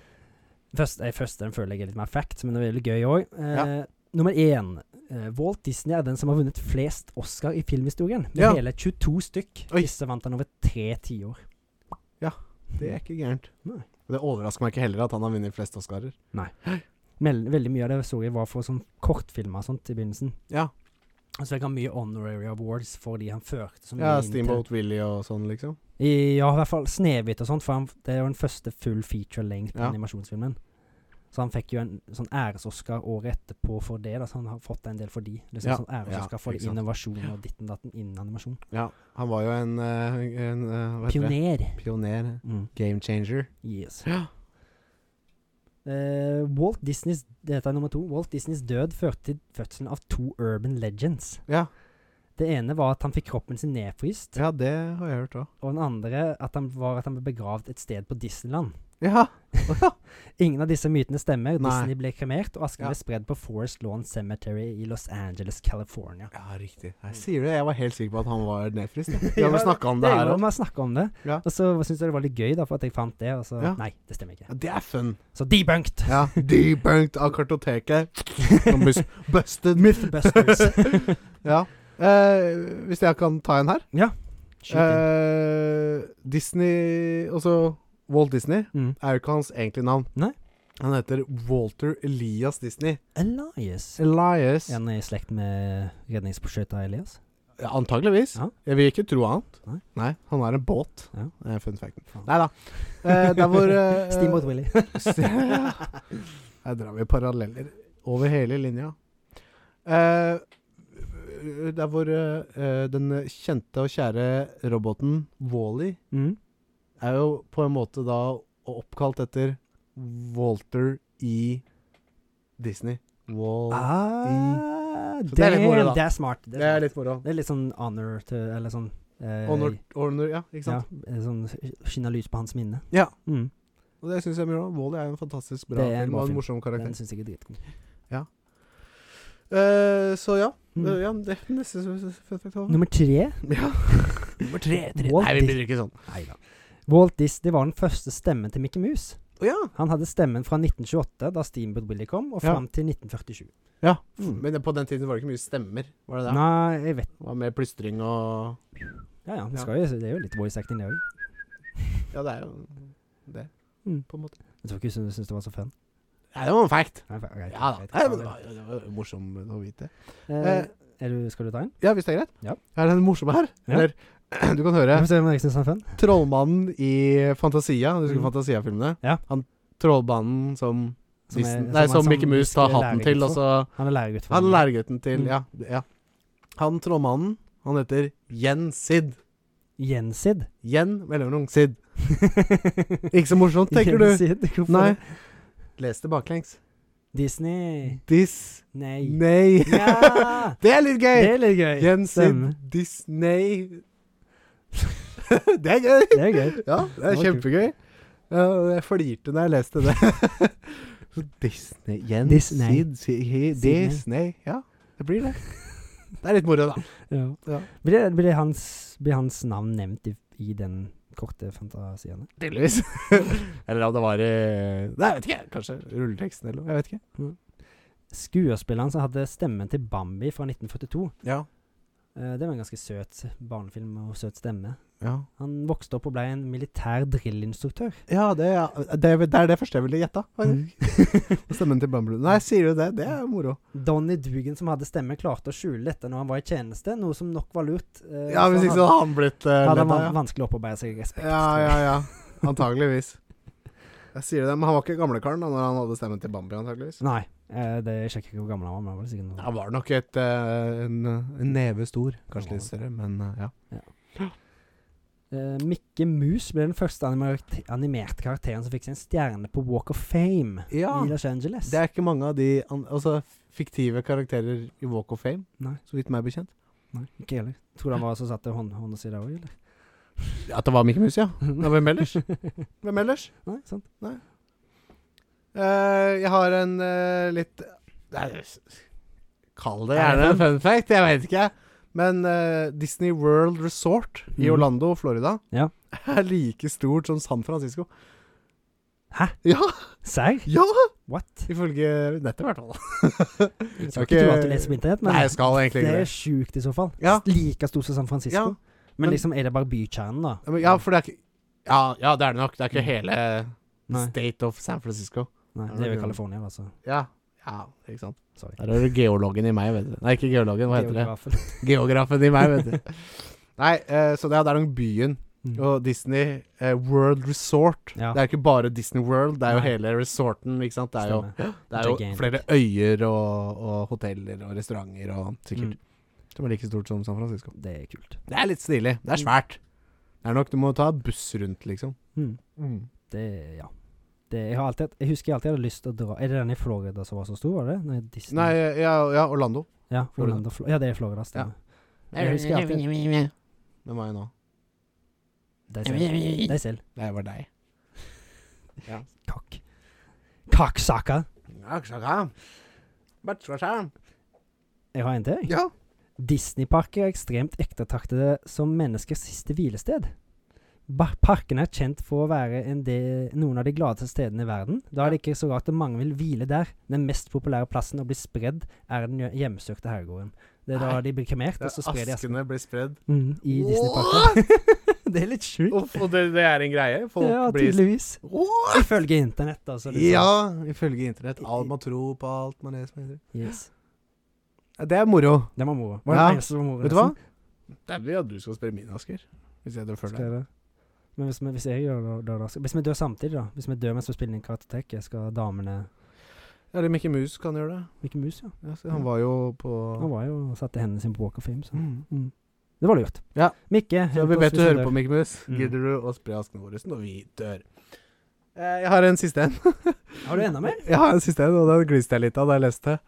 Speaker 2: Først, eh, først den føler jeg er litt mer fact, men det er veldig gøy òg. Eh,
Speaker 1: Ja.
Speaker 2: Nummer én. Eh, Walt Disney er den som har vunnet flest Oscar i filmhistorien. Med
Speaker 1: Ja.
Speaker 2: hele 22 stykk.
Speaker 1: Oi.
Speaker 2: Disse vant han over tre tiår.
Speaker 1: Det er ikke gærent.
Speaker 2: Nei.
Speaker 1: Og Det overrasker meg ikke heller at han har vunnet flest Oscarer.
Speaker 2: Mel- Veldig mye av det så jeg var for sånn kortfilmer og sånt i begynnelsen.
Speaker 1: Ja,
Speaker 2: Så jeg har mye honorary awards for de han førte. så mye
Speaker 1: ja
Speaker 2: inn til-
Speaker 1: Steamboat Willie og sånn, liksom.
Speaker 2: I, ja, i hvert fall Snehvit og sånt, for han, det er jo den første full feature-length
Speaker 1: Ja.
Speaker 2: animasjonsfilmen. Så han fikk jo en sånn æres-Oscar året etterpå for det, da, så han har fått en del for de. Liksom
Speaker 1: Ja.
Speaker 2: sånn æres-Oscar
Speaker 1: Ja,
Speaker 2: for
Speaker 1: ikke sant.
Speaker 2: innovasjon og ditten datten innen animasjon.
Speaker 1: Ja, Han var jo en, eh, en eh, hva heter det?
Speaker 2: Pioner.
Speaker 1: Pioner.
Speaker 2: Mm.
Speaker 1: Game changer.
Speaker 2: Yes. Eh, Walt Disneys Dette er nummer to. Walt Disneys død førte til fødselen av to urban legends.
Speaker 1: Ja.
Speaker 2: Det ene var at han fikk kroppen sin nedfryst,
Speaker 1: ja, det har jeg hørt òg.
Speaker 2: og den andre at han var at han ble begravd et sted på Disneyland.
Speaker 1: Ja.
Speaker 2: Ingen av disse mytene stemmer.
Speaker 1: Nei.
Speaker 2: Disney ble kremert, og asken
Speaker 1: Ja.
Speaker 2: ble spredd på Forest Lawn Cemetery i Los Angeles, California.
Speaker 1: ja, riktig. Jeg sier det. Jeg var helt sikker på at han var nedfryst. jeg. Vi
Speaker 2: Ja,
Speaker 1: har vel snakka om det her
Speaker 2: jo,
Speaker 1: òg.
Speaker 2: vi har snakket om det.
Speaker 1: Ja.
Speaker 2: Og så syntes jeg det var litt gøy, da, for at jeg fant det, og så
Speaker 1: Ja.
Speaker 2: Nei, det stemmer ikke.
Speaker 1: Ja, det er fun.
Speaker 2: Så debunked!
Speaker 1: Ja. Debunked av kartoteket. Som bus- Busted.
Speaker 2: Mythbusters.
Speaker 1: Ja. Eh, hvis jeg kan ta en her.
Speaker 2: Shoot in.
Speaker 1: Eh, Disney Altså Walt Disney
Speaker 2: Mm.
Speaker 1: er jo ikke hans egentlige navn.
Speaker 2: Nei.
Speaker 1: Han heter Walter Elias Disney.
Speaker 2: Elias.
Speaker 1: Elias.
Speaker 2: Er han i slekt med redningsskøyta Elias?
Speaker 1: Ja, antageligvis.
Speaker 2: Ja.
Speaker 1: Jeg vil ikke tro annet.
Speaker 2: Nei.
Speaker 1: han er en båt.
Speaker 2: Ja.
Speaker 1: Det er fun facten.
Speaker 2: Faen.
Speaker 1: Nei da. Eh, der hvor eh,
Speaker 2: Steamboat Willy.
Speaker 1: Ste- Her drar vi paralleller over hele linja. Eh, der hvor eh, eh, den kjente og kjære roboten Wally
Speaker 2: Mm.
Speaker 1: er jo på en måte da oppkalt etter Walter E. Disney. Wall
Speaker 2: Ah,
Speaker 1: Så det er litt moro,
Speaker 2: damn,
Speaker 1: da.
Speaker 2: det er smart. Det er, smart.
Speaker 1: litt moro.
Speaker 2: Det er litt sånn honor to Eller sånn eh,
Speaker 1: Honor, honor, ja, ikke
Speaker 2: Ja,
Speaker 1: sant?
Speaker 2: eh, sånn skinner lys på hans minne.
Speaker 1: Ja.
Speaker 2: Mm.
Speaker 1: Og det syns jeg er moro. Wally er en fantastisk bra
Speaker 2: Det er en
Speaker 1: film
Speaker 2: bra
Speaker 1: og en
Speaker 2: film.
Speaker 1: morsom karakter.
Speaker 2: Den syns jeg er dritgod.
Speaker 1: Eh, så ja.
Speaker 2: Mm.
Speaker 1: Eh, ja det er neste fun fact over.
Speaker 2: Nummer tre
Speaker 1: Ja. Nummer tre.
Speaker 2: tre.
Speaker 1: Nei, vi
Speaker 2: Dis-
Speaker 1: blir ikke sånn.
Speaker 2: Nei da. Walt Disney var den første stemmen til Mickey Mouse.
Speaker 1: Å ja.
Speaker 2: Han hadde stemmen fra 1928, da Steamboat Willie kom, og
Speaker 1: Ja.
Speaker 2: fram til 1947.
Speaker 1: Ja.
Speaker 2: Mm.
Speaker 1: Men det- på den tiden var det ikke mye stemmer? Var det det?
Speaker 2: Nei, jeg vet
Speaker 1: Det var mer plystring og
Speaker 2: Ja ja, det,
Speaker 1: Ja.
Speaker 2: skal jo, det er jo litt voice acting, det òg.
Speaker 1: Ja, det er jo det,
Speaker 2: Mm.
Speaker 1: på en måte.
Speaker 2: Jeg tror ikke hun syntes det var så fun.
Speaker 1: Ja, det var en fact.
Speaker 2: Nei, fe- greit,
Speaker 1: Ja da.
Speaker 2: greit,
Speaker 1: Nei, men det
Speaker 2: greit.
Speaker 1: var, det var morsom å vite.
Speaker 2: Eh, er du, skal du ta en?
Speaker 1: Ja, hvis det er greit?
Speaker 2: Ja.
Speaker 1: Er det en morsom her?
Speaker 2: Ja.
Speaker 1: Eller du kan høre
Speaker 2: Jeg får se om jeg synes den er fun.
Speaker 1: Trollmannen i Fantasia. Du husker
Speaker 2: Mm.
Speaker 1: Fantasia-filmene?
Speaker 2: Ja.
Speaker 1: Han trollmannen som,
Speaker 2: Som er-
Speaker 1: Disney-
Speaker 2: som
Speaker 1: Nei,
Speaker 2: han-
Speaker 1: som,
Speaker 2: som
Speaker 1: Mickey Mouse tar
Speaker 2: husker
Speaker 1: hatten til, og
Speaker 2: lærergutt
Speaker 1: så
Speaker 2: Han er lærergutt. for
Speaker 1: Han
Speaker 2: meg.
Speaker 1: lærergutten til
Speaker 2: Mm.
Speaker 1: ja, det- ja. Han trollmannen, han heter Jens Sid.
Speaker 2: Gjensid.
Speaker 1: Jen mellomrom Sid. Ikke så morsomt, tenker du?
Speaker 2: Gjensid? Hvorfor
Speaker 1: Nei.
Speaker 2: det?
Speaker 1: Les det baklengs.
Speaker 2: Disney.
Speaker 1: Dis...
Speaker 2: Nei.
Speaker 1: Nei.
Speaker 2: Ja!
Speaker 1: det er litt
Speaker 2: Det
Speaker 1: gøy!
Speaker 2: er litt gøy.
Speaker 1: Jens Sid
Speaker 2: Stemmer.
Speaker 1: Disney. det er gøy!
Speaker 2: Det er gøy.
Speaker 1: Ja, det er
Speaker 2: Det var kult.
Speaker 1: kjempegøy. Ja, jeg flirte da jeg leste det. Så Disney Jens
Speaker 2: Disney.
Speaker 1: Sid, si- he-
Speaker 2: Sidney.
Speaker 1: Disney. Ja, det blir det. Det er litt moro, da.
Speaker 2: Ja.
Speaker 1: Ja.
Speaker 2: Blir, det- blir, det hans, blir hans navn nevnt i, i den korte fantasien?
Speaker 1: Tydeligvis. eller om det var i Nei, jeg vet ikke. Kanskje rulleteksten eller noe. Jeg vet ikke.
Speaker 2: Skuespilleren som hadde stemmen til Bambi fra 1942.
Speaker 1: Ja.
Speaker 2: Eh, det var en ganske søt barnefilm og søt stemme.
Speaker 1: Ja,
Speaker 2: Han vokste opp og ble en militær drillinstruktør. Mm.
Speaker 1: det, er, det, er, det er det første jeg ville gjetta. Stemmen til Bumble. Nei, sier du det? Det er moro.
Speaker 2: Donny Dugan, som hadde stemme, klarte å skjule dette når han var i tjeneste, noe som nok var lurt. eh,
Speaker 1: Ja,
Speaker 2: så
Speaker 1: hvis ikke så
Speaker 2: hadde-
Speaker 1: hadde han blitt uh,
Speaker 2: hadde han
Speaker 1: ledd
Speaker 2: van-
Speaker 1: av.
Speaker 2: vanskelig å opparbeide seg
Speaker 1: Ja,
Speaker 2: respekt.
Speaker 1: ja,
Speaker 2: tror jeg.
Speaker 1: ja. ja. Antageligvis. Jeg sier det, men han var ikke gamlekaren da når han hadde stemmen til Bambi, antageligvis.
Speaker 2: Nei, eh, det jeg sjekker ikke hvor gammel han var, men han var sikkert noe.
Speaker 1: Han var nok et, eh, en, en neve stor. Kanskje litt større, men eh, ja.
Speaker 2: Eh, Mikke Mus ble den første animerte, animerte karakteren som fikk sin stjerne på Walk of Fame
Speaker 1: Ja.
Speaker 2: i Los Angeles.
Speaker 1: Det er ikke mange av de an altså, fiktive karakterer i Walk of Fame,
Speaker 2: Nei.
Speaker 1: så vidt meg bekjent.
Speaker 2: Nei, ikke heller. Tror du han var som satte hånd- hånda si der òg, eller?
Speaker 1: At det var Mickey Mouse, ja. Ja, hvem ellers? Hvem ellers?
Speaker 2: Nei, sant?
Speaker 1: Eh, jeg har en eh, litt Nei, s- Kall det
Speaker 2: Er det
Speaker 1: gjerne en fun fact, jeg vet ikke. Men eh, Disney World Resort i
Speaker 2: Mhm.
Speaker 1: Orlando, Florida,
Speaker 2: Ja.
Speaker 1: er like stort som San Francisco.
Speaker 2: Hæ?
Speaker 1: Ja!
Speaker 2: Mm. Serr?
Speaker 1: ja
Speaker 2: What?
Speaker 1: Ifølge nettet, i hvert fall.
Speaker 2: Jeg
Speaker 1: skal
Speaker 2: skal ikke
Speaker 1: ikke-
Speaker 2: tro at du leser på internett, men
Speaker 1: Nei, jeg skal egentlig
Speaker 2: det
Speaker 1: ikke
Speaker 2: er
Speaker 1: det.
Speaker 2: sjukt i så fall.
Speaker 1: Ja.
Speaker 2: Like stort som San Francisco.
Speaker 1: Ja,
Speaker 2: men,
Speaker 1: men-
Speaker 2: liksom, er det bare bykjernen, da?
Speaker 1: Ja, men- Ja, for det er ikke ja, ja, det er det nok. Det er ikke
Speaker 2: Mm.
Speaker 1: hele
Speaker 2: Nei.
Speaker 1: state of San Francisco.
Speaker 2: Nei,
Speaker 1: Ja,
Speaker 2: det er jo
Speaker 1: det-
Speaker 2: i California, altså.
Speaker 1: Ja, ja ikke sant.
Speaker 2: Sorry.
Speaker 1: Der er det geologen i meg, vet du. Nei, ikke geologen, hva heter det?
Speaker 2: Geografen.
Speaker 1: Geografen i meg, vet du. Nei, eh, så det, er- det er nok byen
Speaker 2: Mm.
Speaker 1: og Disney eh, World Resort.
Speaker 2: Ja.
Speaker 1: Det er ikke bare Disney World, det er jo
Speaker 2: Nei.
Speaker 1: hele resorten. ikke sant? Det er jo,
Speaker 2: Stemmer.
Speaker 1: det er jo
Speaker 2: Gigantic.
Speaker 1: flere øyer og, og hoteller og restauranter og sikkert. Som er like stort som San Francisco.
Speaker 2: Mm, det er kult.
Speaker 1: Mm. Det er litt stilig. Det er
Speaker 2: Mm.
Speaker 1: svært. Det er nok Du må ta buss rundt, liksom.
Speaker 2: Mm. Det, ja. Det det, jeg, har alltid, hatt- jeg husker jeg alltid hadde lyst til å dra Er det den i Florida som var så stor, var det? Nei, Disney.
Speaker 1: Nei, ja, ja Orlando.
Speaker 2: ja,
Speaker 1: Florida.
Speaker 2: Orlando, Flo ja, det er Florida. Stemmer. Jeg husker alltid
Speaker 1: Hvem var jeg nå?
Speaker 2: Deg selv. Deg selv.
Speaker 1: Det var deg.
Speaker 2: Kakk. Kakksaka. Jeg har en til, jeg.
Speaker 1: Ja.
Speaker 2: Disneyparker er ekstremt ettertraktede som menneskers siste hvilested. Ba parkene er kjent for å være en del, noen av de gladeste stedene i verden. Da er det ikke så rart at mange vil hvile der. Den mest populære plassen å bli spredd er den hjø- hjemsøkte herregården. Det er da
Speaker 1: Nei.
Speaker 2: de blir kremert, og så sprer de asken
Speaker 1: Askene blir spredd.
Speaker 2: mm, i Disneyparken. det er litt sjukt.
Speaker 1: Uff, og det, det er en greie? Folk
Speaker 2: ja,
Speaker 1: blir
Speaker 2: tydeligvis.
Speaker 1: What?
Speaker 2: Ifølge internett, altså. liksom.
Speaker 1: Ah. Ja, ifølge internett. Alt man tror på alt man leser på internett.
Speaker 2: Yes.
Speaker 1: Ja, Det er moro.
Speaker 2: Det var moro.
Speaker 1: Ja.
Speaker 2: Vet
Speaker 1: Vet du hva? Det er bra at du skal spre mine asker. Hvis jeg dør før
Speaker 2: Skal
Speaker 1: deg.
Speaker 2: jeg det? Men hvis, vi- hvis jeg gjør det da, da skal- Hvis vi dør samtidig, da? Hvis vi dør mens vi spiller inn Karatoteket, skal damene
Speaker 1: Eller Mickey Mouse kan gjøre det.
Speaker 2: Mikke Mus, ja.
Speaker 1: Ja, så han var jo på
Speaker 2: Han var jo og satte hendene sine på Walk of Fame, så
Speaker 1: Mm.
Speaker 2: mm. Det var lurt.
Speaker 1: Ja. Så
Speaker 2: Mikke, hent
Speaker 1: vi
Speaker 2: oss
Speaker 1: vet du
Speaker 2: hvis
Speaker 1: hører
Speaker 2: dør.
Speaker 1: på, Mickey Mouse.
Speaker 2: Mm.
Speaker 1: Gidder du å spre askene våre når vi dør? Eh, Jeg har en siste en.
Speaker 2: Har du enda mer?
Speaker 1: Jeg har en siste en, og den gliste jeg litt av da jeg leste.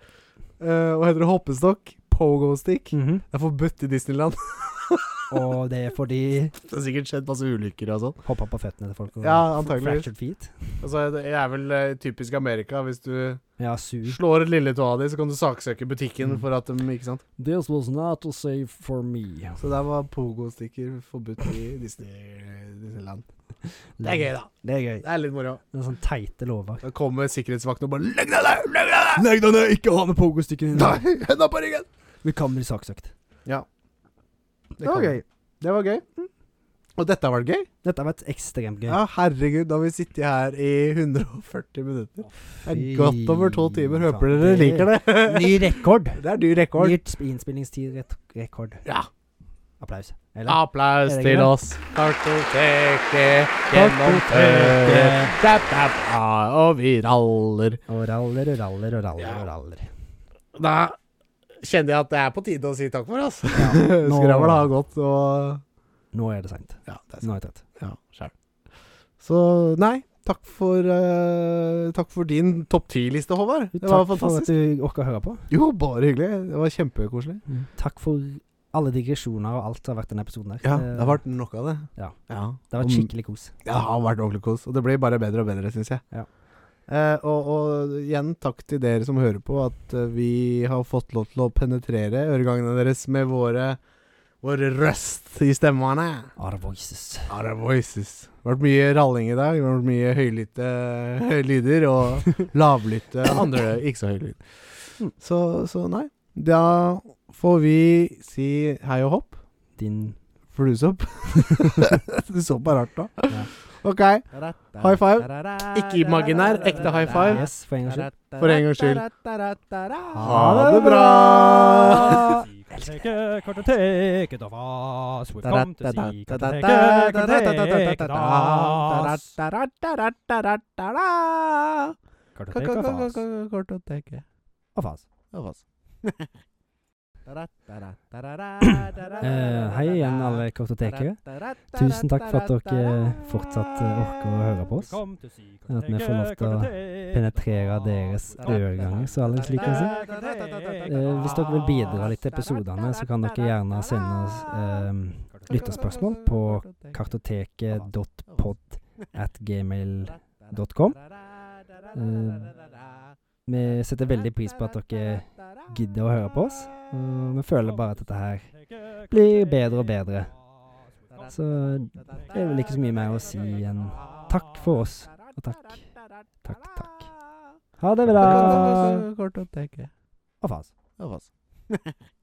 Speaker 1: Eh, og heter det hoppestokk? Pogo-stick?
Speaker 2: Mhm.
Speaker 1: Det er forbudt i Disneyland.
Speaker 2: Og det er fordi
Speaker 1: Mm. Det har sikkert skjedd masse ulykker og sånn.
Speaker 2: Hoppa på føttene til folk og
Speaker 1: Ja, antageligvis.
Speaker 2: fractured feet.
Speaker 1: Altså, det er vel eh, typisk Amerika. Hvis du
Speaker 2: Ja, su.
Speaker 1: slår et lilletåa di, så kan du saksøke butikken
Speaker 2: Mm.
Speaker 1: for at de Ikke sant?
Speaker 3: This was not safe for me.
Speaker 1: Så der var pogo-stikker forbudt i Disney, Disneyland. Det er gøy, da.
Speaker 2: Det er gøy.
Speaker 1: Det er litt moro.
Speaker 2: Det er sånne teite lover.
Speaker 1: Da kommer sikkerhetsvakten og bare Legg deg ned! Legg deg ned!
Speaker 2: Legg deg ned! Ikke ha med pogostykken
Speaker 1: Nei, henda på ryggen!
Speaker 2: Vi kan bli saksøkt.
Speaker 1: Det Mm. var gøy. Det var gøy. Og dette har vært gøy.
Speaker 2: Dette har vært ekstremt gøy.
Speaker 1: Ja, herregud, da har vi sittet her i 140 minutter. Det er godt over to timer. Håper dere liker det.
Speaker 2: Ny rekord.
Speaker 1: Det er ny rekord.
Speaker 2: Nytt sp- innspillingstid rett- rekord.
Speaker 1: Ja.
Speaker 2: Applaus. Eller?
Speaker 1: Applaus
Speaker 2: Er det
Speaker 1: til
Speaker 2: greit?
Speaker 1: oss. Kartoteket gjennomført.
Speaker 2: Kartoteket.
Speaker 1: Dapp, dapp, ah, Og vi raller.
Speaker 2: Og raller og raller og raller
Speaker 1: Ja.
Speaker 2: og raller.
Speaker 1: Da kjenner jeg at det er på tide å si takk for oss.
Speaker 2: nå-
Speaker 1: Skravla har gått, og
Speaker 2: Nå er det seint.
Speaker 1: Ja, det er
Speaker 2: Nå er jeg trett.
Speaker 1: Ja, skjær. Så nei, takk for eh, Takk for din topp ti-liste, Håvard. Det var
Speaker 2: Takk for at
Speaker 1: fantastisk.
Speaker 2: du orka å høre på.
Speaker 1: Jo, bare hyggelig. Det var kjempekoselig.
Speaker 2: Takk for alle digresjoner og alt som har vært i denne episoden. Der.
Speaker 1: Ja, det har vært nok av det.
Speaker 2: Ja.
Speaker 1: Eh, ja.
Speaker 2: det har vært skikkelig kos.
Speaker 1: Ja, det har vært ordentlig kos, og det blir bare bedre og bedre, syns jeg.
Speaker 2: Ja.
Speaker 1: Eh, og, og igjen takk til dere som hører på, at eh, vi har fått lov til å penetrere øregangene deres med våre Vår røst i stemmene.
Speaker 2: Our voices.
Speaker 1: Ja, det er voices. Det har vært mye ralling i dag. Det har vært mye høylytte lyder, og lavlytte andre ikke så høylytte. Så, så nei. Da får vi si hei og hopp.
Speaker 2: Din
Speaker 1: For du så Du så på rart da.
Speaker 2: Ja.
Speaker 1: OK. High five. Ikke imaginær, ekte high five.
Speaker 2: Yes, for en gangs skyld.
Speaker 1: For en gangs skyld.
Speaker 2: Ha det
Speaker 1: bra!
Speaker 3: Kartoteket, kartoteket av oss. We come to see kartoteket, kartoteket av oss.
Speaker 1: Kartoteket.
Speaker 3: Kartoteket av oss. Av oss.
Speaker 1: Av oss.
Speaker 2: Eh, hei igjen, alle kartotekere. Tusen takk for at dere fortsatt eh, orker å høre på
Speaker 3: We
Speaker 2: oss.
Speaker 3: come to see
Speaker 2: At vi får lov
Speaker 3: kartoteket,
Speaker 2: til å
Speaker 3: kartoteket
Speaker 2: Penetrere
Speaker 3: av
Speaker 2: deres
Speaker 3: oss.
Speaker 2: øreganger, så alle slik kan si. Eh, hvis dere vil bidra litt til episodene, så kan dere gjerne sende oss eh, lytterspørsmål på kartoteket.pod at gmail.com. Eh, Vi setter veldig pris på at dere gidder å høre på oss. Og vi føler bare at dette her blir bedre og bedre. Så det er vel ikke så mye mer å si enn takk for oss. Og takk. Takk, takk. Ha det bra!
Speaker 1: Kartoteket
Speaker 2: Og faen.
Speaker 1: av oss.